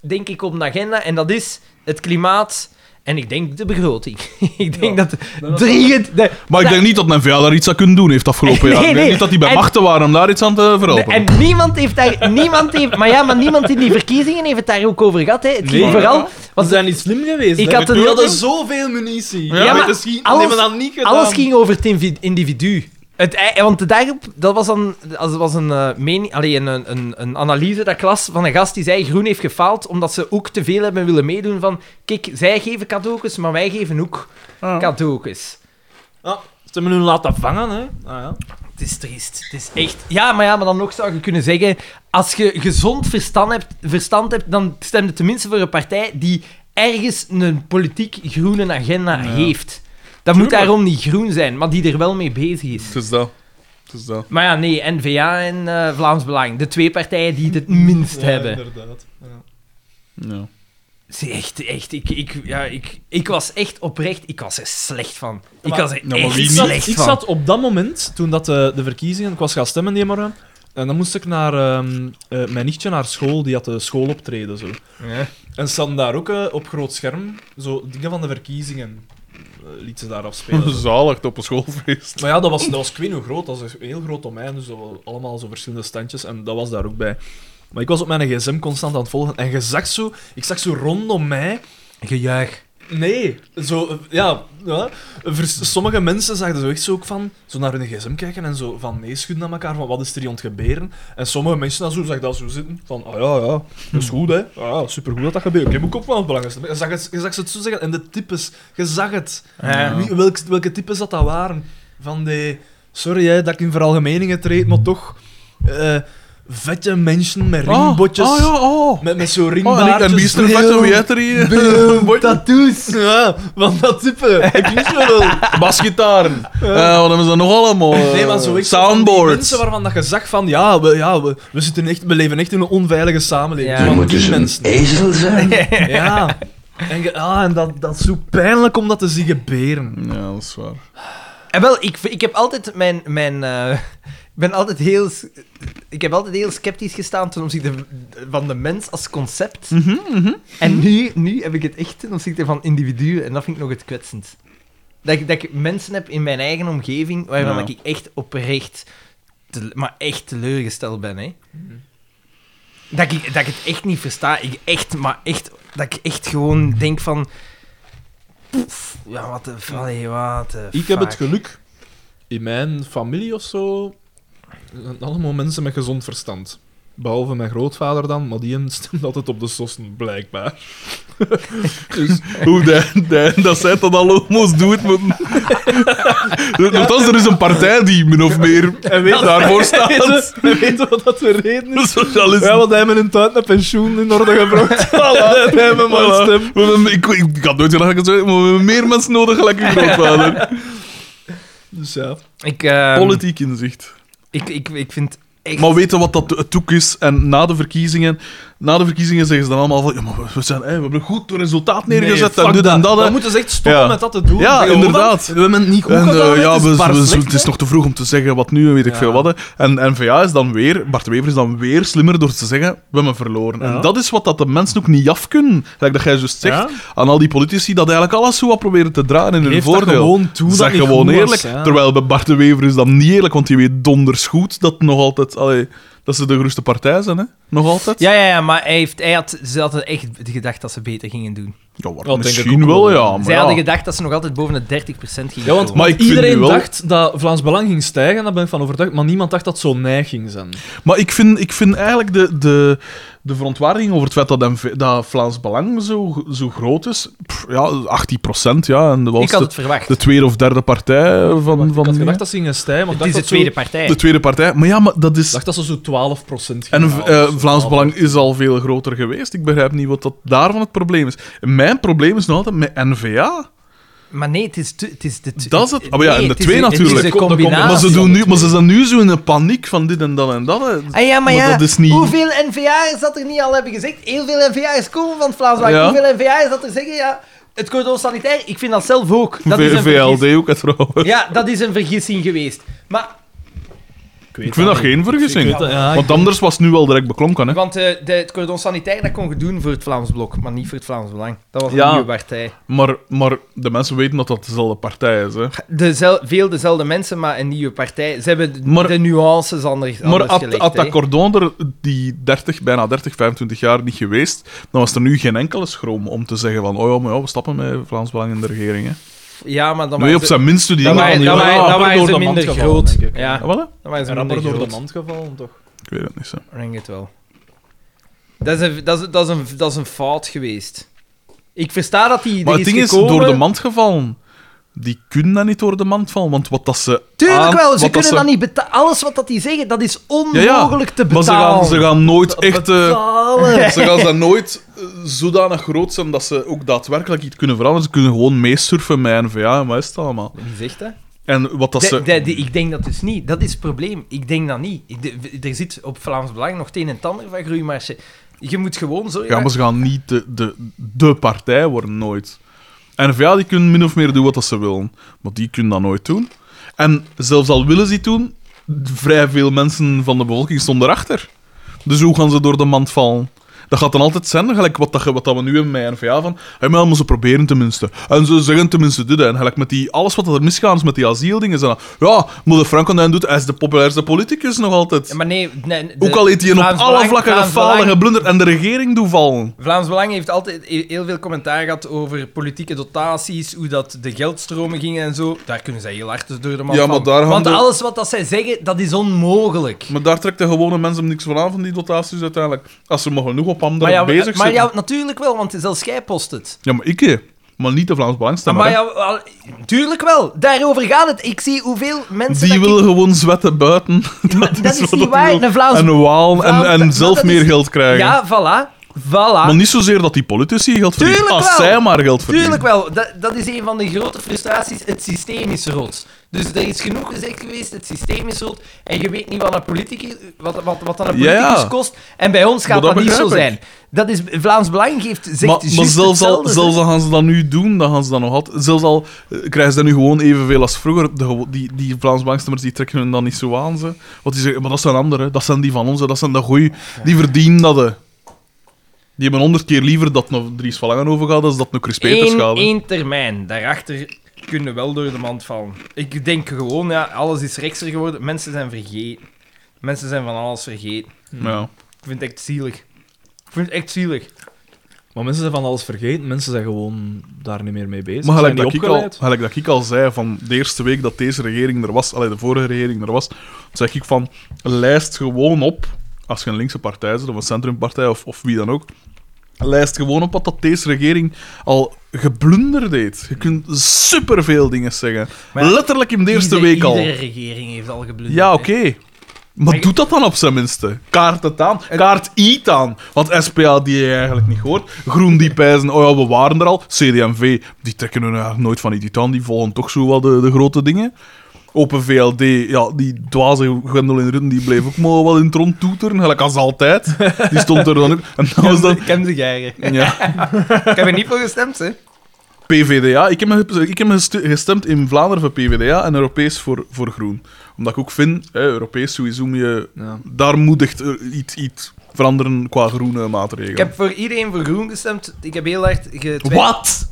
S1: denk ik, op de agenda. En dat is het klimaat en ik denk de begroting. ik denk dat dringend... nee,
S2: Maar ik denk niet dat NVA daar iets aan kunnen doen heeft afgelopen
S1: Nee,
S2: jaar. Ik denk
S1: nee.
S2: niet dat die bij
S1: En-
S2: machten waren om daar iets aan te verhelpen.
S1: En niemand heeft daar... Niemand heeft, maar ja, maar niemand in die verkiezingen heeft het daar ook over gehad. Hè. Het ging
S3: Nee.
S1: vooral...
S3: Ja.
S1: want
S3: zijn niet slim geweest.
S1: Ik
S3: hè.
S1: had een-
S3: We hadden zoveel munitie.
S2: Ja, maar
S3: misschien
S1: alles-
S3: hebben we dat niet gedaan.
S1: Alles ging over het invi- individu. Het, ei- want daarop, dat was, dan, dat was een, eh, mening, allee, een, een, een, een analyse dat ik las van een gast die zei Groen heeft gefaald omdat ze ook te veel hebben willen meedoen van kijk, zij geven cadeautjes, maar wij geven ook cadeautjes.
S3: Ah, ze hebben hun laten vangen, hè. Ah, ja.
S1: Het is triest. Het is echt... Ja, maar ja, maar dan nog zou je kunnen zeggen als je gezond verstand hebt, verstand hebt dan stem je tenminste voor een partij die ergens een politiek groene agenda heeft. Dat moet daarom niet groen zijn, maar die er wel mee bezig is.
S2: Het is dat. Het is dat.
S1: Maar ja, nee, N-VA en eh, Vlaams Belang. De twee partijen die het het minst hebben.
S3: inderdaad.
S2: Ja.
S1: Zie, echt, echt. Ik, ik, ja, ik, ik was echt oprecht... Ik was er slecht van. Ik was er
S2: maar
S1: echt
S2: wie
S3: Ik
S2: niet?
S3: zat,
S1: slecht
S3: ik
S1: van.
S3: zat op dat moment, toen dat de, de verkiezingen... Ik was gaan stemmen die morgen. En dan moest ik naar... ehm, eh, mijn nichtje naar school, die had de school optreden, zo. En ze hadden daar ook eh, op groot scherm zo dingen van de verkiezingen eh, liet ze daar afspelen. zo.
S2: Zalig op een schoolfeest.
S3: Maar ja, dat was, dat was ik weet niet hoe groot, dat was een heel groot domein, dus dat waren allemaal zo verschillende standjes en dat was daar ook bij. Maar ik was op mijn gsm constant aan het volgen en je zag zo, ik zag zo rondom mij...
S1: Gejuich.
S3: Nee, zo, eh, ja, ja. Vers- sommige mensen zagen zo echt zo ook van, zo naar hun gsm kijken en zo van nee schudden aan elkaar, van wat is er hier ontgeberen? En sommige mensen dan zo, zag dat zo zitten, van, ah ja, ja, dat
S2: Hmm.
S3: is goed hè, ah, ja, supergoed dat dat gebeurt. Ik heb ook op wel het belangrijkste. Je zag, het, je zag ze het zo zeggen, en de types, je zag het. Wie- welk- welke types dat dat waren? Van die, sorry hè, dat ik in veralgemeningen treed, maar toch, eh, vette mensen met ringbotjes,
S2: Oh, ja, oh.
S3: met, met zo'n
S2: Oh, en, ik-
S3: ringbaardjes.
S2: en biester vakt
S3: heel-
S2: om jij er
S3: Tattoos. Ja, van dat type. Ik wist me wel.
S2: Basgitaren. Eh, wat hebben ze nog allemaal? Eh,
S3: Nee, maar zo ik zo van die
S2: Soundboards.
S3: Mensen waarvan dat je zag van, ja, we, ja we, we, zitten echt, we leven echt in een onveilige samenleving.
S1: Ja.
S3: Zo
S5: Je
S3: van
S5: moet
S3: die
S5: dus een
S3: mensen.
S5: ezel zijn.
S3: Ja. En, ge- ah, en dat, dat is zo pijnlijk om dat te zien gebeuren.
S2: Ja, dat is waar.
S1: En Eh, wel, ik, ik heb altijd mijn... mijn eh, ik ben altijd heel... s- Ik heb altijd heel sceptisch gestaan ten opzichte van de mens als concept.
S3: Mhm,
S1: En nu, nu heb ik het echt ten opzichte van individuen. En dat vind ik nog het kwetsend. Dat ik, dat ik mensen heb in mijn eigen omgeving waarvan
S2: Ja.
S1: ik echt oprecht, te- maar echt teleurgesteld ben. Hè.
S3: Mhm.
S1: Dat, ik, dat ik het echt niet versta. Ik echt, maar echt, dat ik echt gewoon denk van... Poef, ja, wat de f- allee, wat de
S3: Ik heb het
S1: fuck.
S3: geluk, in mijn familie of zo, zijn allemaal mensen met gezond verstand. Behalve mijn grootvader dan, maar die hem stemt altijd op de sossen, blijkbaar. dus
S2: Hoe de, de, dat zij dat al homo's doet. Moeten... Nochtans, er is een partij die min of meer daarvoor
S3: Weet
S2: staat.
S3: je- weet je wat dat de reden is?
S2: Socialisten.
S3: Ja, want hij heeft een tuin met pensioen in orde gebracht. Voilà, hij heeft mijn
S2: Voilà.
S3: stem.
S2: We hebben- ik, ik, ik had nooit gedacht dat ik het zou zeggen, maar we hebben meer mensen nodig, gelijk uw grootvader.
S3: Dus ja.
S1: Ik, ehm,
S2: Politiek inzicht.
S1: ik, ik, ik vind echt...
S2: Maar weten wat dat het ook is? En na de verkiezingen, na de verkiezingen zeggen ze dan allemaal van ja, maar we, zijn, hè, we hebben een goed resultaat neergezet en dit en dat. hè.
S3: Dan moeten ze echt stoppen
S2: Ja.
S3: met dat te doen.
S2: Ja,
S3: Gewoon,
S2: inderdaad.
S3: We hebben het niet goed
S2: En, eh,
S3: gedaan.
S2: ja,
S3: het
S2: we-
S3: is
S2: we-
S3: bar
S2: we-
S3: slecht,
S2: het is
S3: hè.
S2: nog te vroeg om te zeggen wat nu en weet ik
S3: Ja.
S2: veel wat. hè. En, en VA is dan weer, Bart de Wever is dan weer slimmer door te zeggen, we hebben verloren.
S3: Ja.
S2: En dat is wat dat de mensen ook niet af kunnen. Gelijk dat jij juist zegt,
S3: Ja.
S2: aan al die politici, dat eigenlijk alles zo wat proberen te draaien in hun
S3: Geef dat
S2: voordeel.
S3: gewoon toe dat
S2: zeg
S3: niet
S2: gewoon
S3: goed was,
S2: eerlijk.
S3: ja.
S2: Terwijl bij Bart de Wever is dat niet eerlijk, want die weet donders goed dat nog altijd... Allee, dat ze de grootste partij zijn, hè? Nog altijd.
S1: Ja, ja, ja, maar hij, heeft, hij had, ze hadden echt gedacht dat ze beter gingen doen.
S2: Ja, waar-
S3: denk ik
S2: misschien
S3: ook
S2: wel,
S3: wel.
S2: ja. Maar
S1: Zij
S2: ja.
S1: hadden gedacht dat ze nog altijd boven de 30% gingen.
S3: Ja, want
S2: Maar ik vind
S3: iedereen
S2: nu wel-
S3: dacht dat Vlaams Belang ging stijgen, daar ben ik van overtuigd, maar niemand dacht dat het zo neig ging zijn.
S2: Maar ik vind, ik vind eigenlijk de, de, de verontwaardiging over het feit dat, MV dat Vlaams Belang zo, zo groot is. pff, ja, 18 procent, ja. En dat was
S1: ik had
S2: de,
S1: het verwacht.
S2: de tweede of derde partij van. van
S3: ik had gedacht dat ze gingen stijgen, maar ik
S1: Het is
S3: dacht
S1: de
S3: dat,
S1: tweede
S3: zo,
S1: partij.
S2: de tweede partij. Maar ja, maar dat
S3: ik
S2: is.
S3: dacht dat ze zo 12 procent
S2: En
S3: gingen halen,
S2: eh,
S3: zo.
S2: Vlaams Belang is al veel groter geweest. Ik begrijp niet wat dat daarvan het probleem is. Mijn probleem is nog altijd met NVA.
S1: Maar nee, het is, te- het is de tw-
S2: Dat is het. Oh ja, en de
S1: het is
S2: twee
S1: een- Het is
S2: natuurlijk.
S1: een combinatie.
S2: Maar ze,
S1: van
S2: doen
S1: de
S2: nu, maar
S1: twee.
S2: ze zijn nu zo in een paniek van dit en dat en dat. hè.
S1: Ah ja, maar,
S2: Maar
S1: ja,
S2: dat is niet-
S1: hoeveel NVA'ers dat er niet al hebben gezegd? Heel veel NVA'ers komen van het Vlaams Belang.
S2: Ja.
S1: Hoeveel NVA'ers dat er zeggen, ja, het cordon sanitair, ik vind dat zelf ook. Dat is een vergissing.
S2: VLD ook, hè, trouwens.
S1: Ja, dat is een vergissing geweest. Maar,
S2: Ik vind dat geen vergissing.
S3: weet dat- ja, ik-
S2: Want anders was het nu wel direct beklonken. Hè.
S1: want eh, de, het cordon sanitair, dat kon je doen voor het Vlaams Blok, maar niet voor het Vlaams Belang. Dat was een
S2: Ja.
S1: nieuwe partij.
S2: Maar, maar de mensen weten dat dat dezelfde partij is. Hè.
S1: Dezel- veel dezelfde mensen, maar een nieuwe partij. Ze hebben de-
S2: Maar-
S1: de nuances anders,
S2: Maar
S1: anders
S2: had,
S1: gelegd.
S2: had dat
S1: hè.
S2: cordon er die 30, bijna 30, 25 jaar niet geweest, dan was er nu geen enkele schroom om te zeggen van oh ja, maar ja, we stappen met Vlaams Belang in de regering. Hè.
S1: ja, maar dan
S2: Nee, op zijn minst die
S1: dan
S2: dingen
S1: waren,
S2: van die- Ah,
S1: dan
S2: ja,
S1: waren, dan
S3: rapper
S1: waren
S3: door
S1: ze
S3: de mand
S1: minder
S3: gevallen,
S1: groot.
S3: denk ik, hè.
S1: Ja,
S2: Ah, voilà.
S1: dan waren ze
S3: En rapper
S1: minder
S3: door de
S1: groot.
S3: mand gevallen, toch?
S2: Ik weet het niet. Hè.
S1: Ik denk het wel. Dat is een, dat is, dat is een, dat is een fout geweest. Ik versta dat die.
S2: Maar
S1: er
S2: het ding is,
S1: gekomen.
S2: door de mand gevallen. Die kunnen dan niet door de mand vallen, want wat dat ze.
S1: Tuurlijk
S2: aan-
S1: wel,
S2: Ah, wat
S1: ze kunnen
S2: ze-
S1: dat niet betalen. Alles wat dat die zeggen, dat is
S2: Ja, ja.
S1: onmogelijk te
S2: Maar ze gaan,
S1: betalen.
S2: ze gaan nooit echt. eh,
S1: Betalen.
S2: Ze gaan dan nooit eh, zodanig groot zijn dat ze ook daadwerkelijk iets kunnen veranderen. Ze kunnen gewoon meesurfen met NVA en wat is het allemaal.
S1: Wie zegt dat?
S2: En wat dat
S1: De-
S2: ze...
S1: de- de- ik denk dat dus niet. Dat is het probleem. Ik denk dat niet. Ik de- er zit op Vlaams Belang nog het een en het ander van groeimarge. Je moet gewoon zorgen...
S2: Ja, maar ze gaan niet de, de, de partij worden, nooit. NVA die kunnen min of meer doen wat dat ze willen. Maar die kunnen dat nooit doen. En zelfs al willen ze het doen, vrij veel mensen van de bevolking stonden erachter. Dus hoe gaan ze door de mand vallen? Dat gaat dan altijd zijn, gelijk wat, dat, ge- wat dat we nu hebben met NVA van. Hey, maar ze proberen tenminste. En ze zeggen tenminste dit. En gelijk met die, alles wat er misgaan is met die asieldingen. zijn dan, Ja, moeder Frankenstein doet, hij is de populairste politicus nog altijd.
S1: Maar nee... nee, de-
S2: Ook al heeft hij een op
S1: Vlaams
S2: alle
S1: Belang-
S2: vlakken
S1: Vlaams
S2: gefalen,
S1: Belang-
S2: geblunderd en de regering doen vallen.
S1: Vlaams Belang heeft altijd he- heel veel commentaar gehad over politieke dotaties, hoe dat de geldstromen gingen en zo. Daar kunnen zij heel hard door de man
S2: Ja,
S1: van.
S2: maar daar gaan
S1: Want
S2: de-
S1: alles wat dat zij zeggen, dat is onmogelijk.
S2: Maar daar trekken de gewone mensen niks van aan van die dotaties uiteindelijk. Als ze maar genoeg op hem
S1: Maar ja,
S2: bezig zijn.
S1: maar ja, natuurlijk wel, want zelfs jij post het.
S2: Ja, maar ik hè. Maar niet de Vlaams Belangstemmer.
S1: maar
S2: hè.
S1: ja, wel, tuurlijk wel. Daarover gaat het. Ik zie hoeveel mensen...
S2: Die
S1: dat ik-
S2: willen gewoon zwetten buiten. dat,
S1: dat is
S2: wat
S1: niet
S2: dat
S1: waar.
S2: wil.
S1: Een Vlaams-
S2: En waal
S1: Vlaams-
S2: en, en
S1: maar
S2: zelf
S1: dat
S2: meer
S1: is-
S2: geld krijgen.
S1: Ja, voilà. Voilà.
S2: Maar niet zozeer dat die politici geld verdienen.
S1: Tuurlijk
S2: als
S1: wel.
S2: zij maar geld verdienen.
S1: Tuurlijk wel, dat, dat is een van de grote frustraties. Het systeem is rot. Dus er is genoeg gezegd geweest, het systeem is rot. En je weet niet wat, een politicus, wat, wat, wat dan een
S2: Ja, ja.
S1: politicus kost. En bij ons gaat
S2: Maar dat
S1: dat, niet zo
S2: begrijp ik.
S1: zijn. Dat is, Vlaams Belang geeft, zegt
S2: Maar,
S1: juist
S2: maar zelfs, al,
S1: hetzelfde.
S2: zelfs al gaan ze dat nu doen, dan gaan ze dat nog altijd. Zelfs al eh, krijgen ze dat nu gewoon evenveel als vroeger. De, gewo- die, die Vlaams bankstemmers die trekken hun dan niet zo aan. Ze. Want die zeggen, maar dat zijn anderen, dat zijn die van ons, hè, dat zijn de goeie. Die verdienen dat. hè. Die hebben honderd keer liever dat nog Dries van Langenhoven gaat, dan dat nog Chris Peters
S1: Eén-
S2: gaat. hè.
S1: één termijn. Daarachter kunnen wel door de mand vallen. Ik denk gewoon, ja, alles is rechtser geworden. Mensen zijn vergeten. Mensen zijn van alles vergeten.
S2: Ja.
S1: Ik vind het echt zielig. Ik vind het echt zielig.
S3: Maar mensen zijn van alles vergeten, mensen zijn gewoon daar niet meer mee bezig.
S2: Maar
S3: Ze
S2: gelijk
S3: zijn
S2: dat,
S3: niet
S2: ik al,
S3: opgeleid.
S2: gelijk dat ik al zei, van de eerste week dat deze regering er was, allee, de vorige regering er was, zeg ik van, lijst gewoon op, als je een linkse partij bent, of een centrumpartij, of, of wie dan ook, lijst gewoon op wat dat deze regering al geblunder deed. Je kunt superveel dingen zeggen.
S1: Maar ja,
S2: Letterlijk in de eerste
S1: Ieder-
S2: week al.
S1: Iedere regering heeft al geblunderd.
S2: Ja,
S1: hè.
S2: oké. Maar doe dat dan op zijn minste. Kaart het aan. Kaart IT aan. Want SPA die je eigenlijk niet hoort. Groen die pijzen. Oh ja, we waren er al. CDMV, die trekken hun eigenlijk nooit van iets aan. Die volgen toch zo wel de, de grote dingen. Open VLD, ja, die dwaze Gwendoline Rutten, die bleef ook maar wel in het rond toeteren. Gelijk als altijd. Die stond er dan ook. En dat was dan...
S1: Ik heb ze geigen.
S2: Ja.
S1: Ik heb er niet voor gestemd, hè.
S2: PVDA. Ik heb, me- ik heb me gestu- gestemd in Vlaanderen voor PVDA en Europees voor, voor Groen. Omdat ik ook vind, hè, Europees sowieso moet je...
S3: Ja.
S2: Daar moet echt eh, iets, iets veranderen qua groene maatregelen.
S1: Ik heb voor iedereen voor groen gestemd. Ik heb heel hard getwijfeld...
S2: Wat?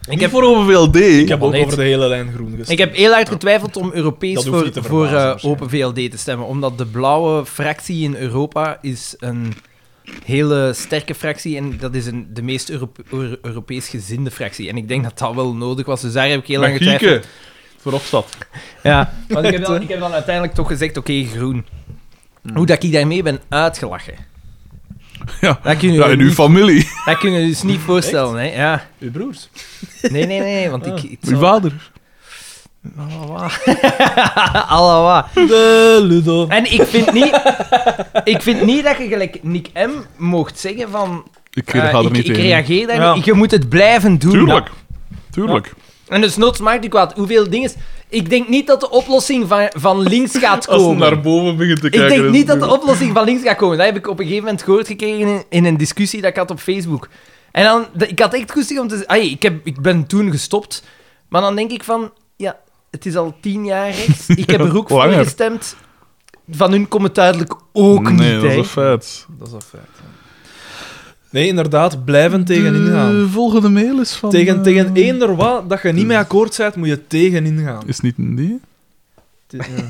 S1: Ik
S2: Niet
S1: heb,
S2: voor OVLD.
S3: Ik heb ook
S1: Nee,
S3: over de hele lijn groen gestemd.
S1: ik heb heel hard getwijfeld om Europees
S3: Dat hoeft
S1: voor,
S3: niet te
S1: voor
S3: verbazen,
S1: eh,
S3: waarschijnlijk.
S1: Open VLD te stemmen. Omdat de blauwe fractie in Europa is een hele sterke fractie. En dat is een, de meest Europe- Euro- Europees gezinde fractie. En ik denk dat dat wel nodig was. Dus daar heb ik heel lang getwijfeld.
S2: Magieke. Verhofstadt.
S1: Ja, want ik heb, dan, ik heb dan uiteindelijk toch gezegd, oké, groen. Hoe dat ik daarmee ben uitgelachen.
S2: Ja.
S1: Dat kun je,
S2: Ja,
S1: je
S2: in uw
S1: niet-
S2: familie.
S1: dat kun je dus niet voorstellen, hè. Ja.
S3: Uw broers.
S1: Nee, nee, nee, want ik... ik
S2: Uw
S1: zou- Oh,
S2: vader.
S1: Allawa.
S3: De Ludo.
S1: En ik vind niet... Ik vind niet dat je gelijk Nick M. mocht zeggen van...
S2: Ik
S1: eh,
S2: ga er
S1: ik,
S2: niet
S1: ik
S2: in.
S1: reageer daar
S3: Ja.
S1: niet. Je moet het blijven doen.
S2: Tuurlijk. Tuurlijk.
S1: En dus noods maakt u kwaad. Hoeveel dingen... Ik denk niet dat de oplossing van, van links gaat
S2: Als hij
S1: komen.
S2: naar boven begint te kijken...
S1: Ik denk
S2: is
S1: niet dat
S2: het
S1: de oplossing van links gaat komen. Dat heb ik op een gegeven moment gehoord gekregen in, in een discussie dat ik had op Facebook. En dan, de- ik had echt goesting om te zeggen... "Ai, Ik, heb, ik ben toen gestopt. Maar dan denk ik van... Ja, het is al tien jaar rechts. Ik heb er ook voor
S2: Langer.
S1: gestemd. Van hun komt het duidelijk ook
S2: Nee,
S1: niet,
S2: dat is
S1: hè.
S2: een feit.
S3: Dat is een feit. ja. Nee, inderdaad, blijven tegenin gaan.
S2: De volgende mail is van...
S3: Tegen,
S2: eh,
S3: tegen eender wat dat je niet mee akkoord bent, moet je tegenin gaan.
S2: Is het niet een die?
S3: Het is- ja.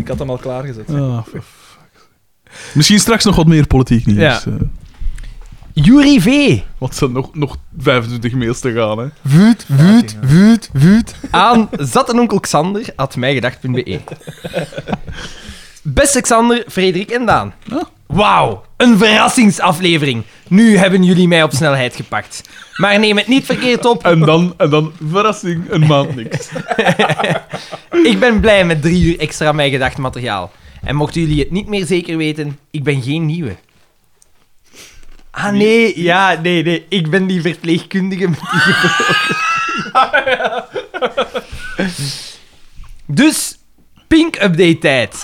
S3: Ik had hem al klaargezet.
S2: Ah, for fuck's sake. Misschien straks nog wat meer politiek nieuws.
S1: Ja.
S2: eh.
S1: Jury V.
S2: Want er zijn nog, nog 25 mails te gaan, hè.
S1: Vuut, vuut, vuut, vuut. Aan zattenonkel Xander, at mijgedacht.be. Beste Xander, Frederik en Daan.
S2: Oh.
S1: Wauw, een verrassingsaflevering. Nu hebben jullie mij op snelheid gepakt. Maar neem het niet verkeerd op,
S2: En dan, en dan, verrassing, een maand niks.
S1: ik ben blij met drie uur extra mijgedacht materiaal. En mochten jullie het niet meer zeker weten, ik ben geen nieuwe. Ah nee, ja, nee, nee. Ik ben die verpleegkundige met die Dus, pink-update-tijd.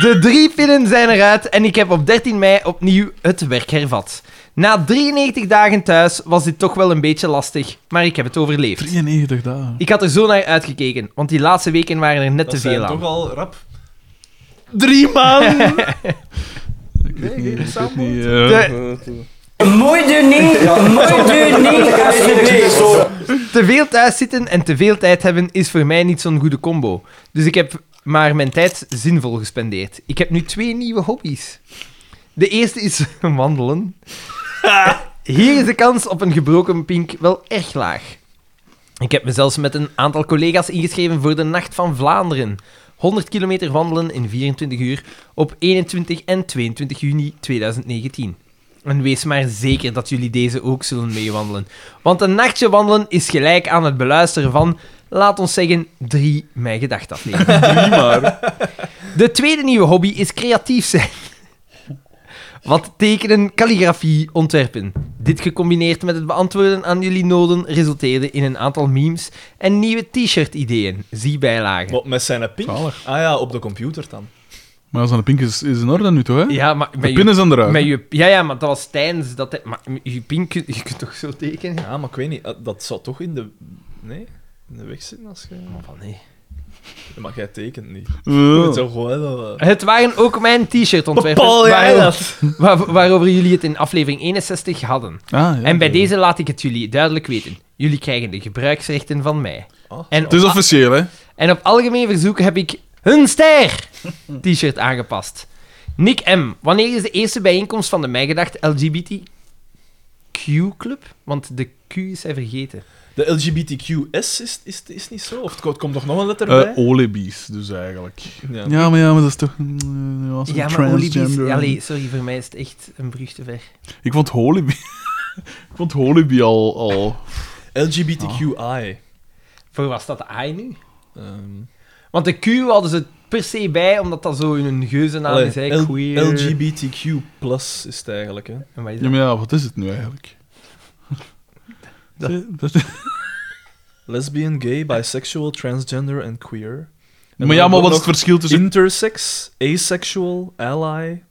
S1: De drie pinnen zijn eruit en ik heb op 13 mei opnieuw het werk hervat. Na 93 dagen thuis was dit toch wel een beetje lastig, maar ik heb het overleefd.
S2: 93 dagen.
S1: Ik had er zo naar uitgekeken, want die laatste weken waren er net te veel aan.
S3: al rap.
S2: Drie maanden! ik weet niet, ik weet niet... eh,
S1: Te veel thuis zitten en te veel tijd hebben is voor mij niet zo'n goede combo. Dus ik heb maar mijn tijd zinvol gespendeerd. Ik heb nu twee nieuwe hobby's. De eerste is wandelen. Hier is de kans op een gebroken pink wel erg laag. Ik heb me zelfs met een aantal collega's ingeschreven voor de Nacht van Vlaanderen. 100 kilometer wandelen in 24 uur op 21 en 22 juni 2019. En wees maar zeker dat jullie deze ook zullen meewandelen. Want een nachtje wandelen is gelijk aan het beluisteren van, laat ons zeggen, drie mijn gedacht afleveringen. De tweede nieuwe hobby is creatief zijn. Wat tekenen, calligrafie, ontwerpen. Dit gecombineerd met het beantwoorden aan jullie noden resulteerde in een aantal memes en nieuwe t-shirt-ideeën. Zie bijlagen.
S3: Wat, met zijn pink?
S2: Zalig.
S3: Ah ja, op de computer dan.
S2: Maar als aan de pink is, is in orde nu, toch, hè?
S1: Ja, maar
S2: de
S1: met
S2: pin
S1: je,
S2: is aan de ruimte.
S1: met je, ja, ja, maar dat was tijdens dat... hij- Maar je pink, kun- je kunt toch zo tekenen?
S3: Ja, maar ik weet niet. eh, Dat zou toch in de... Nee? In de weg zitten als je...
S1: Van, nee.
S3: Maar jij tekent niet.
S2: Ja.
S3: Zo gewoon...
S1: Het waren ook mijn t-shirt-ontwerpen
S3: Bepaal jij
S1: waarover-
S3: dat?
S1: waar- waarover jullie het in aflevering 61 hadden.
S2: Ah, ja,
S1: En bij
S2: ja.
S1: deze laat ik het jullie duidelijk weten. Jullie krijgen de gebruiksrechten van mij.
S3: Ah,
S1: En
S2: Het is
S1: op,
S2: officieel, hè?
S1: en op algemeen verzoek heb ik hun ster t-shirt aangepast. Nick M. Wanneer is de eerste bijeenkomst van de Mijgedacht LGBTQ-club? Want de Q is hij vergeten.
S3: De LGBTQS is, is, is niet zo? Of het ko- het komt nog nog een letter bij?
S2: Eh Olebies, dus eigenlijk.
S3: Ja.
S2: Ja, maar ja, maar dat is toch... mm, eh, was een
S1: Ja, maar Olibies...
S2: transgender.
S1: Allee, sorry, voor mij is het echt een brug te ver.
S2: Ik vond Holeby... ik vond Holeby al... al...
S3: LGBTQI.
S1: Voor was dat de I nu?
S3: Ehm,
S1: Want de Q hadden ze per se bij, omdat dat zo in hun geuzennaam
S3: allee,
S1: is. Hè,
S3: L-
S1: queer.
S3: LGBTQ plus is het eigenlijk, hè?
S1: En wat is
S2: Ja,
S1: dat?
S2: maar ja, wat is het nu eigenlijk? Dat-
S3: Lesbian, gay, bisexual, transgender en queer. En
S2: Maar ja,
S3: dan
S2: maar
S3: ook
S2: wat is het
S3: nog
S2: verschil tussen...
S3: Intersex, asexual, ally,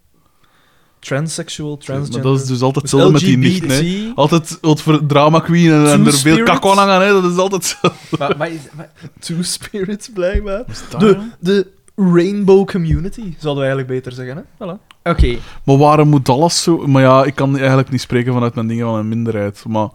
S3: transsexual, transgender.
S2: Maar dat is dus altijd hetzelfde met die nicht, hè?
S3: LGBT.
S2: Altijd wat voor drama queen en, en er veel
S3: Two-spirit?
S2: kak aan hangen, hè? Dat is altijd zo.
S1: Maar- maar is- maar-
S3: Two spirits, blijkbaar. De, de rainbow community, zouden we eigenlijk beter zeggen, hè? Voilà.
S1: Oké,
S2: Maar waarom moet alles zo... Maar ja, ik kan eigenlijk niet spreken vanuit mijn dingen van een minderheid, maar...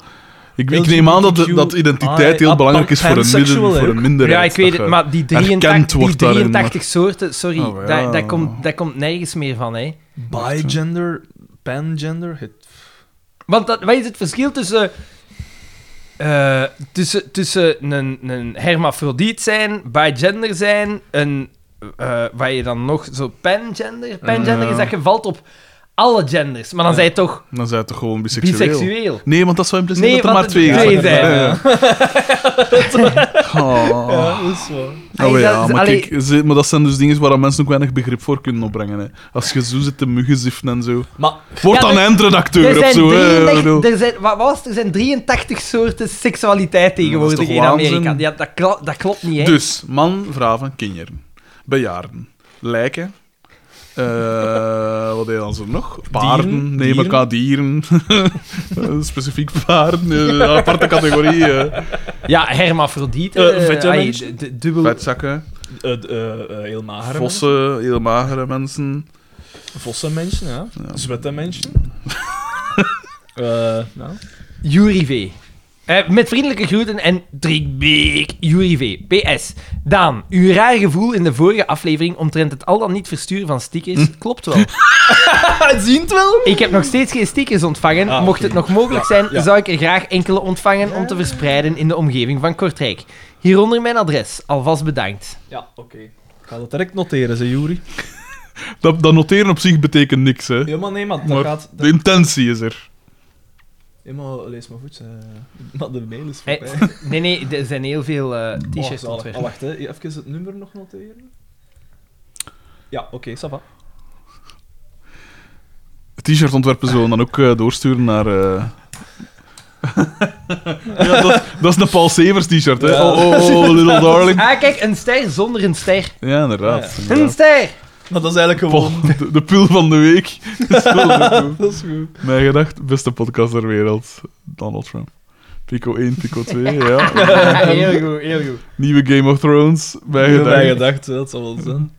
S2: Ik, ik neem aan dat, de- Ah, dat identiteit
S3: LGBTQI,
S2: heel belangrijk is voor een, midden,
S3: pansexual, hè?
S2: voor een minderheid.
S1: Ja, ik weet
S2: dat
S1: het,
S2: je-
S1: maar die
S2: herkend
S1: 83, die
S2: wordt daarin,
S1: 83 soorten, sorry,
S2: Oh, ja.
S1: daar, daar, komt, daar komt nergens meer van, hè.
S3: Bigender, pangender, het
S1: Want dat, wat is het verschil tussen... eh, tussen, tussen een, een hermafrodiet zijn, bigender zijn, een... eh wat je dan nog... Zo pangender? Pangender
S2: Eh.
S1: is dat je valt op alle genders. Maar dan zijn je toch
S2: Dan zijn het toch gewoon biseksueel?
S1: biseksueel.
S2: Nee, want dat zou impliceren
S1: Nee,
S2: dat er
S1: want
S2: maar twee
S1: het twee
S2: zijn.
S1: zijn.
S2: Oh.
S3: dat is waar.
S2: Oh
S1: Allee,
S2: ja,
S1: dat is-
S2: maar,
S1: allee-
S2: kijk, ze- maar dat zijn dus dingen waar mensen ook weinig begrip voor kunnen opbrengen. Hè. Als je zo zit te muggenziften en zo.
S3: Maar
S2: Word
S1: Ja,
S2: dan
S1: er-
S2: eindredacteur
S1: Er
S2: of
S1: zijn,
S2: zo. hè.
S1: 33
S2: Ik bedoel,
S1: er zijn, wat was het? Er zijn 83 soorten seksualiteit
S2: Dat
S1: tegenwoordig
S2: is
S1: in
S2: toch
S1: Amerika.
S2: waanzin?
S1: Ja, dat, kla- dat klopt niet, hè?
S2: Dus, man, vrouwen, kinderen. Bejaarden. Lijken. Eh, wat deed dan ze nog? Paarden.
S3: Dieren,
S2: nee, maar
S3: dieren.
S2: qua dieren. Specifiek paarden. eh, Een aparte categorie. eh.
S1: Ja, hermafrodiet.
S3: Eh,
S1: eh,
S3: vette
S1: ai,
S3: mensen.
S1: d- d- dubbel.
S2: Vetzakken.
S3: eh, d- eh, eh, heel magere
S2: Vossen. Heel magere mensen.
S3: mensen. Vossenmensen, ja. Zwette mensen. Eh, nou.
S1: Jury V. Eh, met vriendelijke groeten en drikbeek, Jury V. PS. Daan, uw raar gevoel in de vorige aflevering omtrent het al dan niet versturen van stickers
S3: Hm.
S1: klopt wel.
S3: Zien Ah, het wel?
S1: Ik heb nog steeds geen stickers ontvangen.
S3: Ah,
S1: Mocht
S3: oké.
S1: het nog mogelijk
S3: Ja,
S1: zijn,
S3: ja.
S1: zou ik er graag enkele ontvangen om te verspreiden in de omgeving van Kortrijk. Hieronder mijn adres. Alvast bedankt.
S3: Ja, oké. Ik ga dat direct noteren, ze Juri.
S2: Dat, dat noteren op zich betekent niks, hè.
S3: Helemaal nee, man. Dat
S2: Maar
S3: gaat...
S2: de intentie is er.
S3: Helemaal, lees maar goed. eh, maar de mail is
S1: Eh,
S3: voorbij.
S1: nee, nee, er zijn heel veel eh,
S3: Oh,
S1: t-shirts
S3: zalig.
S1: ontwerpen.
S3: Oh, wacht, hè. even het nummer nog noteren. Ja, oké, okay, ça va.
S2: T-shirt ontwerpen zo en dan ook eh, doorsturen naar. eh. ja, dat, dat is een Paul Severs t-shirt, hè?
S3: Ja.
S2: Oh, oh, oh, little darling.
S1: Ah, kijk, een ster zonder een ster.
S2: Ja, inderdaad.
S1: Een
S2: inderdaad.
S1: ster!
S3: Maar dat is eigenlijk
S2: Paul,
S3: gewoon...
S2: de, de pul van de week. Dat is wel goed.
S3: dat is goed.
S2: Mijn gedacht, beste podcast ter wereld. Donald Trump. Pico 1, Pico 2, ja.
S1: heel goed, heel goed.
S2: Nieuwe Game of Thrones. Mijn
S3: Ik
S2: gedacht.
S3: heb gedacht, dat zal wel zijn.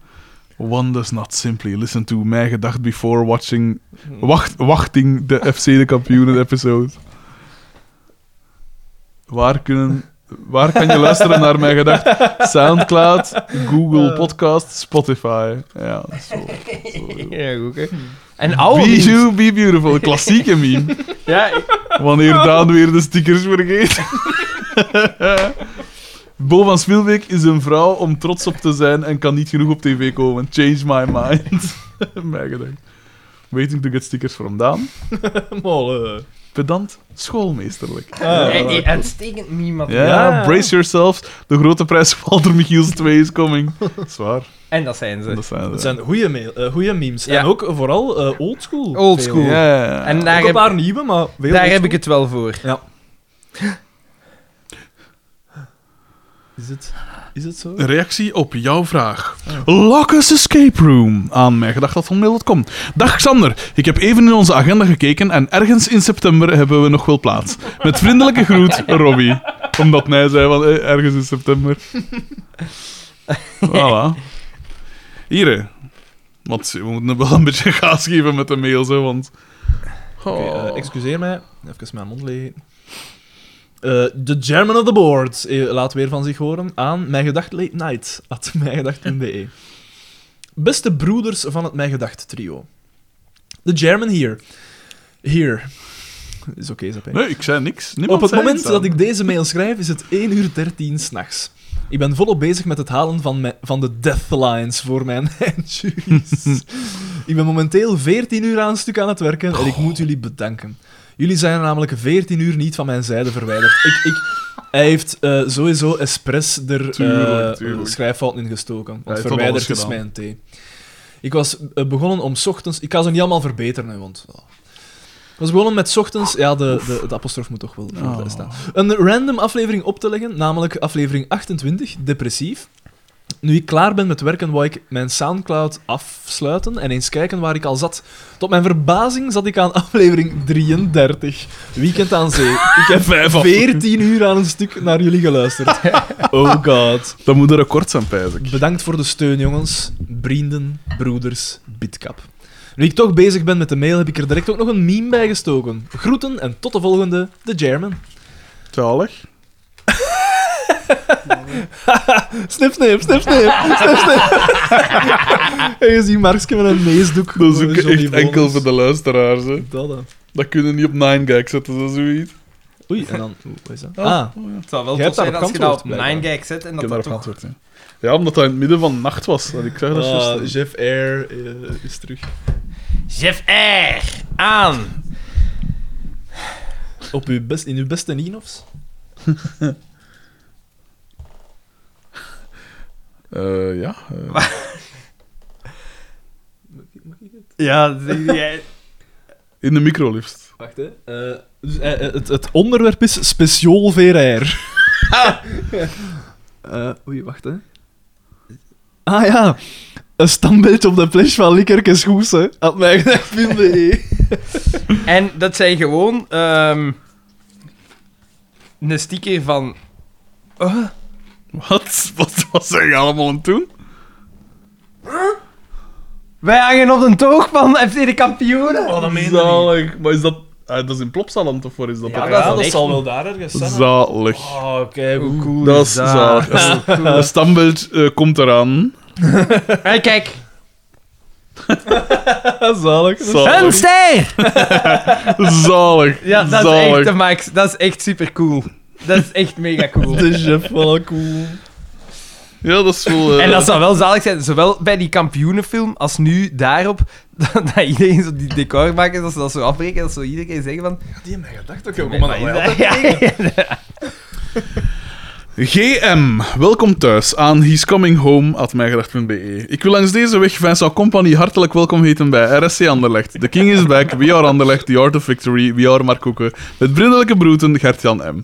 S2: One does not simply listen to mijn gedacht before watching... Wacht, wachting de FC de kampioenen episode. Waar, kunnen, waar kan je luisteren naar mijn gedacht? Soundcloud, Google Podcast, Spotify. Ja, dat is wel- dat is wel-
S1: Heel goed, hè. En oude
S2: Be
S1: memes.
S2: you, be beautiful. Klassieke meme.
S1: Ja,
S2: Wanneer Daan weer de stickers vergeet. Bo van Spielbeek is een vrouw om trots op te zijn en kan niet genoeg op tv komen. Change my mind. Mijn gedacht. Waiting to get stickers from Daan.
S3: Molle.
S2: Pedant, schoolmeesterlijk.
S1: eh, eh, uitstekend meme
S2: Ja,
S1: materiaal.
S2: brace yourselves. De grote prijs van Walter Michiels 2 is coming. Zwaar.
S1: En dat zijn ze.
S2: Dat zijn
S3: Het
S2: ze.
S3: zijn goede mail, eh, goeie memes.
S1: Ja.
S3: En ook eh, vooral eh, oldschool.
S1: Oldschool.
S2: Ja, ja, ja.
S1: En
S3: Ik
S1: daar,
S3: heb
S1: heb,
S3: een paar nieuwe, maar
S1: daar
S3: veel
S1: heb
S3: oldschool.
S1: ik het wel voor.
S3: Is het, is het zo?
S2: Reactie op jouw vraag.
S3: Oh.
S2: Locus Escape Room. Aan mij gedacht dat hotmail.com. Dag Xander, ik heb even in onze agenda gekeken en ergens in september hebben we nog wel plaats. Met vriendelijke groet, Robbie. Omdat mij zei van eh, ergens in september. Voilà. Hier, hè. want we moeten wel een beetje gaas geven met de mails, hè, want...
S3: Oké,
S4: Oh.
S3: eh, excuseer mij. Even mijn mond leeg. Eh, De German of the Board eh, laat weer van zich horen aan mijngedacht late night at mijngedacht.be. E. Beste broeders van het mijngedacht trio. De German hier. Hier. Is oké, Zappé.
S2: Nee, ik zei niks.
S3: Op
S2: Niemand
S3: het
S2: zei
S3: moment
S2: iets aan.
S3: dat ik deze mail schrijf is het 1 uur 13 s'nachts. Ik ben volop bezig met het halen van, me- van de deathlines voor mijn eindjuries. ik ben momenteel 14 uur aan een stuk aan het werken en ik moet jullie bedanken. Jullie zijn namelijk 14 uur niet van mijn zijde verwijderd. Ik, ik, hij heeft eh, sowieso expres er
S2: Tuurlijk,
S3: eh,
S2: tuurlijk.
S3: schrijffouten in gestoken.
S2: heeft
S3: Want
S2: dat alles
S3: verwijderd is
S2: gedaan.
S3: mijn thee. Ik was eh, begonnen om 's ochtends... Ik kan ze niet allemaal verbeteren, hè, want... oh. Ik was begonnen met 's ochtends... Ja, de, de, de apostrof moet toch wel voorbij staan. Een random aflevering op te leggen, namelijk aflevering 28, Depressief. Nu ik klaar ben met werken, wou ik mijn Soundcloud afsluiten en eens kijken waar ik al zat. Tot mijn verbazing zat ik aan aflevering 33, Weekend aan Zee. Ik heb 14 uur aan een stuk naar jullie geluisterd. Oh god.
S2: Dat moet een record zijn, pijs ik.
S3: Bedankt voor de steun, jongens. Vrienden, broeders, bidkap. Nu ik toch bezig ben met de mail, heb ik er direct ook nog een meme bij gestoken. Groeten en tot de volgende, de German.
S2: Zalig.
S3: Snip, snip, snip, snip, snip, snip. en je ziet Markske met een neesdoek.
S2: Dat is
S3: voor
S2: ook
S3: Johnny
S2: echt enkel
S3: Vonnis.
S2: voor de luisteraars, hè.
S3: Dat, hè.
S2: Dat kunnen niet op 9gag zetten, zo zoiets.
S3: Oei, en dan... Hoe is dat? Ah,
S1: Het zou wel
S3: Jij
S1: tof
S3: hebt
S1: zijn
S3: daarop
S1: als je dat op
S3: geantwoord,
S1: 9gag zet en
S2: Ik
S1: dat
S2: heb daarop
S1: dat toch...
S2: geantwoord, ja. Ja, omdat dat in het midden van de nacht was. En ik zag dat
S3: Ah,
S2: juist.
S3: Jeff Air eh, is terug.
S1: Jeff R. Aan.
S3: Op uw best, in uw beste Ninofs?
S2: Eh, ja. eh,
S1: Ja, zeg jij...
S2: in de micro liefst.
S3: Wacht, hè. Eh, dus, eh, eh, het, het onderwerp is speciaal VR. Eh, oei, wacht, hè. Ah ja, een standbeeld op de plek van Likkerkes Goes, hè. Had mij gedacht vinden, hè.
S1: En dat zijn gewoon ehm, een sticker van.
S2: Wat? Wat was hij allemaal aan het doen?
S1: Wij hangen op een toog van FC de kampioenen.
S2: Oh, Zalig. Maar is dat... ah, dat is in Plopsaland of waar is dat?
S1: dat is wel echt-
S3: wel daar ergens
S2: Zalig.
S3: Oh, kijk hoe cool.
S2: dat is zalig. Een standbeeld eh, komt eraan.
S1: Hey, kijk,
S3: Zalig.
S1: een
S2: Zalig.
S1: ster!
S2: Zalig.
S1: Ja, dat is echt
S2: zalig.
S1: de max. Dat is echt super cool. Dat is echt mega cool.
S3: De chef wel cool.
S2: Ja, dat is wel... eh,
S1: En dat zou wel zalig zijn, zowel bij die kampioenenfilm als nu daarop, dat, dat iedereen zo die decor maken, dat ze dat zo afbreken, dat zo iedereen zeggen van...
S3: Die heeft mij gedacht ook, kom maar nou,
S1: "Wat is dat?" Oh, Ja, ja.
S2: GM, welkom thuis aan He's Coming Home at mijgedacht.be. E. Ik wil langs deze weg Vincent Company hartelijk welkom heten bij RSC Anderlecht. The King is back, we are Anderlecht, the art of victory, we are Mark Koeken. Met vriendelijke broeten Gert-Jan M.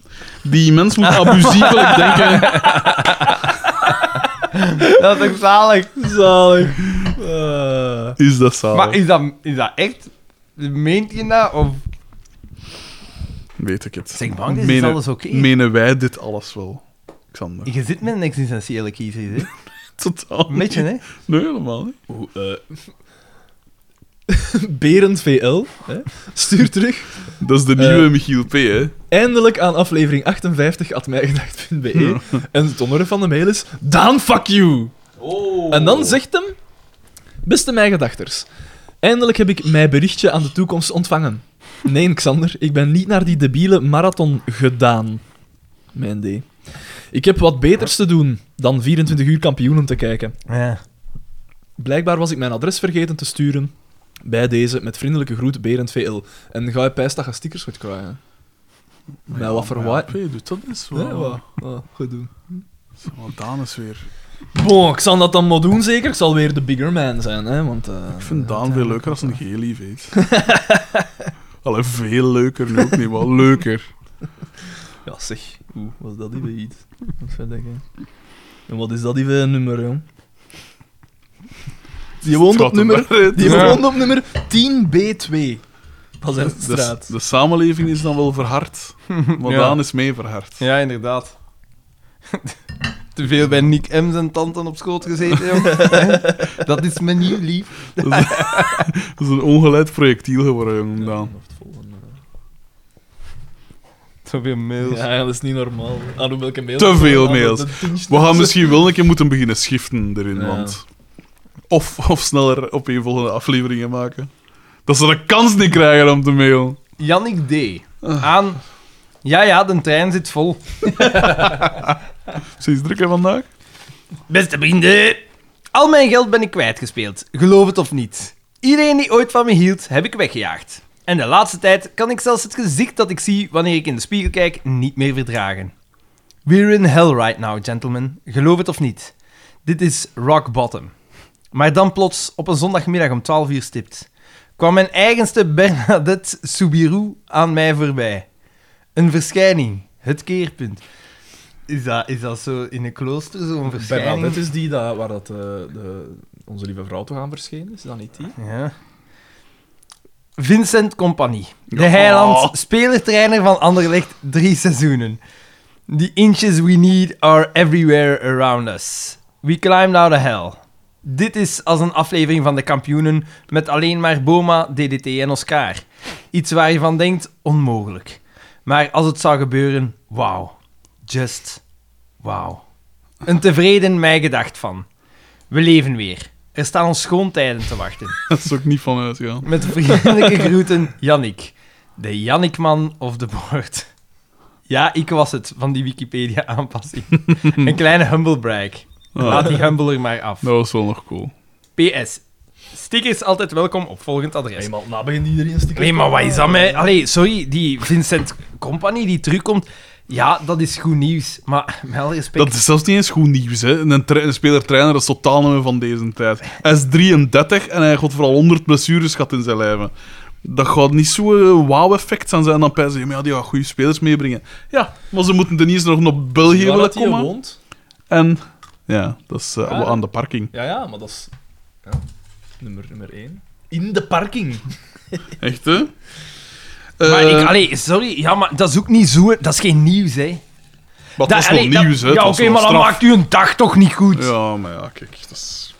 S2: Die mens moet abusievelijk denken...
S1: Dat is toch zalig.
S3: Zalig. Eh,
S2: Is dat zalig?
S1: Maar is dat, is dat echt? Meent je dat? Of...
S2: Weet ik het.
S1: Zeg, Bank, is
S2: Menen-
S1: alles oké?
S2: Menen wij dit alles wel, Xander?
S1: Je zit met een existentiële crisis, hè?
S2: Totaal
S1: Een beetje,
S2: niet.
S1: hè?
S2: Nee, helemaal niet.
S3: oeh, eh. Berend VL, hè, stuur terug.
S2: Dat is de
S3: Eh.
S2: nieuwe Michiel P, hè.
S3: Eindelijk aan aflevering 58 at mijgedacht.be. En het onderwerp van de mail is Daan, fuck you! En dan zegt hem: Beste mijgedachters, eindelijk heb ik mijn berichtje aan de toekomst ontvangen. Nee, Xander, ik ben niet naar die debiele marathon gedaan. Mijn D. Ik heb wat beters te doen dan 24 uur kampioenen te kijken.
S1: Ja.
S3: Blijkbaar was ik mijn adres vergeten te sturen. Bij deze, met vriendelijke groet, Berend VL. En ga je pijs dat je stickers gaat krijgen. Met wat voor
S2: Ja,
S3: waai...
S2: P, doet dat eens
S3: Nee,
S2: wel.
S3: wat? Ah, Goed doen.
S2: Wat Daan is weer...
S3: Bon, ik zal dat dan maar doen zeker. Ik zal weer de bigger man zijn, hè. Want, eh,
S2: Ik vind Daan veel leuker als een Geli, weet. Allee, veel leuker nu ook niet, maar leuker.
S3: Ja, zeg. Oeh, wat is dat die weer iets? Wat zou ik denken? En wat is dat die weer nummer, jong? Die woont op
S2: Schat hem
S3: nummer...
S2: maar.
S3: Die
S2: Ja.
S3: woont op nummer 10B2. Pas in de
S2: De,
S3: straat.
S2: de samenleving is dan wel verhard, maar
S1: Ja.
S2: Daan is mee verhard.
S1: Ja, inderdaad. Te veel bij Nick M. zijn tanden op schoot gezeten, jongen. dat is me niet lief.
S2: Dat, is, dat is een ongeleid projectiel geworden, jongen, Daan.
S1: Zoveel mails.
S3: Ja, dat is niet normaal. Ah, Aan hoe welke mail?
S2: Te veel mails. We gaan misschien wel een keer moeten beginnen schiften erin,
S3: Ja.
S2: want... Of, of sneller op een volgende afleveringen maken. Dat ze de kans niet krijgen om te mailen.
S1: Jannik D. Aan... Ja, ja, de trein zit vol.
S2: Ze is drukker vandaag.
S1: Beste vrienden. Al mijn geld ben ik kwijtgespeeld, geloof het of niet. Iedereen die ooit van me hield, heb ik weggejaagd. En de laatste tijd kan ik zelfs het gezicht dat ik zie wanneer ik in de spiegel kijk niet meer verdragen. We're in hell right now, gentlemen. Geloof het of niet. Dit is rock bottom. Maar dan plots, op een zondagmiddag om 12 uur stipt, kwam mijn eigenste Bernadette Soubirou aan mij voorbij. Een verschijning, het keerpunt. Is dat, is dat zo in een klooster, zo'n verschijning?
S3: Bernadette is die dat, waar dat, eh, de, onze lieve vrouw toch aan verschenen is, is dat niet die?
S1: Ja. Vincent Compagnie. De heiland, spelertrainer van Anderlecht, drie seizoenen. The inches we need are everywhere around us. We climb out of hell. Dit is als een aflevering van de kampioenen met alleen maar Boma, DDT en Oscar. Iets waar je van denkt, onmogelijk. Maar als het zou gebeuren, wauw. Just wauw. Een tevreden mij gedacht van. We leven weer. Er staan ons schoontijden te wachten.
S2: Dat is ook niet van uitgaan.
S1: Met vriendelijke groeten, Jannik. De Jannikman of de Boord. Ja, ik was het van die Wikipedia-aanpassing. Een kleine humble brag.
S2: Oh.
S1: Laat die humble er maar af.
S2: Dat was wel nog cool.
S1: PS. Stickers altijd welkom op volgend adres.
S3: Eenmaal na begint iedereen stikken.
S1: Nee, maar wat is dat met... Allee, sorry, die Vincent Company die terugkomt... Ja, dat is goed nieuws, maar met alle respect...
S2: Dat is zelfs niet eens goed nieuws, hè. Een, tra- een speler-trainer dat is totaal niet meer van deze tijd. Hij is 33 en hij gaat vooral 100 blessures gehad in zijn lijven. Dat gaat niet zo'n wauw-effect aan zijn. En dan pijzen ze, maar ja, die gaat goede spelers meebrengen. Ja, maar ze moeten ten eerste nog naar België
S3: Waar
S2: willen
S3: dat hij
S2: komen.
S3: woont?
S2: En ja, dat is eh,
S3: Ah.
S2: aan de parking.
S3: Ja, ja, maar dat is... Ja. Nummer, nummer één. In de parking.
S2: Echt, hè?
S1: Maar
S2: Eh,
S1: ik, allee, sorry, ja, maar dat is ook niet zo... Dat is geen nieuws, hè.
S2: maar dat is
S1: allee,
S2: nog nieuws, hè.
S1: Ja,
S2: Het
S1: oké,
S2: was wel
S1: maar dan
S2: straf.
S1: maakt u een dag toch niet goed.
S2: Ja, maar ja, kijk, dat is...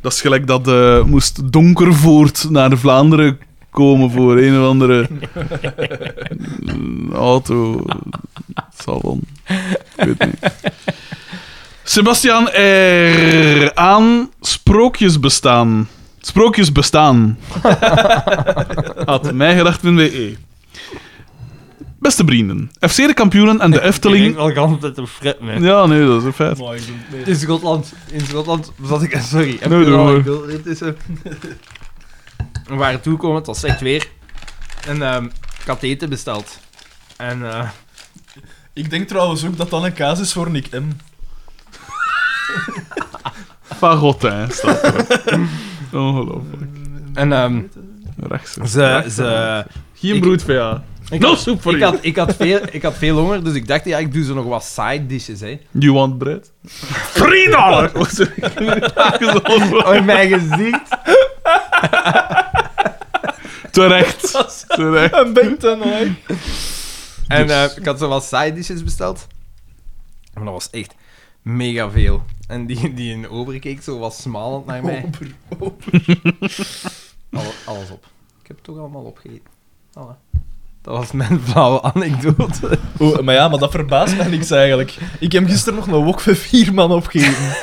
S2: Dat is gelijk dat eh, moest Donkervoort naar Vlaanderen komen voor een of andere auto. Het zal wel... Ik weet het niet. Sebastian R. Aan sprookjes bestaan. Sprookjes bestaan. Had mijgedacht.be. E. Beste vrienden, FC de kampioenen en de Efteling...
S1: wel gans dat een fret, man.
S2: Ja, nee, dat is een feit.
S3: Maar ik doe- nee.
S1: In Schotland, in Schotland zat ik... Sorry, heb
S2: Nee,
S1: ik
S2: doe
S1: al-
S2: maar.
S1: ik wil- dit is een... We waren toegekomen, het was slecht weer. En ehm ik had eten besteld. En... eh,
S3: Ik denk trouwens ook dat dat een kaas is voor Nick M.
S2: Fagotin staat er. Ongelooflijk.
S1: en ehm,
S2: Rechts.
S1: ze... ze
S2: Geen
S1: ik-
S2: broedvia.
S1: ik
S2: No
S1: had-
S2: soep voor
S1: ik
S2: je.
S1: had, ik, had veel, ik had veel honger, dus ik dacht, ja, ik doe zo nog wat side dishes, hè.
S2: You want bread? 3 dollar! Was er-
S1: Oh, in mijn gezicht.
S2: Terecht. Terecht.
S3: En ben dan hoor.
S1: En
S2: Dus-
S1: eh, ik had zo wat side dishes besteld. Maar dat was echt mega veel. En die, die in ober keek zo was smalend naar mij. Ober, alles op. Ik heb het toch allemaal opgegeten. Voilà. Dat was mijn flauwe anekdote.
S3: Oeh, maar ja, maar dat verbaast mij niks eigenlijk. Ik heb gisteren nog een wok van vier man opgegeven.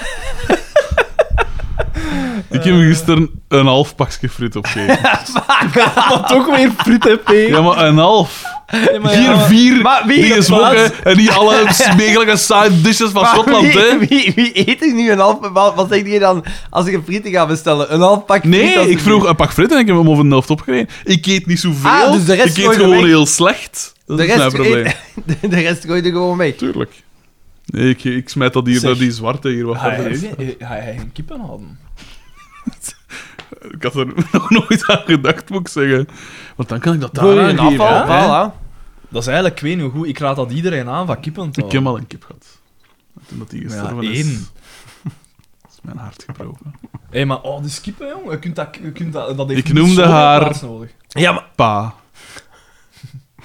S2: Ik heb gisteren een half pakje friet opgegeten.
S3: maar toch weer friet en pee.
S2: Ja, maar een half.
S3: Nee, maar ja,
S2: Hier
S3: maar-
S2: vier
S1: Maar wie-
S2: dingen smoken en niet alle smegelijke side dishes van
S1: Maar
S2: Schotland,
S1: wie,
S2: hè.
S1: Wie, wie eet er nu een half... Wat, wat zegt je dan als ik een frieten ga bestellen? Een half pak friet
S2: Nee,
S1: als
S2: ik vroeg een pak friet en ik heb hem over de helft opgereden. Ik eet niet zoveel.
S1: Ah, dus de rest
S2: ik eet
S1: gooi je
S2: gewoon
S1: weg.
S2: heel slecht. Dat
S1: De
S2: is mijn
S1: rest,
S2: probleem.
S1: de, de rest gooi je er gewoon mee.
S2: Tuurlijk. Nee, ik, ik smijt dat hier
S3: Zeg.
S2: naar die zwarte hier
S1: Ah,
S2: wat
S3: Ga
S2: harder is.
S3: jij- ga jij een kippen hadden?
S2: Ik had er nog nooit aan gedacht, moet ik zeggen. Want dan kan ik dat daar
S1: Voor een
S2: aangeven,
S1: afval,
S2: hè.
S1: voilà.
S3: Dat is eigenlijk, ik weet niet hoe goed, ik raad dat iedereen aan van kippen te
S2: Ik heb
S3: houden.
S2: al een kip gehad. Toen dat die
S3: Maar ja,
S2: gestorven is.
S3: één.
S2: is mijn hart gebroken.
S3: Hé, maar oh, die kippen, jong. Je kunt dat, je kunt dat, dat heeft
S2: Ik noemde
S3: zoveel
S2: haar-
S3: plaats nodig.
S2: Pa.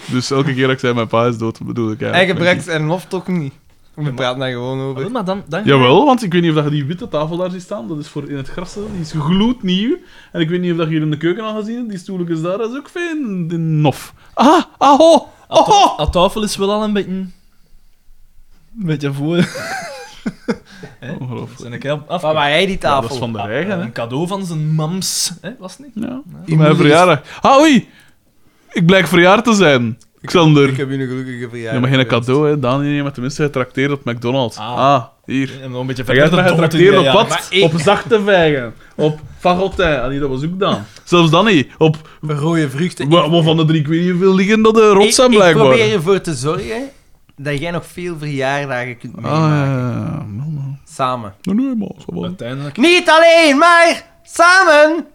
S2: Dus elke keer dat ik zei mijn pa is dood, bedoel ik
S1: Hij
S2: eigenlijk.
S1: gebruikt zijn lof toch niet. We praten daar gewoon over.
S3: Wel, Maar dan, dan
S2: Jawel, want ik weet niet of dat je die witte tafel daar ziet staan. Dat is voor in het gras. hè. Die is gloednieuw. En ik weet niet of dat je hier in de keuken al gezien hebt. Die stoeltjes daar, dat is ook fijn. Die nof. Ah, aho!
S3: Aan ta-
S2: Oho!
S3: aan tafel is wel al een beetje... Een beetje voor.
S2: Ongelooflijk.
S3: Zijn ik heel af.
S1: Waar waren jij Oh, die
S2: Ja,
S1: tafel? Ah,
S2: dat is van de eigen, hè.
S3: Een cadeau van zijn mams. Hè, was het niet?
S2: Ja. Mijn verjaardag. Ah, oei! Ik blijk verjaard te zijn.
S1: Ik
S2: Xander.
S1: heb u een gelukkige verjaardag.
S2: Ja, maar geen
S1: gewenst.
S2: cadeau, hè. Dani neemt tenminste getrakteerd op McDonald's.
S3: Ah.
S2: Ah, hier.
S3: En nog een beetje
S2: Jij hebt
S3: verder de dood in
S2: getrakteerd
S3: die
S2: op
S3: jaren.
S2: wat? Op zachte vijgen. Op fagotin. Ah, nee, dat was ook dan. Zelfs dan niet. Op
S1: Rode vruchten.
S2: wa- wat van de drie, ik weet niet hoeveel liggen dat de rot zijn,
S1: ik, ik
S2: blijkbaar.
S1: probeer ervoor te zorgen dat jij nog veel verjaardagen kunt
S2: Ah, ja,
S1: meemaken.
S2: ja, ja. Nou, nou.
S1: Samen.
S2: Nou, nee, maar. zo wel.
S3: Uiteindelijk,
S1: Niet alleen, maar samen!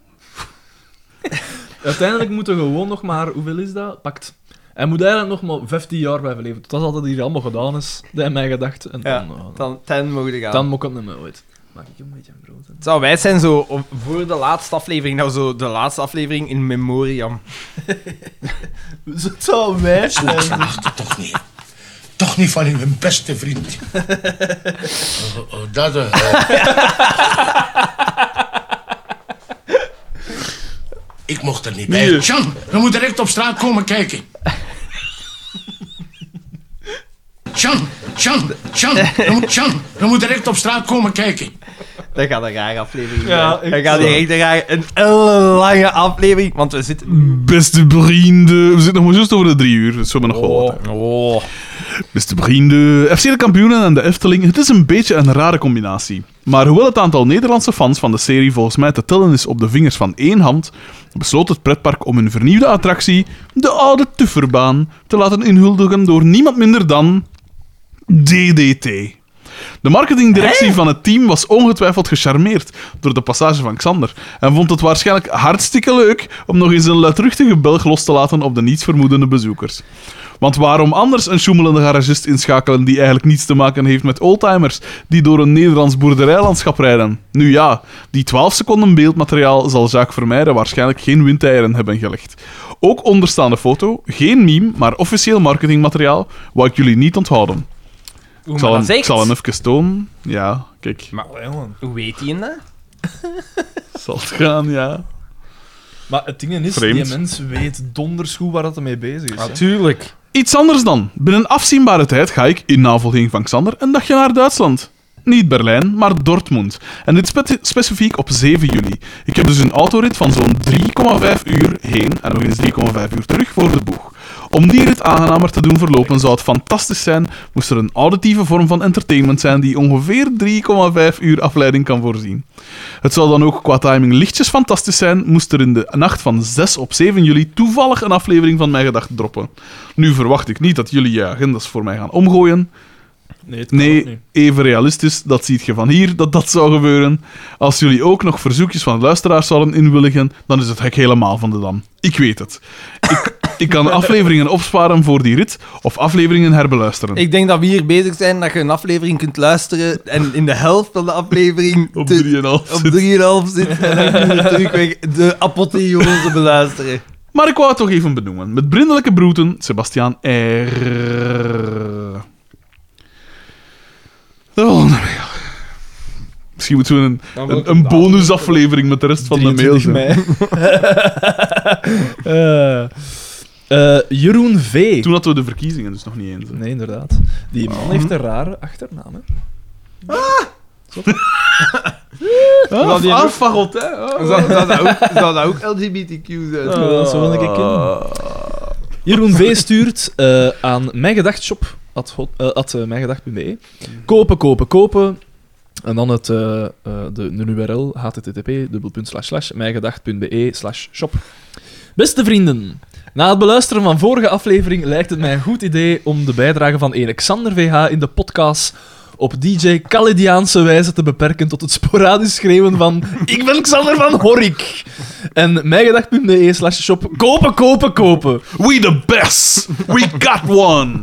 S3: uiteindelijk moeten we gewoon nog maar, hoeveel is dat? Pakt. Hij moet eigenlijk nog maar 15 jaar blijven leven. Dat is altijd hier allemaal gedaan is, dat heeft mij gedacht. En
S1: Ja,
S2: Oh,
S3: dan, eh,
S1: Dan ten mogen gaan.
S3: dan moet ik het niet meer ooit. Maak ik een beetje een brood. hè.
S1: Het zou wij zijn zo om- voor de laatste aflevering. Nou, zo de laatste aflevering in memoriam.
S3: Dus het zou wij
S12: Zo slaagt het toch niet. Toch niet van uw beste vriend. Oh, oh, dat... eh, Ik mocht er niet bij.
S2: Nee.
S12: Jan, je moet direct op straat komen kijken. Jan, Jan, Jan, je moet, Jan, je moet direct op straat komen kijken.
S1: Dat gaat een rare aflevering
S3: Ja,
S1: zijn.
S3: echt
S1: Dat gaat
S3: zo.
S1: hier echt een, rare, een ellenlange aflevering, want we zitten...
S2: Beste vrienden, we zitten nog maar juist over de drie uur, dus we hebben nog wel wat.
S9: Oh.
S2: Beste vrienden, FC de kampioenen en de Efteling, het is een beetje een rare combinatie. Maar hoewel het aantal Nederlandse fans van de serie volgens mij te tellen is op de vingers van één hand, besloot het pretpark om een vernieuwde attractie, de oude Tufferbaan, te laten inhuldigen door niemand minder dan... DDT. De marketingdirectie van het team was ongetwijfeld gecharmeerd door de passage van Xander en vond het waarschijnlijk hartstikke leuk om nog eens een luidruchtige belg los te laten op de nietsvermoedende bezoekers. Want waarom anders een sjoemelende garagist inschakelen die eigenlijk niets te maken heeft met oldtimers die door een Nederlands boerderijlandschap rijden? Nu ja, die 12 seconden beeldmateriaal zal Jacques Vermeijden waarschijnlijk geen windeieren hebben gelegd. Ook onderstaande foto, geen meme, maar officieel marketingmateriaal, wou ik jullie niet onthouden. Ik zal, hem, ik zal hem even tonen. Ja, kijk.
S1: Hoe weet hij dat?
S2: Zal het gaan, ja.
S3: Maar het ding is,
S2: Vreemd.
S3: die mens weet donders goed waar dat mee bezig is. hè.
S9: Tuurlijk.
S2: Iets anders dan. Binnen afzienbare tijd ga ik, in navolging van Xander, een dagje naar Duitsland. Niet Berlijn, maar Dortmund. En dit spe- specifiek op 7 juli. Ik heb dus een autorit van zo'n 3,5 uur heen en nog eens 3,5 uur terug voor de boeg. Om die rit aangenamer te doen verlopen zou het fantastisch zijn moest er een auditieve vorm van entertainment zijn die ongeveer 3,5 uur afleiding kan voorzien. Het zou dan ook qua timing lichtjes fantastisch zijn, moest er in de nacht van 6 op 7 juli toevallig een aflevering van Mijn Gedachten droppen. Nu verwacht ik niet dat jullie je agendas voor mij gaan omgooien.
S3: Nee, het kan ook
S2: Nee,
S3: niet.
S2: even realistisch, dat ziet je van hier, dat dat zou gebeuren. Als jullie ook nog verzoekjes van luisteraars zouden inwilligen, dan is het hek helemaal van de dam. Ik weet het. Ik, ik kan afleveringen opsparen voor die rit, of afleveringen herbeluisteren.
S1: Ik denk dat we hier bezig zijn dat je een aflevering kunt luisteren en in de helft van de aflevering
S2: Op
S1: te-
S2: 3,5
S1: op 3,5 zit en dan kun je terugweg de apotheose beluisteren.
S2: Maar ik wou het toch even benoemen. Met brindelijke broeten, Sebastiaan R. De volgende mail. Misschien moeten we een,
S3: wil
S2: een,
S3: ik hem
S2: een bonusaflevering met de rest van de mail
S3: 23
S2: doen.
S3: mei. Eh, eh, Jeroen V.
S2: Toen hadden we de verkiezingen dus nog niet eens. hè.
S3: Nee, inderdaad. Die man heeft een rare achternaam, hè.
S2: Ah,
S1: Omdat die
S2: ah,
S1: ook-
S2: fagot, hè. Ah.
S1: Zou, zou, dat ook, zou dat ook LGBTQ zijn?
S3: Ah, dat zou wel een keer kunnen. Ah. Jeroen V. stuurt eh, aan mijngedachtshop, at, hot- eh, at, eh, mijngedacht.be. Kopen, kopen, kopen. En dan het, eh, eh, de, de URL, http, dubbelpunt, slash, slash, mijngedacht.be, E slash, shop. Beste vrienden, na het beluisteren van vorige aflevering lijkt het mij een goed idee om de bijdrage van Alexander VH in de podcast op DJ Calidiaanse wijze te beperken tot het sporadisch schreeuwen van ik ben Xander van Horrik en mijgedag.be E slash shop kopen, kopen, kopen.
S2: We the best! We got one!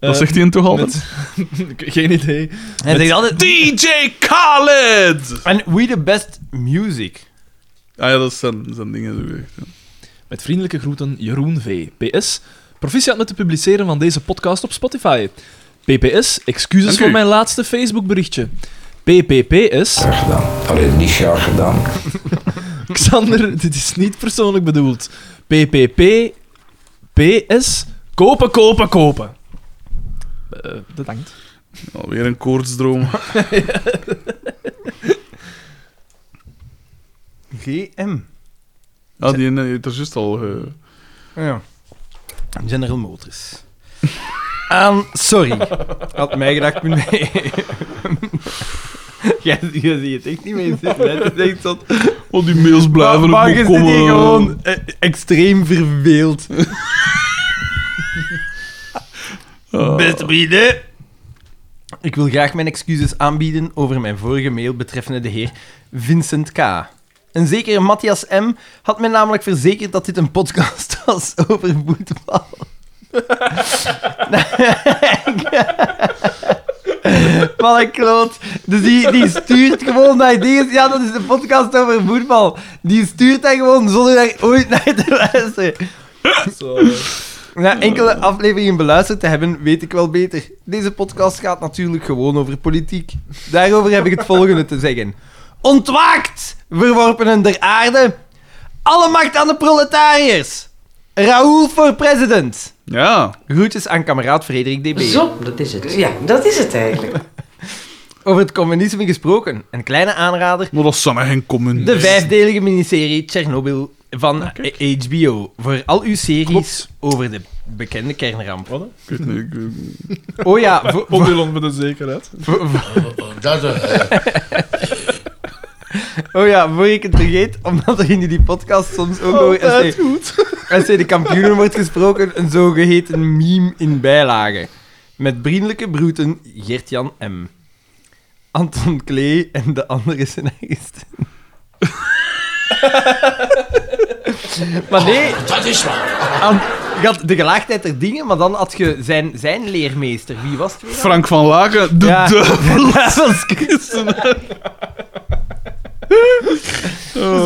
S2: Dat zegt hij hem toch altijd?
S3: Met... Geen idee.
S1: En zeg altijd,
S2: DJ Khaled!
S1: en we the best music.
S2: Ah ja, dat zijn, zijn dingen zo gezegd. ja.
S3: Met vriendelijke groeten, Jeroen V. PS. Proficiat met het publiceren van deze podcast op Spotify. PPS. Excuses
S2: Dank u.
S3: voor mijn laatste Facebook berichtje. PPPS.
S5: Graag gedaan. Allee, niet graag gedaan.
S3: Xander, dit is niet persoonlijk bedoeld. PPP, PS, kopen, kopen, kopen. Eh, bedankt.
S2: Alweer een koortsdroom.
S1: GM.
S2: Ah, die ene heeft er juist al... eh, ge-
S1: Oh, Ja. General Motors. Aan, sorry. Had mij gedacht, nee. Jij jij ziet het echt niet meer zitten. hè. Het is echt zot.
S2: Oh, die mails blijven
S1: Maar
S2: ook
S1: je zit
S2: komen.
S1: hier gewoon eh, extreem verveeld.
S2: Ah.
S1: Beste vrienden. Ik wil graag mijn excuses aanbieden over mijn vorige mail betreffende de heer Vincent K. Een zekere Matthias M. had mij namelijk verzekerd dat dit een podcast was over voetbal. Wat een kloot. Dus die, die stuurt gewoon naar ideeën. Ja, dat is de podcast over voetbal. Die stuurt dat gewoon zonder daar ooit naar te luisteren. Na enkele afleveringen beluisterd te hebben, weet ik wel beter. Deze podcast gaat natuurlijk gewoon over politiek. Daarover heb ik het volgende te zeggen. Ontwaakt, verworpenen der aarde. Alle macht aan de proletariërs. Raoul voor president.
S2: Ja.
S1: Groetjes aan kameraad Frederik DB.
S4: Zo, dat is het.
S10: Ja, dat is het eigenlijk.
S1: Over het communisme gesproken. Een kleine aanrader.
S2: Maar dat zijn geen communisten.
S1: De vijfdelige miniserie Tsjernobyl van HBO. Voor al uw series over de bekende kernramp.
S2: Ik weet niet, ik-
S1: Oh ja, voor, voor-
S3: Ondulon met de zekerheid.
S12: Oh, oh, dat, eh,
S1: oh ja, voor ik het vergeet, omdat er in die podcast soms ook over SC, SC de kampioenen wordt gesproken, een zogeheten meme in bijlage. Met vriendelijke broeten Gert-Jan M. Anton Klee en de andere scenaristen. maar nee,
S12: dat is waar.
S1: Aan- je had de gelaagdheid der dingen, maar dan had je zijn, zijn leermeester. Wie was het weer?
S2: Frank van Laken, de
S1: Ja.
S2: duivel.
S1: Dat was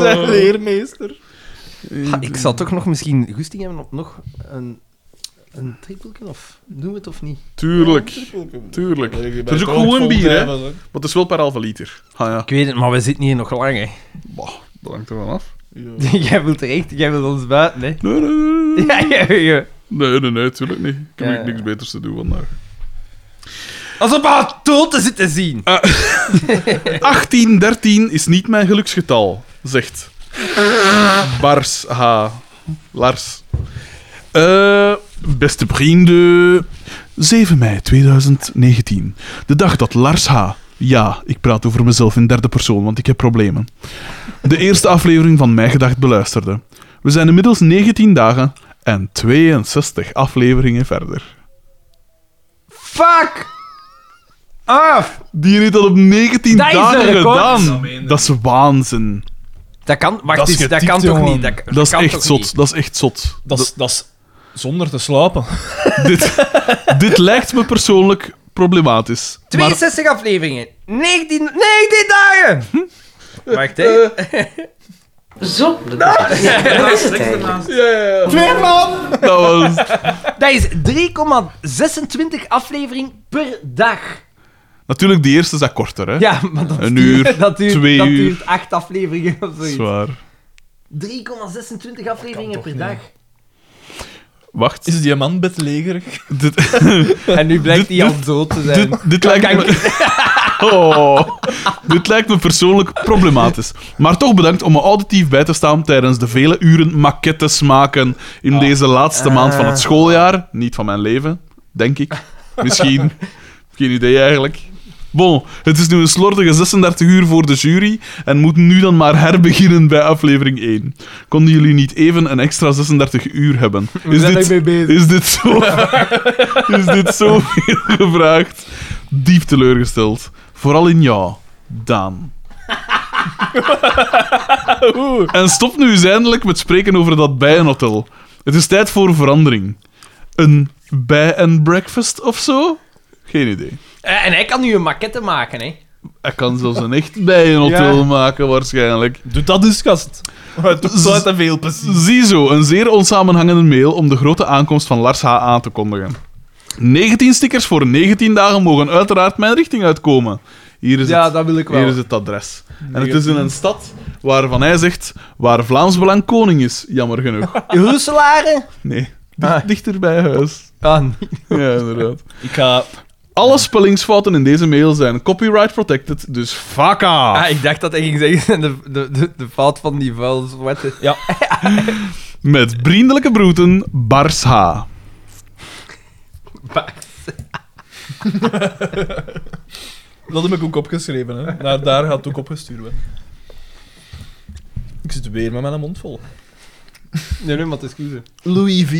S3: Zijn leermeester.
S1: Ha, Oh. ik zal toch nog misschien goesting hebben op nog een, een trippelken of doen we het of niet?
S2: Tuurlijk, tuurlijk. Het is ook gewoon bier, hè. Maar het is wel per halve liter. Ah ja,
S1: Ik weet het, maar we zitten hier nog lang, hè.
S2: bah, dat hangt er wel af.
S1: jij wilt terecht, jij wilt ons buiten, hè.
S2: Nee, nee, nee, nee.
S1: Ja, ja, ja.
S2: Nee, nee, nee, tuurlijk niet. Ik
S1: Ja.
S2: heb eigenlijk niks beters te doen vandaag.
S1: Als op haar dood te zitten zien.
S2: 1813 is niet mijn geluksgetal, zegt Bars H. Lars. Eh, beste vrienden, 7 mei 2019. De dag dat Lars H. Ja, ik praat over mezelf in derde persoon, want ik heb problemen. De eerste aflevering van Mijn Gedacht beluisterde. We zijn inmiddels 19 dagen en 62 afleveringen verder.
S1: Fuck! Ah, Af!
S2: Die heeft al op 19
S1: Dat is een
S2: dagen
S1: record.
S2: gedaan. Dat is waanzin.
S1: Dat kan, wacht
S3: Dat is
S1: eens, dat
S3: getikt,
S1: kan toch
S3: jongen.
S1: niet? Dat,
S2: Dat is
S1: kan
S2: echt
S1: toch
S2: zot.
S1: niet?
S2: Dat is echt zot.
S3: Dat is- Dat is zonder te slapen.
S2: dit, dit lijkt me persoonlijk problematisch. Maar
S1: 62 afleveringen, 19, 19 dagen! Wacht, hè.
S2: Eh,
S4: Zo, dat is, ja, dat is het eigenlijk.
S2: eh. dat was...
S1: Dat is 3,26 aflevering per dag.
S2: Natuurlijk, die eerste is dat korter, hè?
S1: Ja, maar dat,
S2: Een
S1: duurt-
S2: uur,
S1: dat duurt,
S2: twee
S1: dat
S2: uur.
S1: duurt acht afleveringen of
S2: Dat is
S1: zoiets.
S2: waar.
S1: 3,26 afleveringen per dag.
S2: Wacht.
S3: Is die man bedlegerig?
S2: Dit,
S1: En nu blijkt
S2: Dit-
S1: hij al dood te zijn.
S2: dit, dit lijkt me... Oh, dit lijkt me persoonlijk problematisch. Maar toch bedankt om me auditief bij te staan tijdens de vele uren maquettes maken
S1: Oh.
S2: in deze laatste maand van het
S1: Ah.
S2: schooljaar. Niet van mijn leven, denk ik. Misschien. Geen idee eigenlijk. Bon, het is nu een slordige 36 uur voor de jury en moet nu dan maar herbeginnen bij aflevering 1. Konden jullie niet even een extra 36 uur hebben? Is
S1: zijn er
S2: dit,
S1: mee bezig.
S2: is dit zo is dit zoveel gevraagd? Diep teleurgesteld. Vooral in jou, Daan. en stop nu eens eindelijk met spreken over dat bijenhotel. Het is tijd voor verandering. Een bij and breakfast of zo? Geen idee.
S1: Eh, en hij kan nu een maquette maken, hè.
S2: Hij kan zelfs een echt bijenhotel maken, waarschijnlijk.
S3: Doe dat dus, gast. Het doet zo te veel plezier.
S2: Ziezo, een zeer onsamenhangende mail om de grote aankomst van Lars H. aan te kondigen. 19 stickers voor 19 dagen mogen uiteraard mijn richting uitkomen. Hier is
S1: Ja,
S2: het,
S1: dat wil ik wel.
S2: Hier is het adres. En het is in een stad waarvan hij zegt waar Vlaams Belang koning is, jammer genoeg.
S1: Russelaren?
S2: Nee, dicht- dichter bij huis.
S1: Ah, nee.
S2: Ja, inderdaad.
S3: Ik ga...
S2: Alle spellingsfouten in deze mail zijn copyright protected, dus fuck off.
S1: Ah, ik dacht dat hij ging zeggen de, de, de, de fout van die vuil zwarte.
S3: Ja.
S2: Met vriendelijke broeten, Bars H.
S3: Dat heb ik ook opgeschreven, hè. Naar daar gaat het ook opgestuurd worden. Ik zit weer met mijn mond vol.
S1: Nee, nee, maar het is goed.
S3: Louis V.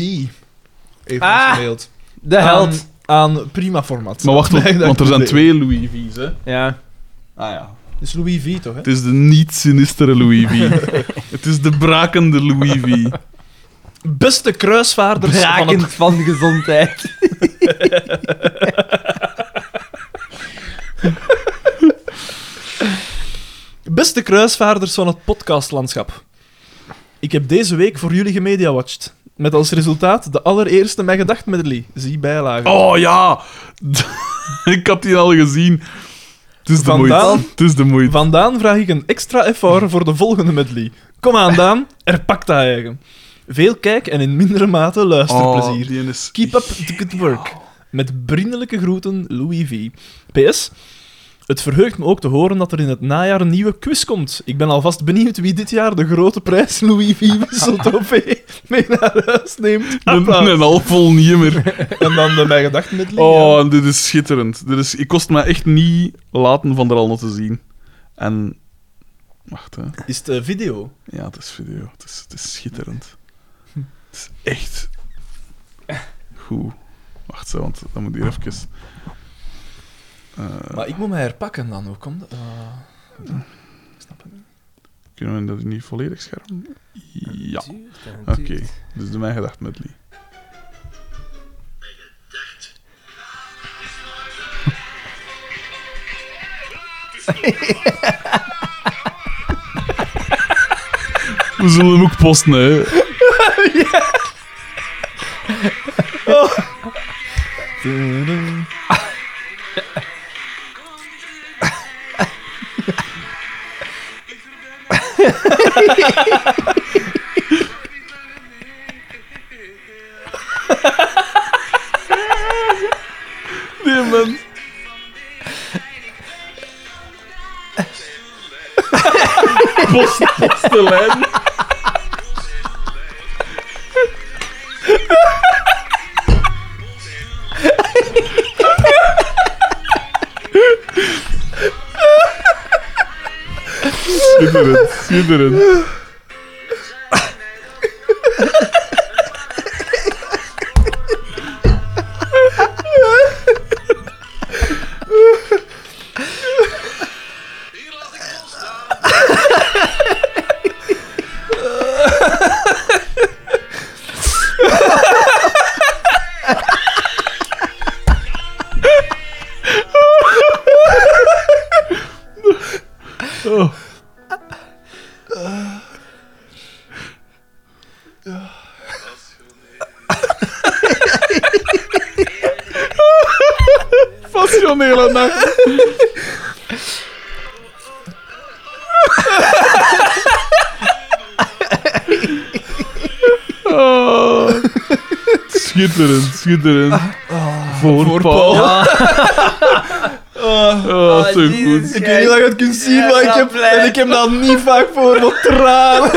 S3: Even
S1: Ah.
S3: gespeeld.
S1: De held.
S3: Aan, aan prima format.
S2: Maar wacht,
S3: Nee, dat
S2: want er zijn
S3: moet
S2: twee Louis V's, hè.
S1: Ja.
S2: Ah ja.
S3: even. Dus Louis V, toch, hè?
S2: Het is de niet-sinistere Louis V. het is de brakende Louis V.
S3: Beste kruisvaarders van
S1: Brakend
S3: het...
S1: van gezondheid.
S3: Beste kruisvaarders van het podcastlandschap. Ik heb deze week voor jullie gemediawatcht. Met als resultaat de allereerste Mijn Gedacht medley. Zie bijlage.
S2: Oh ja! ik had die al gezien. Het is de
S3: Van
S2: moeite.
S3: Daan?
S2: Het is de moeite.
S3: Van Daan vraag ik een extra effort voor de volgende medley. Kom aan, Daan. Er pakt hij eigen. Veel kijk- en in mindere mate luisterplezier.
S2: Oh, die is...
S3: Keep up the good work. Met vriendelijke groeten, Louis V. PS. Het verheugt me ook te horen dat er in het najaar een nieuwe quiz komt. Ik ben alvast benieuwd wie dit jaar de grote prijs Louis Vives trofee mee naar huis neemt.
S2: Een, een half vol niemer.
S3: En dan eh, mijn gedachten met Lee.
S2: Oh, en dit is schitterend. Dit is, ik kost me echt niet laten van er al nog te zien. En... Wacht, hè.
S3: Is het eh, video?
S2: Ja, het is video. Het is, het is schitterend. Het is echt... Goed. Wacht, zo, want dan moet hier even... Eh,
S3: Maar ik moet mij herpakken dan. Hoe komt dat? Eh, ik snap het niet.
S2: kunnen we dat niet volledig scherm? Ja.
S1: Oké.
S2: Oké, dus doe mijn gedacht met Lee. We zullen hem ook posten, hè. Nee, man. Post, post de lijn. Schitterend, schitterend. Passionele nacht. Oh. Schitterend, schitterend. voor, Paul. Oh, zo goed.
S3: Ik weet niet of je het kunt zien, maar ik heb, en ik heb dat niet vaak voor wat tranen.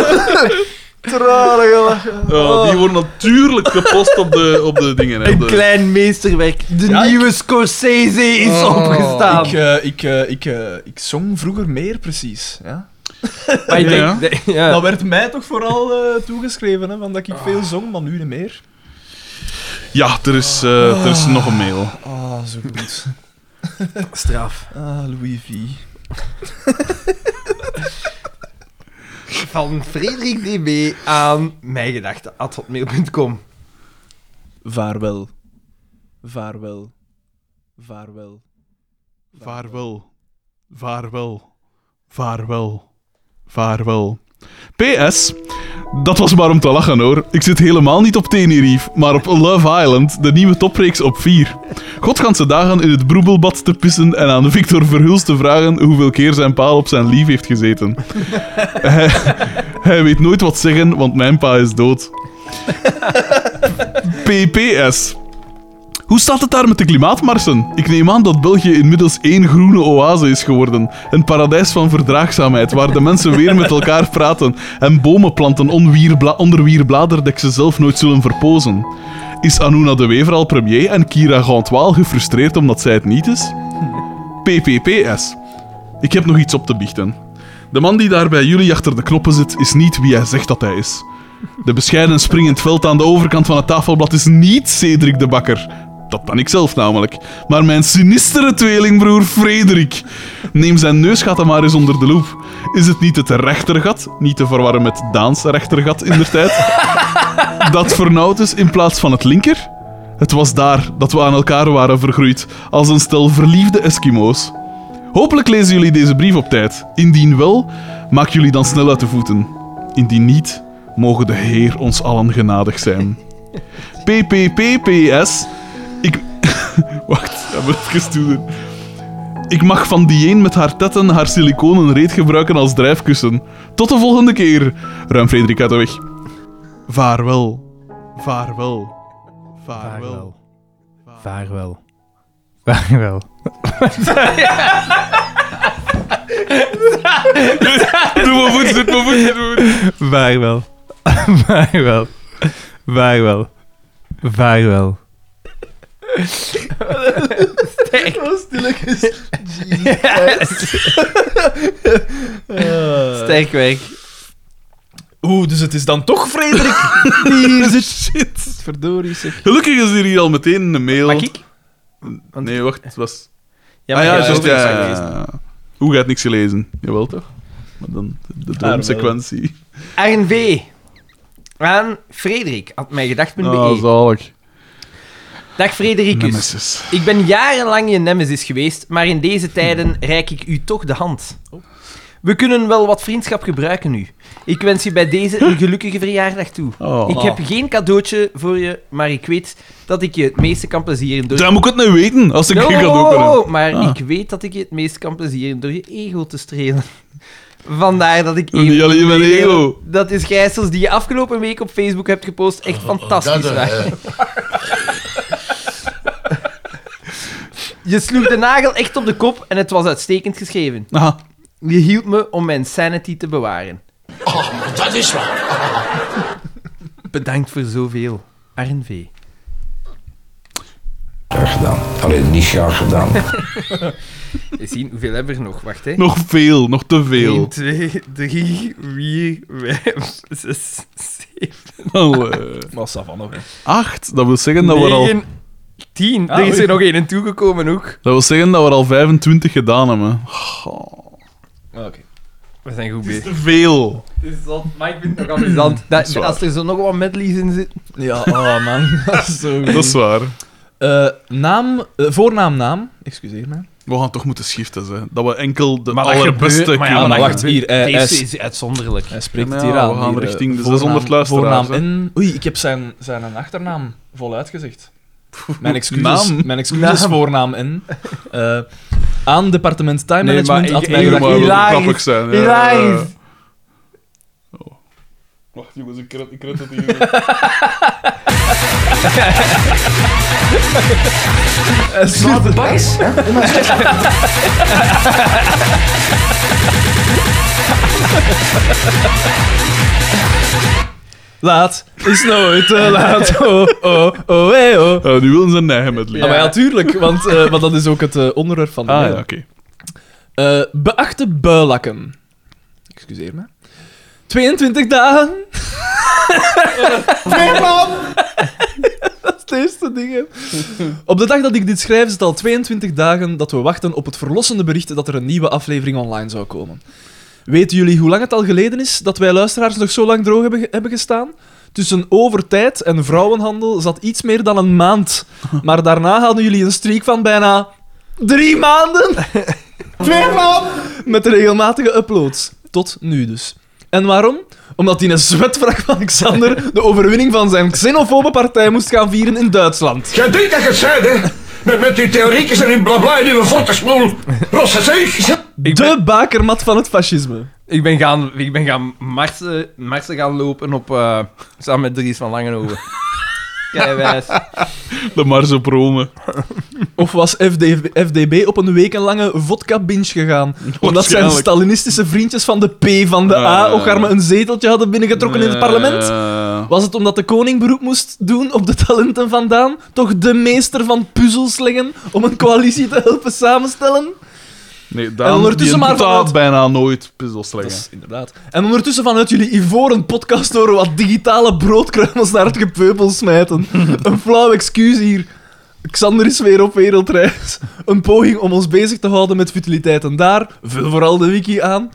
S3: tranen, gelachen.
S2: Oh, die worden natuurlijk gepost op de, op de dingen. Hè, de-
S1: Klein meesterwerk. De nieuwe Scorsese is opgestaan.
S3: Ik, eh, ik, eh, ik, eh, ik zong vroeger meer, precies. Ja?
S1: maar ik
S2: Ja.
S1: denk... de- ja.
S3: Dat werd mij toch vooral eh, toegeschreven, hè, van dat ik veel zong, maar nu niet meer.
S2: Ja, er is, eh, er is nog een mail.
S3: Ah, zo goed.
S1: Straf.
S3: Ah, Louis V.
S1: Van Frederik DB aan mijngedachten.hotmail.com
S3: Vaarwel. Vaarwel. Vaarwel.
S2: Vaarwel. Vaarwel. Vaarwel. Vaarwel. PS. Dat was maar om te lachen hoor. Ik zit helemaal niet op Tenerife, maar op Love Island, de nieuwe topreeks op 4. Godganse dagen in het broebelbad te pissen en aan Victor Verhulst te vragen hoeveel keer zijn paal op zijn lief heeft gezeten. hij, hij weet nooit wat zeggen, want mijn pa is dood. PPS. Hoe staat het daar met de klimaatmarsen? Ik neem aan dat België inmiddels één groene oase is geworden. Een paradijs van verdraagzaamheid, waar de mensen weer met elkaar praten en bomen planten onwierbla- onder wier bladerdek ze zelf nooit zullen verpozen. Is Anuna de Wever al premier en Kira Gantwaal gefrustreerd omdat zij het niet is? PPPS. Ik heb nog iets op te biechten. De man die daar bij jullie achter de knoppen zit, is niet wie hij zegt dat hij is. De bescheiden springend veld aan de overkant van het tafelblad is niet Cedric de Bakker. Dat ben ik zelf namelijk. Maar mijn sinistere tweelingbroer Frederik. Neem zijn neusgaten maar eens onder de loep. Is het niet het rechtergat, niet te verwarren met Daans rechtergat in de tijd, dat vernauwd is in plaats van het linker? Het was daar dat we aan elkaar waren vergroeid, als een stel verliefde Eskimo's. Hopelijk lezen jullie deze brief op tijd. Indien wel, maak jullie dan snel uit de voeten. Indien niet, mogen de Heer ons allen genadig zijn. PPPPS. Ik. Wacht, dat moet even toedoen. Ik mag van Dieen met haar tetten haar siliconen reet gebruiken als drijfkussen. Tot de volgende keer. Ruim Frederik uit de weg. Vaarwel. Vaarwel. Vaarwel.
S9: Vaarwel. Vaarwel.
S2: Doe mijn voet, doe mijn voet, doe mijn voet.
S9: Vaarwel. Vaarwel. Vaarwel. Vaarwel. Sterk werk.
S3: Oeh, dus het is dan toch Frederik?
S9: Hier zit shit. Verdorie zeg.
S2: Gelukkig is er hier al meteen een mail.
S9: Mag ik?
S2: Nee, wacht, het was...
S9: Ja,
S2: ah ja,
S9: jij-
S2: juist,
S9: jij-
S2: ja, ja, ja. Hoe gaat niks gelezen? Jawel, toch? Maar dan de droomsequentie.
S1: RNV. Aan Frederik, had mij gedacht.
S2: Oh, zalig.
S1: E. Dag Fredericus.
S2: Nemesis.
S1: Ik ben jarenlang je nemesis geweest, maar in deze tijden reik ik u toch de hand. We kunnen wel wat vriendschap gebruiken nu. Ik wens je bij deze een gelukkige verjaardag toe.
S2: Oh.
S1: Ik heb geen cadeautje voor je, maar ik weet dat ik je het meeste kan plezieren door...
S2: Dan moet ik het nu weten, als ik het kan openen.
S1: Oh, maar
S2: Ah.
S1: ik weet dat ik je het meest kan plezieren door je ego te strelen. Vandaar dat ik
S2: Niet
S1: even-
S2: alleen mijn ego.
S1: Dat is gijsels die je afgelopen week op Facebook hebt gepost. Echt fantastisch,
S12: Dat,
S1: waar.
S12: eh,
S1: Je sloeg de nagel echt op de kop en het was uitstekend geschreven.
S2: Aha.
S1: Je hielp me om mijn sanity te bewaren.
S12: oh, maar dat is waar.
S1: Bedankt voor zoveel. RNV.
S5: Graag gedaan. Alleen niet graag gedaan.
S1: Eens zien, hoeveel hebben we er nog? Wacht, hè.
S2: Nog veel, nog te
S1: 1,
S2: veel.
S1: 2, 3, 4, 5, 6, 7,
S2: Al, eh,
S3: Maar Savan nog. hè.
S2: acht, dat wil zeggen dat we al...
S1: 9, 10.
S3: Ah,
S1: Er is
S3: oei.
S1: er nog één toegekomen ook.
S2: Dat wil zeggen dat we er al 25 gedaan hebben. Goh,
S3: Ah, Oké.
S1: We zijn goed bezig.
S2: te veel.
S1: Maar ik Dus vind het nog amusant. Dat,
S2: is waar.
S1: als er zo nog wat medleys in zitten...
S3: Ja, oh man. Dat is zo
S2: Dat is
S3: goed.
S2: waar.
S3: Eh, naam, eh, voornaam, naam. Excuseer mij.
S2: We gaan toch moeten schiften, hè. Dat we enkel de
S9: Maar dat
S2: allerbeste
S9: gebeurt- maar ja,
S2: kunnen...
S9: maar
S3: wacht, hier. eh, hij, s-
S1: is uitzonderlijk.
S3: hij spreekt
S2: Ja,
S3: het hier
S2: maar
S3: aan.
S2: we gaan
S3: hier, eh,
S2: richting de
S3: voornaam-
S2: 600 luisteraars,
S3: Voornaam en... Oei, ik heb zijn, zijn een achternaam voluit gezegd. Mijn excuses,
S2: Naam?
S3: mijn excuses voornaam en... eh, aan departement time
S1: Nee, maar
S3: management
S1: ik-
S3: had
S2: Nee,
S3: mij
S2: maar
S3: gedacht...
S2: we willen
S1: Hilarisch.
S2: grappig zijn. ja,
S1: Hilarisch.
S2: eh. Oh. Wacht, jongens, ik red, ik red het hier.
S10: Slaap de bakjes, hè? Doe maar zo.
S3: Laat is nooit te laat. Oh, oh, oh, hey, oh.
S2: Eh, nu willen ze een eigen medley.
S3: Ah, maar ja, natuurlijk, want, eh, want dat is ook het eh, onderwerp van de
S2: Ah, ja,
S3: mail.
S2: oké.
S3: Eh, beachte builakken. Excuseer me. 22 dagen. Twee man! dat is het eerste ding. hè. Op de dag dat ik dit schrijf, is het al 22 dagen dat we wachten op het verlossende bericht dat er een nieuwe aflevering online zou komen. Weten jullie hoe lang het al geleden is dat wij luisteraars nog zo lang droog hebben, ge- hebben gestaan? Tussen overtijd en vrouwenhandel zat iets meer dan een maand. Maar daarna hadden jullie een streak van bijna drie maanden. Twee maanden! Met regelmatige uploads. Tot nu dus. En waarom? Omdat die een zwetvraag van Alexander de overwinning van zijn xenofobe partij moest gaan vieren in Duitsland.
S11: Jij denkt dat je het zei, hè? Met, met die theoriekjes en die blabla en die gortensmoel. Rosse zeeg.
S3: De bakermat van het fascisme.
S1: Ik ben gaan, ik ben gaan marsen, marsen gaan lopen op, eh, samen met Dries van Langenhoven. Keiwijs.
S2: De Marse Prome.
S3: Of was FD FDB op een wekenlange vodka-binge gegaan? Omdat zijn
S2: Waarschijnlijk.
S3: Stalinistische vriendjes van de P van de
S2: Ja, ja,
S3: A
S2: ja.
S3: ook maar een zeteltje hadden binnengetrokken in het parlement?
S2: Eh,
S3: Was het omdat de koning beroep moest doen op de talenten vandaan? Toch de meester van puzzels leggen om een coalitie te helpen samenstellen?
S2: nee,
S3: En
S2: Daan,
S3: ondertussen
S2: die
S3: maar
S2: doet dat
S3: vanuit-
S2: bijna nooit puzzels
S3: Dat
S2: leggen.
S3: is inderdaad. En ondertussen vanuit jullie ivoren podcast horen wat digitale broodkruimels naar het gepeupel smijten. een flauw excuus hier. Xander is weer op wereldreis. Een poging om ons bezig te houden met futiliteiten daar. Vul vooral de wiki aan.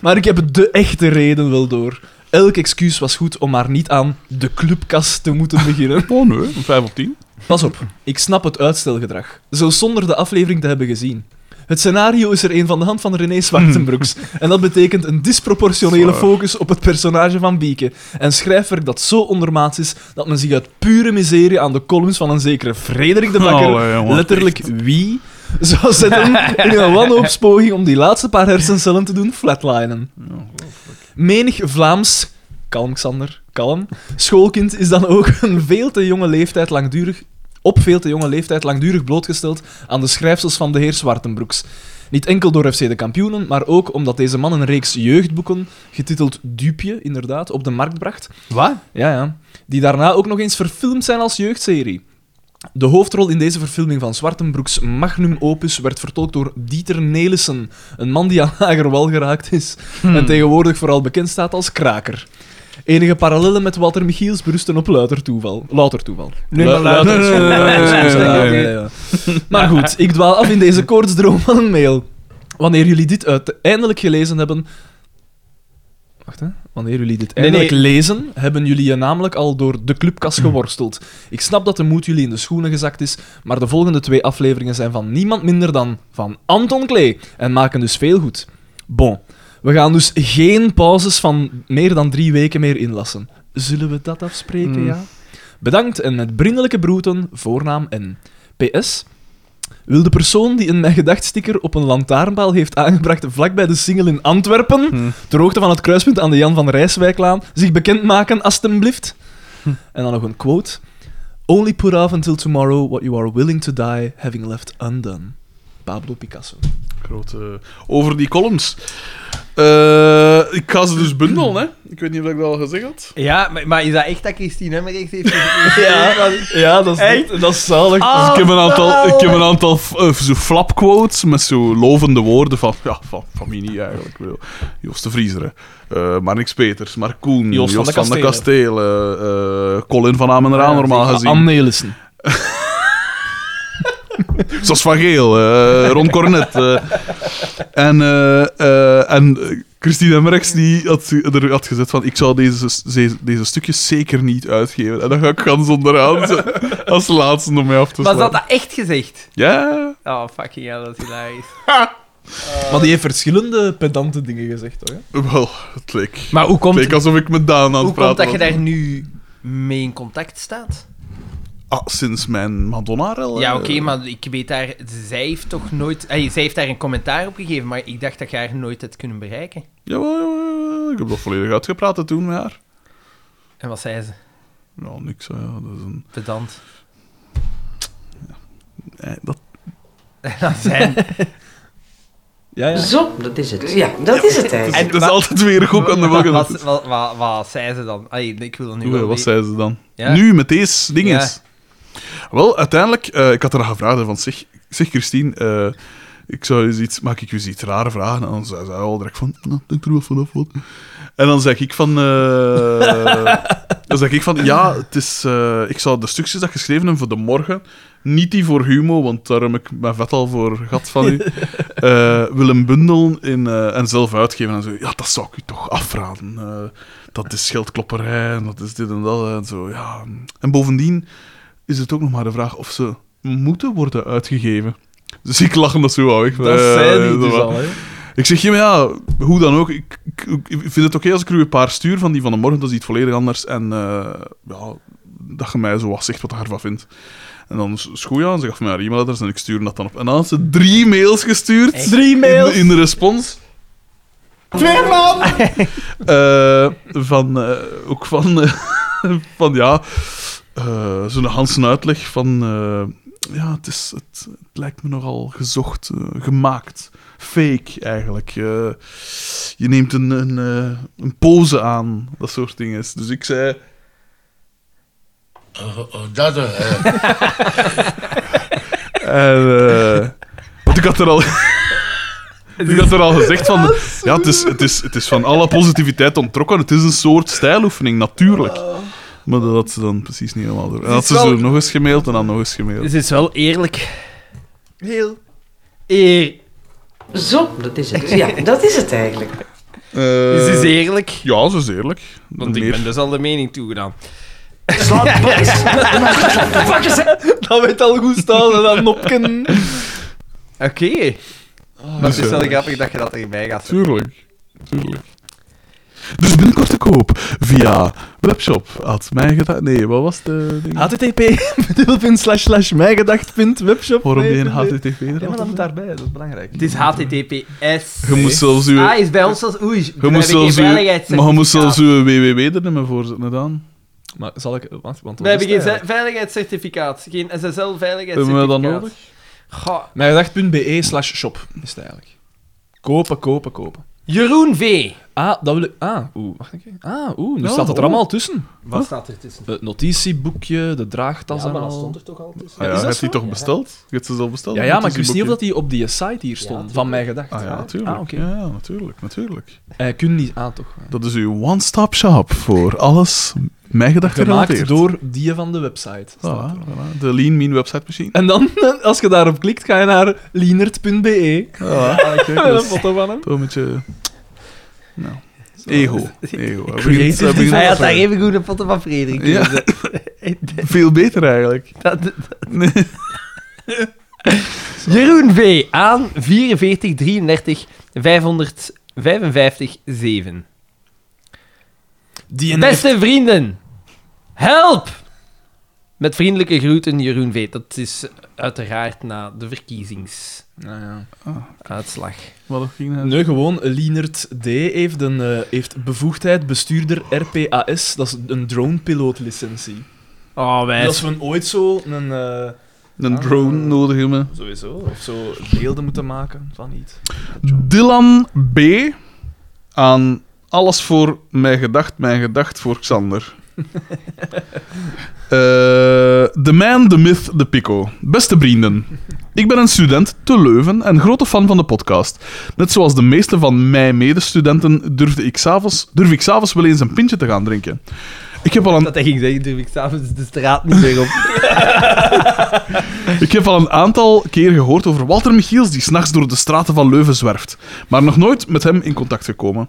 S3: Maar ik heb de echte reden wel door. Elk excuus was goed om maar niet aan de clubkast te moeten beginnen.
S2: Oh nee, een 5 op 10.
S3: Pas op, ik snap het uitstelgedrag. Zo zonder de aflevering te hebben gezien. Het scenario is er een van de hand van René Zwartenbroeks. En dat betekent een disproportionele
S2: Zwaar.
S3: focus op het personage van Bieke. En schrijfwerk dat zo ondermaats is dat men zich uit pure miserie aan de columns van een zekere Frederik de Bakker,
S2: Allee, jongen,
S3: letterlijk wie, zou zetten in een wanhoopspoging om die laatste paar hersencellen te doen flatlinen. Menig Vlaams, kalm Xander, kalm, schoolkind is dan ook een veel te jonge leeftijd langdurig, op veel te jonge leeftijd langdurig blootgesteld aan de schrijfsels van de heer Zwartenbroeks. Niet enkel door FC de kampioenen, maar ook omdat deze man een reeks jeugdboeken, getiteld Dupje, inderdaad, op de markt bracht.
S9: Wat?
S3: Ja, ja. Die daarna ook nog eens verfilmd zijn als jeugdserie. De hoofdrol in deze verfilming van Zwartenbroeks magnum opus werd vertolkt door Dieter Nelissen, een man die aan lager wal geraakt is en tegenwoordig vooral bekend staat als kraker. Enige parallellen met Walter Michiels berusten op louter toeval. Louter toeval.
S9: Nee,
S2: maar laat-
S3: Louter
S2: nee, nee, nee, nee, nee,
S3: toeval.
S2: nee, nee,
S3: Ja, ja, ja. Maar goed, ik dwaal af in deze koortsdroom van een mail. Wanneer jullie dit uiteindelijk gelezen hebben... Wacht, hè. Wanneer jullie dit
S9: nee. Hm.
S3: eindelijk lezen, hebben jullie je namelijk al door de clubkas geworsteld. Ik snap dat de moed jullie in de schoenen gezakt is, maar de volgende twee afleveringen zijn van niemand minder dan van Anton Klee en maken dus veel goed. Bon, we gaan dus geen pauzes van meer dan drie weken meer inlassen. Zullen we dat
S9: Hm.
S3: afspreken, ja? Bedankt en met vriendelijke broeten, voornaam en PS. Wil de persoon die een mijn gedachtsticker op een lantaarnpaal heeft aangebracht vlakbij de single in Antwerpen, ter hoogte van het kruispunt aan de Jan van Rijswijklaan, zich bekendmaken, alstublieft? En dan nog een quote. Only put off until tomorrow what you are willing to die having left undone. Pablo Picasso.
S2: Grote... Over die columns. Eh, ik ga ze dus bundelen, hè. Ik weet niet of ik dat al gezegd had.
S1: Ja, maar, maar is dat echt dat Christine Hemmerich heeft
S3: Ja, ja dat, is, dat is zalig.
S1: Ah.
S2: Dus ik heb een aantal, ik heb
S1: Oh,
S2: een aantal f- eh, zo flapquotes met zo lovende woorden van, ja, van, van wie niet eigenlijk. wel. Joost de Vriezer, hè. Eh, maar niks Peters, maar Koen, Joost,
S3: Joost van de
S2: van de Kastelen, eh, Colin van Amenraan normaal gezien.
S3: Anne Nelissen.
S2: Zoals Van Geel, eh, Ron Cornet. eh. en, eh, eh, en Christine Merks die had, er had gezet van ik zou deze, deze, deze stukjes zeker niet uitgeven. En dan ga ik gans onderaan zetten als laatste om mij af te
S1: Maar
S2: slaan.
S1: ze had dat echt gezegd.
S2: Ja,
S1: Oh, fucking hell, dat is hilarisch.
S3: Maar die heeft verschillende pedante dingen gezegd, hoor.
S2: wel, het leek.
S9: Maar hoe
S2: Het
S9: komt,
S2: leek alsof ik met Daan aan
S1: Hoe
S2: het
S1: komt
S2: praten
S1: dat je
S2: was.
S1: daar nu mee in contact staat?
S2: Ah, sinds mijn Madonna-rel.
S1: Ja,
S2: eh.
S1: oké, maar ik weet daar... Zij heeft toch nooit... ey, zij heeft daar een commentaar op gegeven, maar ik dacht dat je haar nooit hebt kunnen bereiken.
S2: Jawel, jawel, jawel. ik heb dat volledig uitgepraat hè, toen met haar.
S1: En wat zei ze?
S2: Ja, niks. hè. Dat is een...
S1: Pedant.
S2: eh, dat...
S1: Zijn.
S3: Ja,
S2: Eh,
S3: ja.
S4: Zo, dat is het. Ja, dat is het eigenlijk.
S2: Het is altijd weer een gok aan de
S1: wat,
S2: wagen.
S1: wat, wat, wat, wat zei ze dan? Allee, ik wil dat nu
S2: Oeh,
S1: wel
S2: wat
S1: weten.
S2: zei ze dan?
S1: Ja.
S2: Nu, met deze dinges. Wel, uiteindelijk, eh, ik had haar gevraagd hè, van, zeg, zeg Christine, eh, ik zou eens iets, maak ik je eens iets rare vragen? En dan zei zij al direct van, nou, denk er wel vanaf wat. En dan zeg ik van, eh, dan zeg ik van, ja, het is, eh, ik zou de stukjes dat ik geschreven heb voor de morgen, niet die voor Humo, want daar heb ik mijn vet al voor gehad van u, eh, willen bundelen in, eh, en zelf uitgeven. En zo, ja, dat zou ik u toch afraden. eh, dat is schildklopperij en dat is dit en dat en zo. Ja. En bovendien is het ook nog maar de vraag of ze moeten worden uitgegeven. Dus ik lach dat zo weg.
S3: Dat
S2: Eh,
S3: zei die
S2: dat
S3: dus
S2: wa-
S3: al, hè.
S2: ik zeg, ja, maar ja, hoe dan ook. Ik, ik, ik vind het oké als ik er u een paar stuur van die van de morgen, dat is iets volledig anders. En eh, ja, dat je mij zo wat zegt wat je ervan vindt. En dan is is goed, ja. En ze gaf mij haar e-mailadres en ik stuurde dat dan op. En dan had ze drie mails gestuurd.
S3: Drie mails.
S2: In, in de respons. Twee man! van, eh, ook van, eh, van ja, eh, zo'n Hansen uitleg van, eh, ja, het, is, het, het lijkt me nogal gezocht, eh, gemaakt, fake eigenlijk. Eh, je neemt een, een, eh, een pose aan, dat soort dingen. Dus ik zei,
S12: Oh, oh, dat, eh.
S2: En, eh, want ik had er al. ik had er al gezegd van. Ja, het is, het, is, het is van alle positiviteit ontrokken. Het is een soort stijloefening, natuurlijk. Maar dat had ze dan precies niet helemaal door. En had ze
S1: wel-
S2: zo nog eens gemaild en dan nog eens gemaild.
S1: Ze is wel eerlijk. Heel. Eer.
S4: Zo, dat is het. Ja, dat is het eigenlijk.
S1: Ze is eerlijk.
S2: Eh, Ja, ze is eerlijk.
S1: Want ik
S2: Meer-
S1: ben dus al de mening toegedaan.
S10: Slaap boys.
S3: Dat weet al goed staan, hè, dat nopken.
S1: Oké. maar het is wel grappig dat je dat erbij gaat zetten.
S2: Tuurlijk. Tuurlijk. Dus binnenkort te koop via webshop. Had mij gedaan. Nee, wat was de. Ding?
S3: http dubbelpunt slash slash mijgedacht.webshop.
S2: Waarom die een HTTP eraf?
S3: Ja, maar dat moet daarbij, dat is belangrijk.
S1: Het is HTTPS.
S2: Je moest zelfs uw-
S1: Ah, is bij ons als... Oei,
S2: Je moest zelfs uw- maar je moest zelfs uw www er niet meer voor zetten, dan.
S3: Maar zal ik... Wacht, want
S1: We hebben geen
S3: zin.
S1: ze- veiligheidscertificaat. Geen SSL-veiligheidscertificaat.
S2: Hebben we dat nodig?
S1: Goh.
S3: Mijngedacht.be E slash shop is het eigenlijk. Kopen, kopen, kopen.
S1: Jeroen V.
S3: Ah, dat wil ik... Ah, oeh, wacht even. Ah, oeh, nu
S2: Ja,
S3: staat het er
S2: oeh.
S3: allemaal tussen.
S9: Wat staat er tussen?
S3: Het notitieboekje, de draagtas en al.
S9: er toch al tussen?
S2: Ah, ja,
S3: is dat
S2: heb je die
S3: zo?
S2: toch besteld? Je hebt ze al besteld?
S3: Ja, ja, maar ik
S2: Notitie
S3: wist niet of
S2: boekje.
S3: dat die op die site hier stond, van mijn gedacht.
S2: Ah ja, natuurlijk.
S3: Ah, oké.
S2: Ja, natuurlijk, natuurlijk.
S3: Eh, kun niet aan, toch?
S2: Dat is uw one-stop shop voor alles mijn gedachten
S3: Gemaakt door die van de website. staat er.
S2: de Lean Mean website machine.
S3: En dan, als je daarop klikt, ga je naar lienert.be.
S2: Ah, kijk,
S3: Een
S2: dat is
S3: foto van hem.
S2: toch een beetje... Nou, ego. Ego. Hij begint-
S3: Creative
S2: hij begint-
S1: Hij had daar even goede potten van Frederik.
S2: Ja. Veel beter eigenlijk.
S1: Dat- dat- Jeroen V. aan 44 33 555 7.
S3: Die
S1: Beste vrienden, help! Met vriendelijke groeten, Jeroen V. Dat is uiteraard na de verkiezingsuitslag.
S3: Nou ja.
S2: Wat ging dat?
S3: Nee, gewoon Lienert D. heeft, een, eh, heeft bevoegdheid bestuurder RPAS. Dat is een drone-piloot-licentie.
S1: Oh, wij.
S3: Als we ooit zo een... eh,
S2: Een drone nodig hebben.
S3: sowieso, of zo beelden moeten maken van iets.
S2: Dylan B. Aan alles voor mijn gedacht, mijn gedacht voor Xander. De man, de myth, de pico. Beste vrienden. Ik ben een student te Leuven en grote fan van de podcast. Net zoals de meeste van mijn medestudenten durfde ik s'avonds, durf ik s'avonds wel eens een pintje te gaan drinken. Ik heb al een
S1: Dat hij ging zeggen, durf ik s'avonds de straat niet meer op.
S2: Ik heb al een aantal keer gehoord over Walter Michiels die s'nachts door de straten van Leuven zwerft, maar nog nooit met hem in contact gekomen.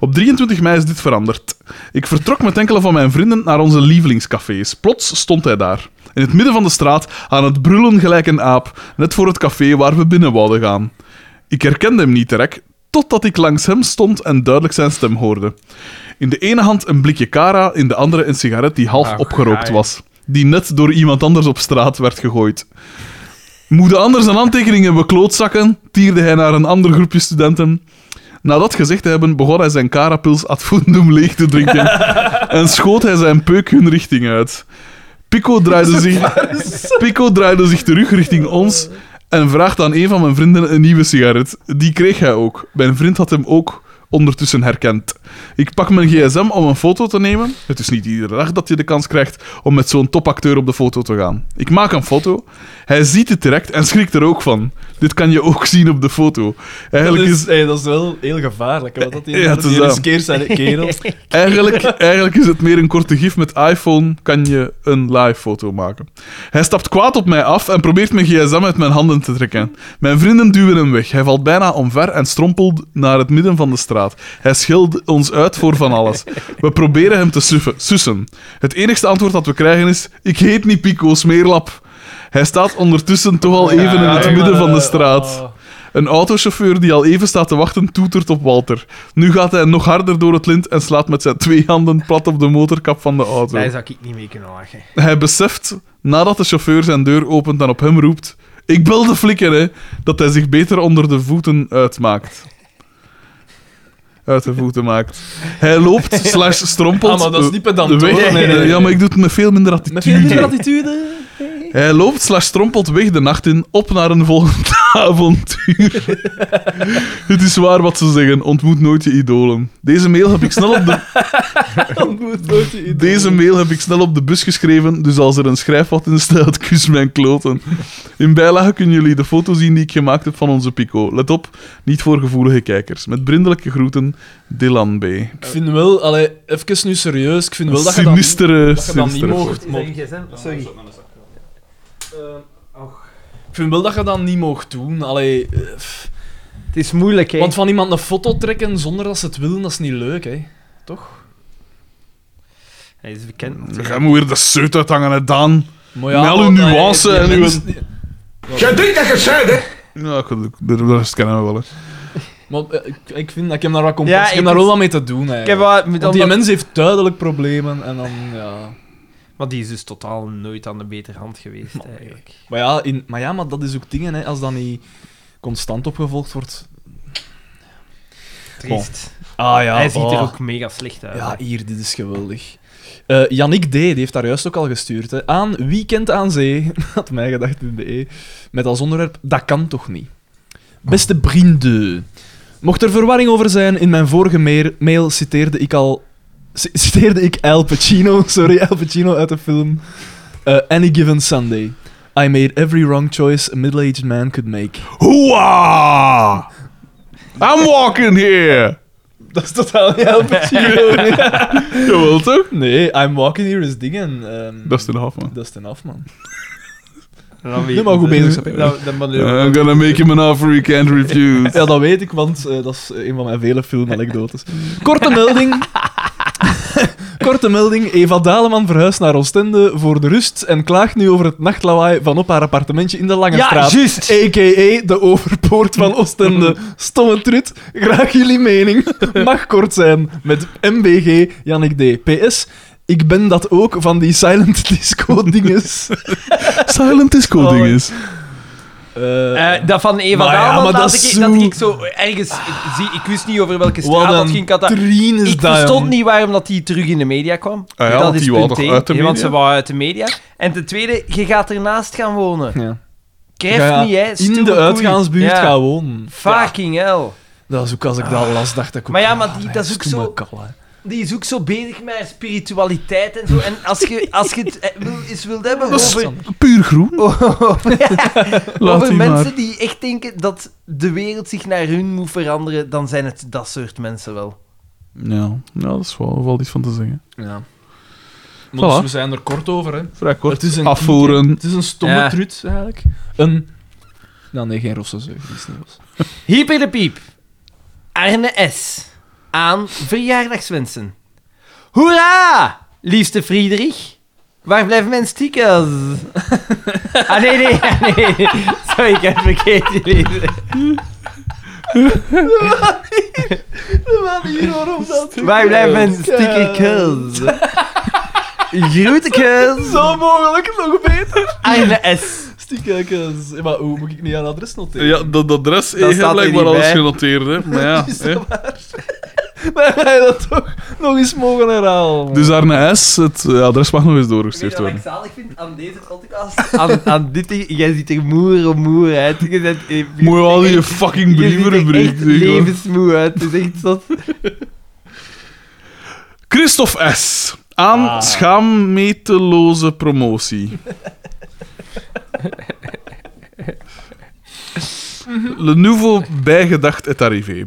S2: Op 23 mei is dit veranderd. Ik vertrok met enkele van mijn vrienden naar onze lievelingscafés. Plots stond hij daar, in het midden van de straat, aan het brullen gelijk een aap, net voor het café waar we binnen wouden gaan. Ik herkende hem niet direct, totdat ik langs hem stond en duidelijk zijn stem hoorde. In de ene hand een blikje Cara, in de andere een sigaret die half opgerookt was, die net door iemand anders op straat werd gegooid. Moede anders zijn handtekeningen beklootzakken, tierde hij naar een ander groepje studenten. Na dat gezegd te hebben, begon hij zijn carapils ad fundum leeg te drinken en schoot hij zijn peuk hun richting uit. Pico draaide zich, Pico draaide zich terug richting ons en vraagt aan een van mijn vrienden een nieuwe sigaret. Die kreeg hij ook. Mijn vriend had hem ook ondertussen herkend. Ik pak mijn gsm om een foto te nemen. Het is niet iedere dag dat je de kans krijgt om met zo'n topacteur op de foto te gaan. Ik maak een foto. Hij ziet het direct en schrikt er ook van. Dit kan je ook zien op de foto.
S3: Dat
S2: Eigenlijk
S3: is,
S2: is,
S3: hey, dat is wel heel gevaarlijk. hè, Wat dat hier
S2: Ja, het is
S3: hier
S2: dat.
S3: is keer zijn kerel.
S2: Eigenlijk, eigenlijk is het meer een korte gif. Met iPhone kan je een live foto maken. Hij stapt kwaad op mij af en probeert mijn gsm uit mijn handen te trekken. Mijn vrienden duwen hem weg. Hij valt bijna omver en strompelt naar het midden van de straat. Hij scheelt ons uit voor van alles. We proberen hem te suffen, sussen. Het enigste antwoord dat we krijgen is... Ik heet niet Pico Smeerlap. Hij staat ondertussen toch al even in het midden van de straat.
S3: Oh.
S2: Een autochauffeur die al even staat te wachten toetert op Walter. Nu gaat hij nog harder door het lint en slaat met zijn twee handen plat op de motorkap van de auto.
S1: Daar zou ik niet mee kunnen lachen.
S2: Hij beseft, nadat de chauffeur zijn deur opent en op hem roept... Ik bel de flikker, hè. Dat hij zich beter onder de voeten uitmaakt. Uit de voeten maakt. Hij loopt slash strompelt... eh,
S3: Ah, maar dat is niet pedant,
S2: weg.
S3: hoor. Nee, nee, nee.
S2: Ja, maar ik doe het met veel minder
S3: Met
S2: attitude.
S3: veel minder attitude.
S2: Hij loopt slash strompelt weg de nacht in, op naar een volgend avontuur. Het is waar wat ze zeggen, ontmoet nooit je idolen. Deze mail heb ik snel op de, Deze mail heb ik snel op de bus geschreven, dus als er een schrijfvat in staat, kus mijn kloten. In bijlage kunnen jullie de foto zien die ik gemaakt heb van onze Pico. Let op, niet voor gevoelige kijkers. Met brindelijke groeten, Dylan B.
S3: Ik vind wel, allee, even nu serieus, ik vind wel dat je dan, dat
S2: Sinistere,
S3: je dan niet
S2: sinistere foto.
S3: mocht... mocht-
S1: Sorry.
S3: Ik vind wel dat je dat niet mocht doen. Allee, eh, pff.
S1: Het is moeilijk, hè.
S3: Want van iemand een foto trekken zonder dat ze het willen, dat is niet leuk, hè. Toch?
S1: Hij is bekend.
S2: Jij moet weer de zeut uithangen, hè, Daan.
S3: Maar
S2: Met al uw
S3: want, allee,
S2: nuance
S3: die
S2: en uw-
S3: mensen-
S11: Jij denkt dat je het zei, hè?
S2: Ja, goed, de de rest kennen we wel, hè.
S3: Maar eh, ik, ik vind dat ik hem daar wat compens,
S1: Ja,
S3: ik heb
S1: ik
S3: daar
S1: is-
S3: wel wat mee te doen, eigenlijk.
S1: Ik heb wat, met
S3: Want die
S1: omdat-
S3: mens heeft duidelijk problemen en dan, ja...
S1: Maar die is dus totaal nooit aan de betere hand geweest, eigenlijk.
S3: Maar ja, in, maar ja, maar dat is ook dingen, hè. Als dat niet constant opgevolgd wordt...
S1: Triest.
S3: Ah ja,
S1: Hij ziet er
S3: oh.
S1: ook mega slecht uit.
S3: Ja,
S1: Ja,
S2: Eh,
S3: hier, dit is geweldig. Eh Yannick D. Die heeft daar juist ook al gestuurd. Hè. Aan Weekend aan Zee. Had mij gedacht in de E. Met als onderwerp, dat kan toch niet? Beste vrienden. Mocht er verwarring over zijn, in mijn vorige meer- mail citeerde ik al... c- Citeerde ik Al Pacino, sorry, Al Pacino uit de film eh, Any Given Sunday. I made every wrong choice a middle-aged man could make.
S2: Hoera! I'm walking here!
S3: Dat is totaal niet Al Pacino.
S2: Jawel toch?
S3: nee, I'm walking here is dingen. ehm,
S2: Dat is de half, man.
S3: dat is ten af, man.
S1: Nu
S3: Nu maar goed bezig zijn.
S1: Nou,
S2: I'm gonna make him an offer he can't refuse.
S3: Ja, dat weet ik, want eh, dat is eh, een van mijn vele filmanekdotes. Korte melding. Korte melding. Eva Daleman verhuist naar Oostende voor de rust en klaagt nu over het nachtlawaai van op haar appartementje in de Lange Straat.
S9: juist.
S3: A.k.a. de overpoort van Oostende. Stomme trut. Graag jullie mening. Mag kort zijn. Met MBG Jannik D. PS. Ik ben dat ook van die silent disco dinges.
S2: Silent Disco ding is.
S3: Eh,
S1: Eh, dat van Eva
S3: Maar ja,
S1: Daalman,
S3: maar
S1: dat,
S3: dat
S1: ik,
S3: is
S1: dat
S3: zo-
S1: ik zo ergens... ik Zie, ik wist niet over welke straat
S3: wat
S1: dat
S3: een
S1: ah, ging. Ik, had dat-
S3: trien is
S1: ik
S3: dat,
S1: verstond
S3: jong.
S1: niet waarom dat die terug in de media kwam.
S2: Ah ja,
S1: dat
S2: want die wou toch
S1: één.
S2: uit de
S1: Ja, Want ze
S2: media?
S1: wou uit de media. En ten tweede, je gaat ernaast gaan wonen.
S3: Ja.
S1: Kreft
S3: Ja,
S1: niet, hè.
S3: in de
S1: stoere
S3: uitgaansbuurt
S1: koeien. Ja.
S3: gaan wonen.
S1: Fucking hell.
S3: Dat is ook als ik dat las, dacht ik ook. ah,
S1: Maar ja, maar die- dat is ook
S3: stomme
S1: zo-
S3: kal, hè.
S1: Die is ook zo bezig met haar spiritualiteit en zo. En als je, als je het eh, wil, eens wilt hebben over,
S2: Puur groen.
S1: over
S2: die
S1: mensen die echt denken dat de wereld zich naar hun moet veranderen, dan zijn het dat soort mensen wel.
S2: Ja, ja dat is wel, wel iets van te zeggen.
S3: Ja.
S2: Voilà.
S3: Maar dus we zijn er kort over, hè.
S2: Vrij kort.
S3: Het is een
S2: Afvoeren.
S3: Het is een stomme
S1: Ja.
S3: trut, eigenlijk. Een... Nou, nee, geen rosse zeug. Die is niet ros.
S1: Hyper de piep. Arne S. Aan verjaardagswensen. Hoera! Liefste Friedrich. Waar blijven mijn stickers? Ah, nee, nee, ah, nee. Sorry, ik heb vergeten. lezen. Waar blijven mijn stickerkes? Groetekes.
S3: Zo mogelijk, nog beter.
S1: Arne S.
S3: Stiekekes. Maar hoe moet ik niet aan adres noteren?
S2: Ja, dat adres
S1: staat
S2: heeft
S1: er
S2: blijkbaar
S1: niet
S2: alles
S1: bij.
S2: genoteerd, hè. Maar ja, hè.
S3: Maar wij dat toch nog eens mogen herhalen.
S2: Dus daar naar S, het eh, adres mag nog eens doorgestuurd
S1: Weet je wat ik
S2: worden.
S1: zalig vind aan deze podcast? aan, aan dit ding, jij ziet er moer om moer uit. Je bent, je,
S2: Moet je al
S1: je
S2: die fucking brievenrubriek
S1: brieven
S2: doen, hoor.
S1: levensmoe uit. Het is echt zot.
S2: Christophe S. Aan schaammeteloze promotie. Le nouveau bijgedacht et arrivé.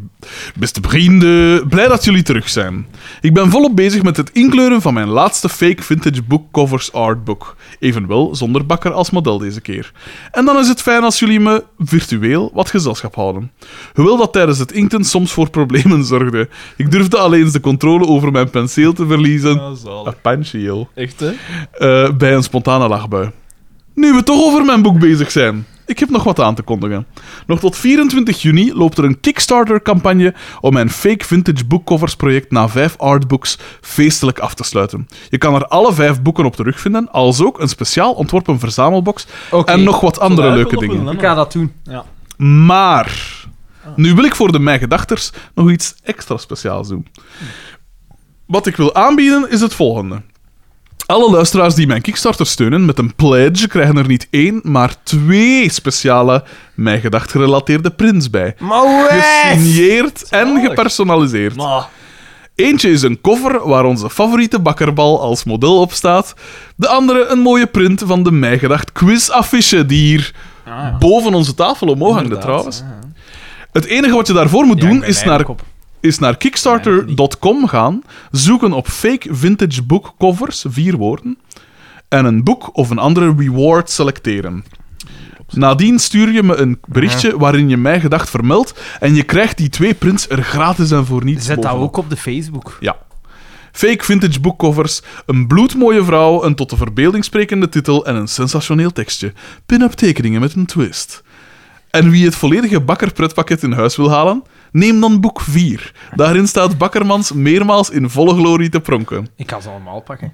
S2: Beste vrienden, blij dat jullie terug zijn. Ik ben volop bezig met het inkleuren van mijn laatste fake vintage bookcovers artbook. Evenwel zonder bakker als model deze keer. En dan is het fijn als jullie me virtueel wat gezelschap houden. Hoewel dat tijdens het inkten soms voor problemen zorgde. Ik durfde alleen eens de controle over mijn penseel te verliezen.
S3: Ja, zalig.
S2: Appensieel.
S3: Echt, hè?
S2: Eh, bij een spontane lachbui. Nu we toch over mijn boek bezig zijn. Ik heb nog wat aan te kondigen. Nog tot 24 juni loopt er een Kickstarter-campagne om mijn fake vintage boekcovers project na vijf artbooks feestelijk af te sluiten. Je kan er alle vijf boeken op terugvinden, als ook een speciaal ontworpen verzamelbox en nog wat andere leuke dingen.
S1: Ik ga dat doen.
S2: Maar nu wil ik voor de mijn gedachters nog iets extra speciaals doen. Wat ik wil aanbieden is het volgende. Alle luisteraars die mijn Kickstarter steunen met een pledge krijgen er niet één, maar twee speciale mijn gedacht gerelateerde prints bij.
S1: Maar wees!
S2: Gesigneerd en gepersonaliseerd.
S3: Ah.
S2: Eentje is een koffer waar onze favoriete bakkerbal als model op staat. De andere een mooie print van de mijgedacht quizaffiche die hier
S1: Ah,
S2: boven onze tafel omhoog hangt trouwens. Het enige wat je daarvoor moet doen is naar, is naar kickstarter.com gaan, zoeken op fake vintage boekcovers, vier woorden, en een boek of een andere reward selecteren. Nadien stuur je me een berichtje waarin je mijn gedacht vermeldt en je krijgt die twee prints er gratis en voor niets
S1: Zet dat
S2: bovenop.
S1: ook op de Facebook.
S2: Ja. Fake vintage boekcovers, een bloedmooie vrouw, een tot de verbeelding sprekende titel en een sensationeel tekstje. Pin-up tekeningen met een twist. En wie het volledige bakkerpretpakket in huis wil halen, neem dan boek 4. Daarin staat Bakkermans meermaals in volle glorie te pronken.
S1: Ik kan ze allemaal pakken.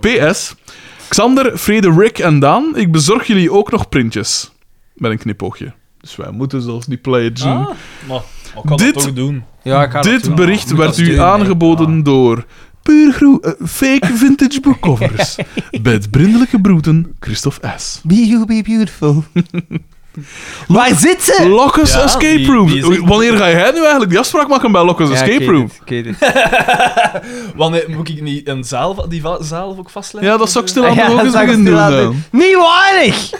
S2: PS. Xander, Frederik en Daan, ik bezorg jullie ook nog printjes. Met een knipoogje. Dus wij moeten zelfs niet pledgen.
S3: Maar, ik kan
S2: Dit-
S3: dat toch doen.
S1: Ja, ik ga
S2: Dit bericht werd u aangeboden door Puur groe, eh, fake vintage boekcovers. Met brindelijke broeten, Christophe S.
S1: Be you be beautiful. Waar zit ze?
S2: Lockers
S3: Ja,
S2: Escape
S3: die-
S2: Room.
S3: die is echt-
S2: Wanneer ga jij nu eigenlijk die afspraak maken bij Lockers Escape Room?
S3: Wanneer moet ik niet een zaal, va- die va- zaal ook vastleggen?
S2: Ja, dat zou ik stilaan
S1: Ah, Ja,
S2: ook
S1: dat
S2: eens
S1: zou ik
S2: beginnen doen.
S1: stilaan
S2: dan.
S1: doen. Niet waardig!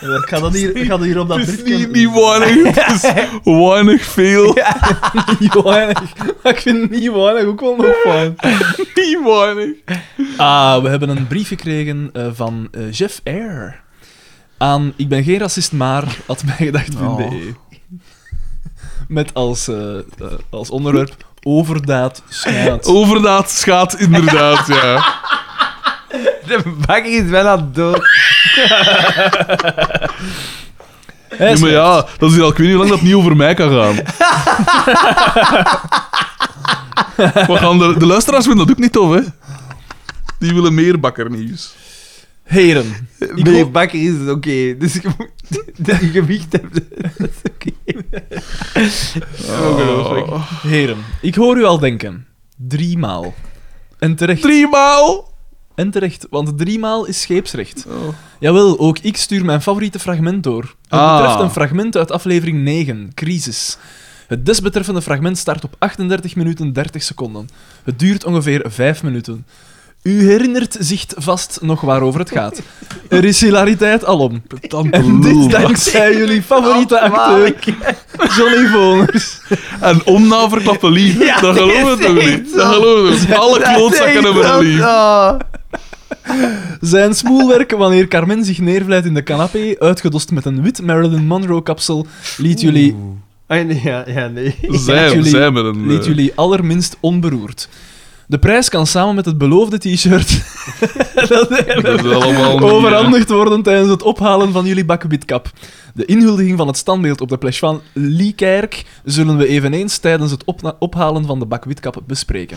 S3: Ik ga dat hier, ik ga dat hier op dat
S2: Het is
S3: briefje-
S2: niet, niet weinig, het is weinig veel.
S3: Niet weinig. Maar ik vind niet weinig ook wel nog fijn.
S2: Niet weinig.
S3: Ah, we hebben een brief gekregen eh, van eh, Jeff Air. Aan ik ben geen racist, maar had bijgedacht.be. Met als, eh, eh, als onderwerp overdaad schaadt.
S2: Overdaad schaadt inderdaad, ja.
S1: De bakker is wel aan het dood.
S2: Nee, maar ja, dat is hier al, ik weet niet hoe lang dat niet over mij kan gaan. We gaan de, de luisteraars vinden dat ook niet tof, hè? Die willen meer bakkernieuws.
S3: Heren, ik
S1: Meneer
S3: hoop-
S1: bakker is het oké. Dus je moet... Dat je gewicht hebt. Dat is oké.
S2: Oh.
S3: heren, ik hoor u al denken. Driemaal. En terecht.
S2: Driemaal! Oh.
S3: En terecht, want driemaal is scheepsrecht. Jawel, ook ik stuur mijn favoriete fragment door. Het
S2: Ah.
S3: betreft een fragment uit aflevering 9, Crisis. Het desbetreffende fragment start op 38 minuten 30 seconden. Het duurt ongeveer 5 minuten. U herinnert zich vast nog waarover het gaat. Er is hilariteit alom.
S2: Tante
S3: En
S2: lul.
S3: dit dankzij jullie favoriete acteur, Johnny Voners.
S2: En om na verklappen lief. dat geloof ik toch niet? Dat geloof ik toch niet. Alle klootzakken hebben een lief.
S1: Ah.
S3: Zijn smoelwerk wanneer Carmen zich neervlijt in de canapé, uitgedost met een wit Marilyn Monroe-kapsel, liet jullie
S1: Ah, nee, ja, ja, nee.
S2: Zij,
S3: Liet jullie-
S2: zij met een...
S3: liet
S2: eh,
S3: jullie allerminst onberoerd. De prijs kan samen met het beloofde t-shirt
S2: dat is allemaal niet, eh,
S3: overhandigd worden tijdens het ophalen van jullie bakkebitkap. De inhuldiging van het standbeeld op de plage van Liekerk zullen we eveneens tijdens het opna- ophalen van de bakkebitkap bespreken.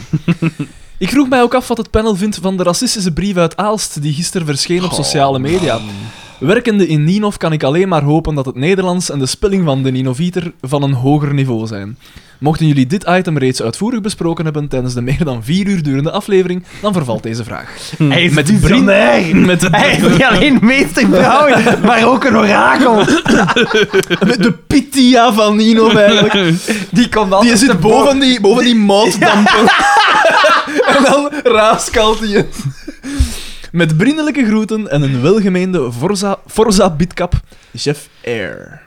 S3: Ik vroeg mij ook af wat het panel vindt van de racistische brief uit Aalst die gisteren verscheen op
S2: Oh,
S3: sociale media. Werkende in Ninov kan ik alleen maar hopen dat het Nederlands en de spelling van de Ninoviter van een hoger niveau zijn. Mochten jullie dit item reeds uitvoerig besproken hebben tijdens de meer dan vier uur durende aflevering, dan vervalt deze vraag.
S1: Hij is
S3: Met
S1: met visionair.
S3: Met
S1: Hij
S3: de,
S1: is niet alleen meester Brouwer, maar ook een orakel.
S3: met de Pitia van Ninov eigenlijk.
S1: Die komt altijd...
S3: Die zit
S1: te
S3: boven die, boven die mouddampen. en dan raaskalt hij het. Met vriendelijke groeten en een welgemeende Forza, Forza Bitkap, Jeff Air.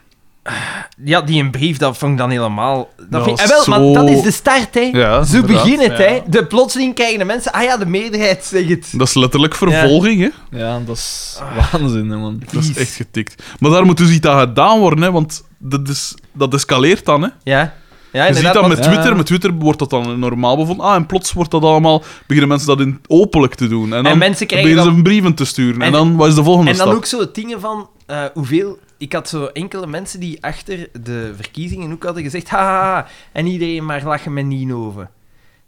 S1: Ja, die een brief, dat vond ik dan helemaal... Dat
S2: Ja,
S1: vind... eh, wel,
S2: zo-
S1: maar dat is de start, hè.
S2: Ja,
S1: Zo
S2: inderdaad.
S1: begint het, hè. De plotseling krijgen de mensen... Ah ja, de meerderheid zegt het.
S2: Dat is letterlijk vervolging, hè?
S3: Ja, dat is waanzin, hè, man.
S2: Dat is echt getikt. Maar daar moet dus iets aan gedaan worden, hè? Want dat, is, dat escaleert dan, hè?
S1: Ja. Ja,
S2: Je ziet
S1: inderdaad,
S2: dat
S1: want-
S2: met
S3: ja.
S2: Twitter. Met Twitter wordt dat dan normaal bevonden. Ah, en plots wordt dat allemaal... Beginnen mensen dat in, openlijk te doen. En dan
S1: mensen krijgen
S2: beginnen ze
S1: dan-
S2: brieven te sturen. En,
S1: En-
S2: dan, wat is de volgende
S1: En dan
S2: stap?
S1: ook zo dingen van eh, hoeveel. Ik had zo enkele mensen die achter de verkiezingen ook hadden gezegd: haha, en iedereen maar lachen met Ninove.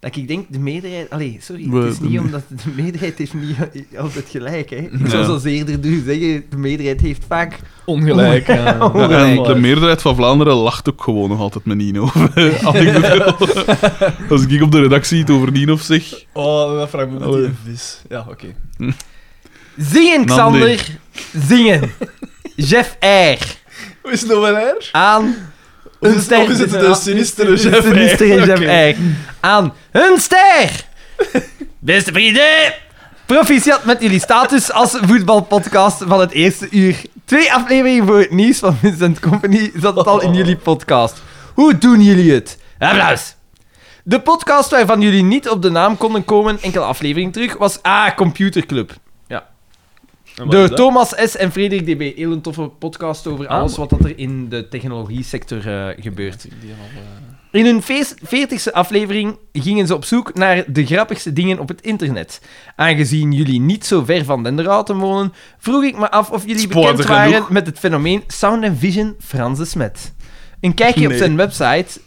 S1: Dat ik denk, de meerderheid. Allee, sorry,
S2: We-
S1: het is
S2: de
S1: niet
S2: me-
S1: omdat de meerderheid heeft niet altijd gelijk. Hè. Ik
S2: Ja.
S1: zou zoals eerder doen zeggen: de meerderheid heeft vaak.
S3: Ongelijk. ja.
S2: Ja, en
S1: Ongelijk.
S2: de meerderheid van Vlaanderen lacht ook gewoon nog altijd met Nino. Als ik bedoel- Als ik op de redactie het over Nino zeg.
S3: Oh, dat vraag ik me
S2: Allee.
S3: met die vis. Ja, oké.
S1: Zingen, Xander! Zingen! Jeff R.
S3: Hoe is het nou wel Air?
S1: Aan.
S3: Of
S1: een
S3: is,
S1: ster-
S3: of is het de sinistere Jeff Air?
S1: Sinistere Jeff
S3: Oké.
S1: Eyck. Aan hun ster! Beste vrienden! Proficiat met jullie status als voetbalpodcast van het eerste uur. Twee afleveringen voor het nieuws van Vincent Company zat het al in jullie podcast. Hoe doen jullie het? Applaus! De podcast waarvan jullie niet op de naam konden komen, enkele aflevering terug, was A. Computer Club.
S3: En wat is
S1: Door
S3: dat? Ah,
S1: Thomas S. en Frederik DB. Heel een toffe podcast over alles wat dat er in de technologie-sector eh, gebeurt.
S3: eh,
S1: In hun feest- 40ste aflevering gingen ze op zoek naar de grappigste dingen op het internet. Aangezien jullie niet zo ver van Denderhouten wonen, vroeg ik me af of jullie
S2: Spoor
S1: bekend
S2: genoeg.
S1: waren met het fenomeen Sound and Vision Frans de Smet. Een kijkje op
S2: Nee.
S1: zijn website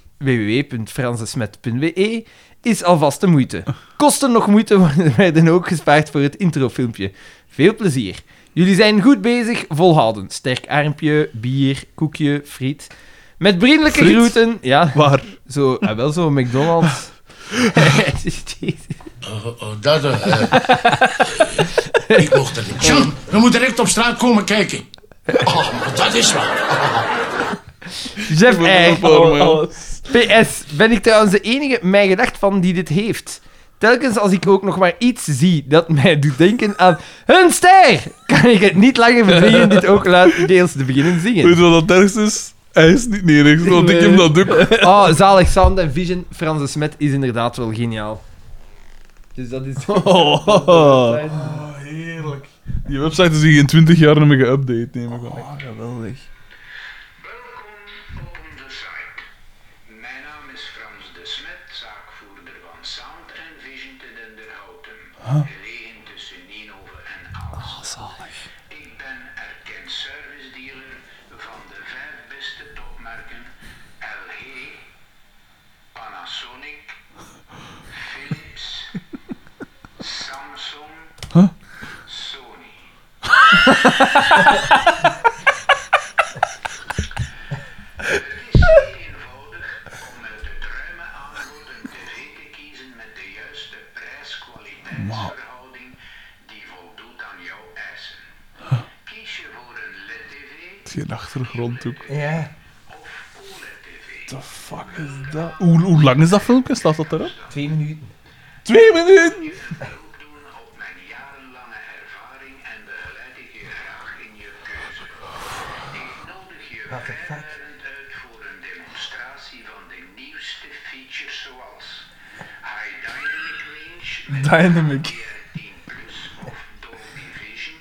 S1: www.fransdesmet.be is alvast de moeite. Kosten nog moeite worden- werden ook gespaard voor het introfilmpje. Veel plezier. Jullie zijn goed bezig, volhouden. Sterk armpje, bier, koekje, friet. Met vriendelijke
S2: Friet?
S1: groeten. Ja,
S2: Waar?
S1: zo, ah, wel zo McDonald's.
S12: Oh, oh, dat... eh, eh, ik mocht er niet. John, we moeten direct op straat komen kijken. Oh, maar dat is waar.
S9: Jeff
S1: Eh, oh,
S9: Eyre.
S2: Porno, ja.
S9: PS, ben ik trouwens de enige mij gedacht van die dit heeft. Telkens als ik ook nog maar iets zie dat mij doet denken aan hun ster, kan ik het niet langer verdringen dit ook luiddeels te beginnen
S2: Weet
S9: zingen.
S2: je wat dat ergst is? Hij is niet neerrechts, want ik heb dat ook.
S9: Oh, zalig sound en vision, Franse Smet is inderdaad wel geniaal. Dus dat is...
S2: Oh,
S1: Oh,
S2: heerlijk. Die website is hier in 20 jaar nog meer geüpdate, neem ik aan.
S3: Geweldig.
S13: Welkom op de site. Mijn naam is Frans de Smet, zaakvoerder van Sound en Vision te Denderhouten. Gelegen tussen Nienhoven en Aalst. Ik ben erkend service dealer van de vijf beste topmerken LG, Panasonic, Philips, Samsung, Sony. Het is heel eenvoudig om uit het ruime aanbod een tv te kiezen met de juiste prijs-kwaliteitsverhouding die voldoet aan jouw eisen. Kies je voor een E LED-tv
S2: Zie je de achtergrond ook.
S13: of OLED-tv?
S2: The fuck is dat? Hoe, hoe lang is dat filmpje? Staat dat erop?
S1: Twee minuten.
S2: Twee minuten!
S13: Hulp doen op mijn jarenlange ervaring en begeleid ik je graag in je keuze. Ik nodig je vrijwilligend uit voor een demonstratie van de nieuwste features zoals High Dynamic Range met
S3: Dynamic.
S13: HDR10 Plus of Dolby Vision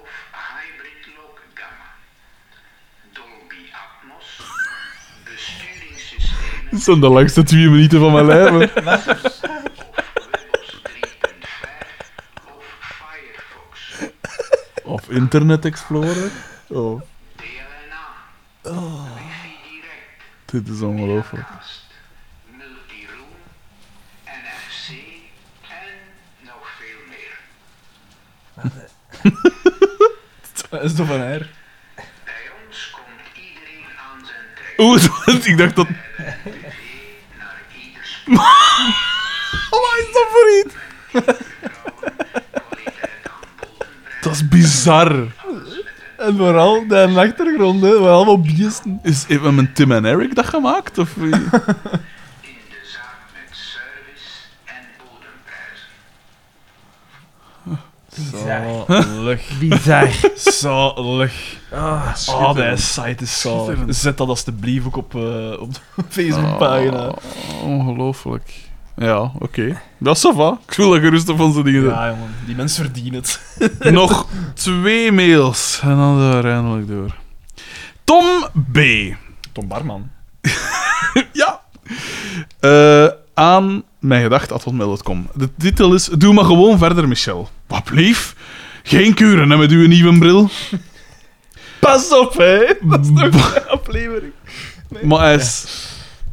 S13: of Hybrid Lock Gamma. Dolby Atmos, besturingssystemen
S2: Dat zijn de langste twee minuten van mijn leven.
S13: Windows 3.5 of Firefox.
S2: Of Internet Explorer. Oh,
S13: DLNA. Wifi direct.
S2: dit is ongelooflijk.
S13: Cast. Multiroom. NFC. En nog veel meer.
S3: Dat is toch van haar?
S13: Bij ons komt iedereen aan zijn trek.
S2: Oeh, ik dacht dat...
S13: TV naar ieder
S2: Wat is dat voor iets?
S13: spelvertrouwen. Kwaliteit aan bodembrein.
S2: Dat is bizar.
S3: En vooral de achtergrond, hè, waar allemaal biesten.
S2: Is, hebben mijn Tim en Eric dat gemaakt? Of... wie?
S13: In de zaak met service en bodemprijzen.
S3: Zalig.
S9: Bizar.
S3: Zalig.
S2: Ah,
S3: Oh, die site is zalig. Zet dat alstublieft ook op, eh, op de Ah. Facebookpagina.
S2: Oh, ongelooflijk. Ja, oké. Dat is ça va. Ik voel dat gerust op onze dingen.
S3: Ja, jongen. Die mensen verdienen het.
S2: Nog twee mails en dan zijn we er eindelijk door. Tom B.
S3: Tom Barman.
S2: Ja. Eh, aan mijn gedacht.com. De titel is Doe maar gewoon verder, Michel. Wat blief? Geen kuren hè, met uw nieuwe bril.
S3: Pas op, hè. Dat is
S2: B-
S3: toch een aflevering.
S2: Maar hij is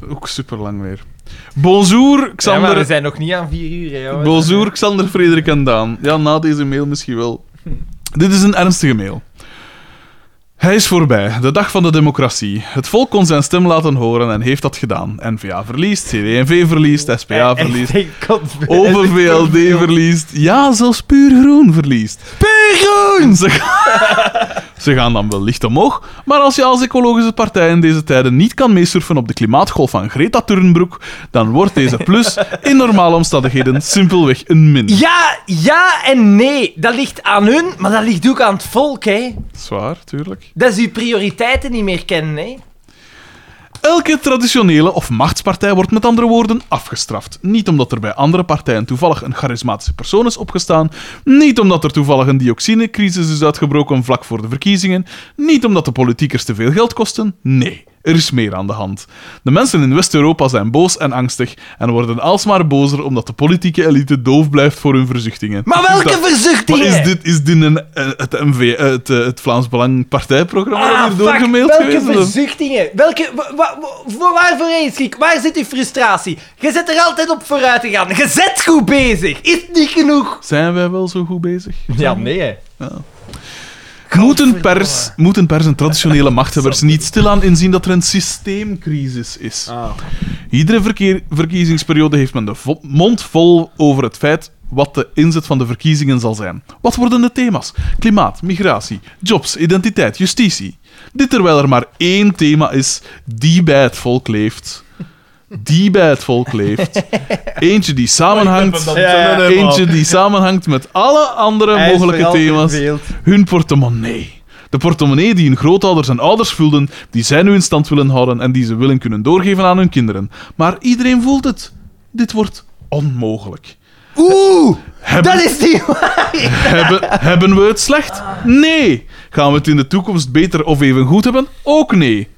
S2: ook super lang weer. Bonjour,
S1: Ja, maar
S2: Xander.
S1: we zijn nog niet aan vier uur, hè, jongens.
S2: Bonjour, Xander, Frederik en Daan. Ja, na deze mail misschien wel. Dit is een ernstige mail. Hij is voorbij, de dag van de democratie. Het volk kon zijn stem laten horen en heeft dat gedaan. N-VA verliest, CD&V verliest,
S1: Eh,
S2: SPA verliest, OpenVLD verliest. Ja, zelfs puur groen verliest. Puur groen! Ze, ga- Ze gaan dan wel licht omhoog, maar als je als ecologische partij in deze tijden niet kan meesurfen op de klimaatgolf van Greta Thunberg, dan wordt deze plus in normale omstandigheden simpelweg een min.
S1: Ja, ja en nee. Dat ligt aan hun, maar dat ligt ook aan het volk, hè.
S2: Zwaar, tuurlijk.
S1: Dat ze uw prioriteiten niet meer kennen, hè.
S2: Elke traditionele of machtspartij wordt met andere woorden afgestraft. Niet omdat er bij andere partijen toevallig een charismatische persoon is opgestaan. Niet omdat er toevallig een dioxinecrisis is uitgebroken vlak voor de verkiezingen. Niet omdat de politiekers te veel geld kosten. Nee, er is meer aan de hand. De mensen in West-Europa zijn boos en angstig en worden alsmaar bozer omdat de politieke elite doof blijft voor hun verzuchtingen.
S1: Maar
S2: Is
S1: welke
S2: dat-
S1: verzuchtingen?
S2: Maar is dit, is dit een, eh, het, MV, eh, het, eh, het Vlaams Belang partijprogramma dat hier
S1: Ah, fuck,
S2: doorgemaild
S1: welke
S2: geweest is? of?
S1: verzuchtingen? Welke, wa, wa, wa- voor waarvoor eens, Kik? Waar zit uw frustratie? Je zit er altijd op vooruit te gaan. Je zit goed bezig. Is het niet genoeg?
S2: Zijn wij wel zo goed bezig?
S1: Ja, nee, hè.
S2: Moeten pers, moeten pers en traditionele machthebbers niet stilaan inzien dat er een systeemcrisis is?
S9: Ah,
S2: Iedere verkeer- verkiezingsperiode heeft men de vo- mond vol over het feit wat de inzet van de verkiezingen zal zijn. Wat worden de thema's? Klimaat, migratie, jobs, identiteit, justitie. Dit terwijl er maar één thema is die bij het volk leeft. Die bij het volk leeft. Eentje die samenhangt.
S9: Oh, ik heb hem dan. Ja, ja.
S2: Eentje die samenhangt met alle andere
S9: Hij is
S2: mogelijke
S9: vooral
S2: thema's.
S9: verveeld.
S2: Hun portemonnee. De portemonnee die hun grootouders en ouders vulden, die zij nu in stand willen houden en die ze willen kunnen doorgeven aan hun kinderen. Maar iedereen voelt het. Dit wordt onmogelijk.
S9: Oeh,
S2: Hebben-
S9: dat is niet waar.
S2: Hebben, hebben we het slecht? Nee. Gaan we het in de toekomst beter of even goed hebben? Ook nee.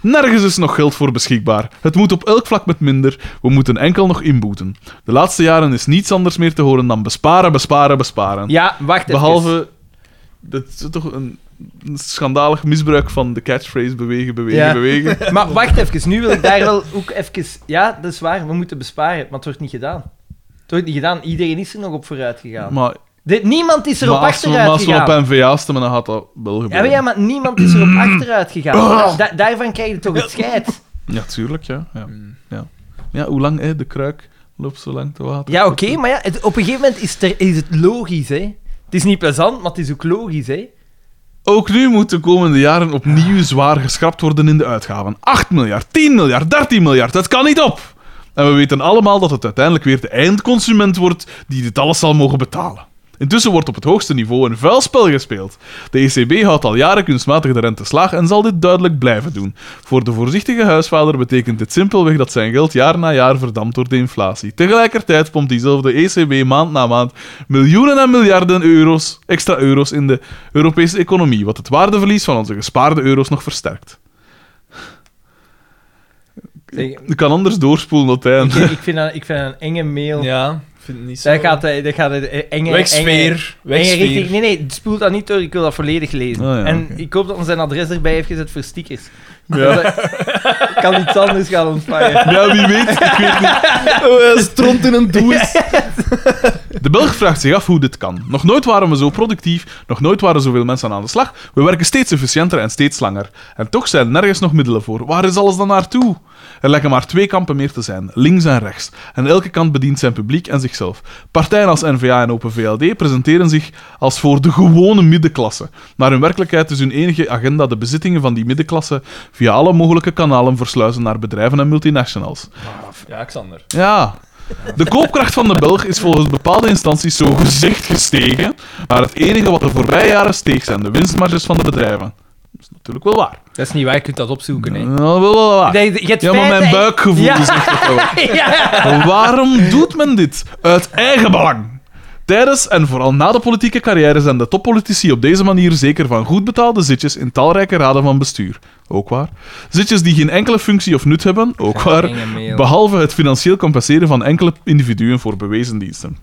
S2: Nergens is nog geld voor beschikbaar. Het moet op elk vlak met minder. We moeten enkel nog inboeten. De laatste jaren is niets anders meer te horen dan besparen, besparen, besparen.
S9: Ja, wacht even.
S2: Behalve dat is toch een een schandalig misbruik van de catchphrase bewegen, bewegen,
S9: Ja.
S2: bewegen.
S9: Maar wacht even, nu wil ik daar wel
S1: Ook even, ja, dat is waar, we moeten besparen, maar het wordt niet gedaan. Het wordt niet gedaan, iedereen is er nog op vooruit gegaan.
S2: Maar,
S1: Dit- niemand is er
S2: maar
S1: op
S2: als we, maar
S1: achteruit
S2: als we
S1: gegaan.
S2: op NVA stemmen, dan gaat dat wel
S1: Ja,
S2: gebeuren.
S1: maar, ja, maar niemand is er op achteruit gegaan. Da- daarvan krijg je toch het scheid.
S2: Ja, tuurlijk, ja. Ja, ja. ja hoe lang, hè? De kruik loopt zo lang te water.
S1: Ja, oké, maar ja, het- op een gegeven moment is, er, is het logisch, hè. Het is niet plezant, maar het is ook logisch, hè.
S2: Ook nu moeten de komende jaren opnieuw zwaar geschrapt worden in de uitgaven. 8 miljard, 10 miljard, 13 miljard, dat kan niet op! En we weten allemaal dat het uiteindelijk weer de eindconsument wordt die dit alles zal mogen betalen. Intussen wordt op het hoogste niveau een vuilspel gespeeld. De ECB houdt al jaren kunstmatig de rente slaag en zal dit duidelijk blijven doen. Voor de voorzichtige huisvader betekent dit simpelweg dat zijn geld jaar na jaar verdampt door de inflatie. Tegelijkertijd pompt diezelfde ECB maand na maand miljoenen en miljarden euro's, extra euro's in de Europese economie, wat het waardeverlies van onze gespaarde euro's nog versterkt.
S1: Zeg,
S2: Ik kan anders doorspoelen tot het
S1: ik,
S2: einde.
S1: ik, vind dat, ik vind dat een enge mail.
S3: Ja, ik vind het niet zo.
S1: Daar gaat, hij- daar gaat hij de enge- enge...
S3: Wegsfeer.
S1: enge richting.
S3: Wegsfeer.
S1: Nee, nee, spoel dat niet door. Ik wil dat volledig lezen.
S2: Ah, ja,
S1: en
S2: oké.
S1: ik hoop dat hij zijn adres erbij heeft gezet voor stickers.
S2: Ja.
S1: Dat hij- ik kan iets anders gaan ontvangen.
S2: Ja, wie weet. Ik weet niet.
S3: Stront in een doos.
S2: De Belg vraagt zich af hoe dit kan. Nog nooit waren we zo productief, nog nooit waren zoveel mensen aan de slag. We werken steeds efficiënter en steeds langer. En toch zijn er nergens nog middelen voor. Waar is alles dan naartoe? Er lijken maar twee kampen meer te zijn, links en rechts. En elke kant bedient zijn publiek en zichzelf. Partijen als N-VA en Open VLD presenteren zich als voor de gewone middenklasse. Maar in werkelijkheid is hun enige agenda de bezittingen van die middenklasse via alle mogelijke kanalen versluizen naar bedrijven en multinationals.
S3: Ja, Xander.
S2: Ja. De koopkracht van de Belg is volgens bepaalde instanties zo gezegd gestegen, maar het enige wat de voorbije jaren steeg zijn de winstmarges van de bedrijven. Dat is natuurlijk wel waar.
S1: Dat is niet waar, je kunt dat opzoeken. hè.
S2: Ja, wel, wel waar.
S1: Nee, je hebt
S2: Ja, maar
S1: feiten
S2: mijn
S1: en-
S2: buikgevoel
S1: Ja.
S2: zegt dat wel.
S1: ja.
S2: Waarom doet men dit? Uit eigen belang. Tijdens en vooral na de politieke carrière zijn de toppolitici op deze manier zeker van goed betaalde zitjes in talrijke raden van bestuur. Ook waar. Zitjes die geen enkele functie of nut hebben. Ook waar.
S1: enge mail.
S2: Behalve het financieel compenseren van enkele individuen voor bewezen diensten.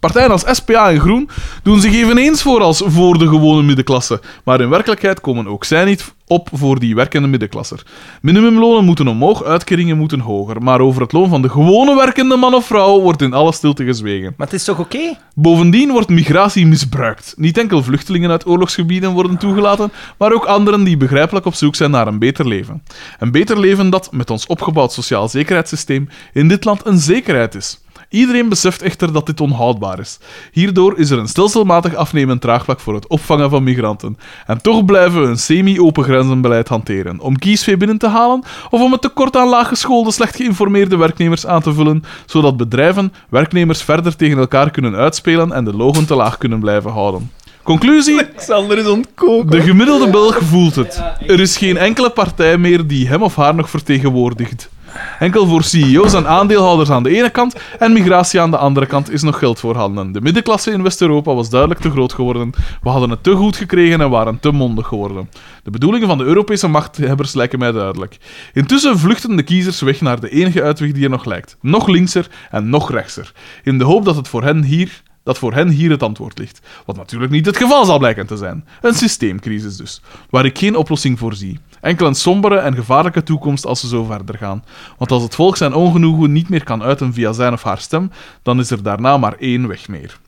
S2: Partijen als SPA en Groen doen zich eveneens voor als voor de gewone middenklasse. Maar in werkelijkheid komen ook zij niet op voor die werkende middenklasser. Minimumlonen moeten omhoog, uitkeringen moeten hoger. Maar over het loon van de gewone werkende man of vrouw wordt in alle stilte gezwegen.
S1: Maar het is toch oké?
S2: Bovendien wordt migratie misbruikt. Niet enkel vluchtelingen uit oorlogsgebieden worden toegelaten, maar ook anderen die begrijpelijk op zoek zijn naar een beter leven. Een beter leven dat, met ons opgebouwd sociaal zekerheidssysteem, in dit land een zekerheid is. Iedereen beseft echter dat dit onhoudbaar is. Hierdoor is er een stelselmatig afnemend draagvlak voor het opvangen van migranten. En toch blijven we een semi-open grenzenbeleid hanteren. Om kiesvee binnen te halen of om het tekort aan laaggeschoolde, slecht geïnformeerde werknemers aan te vullen, zodat bedrijven werknemers verder tegen elkaar kunnen uitspelen en de logen te laag kunnen blijven houden. Conclusie?
S3: Xander is ontkoken.
S2: De gemiddelde Belg voelt het. Er is geen enkele partij meer die hem of haar nog vertegenwoordigt. Enkel voor CEO's en aandeelhouders aan de ene kant en migratie aan de andere kant is nog geld voorhanden. De middenklasse in West-Europa was duidelijk te groot geworden. We hadden het te goed gekregen en waren te mondig geworden. De bedoelingen van de Europese machthebbers lijken mij duidelijk. Intussen vluchten de kiezers weg naar de enige uitweg die er nog lijkt. Nog linkser en nog rechtser. In de hoop dat het voor hen hier dat voor hen hier het antwoord ligt. Wat natuurlijk niet het geval zal blijken te zijn. Een systeemcrisis dus, waar ik geen oplossing voor zie. Enkel een sombere en gevaarlijke toekomst als ze zo verder gaan. Want als het volk zijn ongenoegen niet meer kan uiten via zijn of haar stem, dan is er daarna maar één weg meer.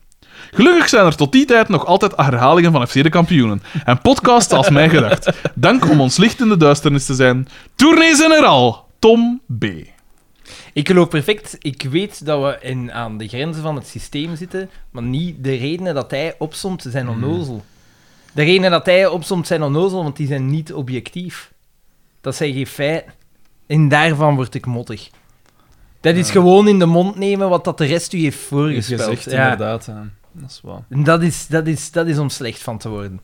S2: Gelukkig zijn er tot die tijd nog altijd herhalingen van FC de kampioenen. En podcasts als mij gedacht. Dank om ons licht in de duisternis te zijn. Tournees in al. Tom B.
S1: Ik geloof perfect. Ik weet dat we in, aan de grenzen van het systeem zitten, maar niet de redenen dat hij opsomt zijn onnozel. De redenen dat hij opsomt zijn onnozel, want die zijn niet objectief. Dat zijn geen feiten. En daarvan word ik mottig. Dat is gewoon in de mond nemen wat dat de rest u heeft
S3: Is
S1: voorgespeld.
S3: gezegd,
S1: Ja.
S3: inderdaad. ja. Dat is waar.
S1: En Dat is, dat, is, dat is om slecht van te worden.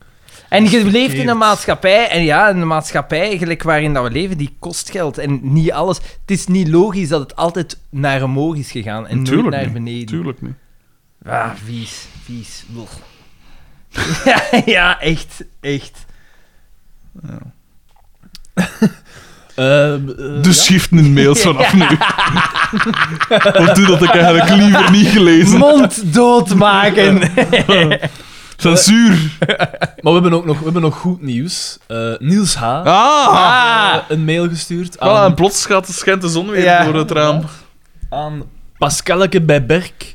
S1: En je leeft in
S3: verkeerd.
S1: een maatschappij, en ja, in een maatschappij gelijk waarin dat we leven, die kost geld en niet alles. Het is niet logisch dat het altijd naar omhoog is gegaan en
S2: Tuurlijk
S1: nooit naar
S2: niet.
S1: beneden.
S2: Tuurlijk niet.
S1: Ah, vies, vies. Blech. ja, ja, echt, echt.
S3: Ehm, eh,
S2: Dus schrift in mails vanaf nu. Want toen had ik eigenlijk liever niet gelezen.
S1: Mond doodmaken.
S2: Censuur.
S3: Maar we hebben ook nog, we hebben nog goed nieuws. Eh, Niels H.
S2: Ah!
S3: eh, een mail gestuurd
S2: Voilà, en
S3: aan,
S2: plots gaat, schijnt de zon weer
S3: Ja.
S2: door het raam.
S3: aan Pascalke bij Berk.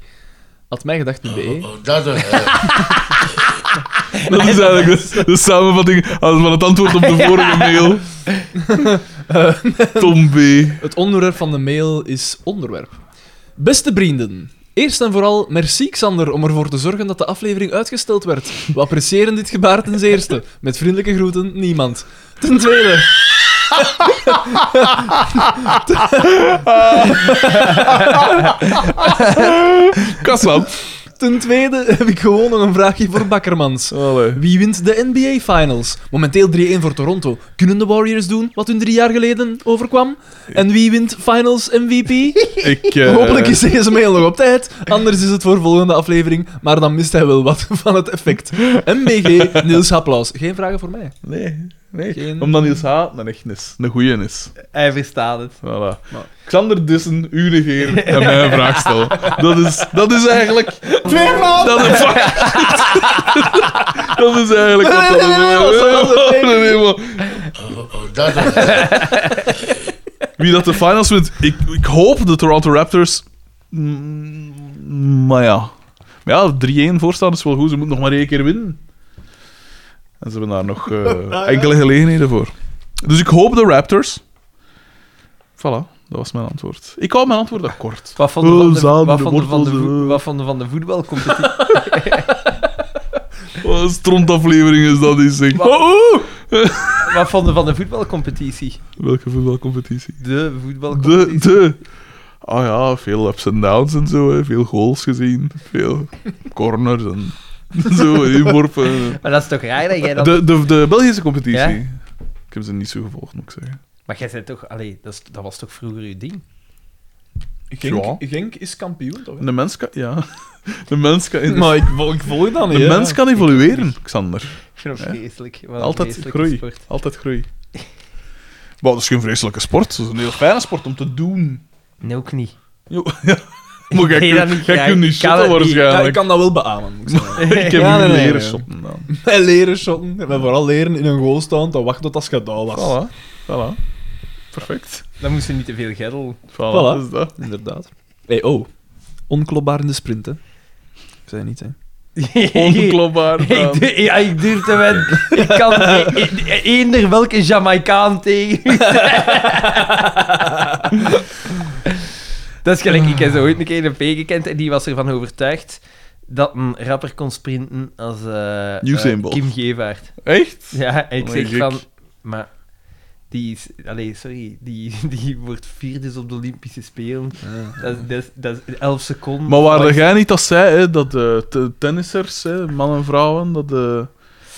S3: Had mij gedacht nu bij.
S12: Oh, dat, eh,
S2: Dat is eigenlijk de, de samenvatting als van het antwoord op de vorige mail. Tom B.
S3: Het onderwerp van de mail is onderwerp. Beste vrienden, eerst en vooral merci Xander om ervoor te zorgen dat de aflevering uitgesteld werd. We appreciëren dit gebaar ten eerste. Met vriendelijke groeten, niemand. Ten tweede.
S2: Kaslan.
S3: Ten tweede heb ik gewoon nog een vraagje voor Bakkermans. Wie wint de NBA Finals? Momenteel 3-1 voor Toronto. Kunnen de Warriors doen wat hun drie jaar geleden overkwam? En wie wint Finals MVP?
S2: Ik, eh,
S3: Hopelijk is deze mail nog op tijd. Anders is het voor volgende aflevering. Maar dan mist hij wel wat van het effect. MBG, Niels Haplaus. Geen vragen voor mij.
S2: Nee,
S3: Geen-
S2: nee. Omdat Niels H. een echt is. Een goeie is.
S1: Hij verstaat het.
S2: Voilà. Xander Dissen, u negeert en mij een vraag stelt. Dat is, dat is eigenlijk... Twee Dat is, dat is eigenlijk wat dat is. Nee, nee, man.
S12: oh, oh, dat, eh,
S2: Wie dat de finals wint, ik, ik hoop de Toronto Raptors. Mm, maar ja. Maar ja, 3-1 voorstaan is wel goed. Ze moeten nog maar één keer winnen. En ze hebben daar nog eh, enkele gelegenheden voor. Dus ik hoop de Raptors. Voilà, dat was mijn antwoord. Ik hou mijn antwoord ook kort.
S1: Wat van de, van de,
S2: Oh,
S1: wat van de, van de,
S2: zaderen,
S1: voet-
S2: wortels,
S1: wat van de, van de voetbalcompetitie?
S2: Wat een strontaflevering is dat, is zeg.
S1: Wat- Wat van de, van de voetbalcompetitie?
S2: Welke voetbalcompetitie?
S1: De voetbalcompetitie.
S2: De, de. Ah ja, veel ups en downs en zo, hè. veel goals gezien, veel corners en zo, inworpen.
S1: Maar dat is toch raar dat jij dat...
S2: De, de, de Belgische competitie.
S1: Ja?
S2: Ik heb ze niet zo gevolgd, moet ik zeggen.
S1: Maar jij zei toch... Allee, dat, is- dat was toch vroeger uw ding?
S2: Genk- Ja.
S3: is kampioen, toch?
S2: En de mens kan, ja. De mens kan,
S3: Maar ik, vol- ik volg dat
S2: Dus- de
S3: niet. hè.
S2: mens kan evolueren, Xander.
S1: Ik vind het vreselijk. Wat een
S2: Altijd
S1: vreselijke
S2: groei.
S1: sport.
S2: Altijd groei. Maar dat is geen vreselijke sport, dat is een heel fijne sport om te doen.
S1: Nee, ook niet.
S2: Jo, ja. Maar jij
S1: Nee, dat niet
S2: kunt- jij
S1: graag.
S2: kunt niet
S1: Ik kan
S2: shotten
S1: het niet.
S3: Ja, ik
S2: waarschijnlijk.
S3: kan dat wel beamen. moet ik zeggen.
S2: Ik heb
S3: Ja,
S2: nu
S3: nee, nee,
S2: leren
S3: nee.
S2: shotten dan.
S3: En leren shotten. En vooral leren in een goal staan te wachten tot als je daar was.
S2: Voilà, voilà. Perfect.
S1: Dan moest je niet te veel geddel.
S2: Voilà,
S3: Voilà.
S2: dat is dat.
S3: Inderdaad. Hey, oh. Onklopbaar in de sprint, hè. Ik zei niet, hè.
S2: Onklopbaar.
S1: Ik
S2: Daan.
S1: du- ja, ik durf te wedden. Ik kan e- e- eender welke Jamaicaan tegen. u zijn. dat is gelijk. Ik heb zo ooit een keer een P gekend en die was ervan overtuigd dat een rapper kon sprinten als eh,
S2: Usain
S1: eh,
S2: Bolt.
S1: Kim Gevaert.
S2: Echt?
S1: Ja, en ik
S2: Oh,
S1: zeg
S2: gek.
S1: van... Maar die is... Allee, sorry. Die, die wordt vierde dus op de Olympische Spelen. Dat, is- dat, is- dat is elf seconden.
S2: Ah. Maar waarde jij niet dat zij, hè, dat de te- tennissers, hè, mannen en vrouwen, dat, de,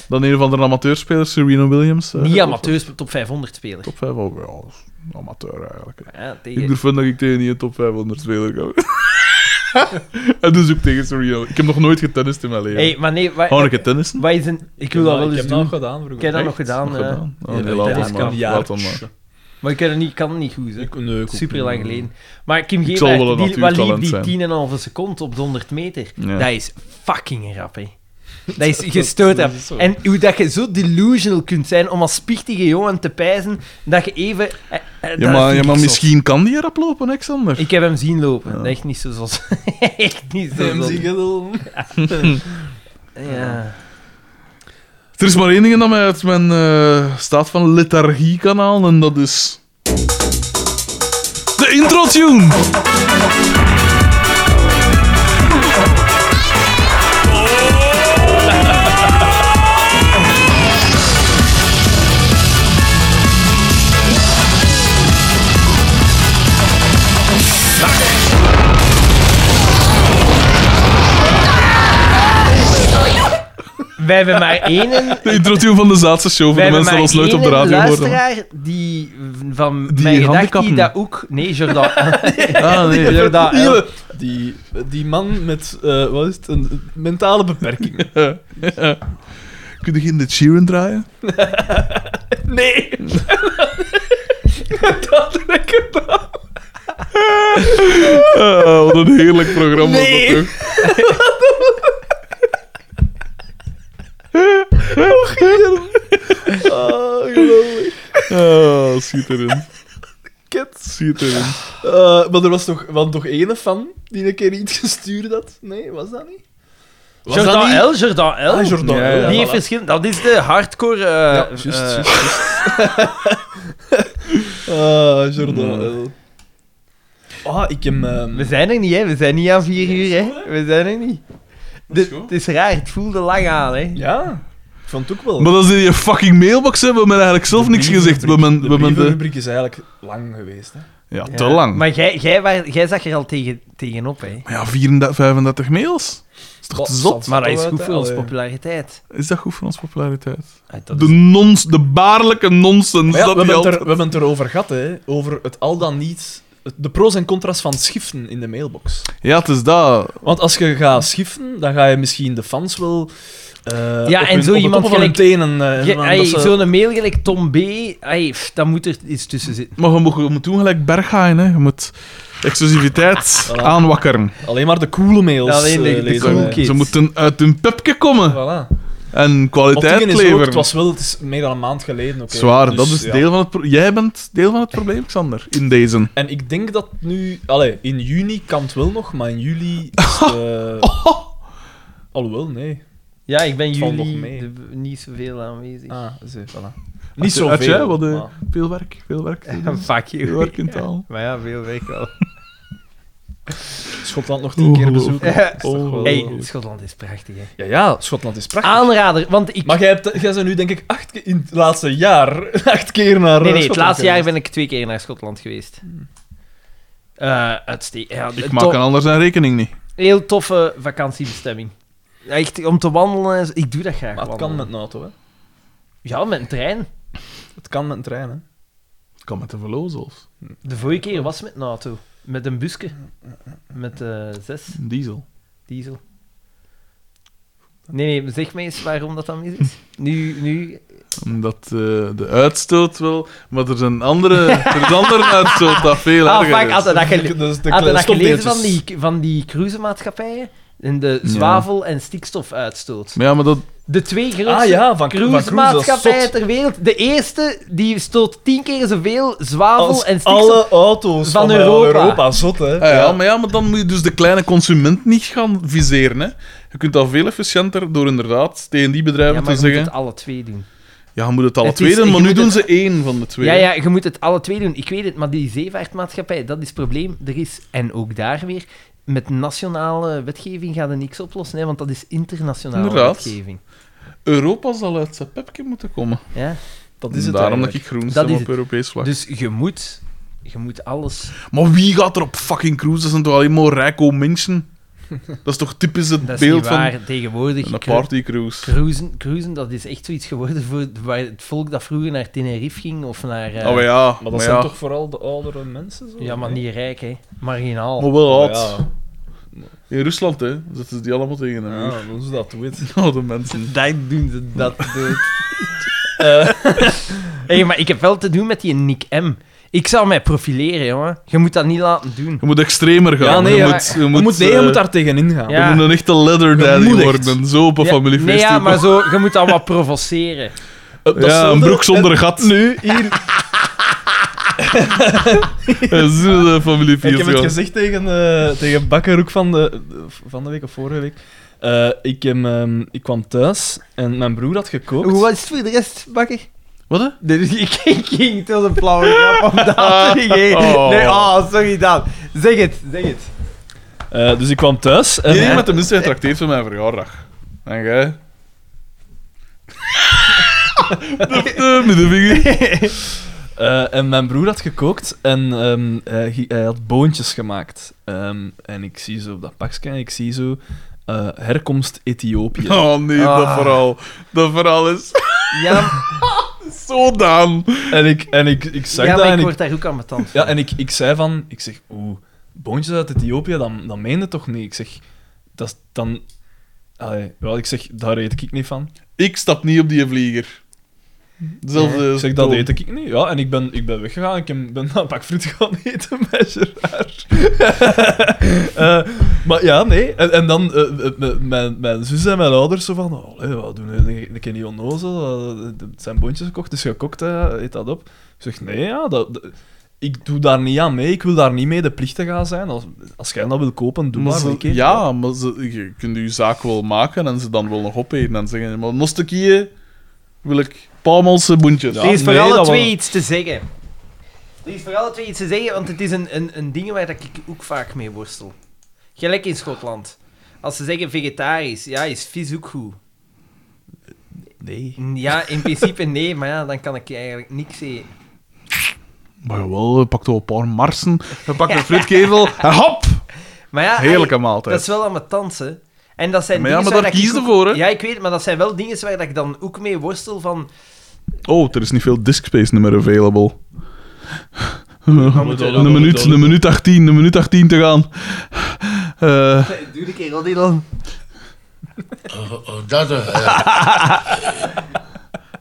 S2: dat een van de amateurs Serena Williams... eh,
S1: Niet amateurs, maar top 500 speler.
S2: Top 5, oh, ja, dat is een amateur eigenlijk. hè.
S1: Ja, tegen...
S2: Ik durf dat ik tegen die een top 500 speler ga. en dus ook tegen Serena. Ik heb nog nooit getennist in mijn leven.
S1: Hey, maar nee,
S2: Gewoon een
S1: wat,
S2: keer tennissen?
S1: wat is een... Ik wil dat wel eens
S3: Ik heb dat
S1: doen.
S3: gedaan vroeger.
S1: Ik heb dat nog
S2: Echt?
S1: gedaan, eh,
S2: gedaan? Oh,
S3: Ja,
S2: nee,
S3: dat
S2: laat
S3: tennis
S2: hem
S3: kan
S2: maar.
S3: een jaar.
S2: Laat hem maar.
S1: maar ik kan het niet, kan het niet goed. Hè.
S3: Ik, nee, ik ook
S1: Super
S3: niet.
S1: lang geleden. Maar Kim
S2: Ik zal wel
S1: Gevaert,
S2: een
S1: die, wat liep
S2: natuurtalent zijn.
S1: die 10,5 seconden op de 100 meter?
S2: Ja.
S1: Dat is fucking rap, hè. Dat is gestoord
S9: dat
S1: hebt.
S9: is zo.
S1: En hoe dat je zo delusional kunt zijn om als spichtige jongen te pijzen dat je even... eh, eh, dat
S2: Ja, maar,
S1: vind
S2: ja,
S1: ik
S2: maar
S1: zot.
S2: misschien kan die erop lopen, Alexander.
S1: Ik heb hem zien lopen. Dat is Echt niet zo zot. Echt niet zo zot. Ja.
S2: Er is maar één ding dat mij uit mijn eh, staat van lethargie kan halen, en dat is... De intro-tune!
S1: Wij hebben maar één
S2: De intro-tune van de Zaadse show, voor
S1: Wij
S2: de
S1: hebben
S2: mensen die ons nooit op de
S1: maar één
S2: radio horen.
S1: luisteraar die van
S2: Die
S1: mijn gedacht die
S2: handikappen.
S1: dat ook... Nee, Jordan.
S2: Ah, nee.
S1: Jordan L.
S3: Die, die, die man met, eh, wat is het, een mentale beperking.
S2: Kun je geen de Sheeran draaien?
S3: Nee! dat heb ik gedaan.
S2: Ah, wat een heerlijk programma was
S3: Nee.
S2: dat toch?
S3: Ah, geweldig.
S2: Ah, schitterend.
S3: Kut.
S2: Schitterend.
S3: Eh, maar er was toch, want toch ene fan die een keer iets gestuurd had? Nee, was dat niet? Was dat niet?
S1: Jordan L, Jordan L.
S3: Ah, Jordan
S2: Ja,
S3: L,
S2: ja.
S1: Die heeft
S3: voilà.
S1: verschillende... Dat is de hardcore... eh,
S3: juist,
S1: eh,
S3: juist, Ah, Jordan L. Ah, ik heb... ehm,
S1: We zijn er niet, hè. We zijn niet aan vier uur, hè. We zijn er niet. Dit-
S2: goed.
S1: het is raar. Het voelde lang aan, hè.
S3: ja, ik vond het ook wel...
S2: Maar als die je fucking mailbox hebben, hebben we eigenlijk zelf niks gezegd. We hebben, we
S3: De
S2: hebben de... Dus
S3: brievenrubriek is eigenlijk lang geweest, hè.
S2: Ja,
S1: Ja.
S2: te lang.
S1: Maar jij, jij, waar- jij zag er al tegen, tegenop, hè.
S2: Maar ja, 34, 35 mails? Is toch te zot?
S1: Maar dat is
S3: wel
S1: goed
S3: uit,
S1: voor onze
S3: hè.
S1: populariteit.
S2: Is dat goed voor onze populariteit?
S1: Ah, dat
S2: De, nons, de baarlijke nonsens.
S3: Maar ja,
S2: dat
S3: we,
S2: die
S3: hebben het er,
S2: altijd-
S3: we hebben het erover gehad, hè. Over het al dan niet... het- De pro's en contra's van schiften in de mailbox.
S2: Ja, het is dat.
S3: Want als je gaat schiften, dan ga je misschien de fans wel... eh,
S1: Ja,
S3: op
S1: en
S3: hun-
S1: zo
S3: op de
S1: iemand
S3: toppen van hun tenen... eh,
S1: Ja,
S3: man,
S1: ey,
S3: dat ze-
S1: Zo'n mail gelijk Tom B, ey, pff, daar moet er iets tussen zitten.
S2: Maar je moet, je moet doen gelijk Berghain, hè. Je moet exclusiviteit aanwakkeren.
S3: Alleen maar de coole mails
S1: Alleen de-
S3: eh,
S1: de
S3: lezen
S1: coole
S3: wij.
S1: kids.
S2: Ze moeten uit hun pupje komen
S3: Voilà.
S2: en
S3: Want het
S2: kwaliteit
S3: ding is ook, het
S2: leveren.
S3: was wel het is meer dan een maand geleden. oké.
S2: Zwaar,
S3: Dus,
S2: dat is
S3: ja.
S2: deel van het pro- Jij bent deel van het probleem, Xander, in deze.
S3: En ik denk dat nu... Allee, in juni kan het wel nog, maar in juli is het, eh, Alhoewel, nee.
S1: Ja, ik ben
S3: Het valt
S1: jullie
S3: nog mee.
S1: de- niet zoveel aanwezig.
S3: Ah, zo, voilà. Niet
S2: Had jij
S3: zoveel,
S2: wat, eh,
S3: maar-
S2: Veel werk, veel werk. te doen.
S1: Fuck you.
S2: Veel werk in taal.
S1: Maar ja, veel werk wel.
S3: Schotland nog tien keer bezoeken.
S1: Ja.
S3: Is toch
S2: Oh.
S3: wel-
S1: Hey, Schotland is prachtig, hè.
S3: Ja, ja, Schotland is prachtig.
S1: Aanrader, want ik...
S3: Maar jij, hebt, jij bent nu denk ik acht keer in het laatste jaar acht keer naar
S1: nee,
S3: eh,
S1: nee, het
S3: Schotland
S1: laatste jaar
S3: geweest.
S1: ben ik twee keer naar Schotland geweest. Eh uitste- ja,
S2: Ik
S1: to-
S2: maak een ander zijn rekening niet.
S1: Heel toffe vakantiebestemming. Echt, om te wandelen, en zo- ik doe dat graag.
S3: Maar het kan
S1: wandelen.
S3: met een auto, hè.
S1: Ja, met een trein.
S3: Het kan met een trein, hè.
S2: Kan met de velo zelfs.
S1: De vorige keer was het met een auto. Met een busje. Met eh, zes.
S2: Een Diesel.
S1: Diesel. Nee, nee, maar zeg mij eens waarom dat dan mis is. Nu, nu...
S2: Omdat eh, de uitstoot wel... Maar er is een andere, er is andere uitstoot dat veel
S1: Ah,
S2: erger
S1: fuck,
S2: is.
S1: had je dat, gele-
S3: Dat is de
S1: had je dat gelezen
S3: stopdeeltjes.
S1: van die, van die cruisemaatschappijen? En de
S2: Ja.
S1: zwavel- en stikstofuitstoot.
S2: Maar ja, maar dat...
S1: De twee grootste
S3: Ah ja, van van Cruise, dat is
S1: cruisemaatschappijen
S3: zot.
S1: ter wereld. De eerste, die stoot tien keer zoveel zwavel
S3: Als
S1: en stikstof...
S3: alle auto's
S1: van
S3: van, eh,
S1: Europa.
S3: Europa. Zot, hè?
S2: Ah, ja, maar ja, maar dan moet je dus de kleine consument niet gaan viseren. Hè. Je kunt dat veel efficiënter door inderdaad tegen die
S1: Ja,
S2: bedrijven
S1: maar je
S2: te
S1: moet
S2: zeggen...
S1: het alle twee doen.
S2: Ja, je moet het alle
S1: Het
S2: twee
S1: is-
S2: doen, maar
S1: je
S2: nu
S1: moet
S2: doen
S1: het-
S2: ze één van de twee.
S1: Ja,
S2: hè.
S1: ja, je moet het alle twee doen. Ik weet het, maar die zeevaartmaatschappij, dat is het probleem. Er is, en ook daar weer, met nationale wetgeving gaat er niks oplossen, hè, want dat is internationale
S2: Inderdaad.
S1: wetgeving.
S2: Europa zal uit zijn pepje moeten komen.
S1: Ja?
S3: Dat is het
S2: Daarom
S3: eigenlijk.
S2: dat ik groen
S1: Dat
S2: stem
S1: is
S2: op
S1: het.
S2: Europees vlak.
S1: Dus je moet, je moet alles...
S2: Maar wie gaat er op fucking cruises? Dat zijn toch alleen maar rijke mensen? Dat is toch typisch het
S1: Dat is
S2: beeld
S1: niet
S2: van
S1: waar, tegenwoordig.
S2: een
S1: cru-
S2: partycruise.
S1: Cruisen, cruisen, dat is echt zoiets geworden voor waar het volk dat vroeger naar Tenerife ging of naar... eh,
S2: Oh maar ja,
S3: Maar dat
S2: maar,
S3: zijn
S2: ja.
S3: toch vooral de oudere mensen? Zo?
S1: ja, maar niet rijk, hè. Marginaal.
S2: maar wel
S3: Maar
S2: oud.
S3: ja,
S2: In Rusland, hè, zitten ze die allemaal tegen de muur.
S3: ja, hoe ze dat doet.
S2: Oh, de mensen.
S1: Dat doen ze, Eh. dat doen Hey, maar ik heb wel te doen met die Nick M. Ik zou mij profileren, jongen. Je moet dat niet laten doen.
S2: Je moet extremer gaan.
S1: Ja, nee,
S2: je
S1: ja.
S2: moet, je
S1: Je
S2: moet,
S1: moet- nee, je
S2: eh,
S1: moet daar tegenin gaan. Ja.
S2: Je moet een echte leather daddy
S1: Je moet echt.
S2: worden. Zo op een
S1: Ja,
S2: familiefeest.
S1: Nee, ja,
S2: type.
S1: maar zo, je moet dat wat provoceren.
S2: Ja, een broek zonder gat.
S3: Nu, hier.
S2: Zo'n familiefeest.
S3: Ik heb het
S2: ja.
S3: gezegd tegen, eh tegen Bakker ook van de, van de week of vorige week. Eh, ik, heb, ehm, ik kwam thuis en mijn broer had gekookt.
S1: Hoe was het voor de rest, bakker?
S2: Wat? hè?
S1: Nee, dus ik, ik ging tot een flauwe grap om dat te geven.
S3: Oh.
S1: Nee, oh, sorry, Daan. Zeg het, zeg het.
S3: Eh, dus ik kwam thuis en...
S2: Iedereen met de minste getrakteerd van mijn verjaardag. En jij? de, de middenvinger.
S3: Eh, en mijn broer had gekookt en ehm, hij, gi- hij had boontjes gemaakt. Ehm, en ik zie zo op dat pakje, ik zie zo eh, herkomst Ethiopië.
S2: Oh nee, dat
S1: Ah.
S2: verhaal. Dat verhaal is
S1: Ja,
S2: zo daan.
S3: En ik, en ik, ik zag
S1: ja
S3: dat
S1: maar
S3: en
S1: ik
S3: ik,
S1: word daar ook aan mijn tand
S3: ja, en ik, ik zei van, ik zeg, oeh, boontjes uit Ethiopië, dan, dan meen je toch niet? Ik zeg, dat is dan, allee, wel, ik zeg, daar eet ik niet van.
S2: Ik stap niet op die vlieger. Zelfde
S3: Ik zeg, dat
S2: toon.
S3: eet ik niet. Ja, en ik ben, ik ben weggegaan, ik heb- ben een pak friet gaan eten met Gerard. Eh, maar ja, nee. En, en dan eh, eh, m- mijn, mijn zus en mijn ouders zo van, oh, allee, wat doen we? Ik ken niet onnozel, eh, het zijn boontjes gekocht, dus gekookt, hè, eet dat op. Ik zeg, nee, ja, dat... dat- ik doe daar niet aan mee, ik wil daar niet mee de plichten gaan zijn. Als, als jij dat wil kopen, doe
S2: Maar
S3: maar.
S2: ze-
S3: een keer.
S2: ja, maar ze, je kunt je zaak wel maken en ze dan wel nog opeten en zeggen, maar nog stukje wil ik palmelse boentjes.
S1: Er is voor
S3: nee,
S1: alle
S3: dat
S1: twee
S3: wel.
S1: iets te zeggen. Er is voor alle twee iets te zeggen, want het is een, een, een ding waar dat ik ook vaak mee worstel. Gelijk in Schotland. Als ze zeggen vegetarisch, ja, is vis ook goed?
S3: Nee.
S1: Ja, in principe nee, maar ja, dan kan ik eigenlijk niks eten.
S2: Maar jawel, hij pakt al een paar marsen, hij pakt een fritkevel en hop!
S1: Maar ja,
S2: Heerlijke
S1: ey,
S2: maaltijd.
S1: Dat is wel aan mijn tansen. En dat zijn
S2: Maar ja,
S1: dingen
S2: maar
S1: waar
S2: daar
S1: dat ik
S2: kiezen
S1: ook-
S2: voor, hè?
S1: Ja, ik weet, het, maar dat zijn wel dingen waar dat ik dan ook mee worstel van...
S2: Oh, er is niet veel disk space nummer available.
S3: moeten we-
S2: Een minuut, een minuut 18, een minuut 18 te gaan. Eh,
S1: Doe een keer al die dan.
S12: Oh, oh, dat, eh,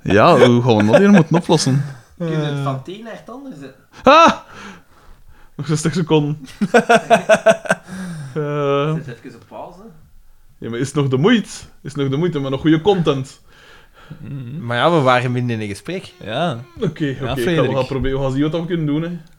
S2: ja, hoe gaan we dat hier moeten oplossen?
S1: Kunnen het van het een naar het ander zetten?
S2: Ah! Nog 60 seconden. Eh,
S1: Zet Dus even op pauze.
S2: ja, maar is het nog de moeite? Is het nog de moeite met nog goede content?
S1: Maar ja, we waren minder in een gesprek.
S3: Ja.
S2: Oké, oké. ik ga- we
S3: Frederik.
S2: gaan proberen. We gaan zien wat we kunnen doen. Hè.